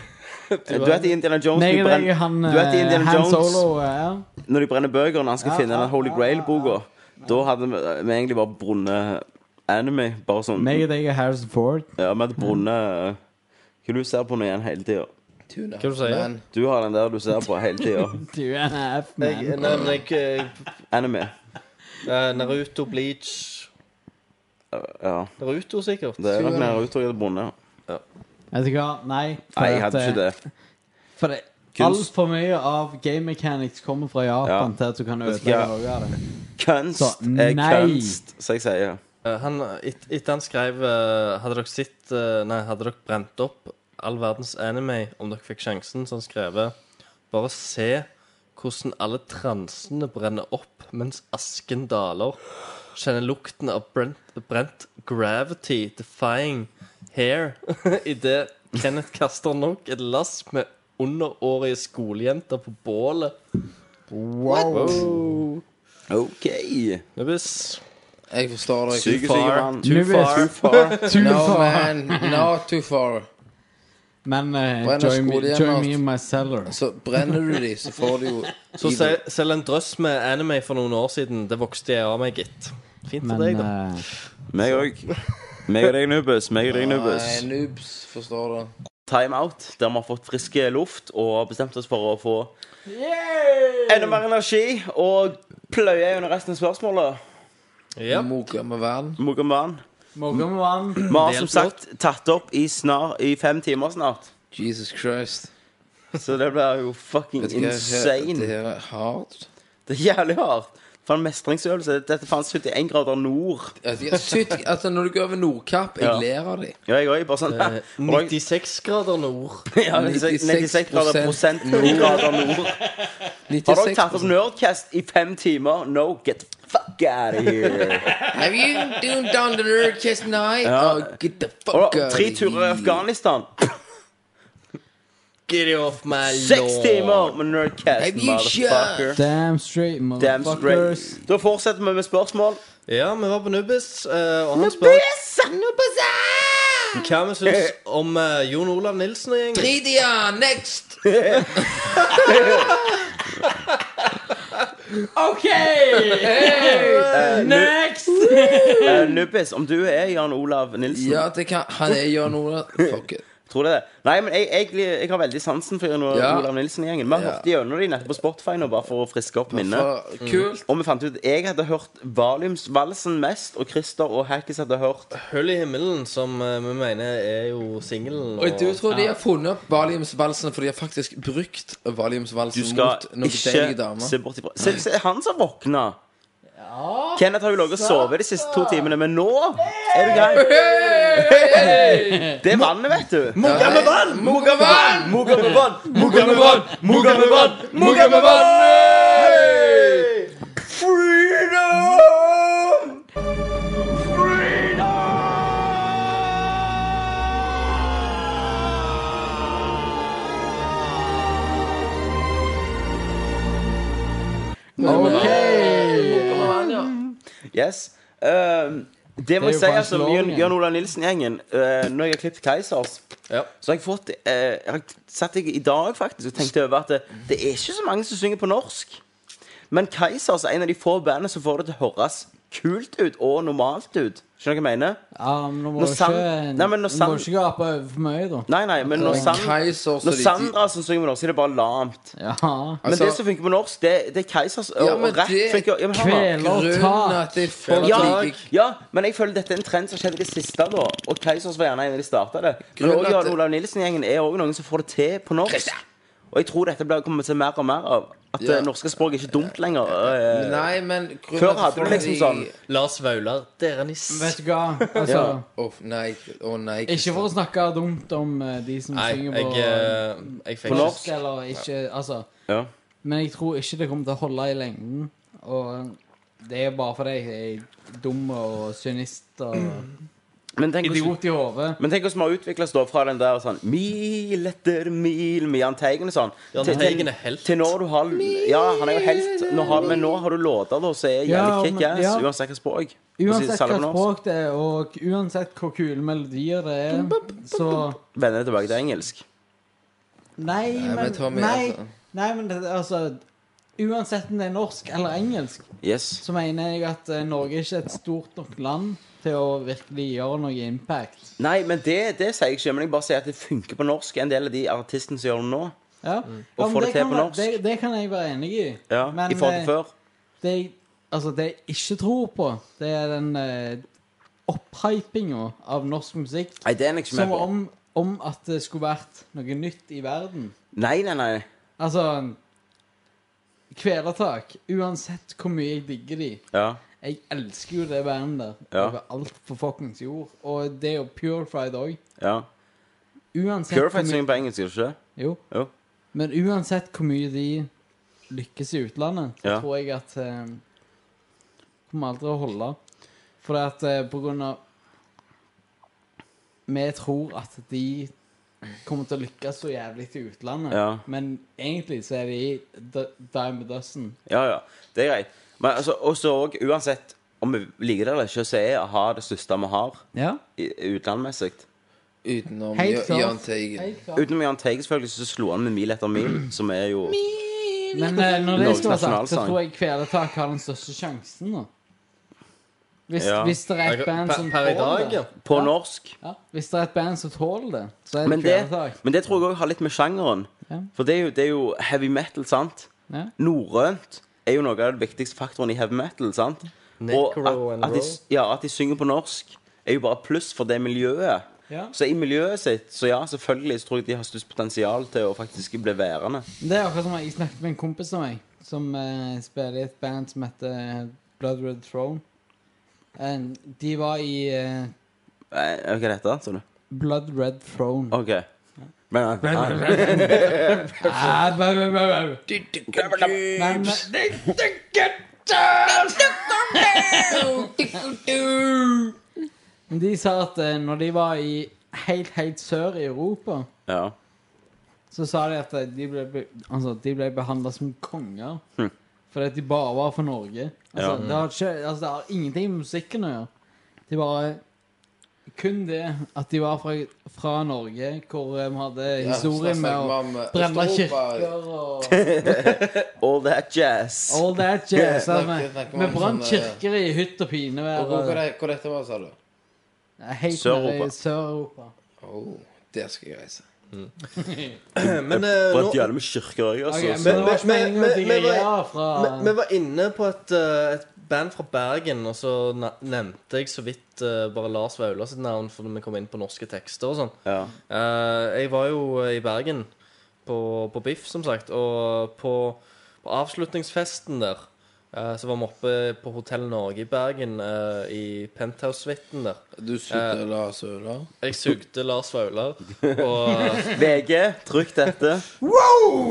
Du vet i Indiana Jones
Meg
når de
og deg,
brenner-
han,
du vet i Indiana
eh, Han
Jones,
Solo eh, ja.
Når de brenner bøker Når han skal
Ja,
finne
ja,
den Holy
ja,
Grail-boka Da hadde vi, vi egentlig bare brunnet Anime Bare sånn
Meg og deg er Harrison Ford. (laughs)
Ja, vi hadde brunnet eh, Hva er det du ser på nå igjen hele tiden?
Tuna.
du sier?
Man.
Du har den der du ser på hele
(laughs)
tiden
Du er en F,
Jeg,
man.
nei, men jeg eh,
Anime
eh, Naruto, Bleach
Ja,
Naruto, sikkert.
det er nok Naruto jeg hadde brunnet
Vet du hva? Nei. for
Nei, jeg
at,
hadde
eh,
ikke det
For det
Kunst.
Altfor mye av game mechanics kommer fra Japan
Ja.
til at du kan
du hva?
ødelegge noe av det.
Kunst
Så,
er
nei.
kunst Så jeg sier
Eh, Han, et, etter han skrev eh, Hadde dere sett eh, Nei, hadde dere brent opp all verdens anime om dere fikk sjansen, så han skrevet Bare se hvordan alle transene brenner opp mens asken daler. Kjenner lukten av brent, brent gravity defying hair (laughs) idet Kenneth kaster nok et lass med underårige skolejenter på bålet.
Ok
Nubbis.
Jeg forstår deg.
Syke Sigurd
Too
Nubbis.
far.
No, man. No, too far.
Men eh,
Brenner
join, me,
skolehjem,
join
alt.
me in my cellar.
Så brenner du de, så får du jo
(laughs) Så sel, selv en drøss med anime for noen år siden, det vokste jeg av meg, gitt. Fint for
Men
deg, da.
eh,
(laughs) Meg og Meg og deg Nubus Meg og deg Nubus
Nei, noobs, forstår du.
timeout, der vi har fått frisk luft og har bestemt oss for å få enda mer energi og pløye gjennom resten av spørsmålet.
Ja.
Moka med vann.
Mogamban.
Morgan One.
Vi
Det
har som
hjelper
sagt tatt opp i, snar, i fem timer snart,
Jesus Christ.
så det blir jo fucking
Vet du hva, Det
insane.
her er hardt.
Det er jævlig hardt. For en mestringsøvelse. Dette er faen 71 grader nord.
Altså, jeg- Sykt Altså, når du går over Nordkapp, jeg
Ja.
ler av de.
Ja, jeg òg. Bare
(laughs)
sånn
Eh, 96 grader nord.
Eh,
(laughs) ja, 96, 96 grader prosent (laughs) grader nord. Har dere tatt opp Nerdcast i fem timer? No, get the fuck out of here.
Have you done down the Nerdcast night?
Ja.
Oh, get the fuck
Og
out of
tre turer i
here.
Afghanistan.
Get it off my
Seks
lawn.
timer med Nerdcast,
Have you shot?
motherfucker.
Damn straight,
Damn
motherfuckers.
straight. Da fortsetter vi med spørsmål.
Ja, vi var på Nubbis, eh, og han spør
ah!
hva vi (laughs) syns om eh, Jon Olav Nilsen og gjengen.
Lydia, next!
(laughs)
Eh, Nubbis, om du er Jan Olav Nilsen
Ja, det kan Han er Jørn Ola. Fuck it.
Tror du det? Nei, men jeg, jeg, jeg har veldig sansen for Jan
Ja.
Olav Nilsen-gjengen. Vi har
Ja.
hørt gjennom dem nettopp på Spotify nå, bare for å friske opp minnet.
For, kult.
Og vi fant ut jeg hadde hørt Valiumsvalsen mest, og Christer og Hackis hadde hørt
Hull i himmelen, som eh, vi mener er jo singelen.
Og du tror de har funnet opp valiumsvalsen, for de har faktisk brukt
Du
valiumsvalsen
skal
mot noen deilige
ikke
damer.
se bort ifra Se, se han som våkna! Kenneth har jo ligget og sovet de siste to timene, men nå er du grei. Det er vannet, vet du.
Mugamevann! Mugamevann!
Mugamevann!
Mugamevann! Mugamevann!
Freedom! Yes. Ehm, det må
er
jeg
jo
si,
bare
altså,
slåingen.
Jørn Jørn Olav Nilsen-gjengen eh, Når jeg har klippet Keisers,
Ja.
så har jeg fått eh, Jeg har satt jeg i dag faktisk og tenkte over at det, det er ikke så mange som synger på norsk. Men Keisers er en av de få bandene som får det til å høres kult ut og normalt ut. Skjønner du hva jeg mener?
Ja, men nå må
Når
du ikke,
sand- Nei, men når
nå må
sand-
du ikke gape over for mye, da.
Nei, nei, men når, San-
Kaiser, så
når
de-
Sandra som synger på norsk, er det bare lamt.
Ja.
Men
Altså-
det som funker på norsk, det, det er Keisers. Og,
Ja, men
og rap
det-
funker ja, men hør nå.
Kveler
Grunnen
tak.
at det er folk
Ja,
liker
ja, men jeg føler dette er en trend som skjedde i det siste. da Og Keisers var gjerne en av de starta det. Men
Grunnen
også Jan
at-
Olav Nilsen-gjengen er også noen som får det til på norsk. Og jeg tror dette blir kommer til mer og mer av. At
Ja.
det norske språk er ikke dumt lenger.
Men
Eh,
Nei, men grunnen
Før
at
hadde
folk
du liksom
i-
sånn
Lars Vaular, dere er niss.
Vet du hva? Altså,
Ja.
Åh, nei, åh nei
Ikke for å snakke dumt om eh, de som
Nei,
synger
jeg,
på
eh, jeg fikk
På norsk?
norsk, eller ikke Altså.
ja.
Men jeg tror ikke det kommer til å holde i lengden. Og det er bare fordi jeg er dum og synist og
Mm. Men tenk hvordan-
idiot i hodet.
men tenk hvordan vi har utvikla oss da fra den der sånn Mil etter mil med Jahn Teigen og sånn.
Jahn
til- til-
Teigen er helt.
Til nå du har Ja, han er jo helt. Nå har, men nå har du låter da som er
Ja,
jævlig
men-
kickass,
ja.
uansett hva språk.
Uansett hva språk det er, og uansett hvor kule melodier det er, så
Vender tilbake til engelsk.
Nei, men,
men Tommy,
nei,
altså.
nei, men det, altså Uansett om det er norsk eller engelsk,
Yes.
så mener jeg at eh, Norge er ikke et stort nok land til å virkelig gjøre noe impact.
Nei, men det, det sier jeg ikke, men jeg bare sier at det funker på norsk. En del av de artistene som gjør det nå.
Ja.
Mm. Og
men
få det til
kan
på
være-
norsk.
Det, det kan jeg være enig i.
Ja,
Men,
I forhold
eh,
til før.
Det, jeg- altså, det jeg ikke tror på, det er den eh, opphypinga av norsk musikk
Nei, det er liksom jeg ikke
som
med på.
om, om at det skulle vært noe nytt i verden.
Nei, nei, nei.
Altså Kvelertak. Uansett hvor mye jeg digger de.
Ja.
Jeg elsker jo det bandet der.
Ja.
Over alt på fuckings jord. Og det er jo Purified òg.
ja.
Uansett hvor
Purified
mye-
synger på engelsk, gjør det ikke det?
Jo.
Jo.
Men uansett hvor mye de lykkes i utlandet, så
Ja.
tror jeg at eh, Kommer aldri å holde. For det at eh, på grunn av Vi tror at de kommer til å lykkes så jævlig i utlandet,
Ja.
men egentlig så er de d- dime a dozen.
Ja, ja. Det er greit. Men altså, også, og, uansett om vi liker det eller ikke, så er a-ha det største vi har
Ja,
i- utlandmessig.
Utenom
Helt
Jø-
klart.
Jahn Teigen.
helt klart.
Utenom Jahn Teigen, selvfølgelig, så slo han med mil etter
(clears throat)
mil, som er jo
Men eh, når det
Norges
skal være sagt, så
nasjonalsang.
tror jeg Kvelertak har den største sjansen. Da. Hvis,
Ja.
hvis det er et band som
per i dag,
tåler det.
ja.
på
Ja.
norsk.
Ja. Hvis det er et band som tåler det, så er det
Men det,
Kvelertak.
men det tror jeg òg har litt med sjangeren.
Ja.
For det er, jo, det er jo heavy metal, sant?
Ja.
Norrønt er jo noe av den viktigste faktoren i heavy metal, sant?
Necro
at,
and
at, de, s- ja, at de synger på norsk, er jo bare pluss for det miljøet.
Ja.
Så i miljøet sitt, så ja, selvfølgelig så tror jeg de har størst potensial til å faktisk bli værende.
Det er akkurat som jeg snakket med en kompis av meg, som eh, spiller i et band som heter eh, Blood Red Throne. En- de var i eh,
Eh, Hva er dette, tror du?
Blood Red Throne.
OK. Men,
Ah, blah, blah, blah, blah. Men, Men de sa at eh, når de var i helt, helt sør i Europa,
ja.
så sa de at eh, de ble, be- altså, de ble behandla som konger. Fordi at de bare var for Norge. Altså,
Ja.
det, har ikke, altså, det har ingenting med musikken å gjøre. De bare Kun det at de var fra, fra Norge, hvor eh, vi hadde historien med å brenne kirker og
All that jazz.
All that jazz.
Ja,
altså,
snakker- snakker man sånn, eh,
Vi vi
om
brant
sånne-
kirker i hytt og pinevær. og-
Hvor dette var, sa du?
Nei, Helt
Sør-Europa.
nede i Sør-Europa.
Oh, der skal jeg reise.
Men eh, nå
Brent jævlig med kirker òg,
Ok,
altså.
men
så-
det var ikke
men-
meningen å
men- men-
digrere fra
vi, vi var inne på et, eh, et band fra Bergen, og så na- nevnte jeg så vidt eh, bare Lars Vaular sitt navn, for vi kom inn på norske tekster og sånn.
Ja.
Eh, jeg var jo eh, i Bergen på, på Biff, som sagt, og på, på avslutningsfesten der eh, så var vi oppe på Hotell Norge i Bergen, eh, i Penthouse-suiten der.
Du sugde la søla?
Jeg sugde Lars Vaular, og,
VG, trykk dette.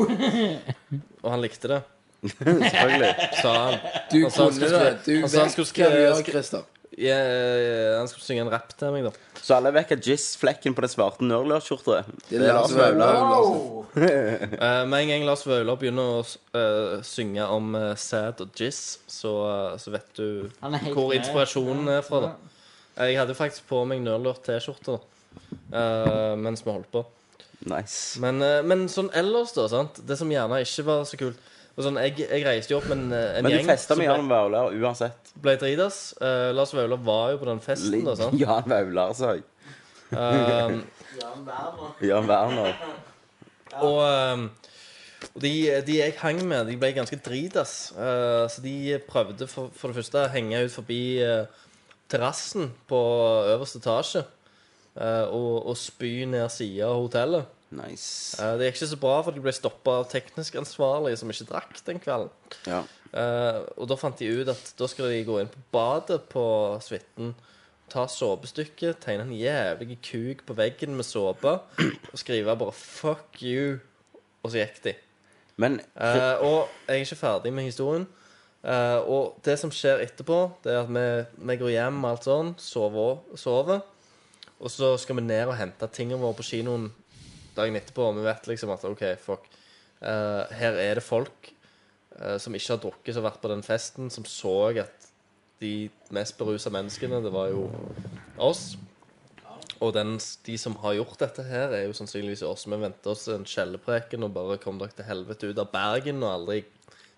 og han likte det,
Selvfølgelig.
sa han.
Du
Og så han
kunne
skulle
det.
skri-
Du
og
vet
så han
hva
skulle
du gjør,
skri-
Christer.
Ja, eh, han skulle synge en rap til meg, da.
Så alle vekk av jizz-flekken på den svarte nerdlørskjorta.
Det er Lars Vaular.
Eh, Med en gang Lars Vaular begynner å eh, synge om eh, sæd og jizz, så, eh, så vet du
Han er helt
hvor
med.
inspirasjonen er fra. da Jeg hadde faktisk på meg nølert T-skjorte eh, mens vi holdt på.
Nice.
Men, eh, men sånn ellers, da. sant? Det som gjerne ikke var så kult og sånn, jeg, jeg reiste jo opp med en, eh, en
Men du
gjeng
festa
som
med Jan Vaular uansett.
ble, ble dritas. Eh, Lars Vaular var jo på den festen, Sånn, da. sant?
Jan Vaular, sa jeg.
Eh,
Jan Werner.
Og, ehm, og de, de jeg hang med, de ble ganske dritas. Eh, så de prøvde for, for det første å henge ut forbi eh, terrassen på øverste etasje. eh, og, og spy ned sida av hotellet.
Nice.
Eh, det gikk ikke så bra, for de ble stoppa av teknisk ansvarlig som ikke drakk den kvelden.
Ja.
Eh, og da fant de ut at da skulle de gå inn på badet på suiten, ta såpestykket, tegne en jævlig kuk på veggen med såpe og skrive bare 'fuck you', og så gikk de.
Men
Eh, og jeg er ikke ferdig med historien. Eh, og det som skjer etterpå, det er at vi, vi går hjem og alt sånn, sover, sover. Og så skal vi ned og hente tingene våre på kinoen dagen etterpå. Og vi vet liksom at OK, fuck. eh, her er det folk eh, som ikke har drukket, som har vært på den festen, som så at de mest berusa menneskene, det var jo oss. Og den, de som har gjort dette her, er jo sannsynligvis oss. Vi venter oss en skjellepreken og bare kom dere til helvete ut av Bergen og aldri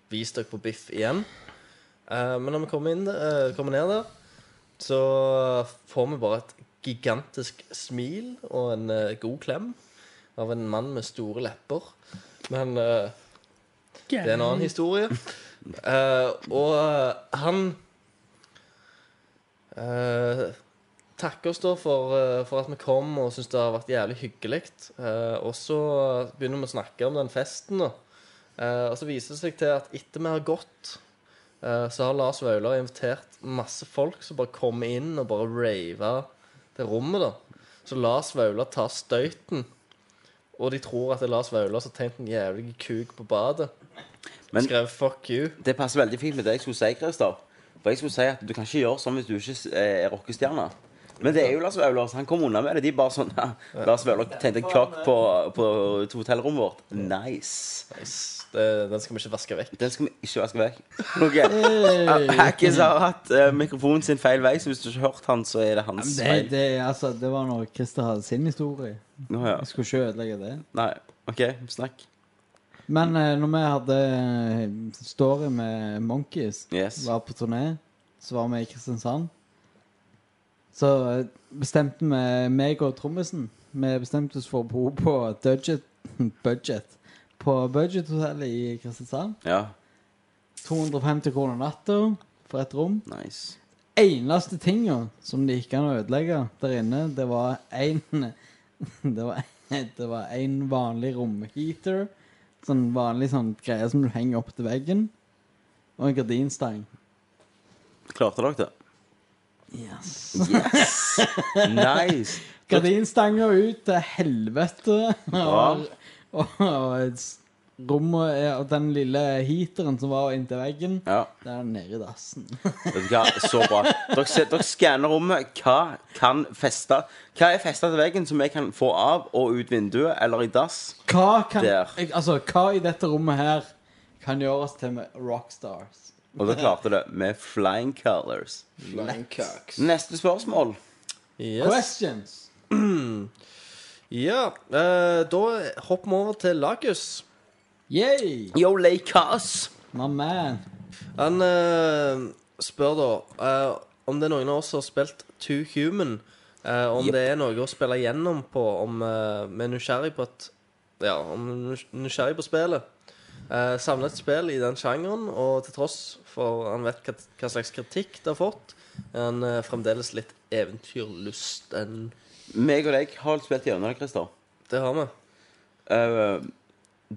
vis dere på biff igjen. Eh, men når vi kommer, inn, eh, kommer ned der, så får vi bare et gigantisk smil og en eh, god klem av en mann med store lepper. Men eh, det er en annen historie. Eh, og eh, han eh, takke oss da for, eh, for at vi kom og syns det har vært jævlig hyggelig. Eh, og så begynner vi å snakke om den festen. da. Eh, og så viser det seg til at etter vi har gått, eh, så har Lars Vaular invitert masse folk som bare kommer inn og bare raver til rommet. da. Så Lars Vaular tar støyten. Og de tror at det er Lars Vaular som har tenkt en jævlig kuk på badet.
Men-
Skrev 'fuck you'.
Det passer veldig fint med det jeg skulle si, Christer. For jeg skulle si at du kan ikke gjøre sånn hvis du ikke eh, er rockestjerne. Men det er jo Lars Vaular. så Han kom unna med det. De bare sånn (laughs) Lars Vaular tente en kloakk på, på hotellrommet vårt. Nice.
Nice. Det, den skal vi ikke vaske vekk.
Den skal vi ikke vaske vekk. (laughs) Ok. Hackis har hatt eh, mikrofonen sin feil vei, så hvis du ikke har hørt han, så er det hans
Det,
feil.
det, altså, det var når Christer hadde sin historie.
Nå, ja.
Jeg skulle ikke ødelegge det.
Nei. OK, snakk.
Men eh, når vi hadde eh, story med Monkeys,
Yes.
var på turné, så var vi i Kristiansand. Så eh, bestemte vi, meg og trommisen, vi bestemte oss for å bo på Budget, (laughs) budget på Budget-hotellet i Kristiansand.
Ja.
250 kroner natta for et rom.
Nice.
Eneste tinga som det gikk an å ødelegge der inne, det var en Det var, det var en vanlig romheater. Sånn vanlig sånn greie som du henger opp til veggen. Og en gardinstang.
Klarte dere det?
Yes.
Nice.
Gardinstanga ut til helvete.
Bra.
Og, og, og s- rommet er- og den lille heateren som var inntil veggen,
Ja.
den er nede i dassen.
Vet du hva, så bra Dere, se- dere skanner rommet Hva kan feste Hva er festet til veggen som jeg kan få av Og ut vinduet, eller i dass
Hva kan
Der.
jeg- Altså, hva i dette rommet her kan gjøre oss til med rockstars?
Og dere klarte det med flying colors
Flying cocks.
Neste spørsmål
Yes.
Questions!
Ja, eh, da hopper vi over til Lagus.
Yay!
Yo, Lakers
My man.
Han eh, spør da eh, om det er noen av oss som har spilt Two Human. eh, om det er noe å spille gjennom på om eh, vi er nysgjerrig på et Ja, om vi er nysgjerrig på spillet. Uh, Savner et spill i den sjangeren, og til tross for han vet hva, hva slags kritikk det har fått, er han eh, fremdeles litt eventyrlysten.
Meg og deg har spilt gjennom det, Kristian
Det har vi.
Eh,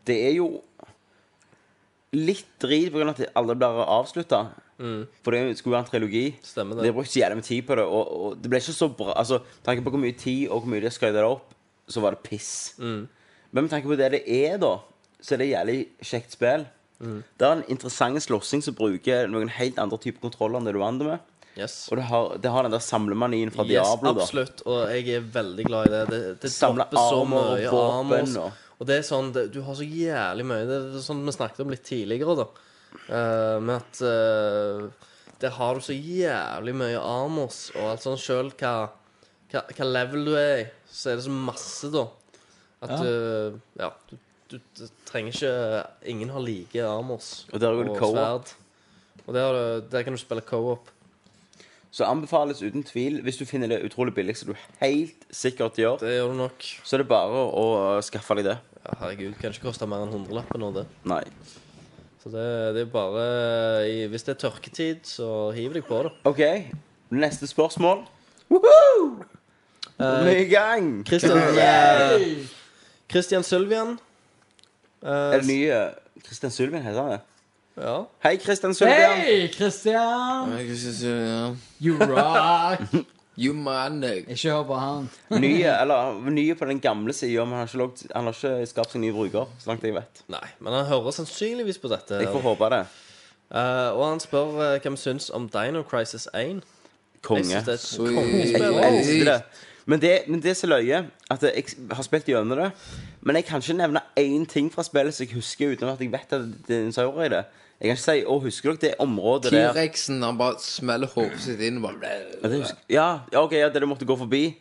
Det er jo Litt drit på grunn av at det aldri blir avsluttet For det skulle være en trilogi
Mm. Stemmer det.
De har brukt så jævlig med tid på det Og, og det ble ikke så bra Altså, med tanke på hvor mye tid og hvor mye de skrev det opp Så var det piss
Mm.
Men med tanke på det det er da Så er det et jævlig kjekt spill
Mm.
Det er en interessant slåssing som bruker Noen helt andre typer kontroller enn det du er vant med
Yes.
Og det har, det har den der samlemanien fra
Yes,
Diablo da
absolutt, og jeg er veldig glad i det. Det, det
Samle
dropper så
armer og
mye
våpen
armer.
og-
Og det er sånn, det, du har så jævlig mye Det er sånn vi snakket om litt tidligere, da. Eh, med at eh, der har du så jævlig mye armors og alt sånn sjøl hva, hva, hva level du er i, så er det så masse, da. At
Ja.
du Ja, du, du, du trenger ikke eh, Ingen har like armors
Og der går det co-op.
Og der, har du- der kan du spille co-op.
Så anbefales uten tvil Hvis du finner det utrolig billig Som du helt sikkert gjør
Det gjør du nok.
Så er det bare å øh, skaffe deg det
Ja, herregud, kan ikke koste mer enn hundrelappen nå, det.
Nei
Så det, det er bare i, Hvis det er tørketid, så hiv deg på det.
Ok, neste spørsmål Woohoo! Ny gang
Eh, Christian, eh, Christian Sylvian. eh,
Er det nye Kristian Sylvian heter han det?
Ja.
Hei Kristian Sylvian
Hei, Christian!
Jeg synes, ja.
You (laughs) rock!
You manic.
Ikke hør på han.
Nye, eller nye på den gamle siden Men han har ikke, loggt, han har ikke skapt seg nye bruker Så langt jeg vet
Nei, men han hører sannsynligvis på dette.
Jeg får håpe det
Eh, og han spør eh, hva vi syns om Dino Crisis 1. Jeg
Konge
synes det er et
Sweet.
kongespill.
Jeg elsker det. Men det, men det er så løye at jeg har spilt gjennom det. Men jeg kan ikke nevne én ting fra spillet som jeg husker uten at jeg vet at det er dinosaurer i det. Jeg kan ikke si 'Å, husker dere det området der?'
T-rexen, han bare smeller hodet sitt inn og bare
Ja, det husker, ja, ja, ok, ja, det du måtte gå forbi.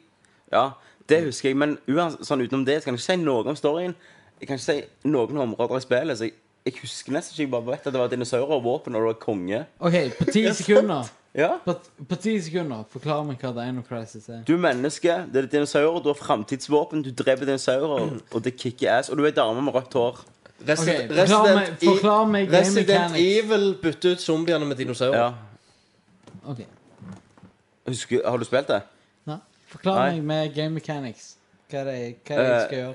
Ja, det husker jeg. Men uansett, sånn utenom det, så kan jeg ikke si noe om storyen. Jeg kan ikke si noen områder i spillet. Så jeg, jeg husker nesten ikke. Jeg bare vet at det var dinosaurer og våpen, og det var konge.
OK, på ti sekunder
Ja.
På, på ti sekunder, forklar meg hva Dino Crisis er.
Du er menneske, det er dinosaurer, du har framtidsvåpen, du dreper dinosaurer, og det kicker ass. Og du er dame med rødt hår.
Resi-
Ok, forklar
Resident,
meg- forklar meg
E-
game
Resident
mechanics.
Evil bytter ut zombiene med dinosaurer.
Ja.
Ok,
Husker, har du spilt det?
Nei. Forklar
Nei.
meg med game mechanics. Hva det er hva
Eh,
jeg skal gjøre.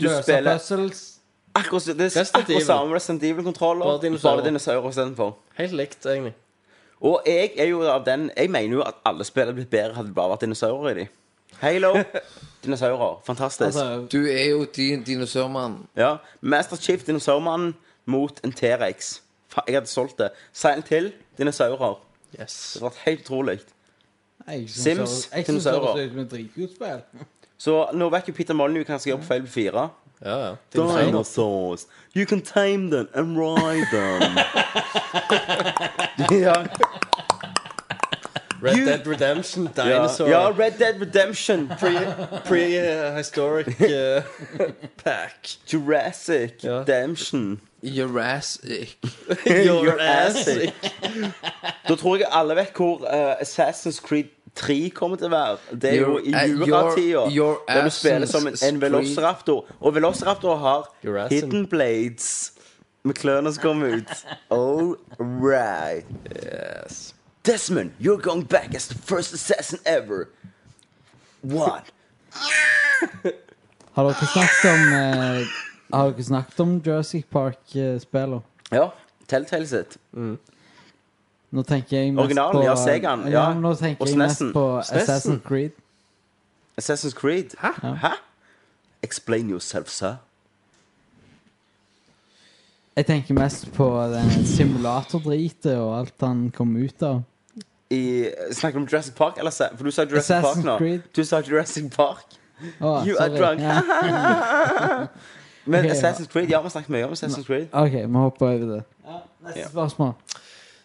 Du
Løse
spiller
puzzles.
akkurat, så- det er
Resident
akkurat
Evil.
samme Resident Evil-kontroller,
Bare dinosaurer.
bare dinosaurer istedenfor.
Helt likt, egentlig.
Og jeg er jo av den Jeg mener jo at alle spill hadde blitt bedre hadde det bare vært dinosaurer i de.
(laughs)
Halo. dinosaurer. Fantastisk.
Altså,
Du er jo din dinosaurmann.
Ja. Master Chief, dinosaurmannen mot en T-rex. Fa- Jeg hadde solgt det. Silent Hill, dinosaurer.
Yes.
Det hadde vært helt utrolig.
jeg synes
Sims,
det- Jeg syns det
dinosaurer.
høres ut som et dritgodt spill.
Så nå vet jo Peter Molyneux hva han skal gjøre på feil på fire.
Ja, ja. Dinosaurer.
Dinosaurs. You can tame them and ride them. (laughs) ja.
Red Dead Redemption, dinosaur.
ja, Red Dead Redemption.
Prehistoric eh, pack.
Jurassic
Ja.
Redemption.
Jurassic.
(laughs) Jurassic. (laughs) Da tror jeg alle vet hvor eh, Assassin's Creed 3 kommer til å være. Det er jo i
Your- eh,
juratida.
your- your
Der du spiller som en, en
Assassin's
velociraptor. Og velociraptor har
Jurassic.
hidden blades med klørne som kommer
(laughs)
ut. All right.
Yes.
Desmond, you're going back as the first assassin ever. What?
Har dere snakket om eh, Har dere snakket om Jurassic eh, Park-spillene?
Ja, Telltale sitt.
Nå tenker jeg mest
Originalen,
på
ja, Segaen,
Ja,
ja.
men Nå tenker
Og
jeg mest
SNES'en.
på
SNES'en.
Assassin's Creed.
Assassin's Creed. Hæ? Hæ? Explain yourself, sir.
Jeg tenker mest på den simulatordritet og alt han kom ut av.
I, snakker du om Jurassic Park? Eller, sa- for du sa Jurassic
Assassin's
Park nå.
Creed.
Du sa Jurassic Park.
Å,
You are
sorry.
drunk.
Ja.
Men
Ok, ja.
Assassin's Creed, ja, vi har snakket mye om Assassin's Creed.
OK, vi hopper over det. neste
Ja.
spørsmål.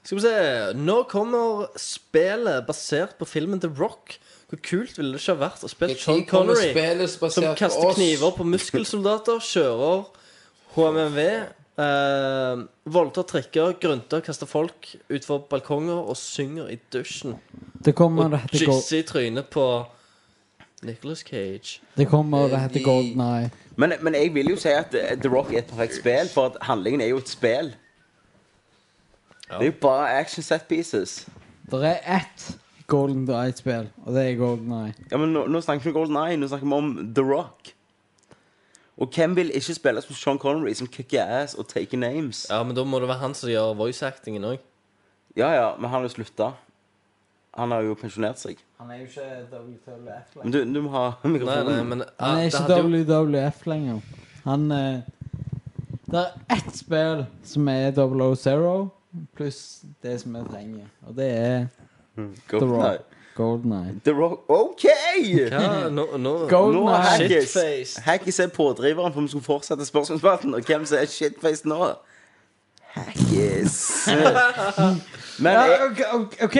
Skal vi se Nå kommer spillet basert på filmen The Rock. Hvor kult ville det ikke ha vært å spille Sean Connery? Som kaster kniver på muskelsoldater, kjører HMMV, eh, voldtar trikker, grunter, kaster folk utfor balkonger og synger i dusjen.
Det kommer
Og
det heter, gold,
jizzer i trynet på Nicholas Cage.
det kommer det heter
Vi-
Golden Eye.
Men, men jeg vil jo si at eh, The Rock er et perfekt spill, for at handlingen er jo et spill. Det er jo bare action set pieces.
Det er ett Golden Eye-spill, og det er Golden Eye.
Ja, men nå, nå snakker vi om Golden Eye, nå snakker vi om The Rock. Og hvem vil ikke spille som Sean Connery, som kicker ass og taker names?
Ja, men da må det være han som gjør voice-actingen òg.
Ja, ja, men han har jo slutta. Han har jo pensjonert seg.
Han er jo ikke WWF
Men du, du må ha (laughs)
Nei, nei,
mikrofonen.
men ja,
Han er
det
ikke
hadde jo-
WWF lenger. Han eh, Det er ett spill som er 000, pluss det som vi trenger, og det er The
Golden Eye.
Rock. Golden Eye.
The Rock OK!
Ja, nå, nå
Nå
Golden
er
Eye.
Haggis
Shitface.
Haggis er pådriveren for om vi skulle fortsette spørsmålsspalten. Og hvem som er shitface nå?
(laughs)
Haggis. Men
Ja,
jeg,
ok, ok, ok,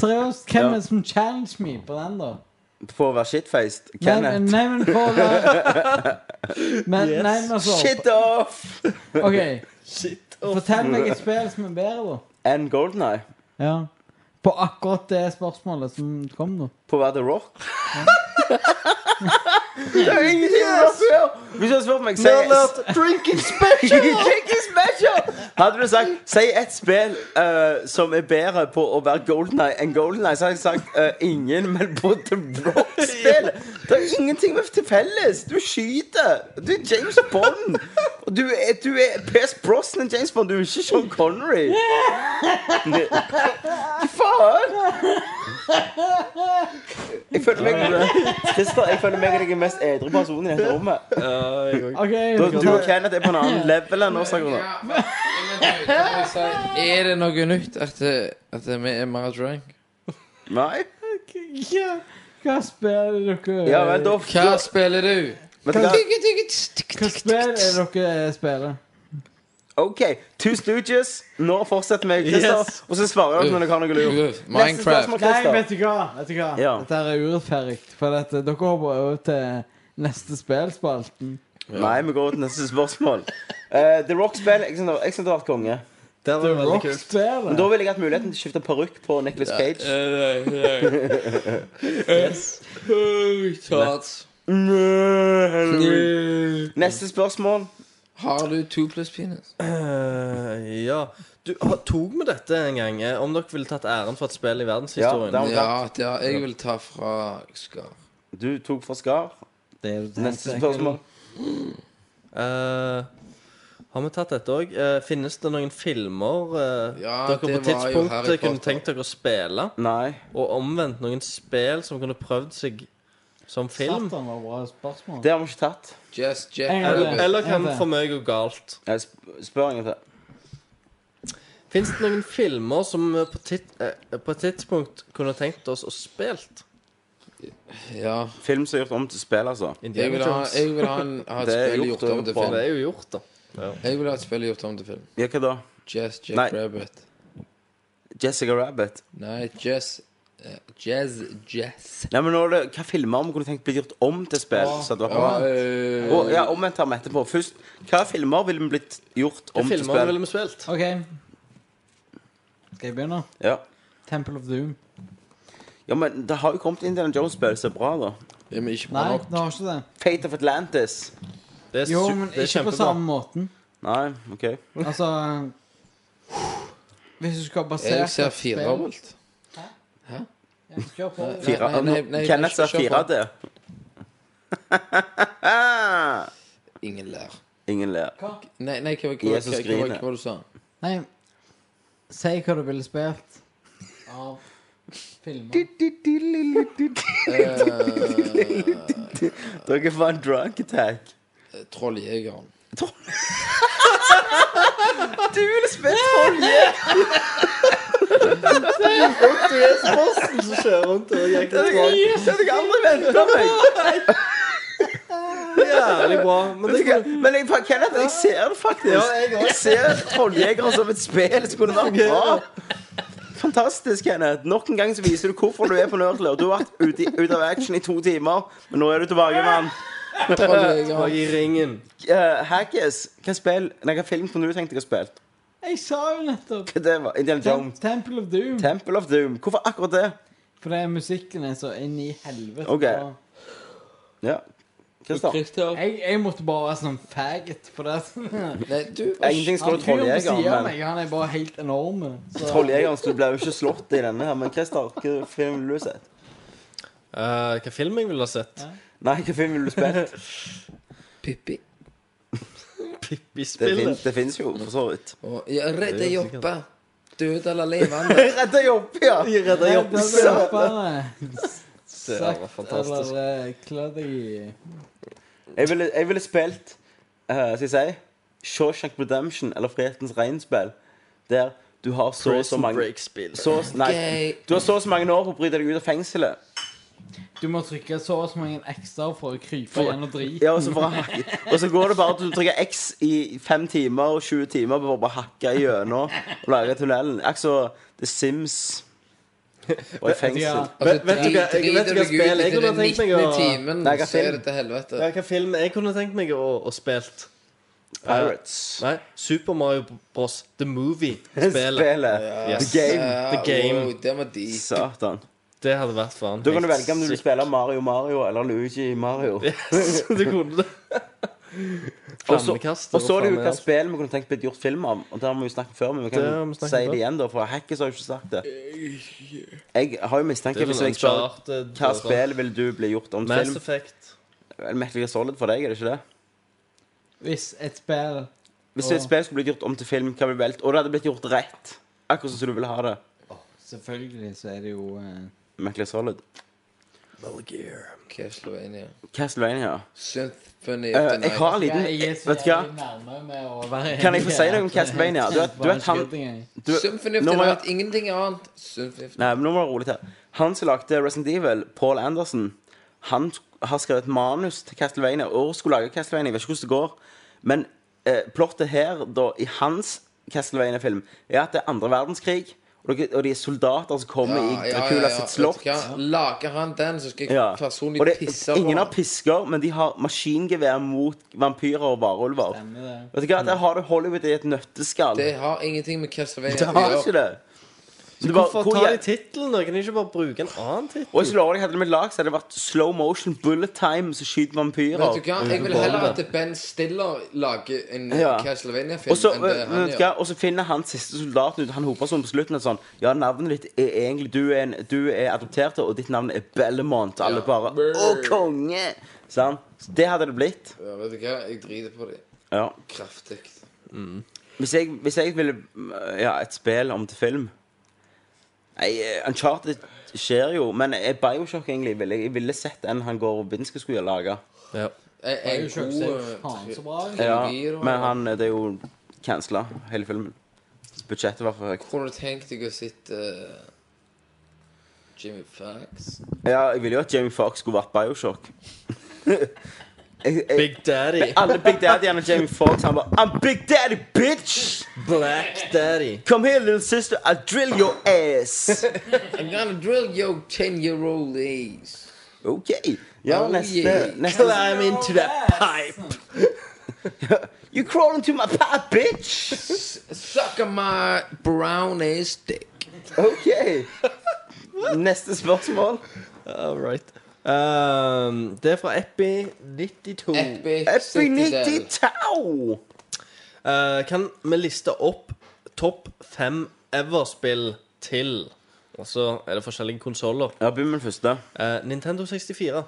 seriøst. Hvem
Ja.
er det som challenge me på den, da?
for å være shitfaced
Nei, men-
Kenneth.
nei, men på
(laughs)
det Men nei, men altså
Shit off!
OK,
Shit.
fortell meg et spill som er bedre, da.
And Golden Eye.
Ja. På akkurat det spørsmålet som kom nå.
På å være The Rock. Det er jo ingenting The Rock gjør! Hvis du hadde spurt meg, si (laughs)
Drinking special!
Kicking special! Hadde du sagt Si ett spill eh, som er bedre på å være Golden Eye enn Golden Eye, så hadde jeg sagt eh, ingen, men på The Rock-spill. Det er ingenting med til felles. Du skyter. Du er James Bond. Og du er, du er Pierce Brosnan James Bond. Du er ikke Sean Connery. Hva faen? Jeg føler meg Christer, jeg føler meg er den mest edru personen i dette rommet.
OK,
Du og Kenneth er på en annen level enn oss akkurat nå.
Ja, men- men du, jeg må si, Er det noe nytt at, eh, at vi er mer drunk?
Nei?
Ja, Hva spiller dere
Ja vel, da
Hva spiller du?
Vet du hva?
Hva spill er det dere spiller?
OK, Two Stooges. Nå fortsetter vi, Christer.
Yes.
Og så svarer dere når dere har noe lurt.
Uff,
Neste
Minecraft.
spørsmål,
Nei,
Christer.
vet du hva? Vet du hva?
Ja.
Dette her er urettferdig. For at dere hopper over til neste spillspalten.
Nei, vi går til neste spørsmål. Eh, The Rock-spill. Jeg syns det jeg synes det har vært konge.
Det var veldig kult.
Men
Rock-spillet.
da ville jeg hatt muligheten til å skifte parykk på Nicholas Cage.
eh.
Charts.
Neste spørsmål.
Har du to pluss penis?
Eh, ja. Du har- tok vi dette en gang? eh, Om dere ville tatt æren for et spill i verdenshistorien?
Ja, det
Ja, det er, jeg vil ta fra Skar.
Du tok fra Skar.
Det er jo det
Neste
jeg-
spørsmål.
Eh, har vi tatt dette òg? finnes det noen filmer eh,
Ja,
dere
det
på
var jo Harry
tidspunktet kunne
Potter.
tenkt dere å spille?
Nei.
Og omvendt noen spill som kunne prøvd seg som film?
Satan var bra spørsmål.
Det har vi ikke tatt.
Just Jack
En gang til.
Eller,
Rabbit.
eller kan
Ja, det.
for meg gå galt?
Jeg sp- Spør en gang til.
Fins det noen filmer som vi på, tit- eh, på et tidspunkt kunne tenkt oss å spilt?
Ja.
Film som er gjort om til spill, altså.
Jeg vil ha, jeg vil ha, en, ha et
Det er
spill
gjort
gjort om
og
til
bra.
Det
film.
er jo gjort, da.
Jeg vil ha et spill gjort om til film.
Ja, hva da?
Just Jack
Nei.
Rabbit.
Jessica Rabbit.
Nei, Jazz eh, Jazz Jazz.
Nei, men nå er det, Hva filmer vi kunne tenkt blitt gjort om til spill? Så det var
Ja,
bra.
eh,
Og, ja, Omvendt tar vi etterpå. Først, hva filmer ville vi blitt gjort om til
Filmer
spill?
ville vi spilt.
OK. Skal jeg begynne?
Ja.
Temple of Doom.
ja, men det har jo kommet Indiana Jones-spill som er bra, da.
ja, men ikke bra
Nei,
nok.
det har ikke det.
Fate of Atlantis.
Det er,
Jo,
su-
men
det er
ikke på
kjempebra.
samme måten.
Nei, OK.
Altså Hvis du skal basere
Jeg ser
et spill-
firedobbelt.
Ja, kjør på.
Nei,
Fire,
nei, nei,
Kenneth
jeg
sa
skal ikke kjøre
4D.
Ingen ler.
(laughs) Ingen ler.
Nei, nei, hva hva- hva-
Jesus
hva- hva-
griner.
hva var det du sa?
Nei, si hva du ville spilt av filmer.
Dere får en drunk attack.
Eh,
(laughs)
Trolljegeren.
Du ville spilt olje!
(laughs) Det er Spossen som kjører rundt og jeger tråd.
Det hadde jeg aldri venta
(laughs)
meg.
Jævlig bra. Men det kunne
Men jeg, Kenneth, jeg ser det faktisk. jeg ser Trolljegeren som et spill. Så kunne det vært bra. Fantastisk, Kenneth. Nok en gang så viser du hvorfor du er på Nerdler. Du har vært ute, i- ute av action i to timer, men nå er du tilbake, mann.
var
Trolljegeren.
i ringen.
Uh, Haggis, hva spill Nei, hva film kunne du tenkt deg å spille?
Jeg sa jo nettopp
Hva det var? Indiana
Tem
Jones.
Temple of Doom.
Temple of Doom. Hvorfor akkurat det?
For det er musikken er så inn i helvete.
Ok.
bra.
Ja. Kristian.
Jeg, jeg måtte bare være sånn faggot for det. Han
Nei, du
Ingenting skal være
fyren på siden av
Trolljegeren, men
meg, han er bare helt enorm. Så
Trolljegeren så du ble jo ikke slått i denne her. Men Christer, hva film ville du sett?
Uh, hva film jeg ville ha sett? (laughs)
Nei, hva film ville du
(laughs)
spilt?
Pippi.
Det,
Pippi-spillet.
fin, det fins jo, for så vidt.
Og ja, redde jobbe. Død eller levende.
Redda jobb, ja!
De redder
Nei,
jobben.
da ble jeg bare
Det var
Sagt
fantastisk.
eller eh, klødd deg i
Jeg ville, jeg ville spilt eh, Skal jeg si Shawshank Redemption eller Frihetens regnspill. Der du har så og så
Prison
mange
Break-spill.
så, Nei.
Gay.
Du har så og så mange år på å bryte deg ut av fengselet.
Du må trykke så og så mange ekstra for å krype
For-
gjennom drit.
Ja, og, så bare, hakke- og så går det bare at du trykker X i fem timer og 20 timer bare for å hakke gjennom og lage tunnelen. Akkurat som The Sims
(laughs)
var i
Ja.
fengsel.
Altså,
Vet- vet du hva-
drit-
jeg vet
driter
hva
deg
spill
ut
jeg
etter
kunne
den
tenkt meg å-
19. timen,
Nei, hva
så er
film?
det til helvete.
Ja, hva film jeg kunne tenkt meg å, å spilt?
Pirates.
Nei, Super Mario Bros. The
(laughs)
Movie-spillet.
Spillet.
Yes.
The Game.
Ja,
The Game.
wow, det var de.
Satan.
Det hadde vært faen.
Da kan
helt
du velge om du vil
sykt.
spille Mario Mario eller Luigi Mario.
Yes, du kunne (laughs) det.
(laughs) Og så-
Flammekaster
Og så er det jo hva
flammejern.
spill vi kunne tenkt blitt gjort film av. Og det har vi jo snakket før, men vi kan
Det har vi
jo
snakket
si det
før. Eh,
igjen, da. For Hackers har jo ikke sagt det. Jeg har jo mistanke
Det er
hvis
sånn
jeg spør
Uncharted,
hva
og-
spill vil du bli gjort om til
Mass
film?
Effect.
Vel, Metal Gear Solid for deg, er det ikke det?
Hvis et spill
Hvis et spill skulle blitt gjort om til film, hva ville du valgt? Og det hadde blitt gjort rett. Akkurat sånn som du vil ha det.
Selvfølgelig så er det jo eh,
Metal Gear Solid.
Castlevania.
Castlevania.
Symphony
Eh,
of the
jeg har en
Night.
liten
Jeg er så
Vet du hva?
jævlig nærme med å være
Kan jeg få
enig (laughs)
si noe
her,
om
så
Castlevania? Du vet- du vet han-
Bare skyting, jeg.
Du,
Symphony of
nå
the
må jeg-
Night. Ingenting annet. Symphony of the
Nei, men nå må det være rolig til. Han som lagde Resident Evil, Paul Anderson, han sk- har skrevet et manus til Castlevania og skulle lage Castlevania. Jeg vet ikke hvordan det går. Men eh, plottet her, da, i hans Castlevania-film, er at det er andre verdenskrig, og, dere- og de er soldater som kommer i Dracula sitt slott.
Vet du hva? Lager han den, så skal jeg
Ja.
personlig
Og det,
pisse på
ingen har
han.
pisker, men de har maskingevær mot vampyrer og varulver. Vet du hva, Der har du Hollywood i et nøtteskall.
Det har ingenting med
Det
Castlevania å
har
gjøre.
ikke det. Så du bare-
Hvorfor
hvor
ta
jæv-
de tittelen? da? Kan de ikke bare bruke en annen tittel?
Og jeg lover deg, hadde det vært lag, så hadde det vært slow motion, bullet time, som skyter vampyrer.
Vet du hva, Jeg vil heller at Ben Stiller lager en
Ja. Og
Castlevania-film
så,
enn det
øh,
han
vet du hva,
gjør.
og så finner han siste soldaten ut, han hoper sånn på slutten, og sånn, ja, navnet ditt er egentlig, du er, en, du er adoptert, og ditt navn er Bellemont, og alle
Ja.
bare,
Brr.
å, konge! Sant? Så det hadde det blitt.
Ja, vet du hva, jeg driter på det
Ja.
kraftig.
Hvis jeg, hvis jeg ville, øh, ja, et spill om til film, nei, øh, Uncharted skjer jo, men øh, Bioshock egentlig, ville, jeg- jeg ville sett den han går og Binske skulle lage.
En en god
Faen, så
eh,
bra.
Ja,
trilogi, da.
men han, det er jo cancela, hele filmen. Budsjettet var for høyt.
Kunne du tenkt deg å sitte eh, Jimmy Fax?
Ja, jeg ville jo at Jamie Foxx skulle vært Bioshock. (laughs) jeg, jeg,
Big Daddy.
alle Big Daddy-ene Jamie Foxx, han bare I'm Big Daddy, bitch!
Black Daddy.
Come here, little sister, I'll drill your ass!
I'm gonna drill your 10-year-old ass.
(laughs) OK. Ja,
Oh,
neste,
yeah.
neste
Climb into that pipe.
You crawl into my pipe, bitch!
Suck on my brown ass dick.
OK. Neste spørsmål.
All right. Um, det er fra Epi92.
Eh.
Epic
Epi
Citadel.
90 Tau!
Eh, kan vi liste opp topp fem Ever-spill til? Og så er det forskjellige konsoller.
Ja, begynn med den første.
Eh, Nintendo 64.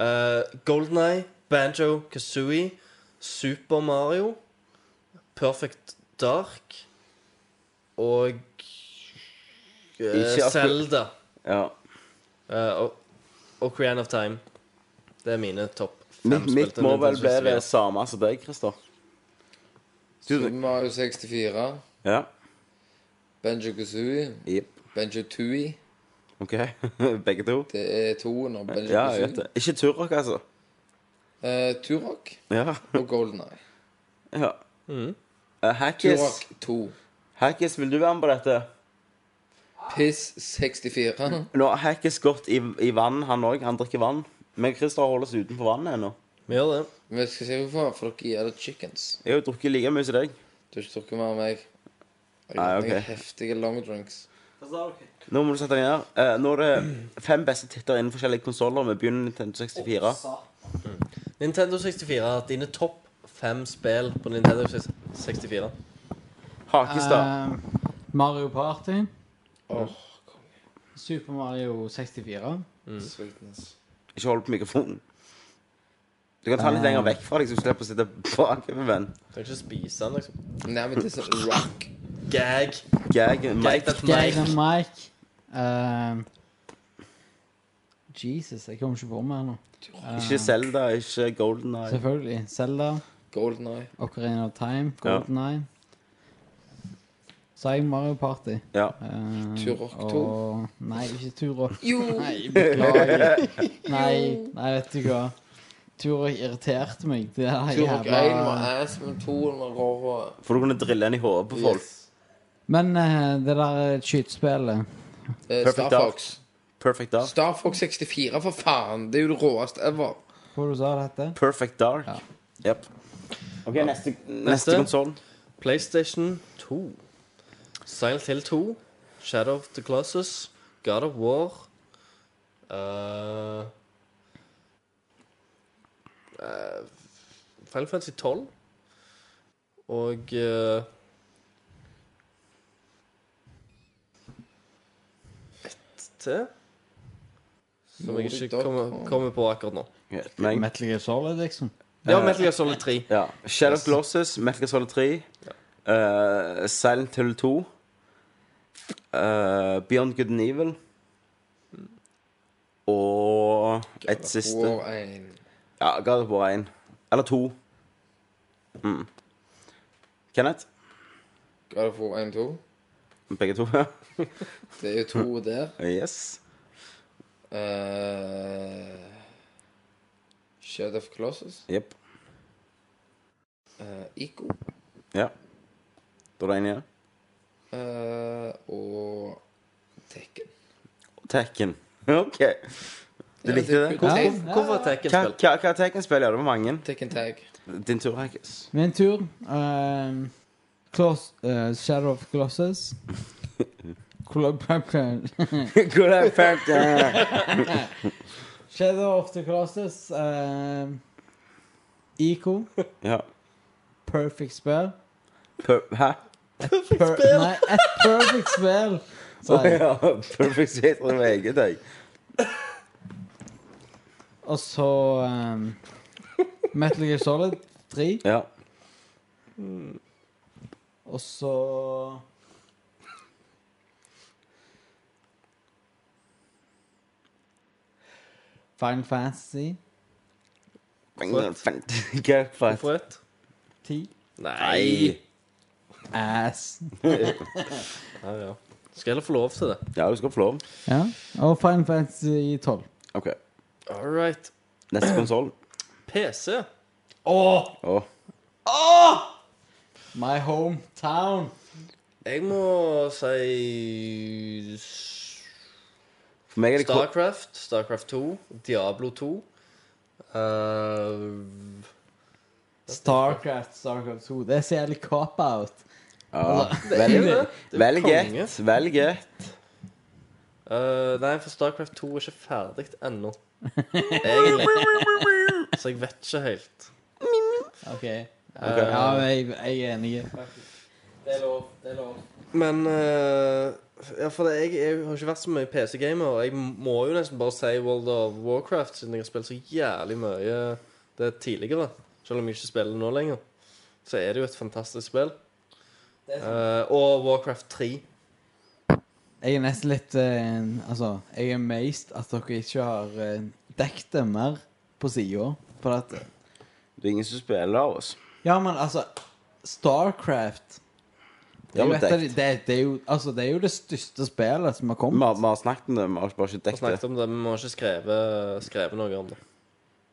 Eh, GoldenEye, Banjo, Kazooie, Super Mario, Perfect Dark og
Ikke
uh,
akkur-
Zelda.
Ja.
eh, og og Crean of Time. Det er mine topp fem
Mitt,
spill
mitt
til
må
Nintendo
vel bli det
64.
samme som deg, Christer.
Super Mario 64.
Ja.
Benjo Kazooie.
Jepp.
Benjo Tui.
OK. (laughs) Begge to.
Det er toen av Benjo
Ja, jeg vet
Kazooie.
det. Ikke Turok, altså.
Eh, Turok
Ja. (laughs)
og Golden Eye.
ja. Eh, Hackis,
Turok 2.
Hackis, vil du være med på dette?
Piss 64.
Nå har Hackis gått i, i vann, han òg. Han drikker vann. Men Christer holder oss utenfor vannet ennå.
Vi gjør det.
Men jeg skal si hvorfor, for dere gir det chickens.
Jeg har jo drukket like mye som deg.
Du har ikke drukket mer enn meg. Jeg
Nei,
har
ok.
hatt noen heftige long drinks.
Nå må du sette deg ned. Eh, nå er det fem beste titter innen forskjellige konsoller. Vi begynner Nintendo 64.
Nintendo 64. Dine topp fem spill på Nintendo 64.
Hakestad.
Eh, Mario Party.
Åh,
Super Mario 64.
sweetness.
Ikke hold på mikrofonen. Du kan ta den litt lenger vekk fra deg, så du slipper å sitte bakover, venn.
Du kan ikke spise den, liksom.
Nei, men det er sånn rock.
Gag.
Gag,
Gag
Mike.
that
Geir
Mike.
og Mike. Eh, Jesus, jeg kommer ikke på mer nå. Eh,
Ikke Zelda, ikke Golden Eye.
Selvfølgelig. Zelda,
Golden Eye.
Ocarina of Time, Golden Eye. Så har jeg Mario Party.
Ja.
Eh,
Turok
og-
2.
Nei, ikke Turok.
Jo!
(laughs) Nei, beklager. Nei, nei, vet du hva. Turok irriterte meg. Det er
Turok 1 var
jævla
ass, men 2 var råhå.
For du kunne drille den i hodet på folk.
Men eh, det der skytespillet
Eh,
Perfect
Star
Dark.
Fox.
Perfect Dark.
Star Fox 64, for faen! Det er jo det råeste ever.
Hva du sa det heter?
Perfect Dark.
Ja.
Yep. Ok, neste,
Neste.
neste konsoll.
PlayStation 2. Silent Hill 2. Shadow of the Classes. God of War. Uh, uh, Final Fantasy 12. Og uh, Et til. Som jeg
Nordic
ikke
Dog
kommer,
og-
kommer på akkurat nå.
Meg.
Metal Gear Solid, liksom.
Ja, Metal Gear Solid 3.
Ja. Shadow of the Losses, Metal Gear Solid 3, eh, Silent Hill 2, eh, Beyond Good and Evil og et siste.
War 1.
Ja, God of War 1. Eller 2. Mm. Kenneth?
God of War 1 2.
Begge to. (laughs) ja.
Det er jo
(laughs)
to der.
Eh, yes.
Eh, Shadow of Colossus.
Jepp.
eh, Ico
Ja. Da er det en igjen.
eh, og Tekken.
Tekken. (laughs) OK. Du likte det?
Ja.
Hvor- Hvorfor er Tekken
Hva,
spilt?
hva, hva Tekken spiller du? Det var mange.
Tekken Tag.
Din tur, (laughs) Hankis.
Min tur. Ehm, Claws- eh, Shadow of Colossus. Clo- (laughs) Shadow of the Colossus. ehm, Ico.
Ja.
Perfect spill.
Per Hæ?
Per nei, et perfect spill. sa
Å
jeg.
(laughs) ja. Perfect Hit og VG, deg.
Og så ehm, Metal Gear Solid 3.
Ja.
Og så Final Fantasy
Final Fantasy. (laughs) Hva for et?
Hvorfor et?
10.
Nei.
Ass.
Ja, ja. Skal heller få lov til det.
Ja, du skal få lov.
Ja. Og Final Fantasy 12.
OK.
All right.
Neste konsoll.
PC.
Å.
My hometown.
Jeg må si
For meg er det ko-
Starcraft, Starcraft 2, Diablo 2 eh,
Starcraft, Starcraft 2. Det er så jævlig cop-out.
Ja.
Det er jo det.
Velg (laughs)
Det er jo
velg
konge.
ett. Velg ett.
Eh, nei, for Starcraft 2 er ikke ferdig ennå. (laughs) Egentlig.
(laughs)
Så jeg vet ikke helt.
OK. Eh, Ja, men jeg, jeg er enig. Det er lov. Det er lov.
Men eh, Ja, for det, jeg, jeg har ikke vært så mye PC-gamer. og Jeg må jo nesten bare si World of Warcraft, siden jeg har spilt så jævlig mye eh, det tidligere. Selv om jeg ikke spiller nå lenger. Så er det jo et fantastisk spill. Eh, og Warcraft 3.
Jeg er nesten litt eh, Altså, jeg er amazed at dere ikke har eh, dekket det mer på sida. For at
Det er ingen som spiller av oss.
Ja, men altså Starcraft det
Ja,
er, jo
men
et av de,
dekt.
det, det, er jo, altså, det er jo det største spillet som har
Vi
kommet.
har, vi har snakket om det, vi har bare ikke
Vi har
dekket det.
snakket om det, men vi har ikke skrevet, skrevet noe om det.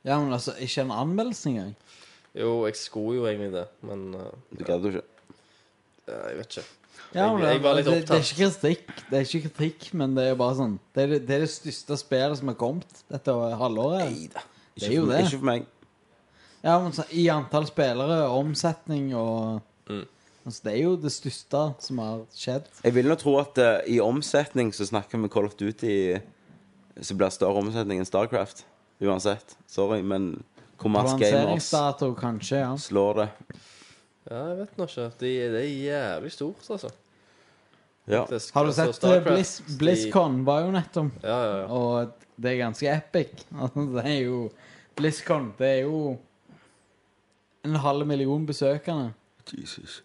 Ja, men altså, Ikke en anmeldelse engang.
Jo, jeg skulle jo egentlig det, men eh,
Du gadd jo ikke.
ja, jeg vet ikke.
Ja,
Jeg-
men,
jeg var litt
det, det er
opptatt.
ikke kritikk, det er ikke kritikk, men det er jo bare sånn Det er det, det, er det største spillet som har kommet dette halvåret.
Ikke
er jo
for,
det.
Ikke for meg.
Ja, men så, I antall spillere, omsetning og altså, Det er jo det største som har skjedd.
Jeg vil nå tro at eh, i omsetning så snakker vi Call of Duty eh, Så blir større omsetning enn Starcraft. Uansett. Sorry, men Kommers Gamers
Lanseringsdato, kanskje. ja
slår det.
Ja, jeg vet nå ikke. Det, det er jævlig stort, altså.
Ja.
Det sk-
Har du
altså,
sett eh,
Starcraft,
Blizz,
de-
BlizzCon? Var jo nettopp.
Ja, ja, ja.
Og det er ganske epic. (laughs) Altså, det er jo BlizzCon, det er jo en halv million besøkende
Jesus.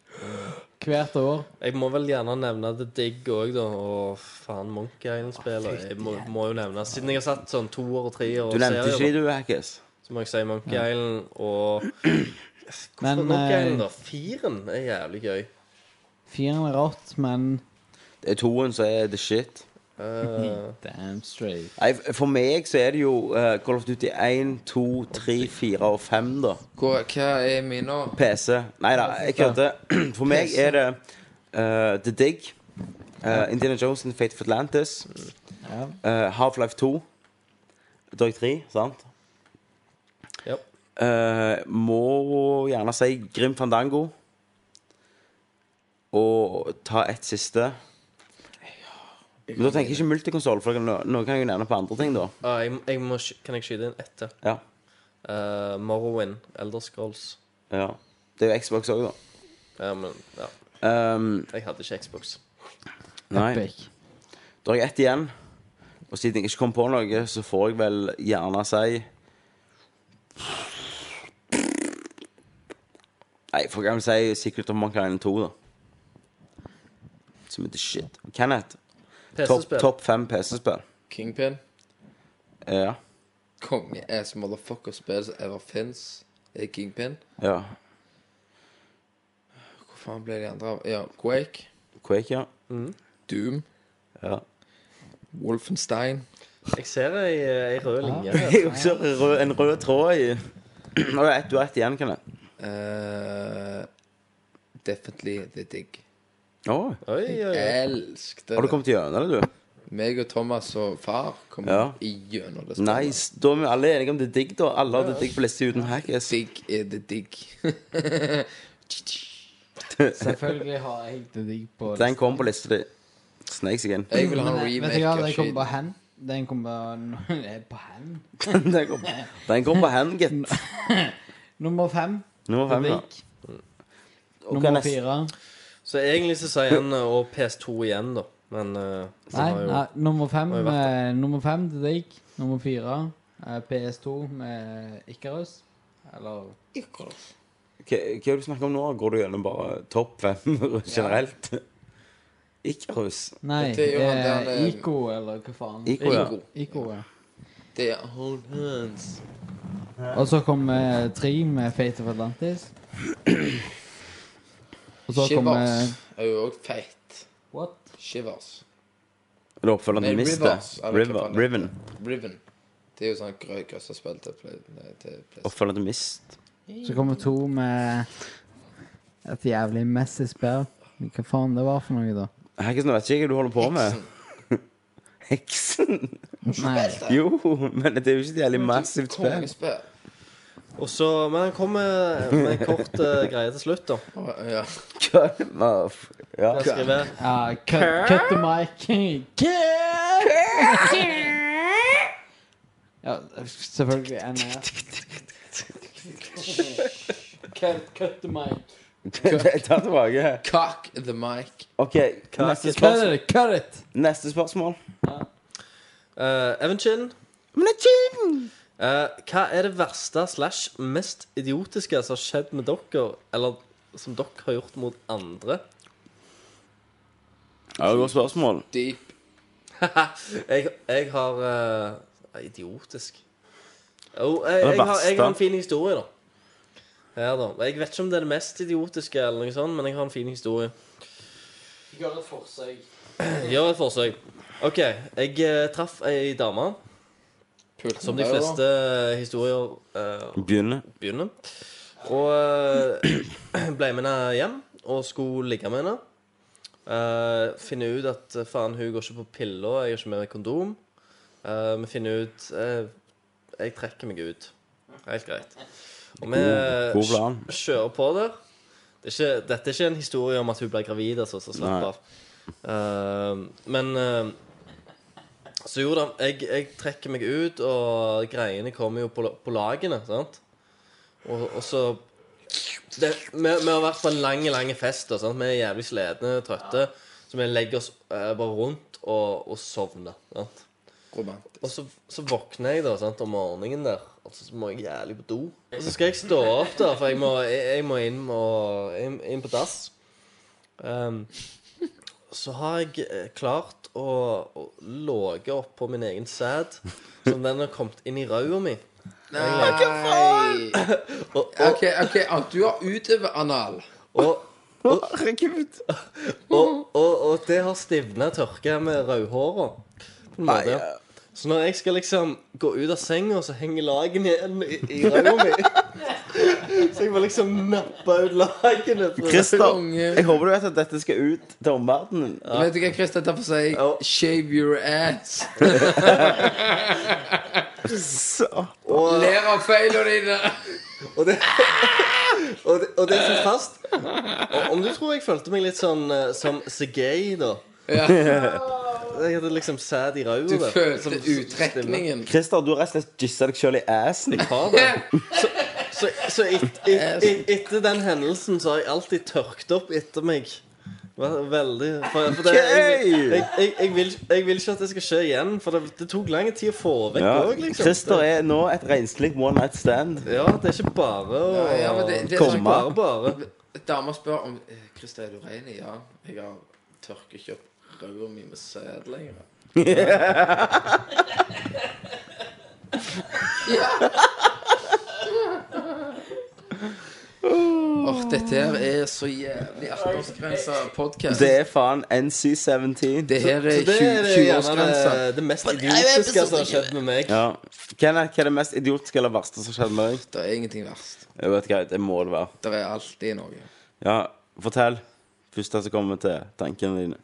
hvert år.
Jeg må vel gjerne nevne The Digg òg, da. Og faen, Monkey Island-spillet. Jeg må, må jo nevne Siden jeg har satt sånn toer og treer og
Du nevnte ikke
serier,
de, du, Hackis.
da, så må jeg si Monkey Island og (clears throat) Hvorfor
Men,
Monkey
eh,
Island, da? Firen er jævlig gøy.
Firen er rått, men
Det er toen som er the shit.
Eh,
damn straight.
Nei, f- for meg så er det jo eh, Call of Duty 1, 2, 3, 4 og 5, da.
Hva, hva er min nå?
PC. Nei da, jeg kødder. (clears throat) For meg er det eh, The Dig, eh, Indiana Jones and Fate of Atlantis,
Ja.
eh, Half-Life 2, Drøy 3, sant?
ja.
Eh, må gjerne si Grim Fandango. Og ta ett siste. Men da tenker jeg ikke multikonsoll, for nå nå kan jeg jo nevne på andre ting, da.
Ah, jeg, jeg må, sky- kan jeg skyte inn ett til?
Ja,
Eh, Morrowind, Elder Scrolls.
ja. Det er jo Xbox òg, da.
Ja, men ja.
Um,
Jeg hadde ikke Xbox.
nei.
Epic.
Da har jeg ett igjen. Og siden jeg ikke kom på noe, så får jeg vel gjerne si Nei, for jeg kan si Secret of Mankind 2, da. Som er the shit. Kenneth, topp
PC-spill.
top fem PC-spill.
Kingpin.
Ja.
Konge ass motherfucker spill som ever fins. Er Kingpin.
ja.
Hvor faen ble de andre av? Ja, Quake.
Quake, ja.
Doom.
ja.
Wolfenstein.
Jeg ser ei, ei rød linje.
Ah.
Det er jo også rød, en rød tråd i Nå er det ett- Du har ett igjen, Kenneth.
Eh, Eh, definitely The Dig.
Å,
Oi, oi, oi.
Elsket det.
har du kommet gjennom det, du?
Meg og Thomas og far kom
Ja.
igjennom det. spillet.
Nice. Da er vi alle enige om det er digg, da. Alle har det digg på lista uten hackes.
Digg er det
(laughs)
digg.
Selvfølgelig har jeg det digg på
Den kom på lista di. Sneik seg inn. (laughs)
Jeg vil ha en
Men, Vet du
remake
hva,
av
den
Shade.
kommer på hen. Den kommer (laughs) på- på hen.
Den kom, den kom på hand, gitt.
Nummer fem.
Nummer fem, ja.
Fabrikk.
Ok,
Nummer
neste.
fire.
Så egentlig så sier han eh, og PS2 igjen, da. Men eh, så
Nei,
har jo-
nei nummer fem.
har jo vært
eh, nummer fem til deg. Nummer fire eh, PS2 med Ikarus. Eller
Hva hva er det du snakker om nå? Går du gjennom bare topp fem (laughs) generelt? Ikarus.
Nei,
Det er jo han
eh,
der, eh,
Ico, eller hva faen.
Ico, ja.
Ico, ja.
Det er Hold Hands.
Og så kom eh, tre med Fate of Atlantis. Og så kom eh,
Shivers er jo òg feit.
What?
Shivers.
Er det oppfølgeren til
Nei,
Mist?
Rivers,
det?
eller hva
River,
faen det
Riven.
Riven. Det er jo sånn grøy grøsserspill til play- nei, til PlayStation.
Oppfølgeren til Mist.
Så kommer to med et jævlig messy spill. Men Hva faen det var for noe, da?
Hackesen, nå vet ikke jeg hva du holder på med. Heksen? (laughs)
Nei.
Jo, men det er jo ikke et jævlig massivt spill.
Kongespill.
Og så, men han kom med, med en kort eh, greie til slutt, da.
Å, Ja.
Cut off. Ja.
Han skriver
Ja, cut, cut the mic. (laughs) ja, selvfølgelig. En, ja. cut, cut the mic.
Ta tilbake.
Cock the mic.
OK, neste
Cut
spørsmål.
it, cut it.
Neste spørsmål.
eh, Evan Chin. eh, hva er det verste slash mest idiotiske som har skjedd med dere, eller som dere har gjort mot andre?
Ja, det er et godt spørsmål.
Deep.
Jeg, jeg har eh, Idiotisk. Jo, jeg, jeg, har, jeg har en fin historie, da. Her, da. Jeg vet ikke om det er det mest idiotiske, eller noe sånt, men jeg har en fin historie.
Gjør et forsøk.
Gjør et forsøk. OK. Jeg eh, traff ei dame,
Pulten
som de
der, da.
fleste historier eh,
Begynne.
begynner. Og eh, (clears throat) ble med henne hjem og skulle ligge med henne. Eh, finne ut at eh, faen, hun går ikke på piller, jeg har ikke med meg kondom. Eh, Vi finner ut eh, Jeg trekker meg ut. Helt greit. Og vi eh,
god plan.
kj- kjører på der. Det er ikke, dette er ikke en historie om at hun ble gravid, altså, så slapp
Nei.
av. Eh, men eh, så jo da, jeg, jeg trekker meg ut, og greiene kommer jo på, la- på lagene, sant? Og, og så det, vi, vi har vært på en lang, lang fest, da, sant? Vi er jævlig sledne, trøtte, så vi legger oss eh, bare rundt og, og sovner, sant?
Romantisk.
Og så, så våkner jeg da, sant, om morgenen der, og så må jeg jævlig på do. Og så skal jeg stå opp da, for jeg må, jeg, jeg må inn, og, inn, inn på dass. Ehm, så har jeg eh, klart å, å låge opp på min egen sæd, som den har kommet inn i røya mi.
Nei!
Og, og,
OK, ok, ah, du har utøvd anal.
og,
Herregud.
og, og, og det har stivna tørka med rødhåra. På en måte. Så når jeg skal liksom gå ut av senga, så henger lagene igjen i, i røya mi. Så jeg må liksom nappe ut lagene. fra-
(laughs) Christer,
Konge.
jeg håper du vet at dette skal ut til omverdenen.
Vet du hva Chris dette får si?
Ja.
Shave your ass.
Og,
Ler av feilene dine.
og, det, og, det, og det som fast og, Om du tror jeg følte meg litt sånn eh, som Segay, da. Jeg hadde liksom sæd i
Du
røya. der, som-
følte
som stivna.
utrekningen.
Christer, du har rett og slett jissa deg sjøl i assen.
har det. Så, så, så
(laughs)
et, et, et, etter den hendelsen så har jeg alltid tørkt opp etter meg. Ve- Veldig. For, for det, jeg, jeg, jeg, jeg, vil, jeg vil ikke at det skal skje igjen, for det, det tok lang tid å få vekk
Ja.
òg, liksom.
Christer er nå et renslig one night stand.
Ja, det er ikke bare å
Ja, ja, men det- det er
Ikke
sånn-
bare, bare.
Dama spør om eh, Christer, er du ren? Ja. Jeg har tørker ikke opp ræva mi med sæd
(laughs)
lenger. Ja. Åh, dette her er så jævlig 18-årsgrensa podkast.
Det er faen NC17.
Det her
Så
er
det er det
20
gjerne det,
årsgrensa
det mest idiotiske som har skjedd med meg.
Ja. Kenneth, hva er det mest idiotiske eller verste som skjedde med deg?
Det er ingenting verst.
Jeg vet ikke, Det må det være.
Det er alltid noe.
Ja, Fortell. Første som kommer til tankene dine.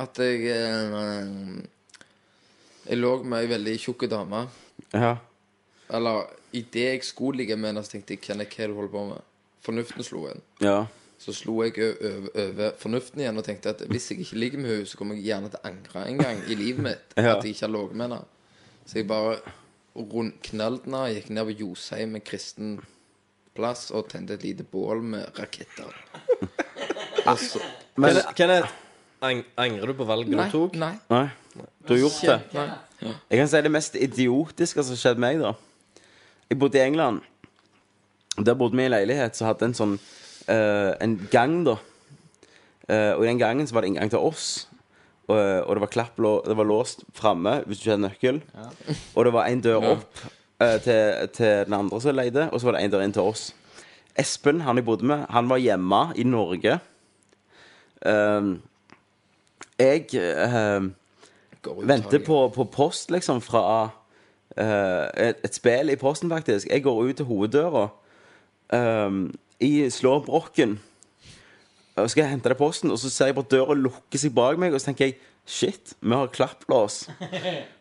At jeg eh, Jeg lå med ei veldig tjukk dame.
Ja.
Eller idet jeg skulle ligge med henne, så tenkte jeg Kenneth, hva er det du holder på med? Fornuften slo inn.
ja.
Så slo jeg ø- over, over fornuften igjen og tenkte at hvis jeg ikke ligger med henne, så kommer jeg gjerne til å angre en gang i livet
(laughs)
mitt
Ja.
at jeg ikke har ligget med henne. Så jeg bare rund- knallte henne, gikk ned på Josheim, en kristen plass, og tente et lite bål med raketter. Og så-
Altså, Men
Kenneth, Kenneth ang angrer du på valget du tok?
nei.
Nei. Du har gjort det.
nei.
Jeg kan si det mest idiotiske som skjedde meg, da. Jeg bodde i England. Der bodde vi i leilighet som hadde en sånn eh, En gang, da. Eh, og i den gangen så var det inngang til oss. Og, eh, og det var klapp, lå- det var låst framme hvis du ikke hadde nøkkel. (laughs) Og det var en dør opp eh, til, til den andre som leide, og så var det en dør inn til oss. Espen, han jeg bodde med, han var hjemme i Norge. Ehm, jeg ehm,
Går ut, tar
Venter
jeg-
på, på post, liksom, fra eh, et, et spill i posten, faktisk. Jeg går ut til hoveddøra. ehm, I slår brokken. Og skal jeg hente det i posten, og så ser jeg bare døra lukke seg bak meg, og så tenker jeg Shit, vi har klapplås.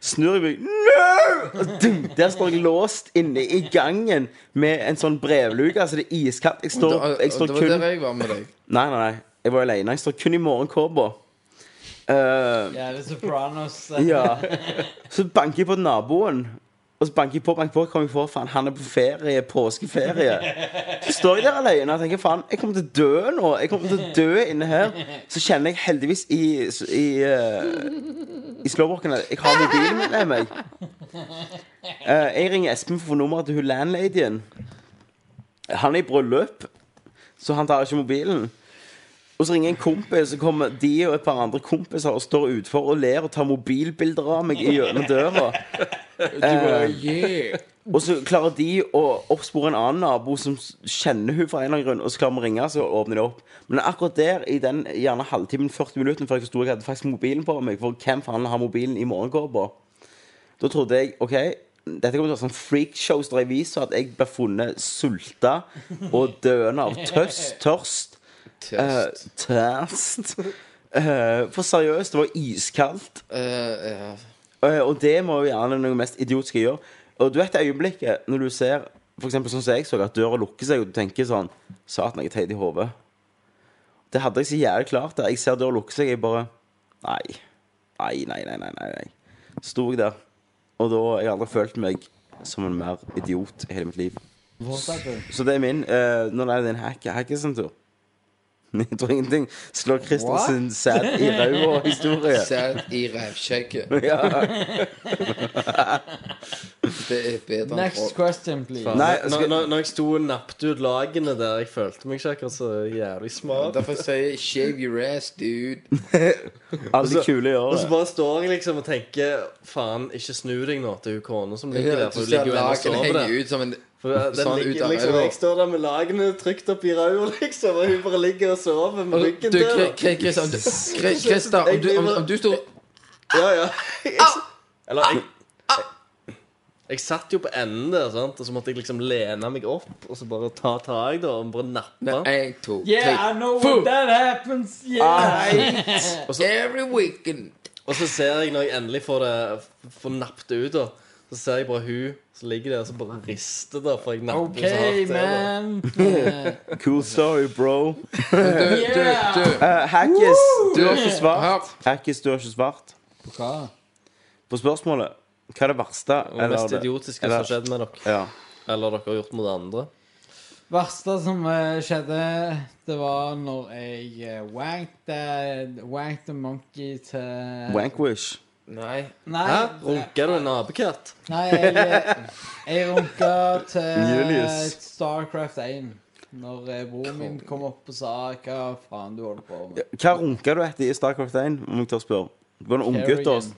Snur jeg meg No! Og dum, Der står jeg låst inne i gangen med en sånn brevluke. Altså, det er iskaldt. Jeg står,
Da-
jeg står
Det
kun
var der jeg var med deg.
Nei, nei, nei. Jeg var alene. Jeg står kun i morgenkåpa. Eh,
Ja, det er Sopranos. (laughs) eh.
ja. (laughs) Så banker jeg på naboen. Og så banker jeg på, banker på, kommer jeg på, faen, han er på ferie, påskeferie. Så står jeg der alene og tenker, faen, jeg kommer til å dø nå. Jeg kommer til å dø inne her. Så kjenner jeg heldigvis i, i, eh, i slåbroken at jeg har mobilen min med meg. Eh, jeg ringer Espen for å få nummeret til hun landladyen. Han er i bryllup, så han tar ikke mobilen. Og så ringer en kompis, så kommer de og et par andre kompiser og står utfor og ler og tar mobilbilder av meg i gjennom døra. Eh, og så klarer de å oppspore en annen nabo som s- kjenner hun for en eller annen grunn, og så klarer vi å ringe, så åpner de opp. Men akkurat der, i den gjerne halvtimen, 40 minutter før jeg forsto jeg hadde faktisk mobilen på meg, for hvem faen har mobilen i morgenkåpa? Da trodde jeg OK, dette kommer til å være sånn freakshows der jeg viser at jeg blir funnet sulta og døende av tøst, tørst. Eh,
Test.
Tørst. Eh, for seriøst, det var iskaldt.
Eh, ja.
Eh, og det må jo gjerne noe mest idiotiske gjøre. Og du vet det øyeblikket når du ser for eksempel sånn som jeg så, at døra lukker seg, og du tenker sånn Satan, jeg er teit i hodet. Det hadde jeg så jævlig klart. Der. Jeg ser døra lukke seg, jeg bare Nei. Nei, nei, nei, nei. nei, nei. Sto jeg der. Og da har jeg aldri følt meg som en mer idiot i hele mitt liv. Så det er min. Uh, når det er din hack, hack er sin tur. (laughs) Jeg tror ingenting slår Christian
What?
sin sæd i ræva historie.
Sæd i rævkjegget.
(laughs) Ja.
Det er bedre enn
Next
fra
question, please.
Nei,
Når,
skal,
når, når jeg sto og nappet ut lagene der, jeg følte meg ikke akkurat så jævlig smart.
Derfor sier jeg 'shave your ass, dude'.
alle de kule gjør
Og så
det.
bare står jeg liksom og tenker Faen, ikke snu deg nå til hun kona som ligger der.
Ja,
For
Du
hun
ser
ligger jo ennå og
laken
sover der.
henge ut som en
For den
sånn ut
ligger,
av
liksom,
ræva.
jeg står der med lagene trykt opp i ræva, liksom, og hun bare ligger og sover med ryggen
Du,
til.
Kri- Kri- Christian, om du- Kri- Christian, om du, om, om du står
Ja, ja. Jeg, s- eller jeg, jeg jeg satt jo på enden der, sant? og så måtte jeg liksom lene meg opp og så bare ta tak da, og bare nappe.
Én, to,
Yeah, I
tre
know when that happens. Yeah.
Every weekend.
Og så ser jeg, når jeg endelig får det får nappet det ut, da, så ser jeg bare hun som ligger der og så bare rister, da, for jeg napper
OK,
så hardt. til, da.
man. Eh,
Cool story,
Du,
bro.
du, du.
Eh, Hackis, du er ikke
Her.
svart. Hackis, du er ikke svart.
Hva?
På spørsmålet hva er det verste
Det
eller
mest
det-
idiotiske som
eller-
har skjedd med dere.
Ja.
Eller dere har gjort mot andre.
Verste som eh, skjedde, det var når jeg eh, wanked, eh, wanked a monkey til
Wankwish.
Nei.
Nei,
Hæ? Runker du en apekatt?
nei jeg, eh, jeg runka til
Julius.
Starcraft 1. Når eh, broren min kom opp og sa hva faen du holder på med.
Hva runka du etter i Starcraft 1, om jeg tør spørre? Du var en ung gutt.
Kerrigan.
ass.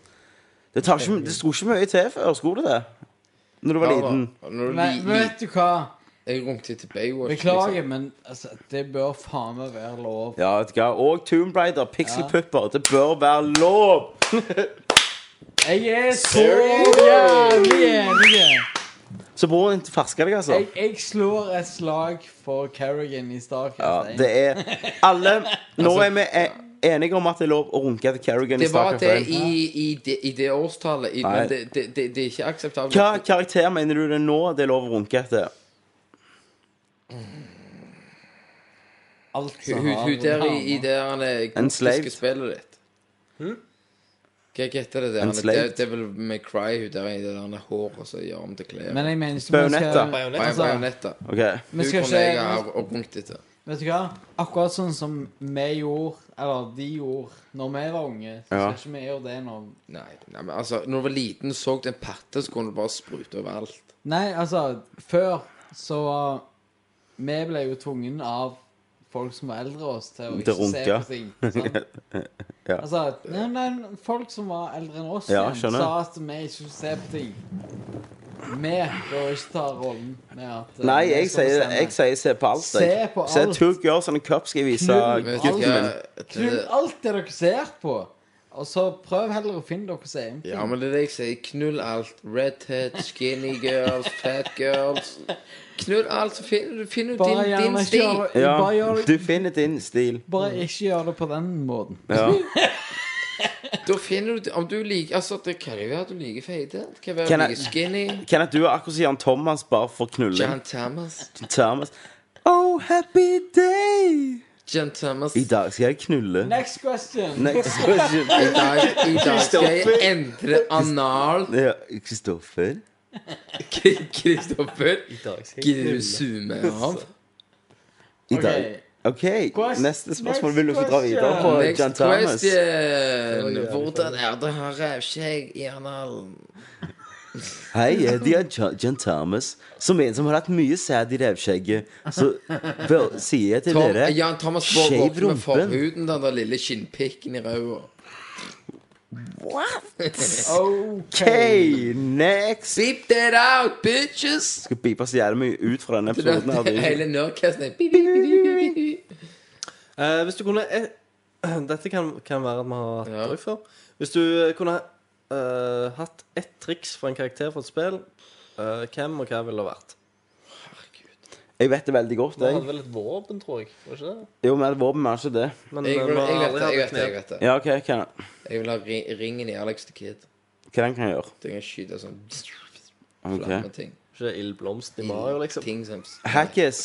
Det, tar ikke, det sto ikke mye til før, skulle det det? Når du var liten.
Når du
Men
li, li,
vet du hva?
jeg rungte til Baywatch.
Beklager, men altså, det bør faen meg være lov.
Ja, vet du hva. Og Tomb Raider, pixelpupper. Det bør være lov!
Jeg er så jævlig enig.
Så broren din fersker deg, altså.
Jeg, jeg slår et slag for Kerrigan i Starcast.
Ja, det er Alle
(laughs) Altså,
Nå er vi e- enige om at det er lov å runke til Kerrigan i
Det var
Starcraft
det
1.
i, i, det, i det årstallet, i,
Nei.
men det, det, det, det er ikke akseptabelt.
Hva karakter mener du det er nå det er lov å runke etter?
Alt
Hun,
som
hun,
har
hun der i, i
hodet.
det her eh,
En slave.
gotiske spillet ditt.
Hm?
Hva heter det der?
En
Det,
slave.
det er vel med Cry, hun der i det der håret og så gjør om til klær.
Men jeg mener ikke vi
Bajonetta.
skal,
Bajonetta.
Bajonetta.
altså,
Bajonetta.
OK.
vi
Hun
skal
kunne jeg ha
ikke
runket etter.
Vet du hva? Akkurat sånn som vi gjorde, eller de gjorde når vi var unge, så
Ja.
skal ikke vi gjøre det nå.
Nei, nei, men altså, når du var liten så du en patte, så kunne du bare sprute overalt.
Nei, altså Før så var Vi ble jo tvungen av folk som var eldre oss, til å
Til
ikke
å
se
runke.
på ting.
(laughs)
sant?
Ja.
Altså, nei, nei, folk som var eldre enn oss,
Ja,
igjen,
skjønner.
sa at vi ikke skulle se på ting. Vi bør ikke ta rollen med at eh,
Nei,
vi
jeg
skal
sier,
bestemme.
jeg sier se på alt.
Se
Jeg.
på
Se
alt.
Two Girls and a Cup skal jeg vise
Knull
Vet
alt.
du
gutten
hva?
min.
Knull
Det-
alt det dere ser på, og så prøv heller å finne dere seg en
Ja, men det er det jeg sier. Knull alt. Redhead, skinny girls, fat girls. Knull alt, så finner du finner du din,
Bare
din
gjerne ikke
sti.
gjør det
Ja,
bare, gjør,
du finner din stil.
bare ikke gjør det på den måten.
Ja.
Da finner du Om du liker Altså, det kan jo være at du liker feite. Det kan være
Kan
du
jeg-
liker skinny.
Kenneth, du er akkurat som Jan Thomas, bare for knulling.
John Thomas.
Thomas. Oh, happy day!
John Thomas.
I dag skal jeg knulle.
Next question.
Next question.
I
(laughs)
dag, i dag skal jeg endre anal. (laughs)
Ja, Kristoffer.
Kristoffer. Gidder du zoome av?
I
Ok.
dag. OK,
Quest-
neste spørsmål
next
vil du få dra videre
question.
på John
Next
Thomas.
question. Hvordan er det å ha rævskjegg i analen?
Hei, jeg heter John- John Thomas, som en som har hatt mye sæd i revskjegget. Så vel, sier jeg til
Tom, eh,
dere
Jan Thomas
Shave
våkner opp med
rumpen.
forhuden, den der lille skinnpikken i ræva. (laughs)
OK, next!
Beep that out, bitches!
Skal beepe så jævlig mye ut fra denne
Det der-
episoden. her, det Sånn er ikke-
Hele Nerdcasten er beep, beep, beep, beep, beep, beep.
Eh, hvis du kunne eh, (clears throat) Dette kan, kan være at vi har hatt
Ja.
bruk for. Hvis du kunne eh, hatt ett triks for en karakter for et spill, eh, hvem og hva ville det vært?
Jeg vet det veldig godt,
Du
jeg.
hadde vel et våpen, tror jeg. Var ikke det?
Jo, men våpen er ikke det.
Men
Jeg,
eh,
vil-
vi har
jeg vet
aldri
det,
hatt
jeg vet det. Jeg
knep.
vet det.
Ja, OK, hva,
Jeg vil ha ri- ringen i Alex the Kid.
hva den kan jeg gjøre?
Det kan skyte sånn flamme
Ok.
ting.
Ikke det ildblomst i Mario, liksom.
Ting som
Hackis.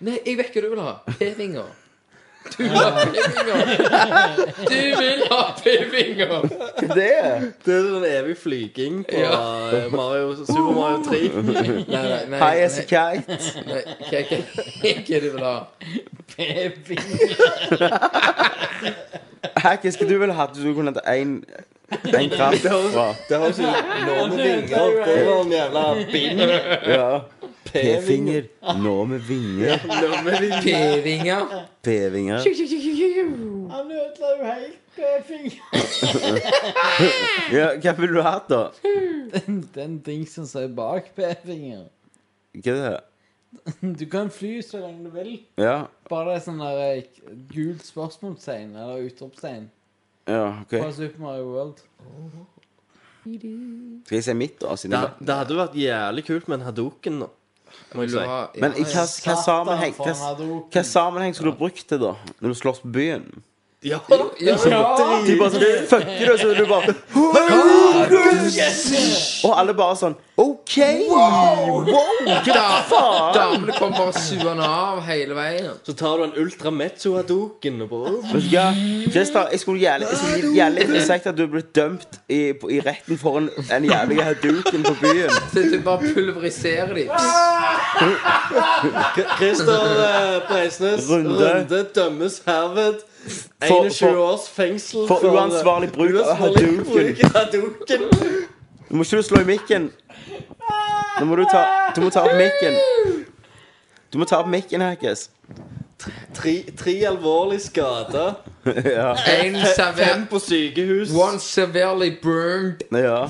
Nei, jeg vet hva du
(laughs)
vil ha. P-vinger. Du vil ha p-vinger! Du vil ha p-vinger!
Det?
Det er den evige flyging på eh, Mario, Super Mario 3.
Nei, nei, nei.
High as
nei.
a kite.
Nei, hva, hva, hva du vil ha?
Hackis, hva du ville hatt hvis du kunne hatt én kraft fra?
Det har jo enorme vinger. Det er en jævla bind.
Ja. P-finger. Nå med vinger.
P-vinger?
P-vinger.
Han ødela jo helt eh, fingeren.
Ja, hva ville du hatt, da?
(laughs) Den dingsen som er bak p-fingeren.
Hva er det?
Du kan fly så lenge du vil.
Ja.
Bare det er sånn der eh, gult spørsmålstegn eller utropstegn
ja, OK.
fra Super Mario World.
Skal jeg si mitt, da? Siden
Det,
jeg-
det hadde jo vært jævlig kult med en Hadoken nå. Må jeg
Vil du
si.
ha
Men i hva, hva, sammenheng,
for en
hva,
Hadouken.
hva sammenheng skulle du brukt det, da? Når du slåss på byen?
Ja,
Ja,
De bare sånn Fucker du, og så er du bare Og alle bare sånn OK! Wow! Hva faen?
Damene kommer bare suende av hele veien.
Så tar du en Ultra Mezzo Hadoken og bare
Vet du hva? Christer, jeg skulle gjerne Jeg skulle gjerne ikke sagt at du ble dømt i, på- i retten for en, en jævlig haduken på byen.
Så du bare pulveriserer dem.
Christer eh, Breisnes,
Runde.
Runde, dømmes herved.
for-
21 års fengsel eh,
for uansvarlig bruk av
uansvarlig
Hadouken.
bruk av Hadouken.
Nå må ikke du slå i mikken. Nå må du ta Du må ta opp mikken. Du må ta opp mikken, Hackes.
(laughs)
Tre, tre alvorlig skada.
Ja.
En
Fem
sever,
på sykehus.
one severely burned
ja.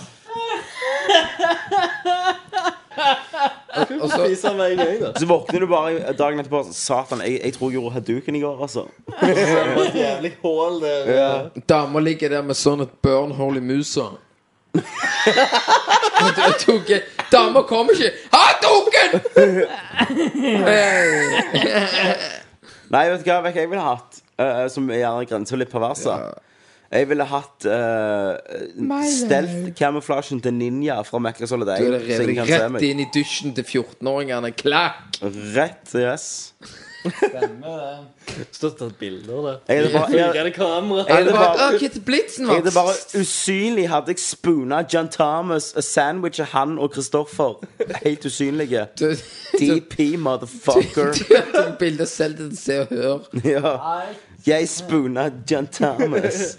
Fy
og så
Spiser med en gang, da.
Så våkner du bare dagen etterpå sånn, Satan, jeg, jeg tror jeg gjorde haduken i går, altså.
Det var et jævlig hål der.
Dama ligger der med sånn et burnhull i musa. Og da tok jeg- Dama kommer ikke. Ha dukken!
Nei, vet du hva Vekk jeg ville hatt? eh, som er gjerne grenser litt perverse. Jeg ville hatt uh, stelt-kamuflasjen til ninja fra Mekka Soliday.
Du er
så ingen
revet
kan se
rett
meg.
inn i dusjen til 14-åringene. Klakk!
Rett, yes.
Stått tatt bilder der.
Jeg hadde bare, jeg,
Fyrende kamera.
jeg
Er det
hadde
bare
bare,
Å, Kit Blitzen,
jeg hadde
(laughs)
bare
Mats!
usynlig hadde jeg spuna John Thomas og sandwicha han og Kristoffer. Helt usynlige.
Du-
DP,
(laughs)
motherfucker.
Du har tatt bilde selv til Se og Hør.
Ja. Jeg spuna John Thomas.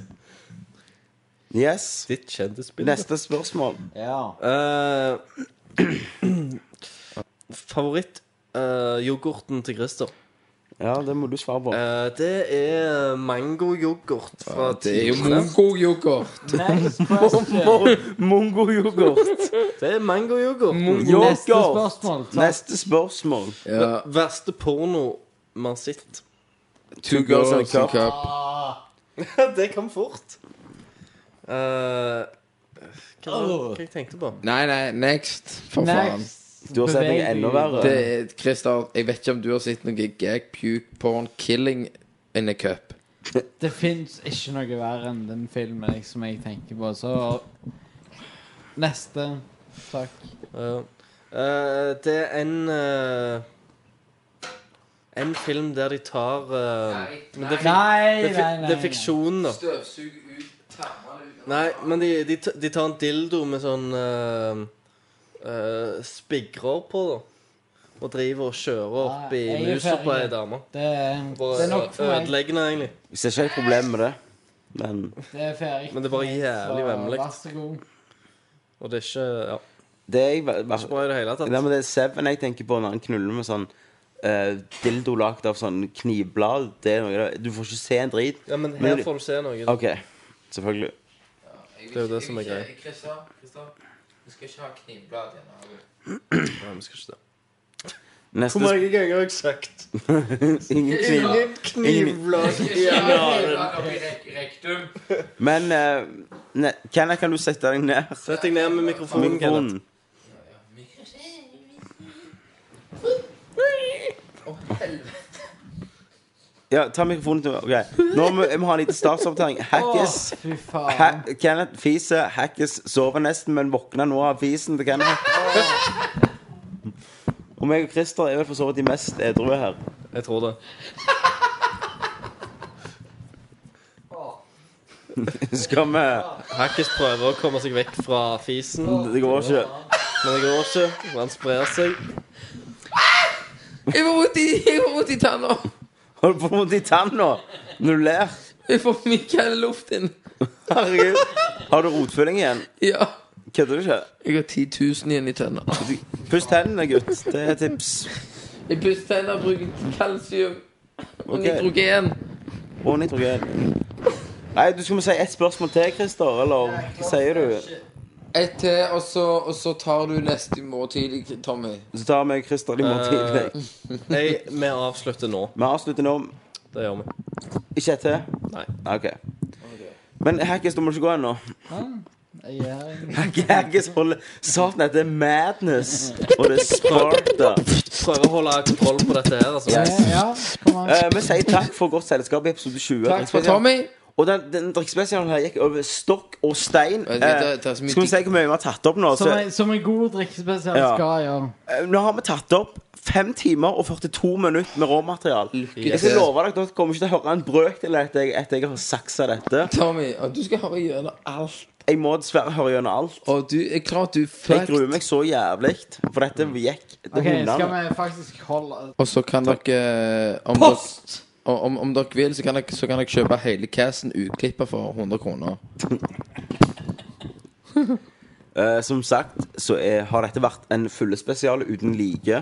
Yes.
Ditt kjendisbilde.
Neste spørsmål. (laughs)
Eh, (clears throat) favoritt eh, yoghurten til Christer.
Ja, det må du svare på.
Eh, det er mangoyoghurt fra
Det (laughs) er jo
Tine.
mongo-yoghurt.
Mongoyoghurt.
Det er mangoyoghurt.
Neste spørsmål. takk.
Neste spørsmål.
Ja,
Verste porno man har sett. (laughs)
two girls and a cup.
det kom fort. Eh, hva, hva jeg tenkte på?
Nei, nei, next. For faen.
Next.
Du har sett noe
Beveg
enda
deg
Det
verre.
er, Christer, jeg vet ikke om du har sett noe gag, puke, porn, killing in a cup.
Det fins ikke noe verre enn den filmen jeg, som jeg tenker på. Så neste. Takk.
Ja. Eh, det er en eh, En film der de tar eh, men det, er fik-
Nei,
det, er fi-
nei, nei.
det er fiksjon, da.
Støvsug ut tarmene.
Nei, men de, de, t- de tar en dildo med sånn eh, eh, spigrer på, da. Og driver og kjører opp i
Nei, Ah, jeg er
musa på ei
ferdig.
dame.
Det, er- det
Bare
er nok for meg.
ødeleggende, egentlig.
Jeg ser ikke helt problemet med det. Men
Det er ferdig.
Men det er bare jævlig
Så
vemmelig.
Vær så god.
Og det er ikke ja,
det er jeg bare-
ikke bra i det hele tatt.
Nei, men det er Seven jeg tenker på når han knuller med sånn eh, dildo lagd av sånn knivblad. Det er noe, du får ikke se en drit.
Ja, Men
Men
her
det-
får du se noe.
OK. Selvfølgelig.
Det er jo det som er greia.
Christer, Christer, vi skal ikke ha knivblad igjen.
Nei, vi skal ikke det.
Neste
Hvor mange ganger har jeg sagt
sp- Ingen kniv.
knivblad? Ja,
rektum.
Men eh, ne, Kenneth, kan du sette deg ned?
Sett deg ned med mikrofonen, Kenneth.
Mikrofonen. Ja, ta mikrofonen til meg. Ok. Nå må jeg må ha en liten startsoppdatering. Hackis.
Fy faen.
Ha Kenneth fiser. Hackis sover nesten, men våkner nå av fisen til Kenneth. Og meg og Christer er vel for så vidt de mest edru her.
Jeg tror det.
Skal vi
Hackis prøver å komme seg vekk fra fisen, men
Det går ikke.
det går ikke. Han sprer seg.
Jeg får vondt i, jeg får vondt i tanna.
Hold på mot i tanna når du ler.
Jeg får mye luft inn.
Herregud. Har du rotfylling igjen?
Ja.
Kødder du ikke?
Jeg har 10 000 igjen i tenna.
Puss tennene, gutt. Det er tips.
Jeg pusser tenna, bruker kalsium og
Ok.
nitrogen.
Og nitrogen. Nei, du skulle si ett spørsmål til, Christer. Eller hva sier du?
Ett til, og så, og så tar du neste i morgen tidlig, Tommy.
Så tar vi Christer litt mer
Eh,
tidlig.
Jeg, vi avslutter nå.
Vi avslutter nå.
Det gjør vi.
Ikke ett til?
Nei.
OK. Men Hackis, du må ikke gå (laughs) ennå.
Jeg er her.
Hackis holder Satan, dette er madness. Og det er spark der.
Prøver å holde kontroll på dette her, altså.
Ja, kom an.
Eh, vi sier takk for godt selskap i episode 20.
Takk for Tommy.
Og den, den drikkespesialen her gikk over stokk og stein.
Vet du,
Eh,
det- det er så mye
skal vi si hvor mye vi har tatt opp nå?
Som
Altså-
Så,
en, som en god drikkespesial
Ja.
skal gjøre.
Eh, Nå har vi tatt opp 5 timer og 42 minutter med råmaterial.
til.
Jeg skal love dere, dere kommer ikke til å høre en brøkdel etter jeg, etter jeg har saksa dette.
Tommy, og du skal høre gjennom alt.
Jeg må dessverre høre gjennom alt.
Og du er klar at du
Jeg
fucked.
gruer meg så jævlig, for dette
Mm.
gikk til
Ok, Skal
hundene.
vi faktisk holde
Og så kan dere eh, om Post! Dere, og om, om dere vil, så kan dere, så kan dere kjøpe hele cassen utklippet for 100 kroner.
Eh, som sagt, så er, har dette vært en fullespesial uten like.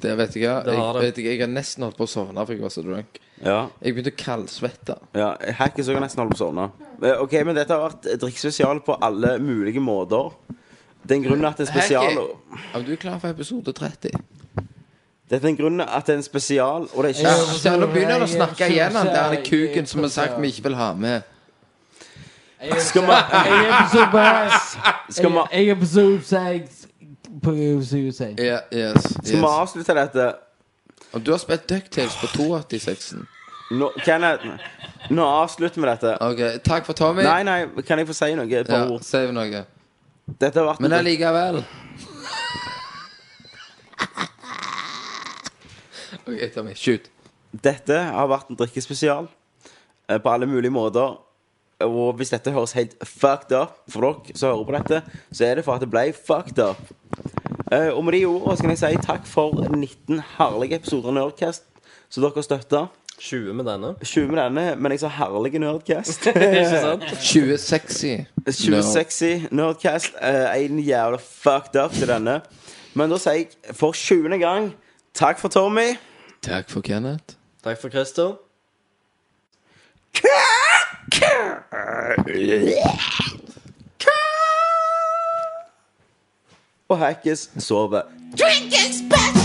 Det vet jeg. Jeg,
Det har det.
vet ikke, jeg har nesten holdt på å sovne for jeg var så drunk.
Ja,
Jeg begynte å kaldsvette.
ja Hackis òg nesten holdt på å sovne. Eh, ok, men dette har vært drikkespesial på alle mulige måter. Det er en grunn at det er spesial og-
Er du klar for episode 30?
Det er en grunn at det er en spesial, og det er
Ja,
ikke
så Nå begynner han å snakke igjen om den kuken som vi har sagt vi ikke vil ha med.
Skal vi,
Jeg er på Superhouse.
skal vi,
Jeg er på Supersex. På Supersex.
Ja, yes,
skal vi
yes.
avslutte dette?
Og du har spilt Ducktails på 286-en.
Nå, Kenneth, nå avslutter vi dette.
Ok, Takk for Tommy.
Nei, nei, kan jeg få si noe? Et
ja,
par ord.
Save noe.
Dette har vært
Men allikevel (laughs) OK, Tommy. Shoot.
Dette har vært en drikkespesial eh, på alle mulige måter. Og hvis dette høres helt fucked up for dere som hører på dette, så er det for at det ble fucked up. Eh, Og med de ordene skal jeg si takk for 19 herlige episoder av Nerdcast som dere har støtta.
20 med denne.
20 med denne, men jeg sa herlige Nerdcast.
Ikke sant?
2060.
2060 Nerdcast. eh, en jævla fucked up til denne. Men da sier jeg for 20. gang takk for Tommy.
Takk for Kenneth.
Takk for Christer.
Og Hackis sover.
Drink is best.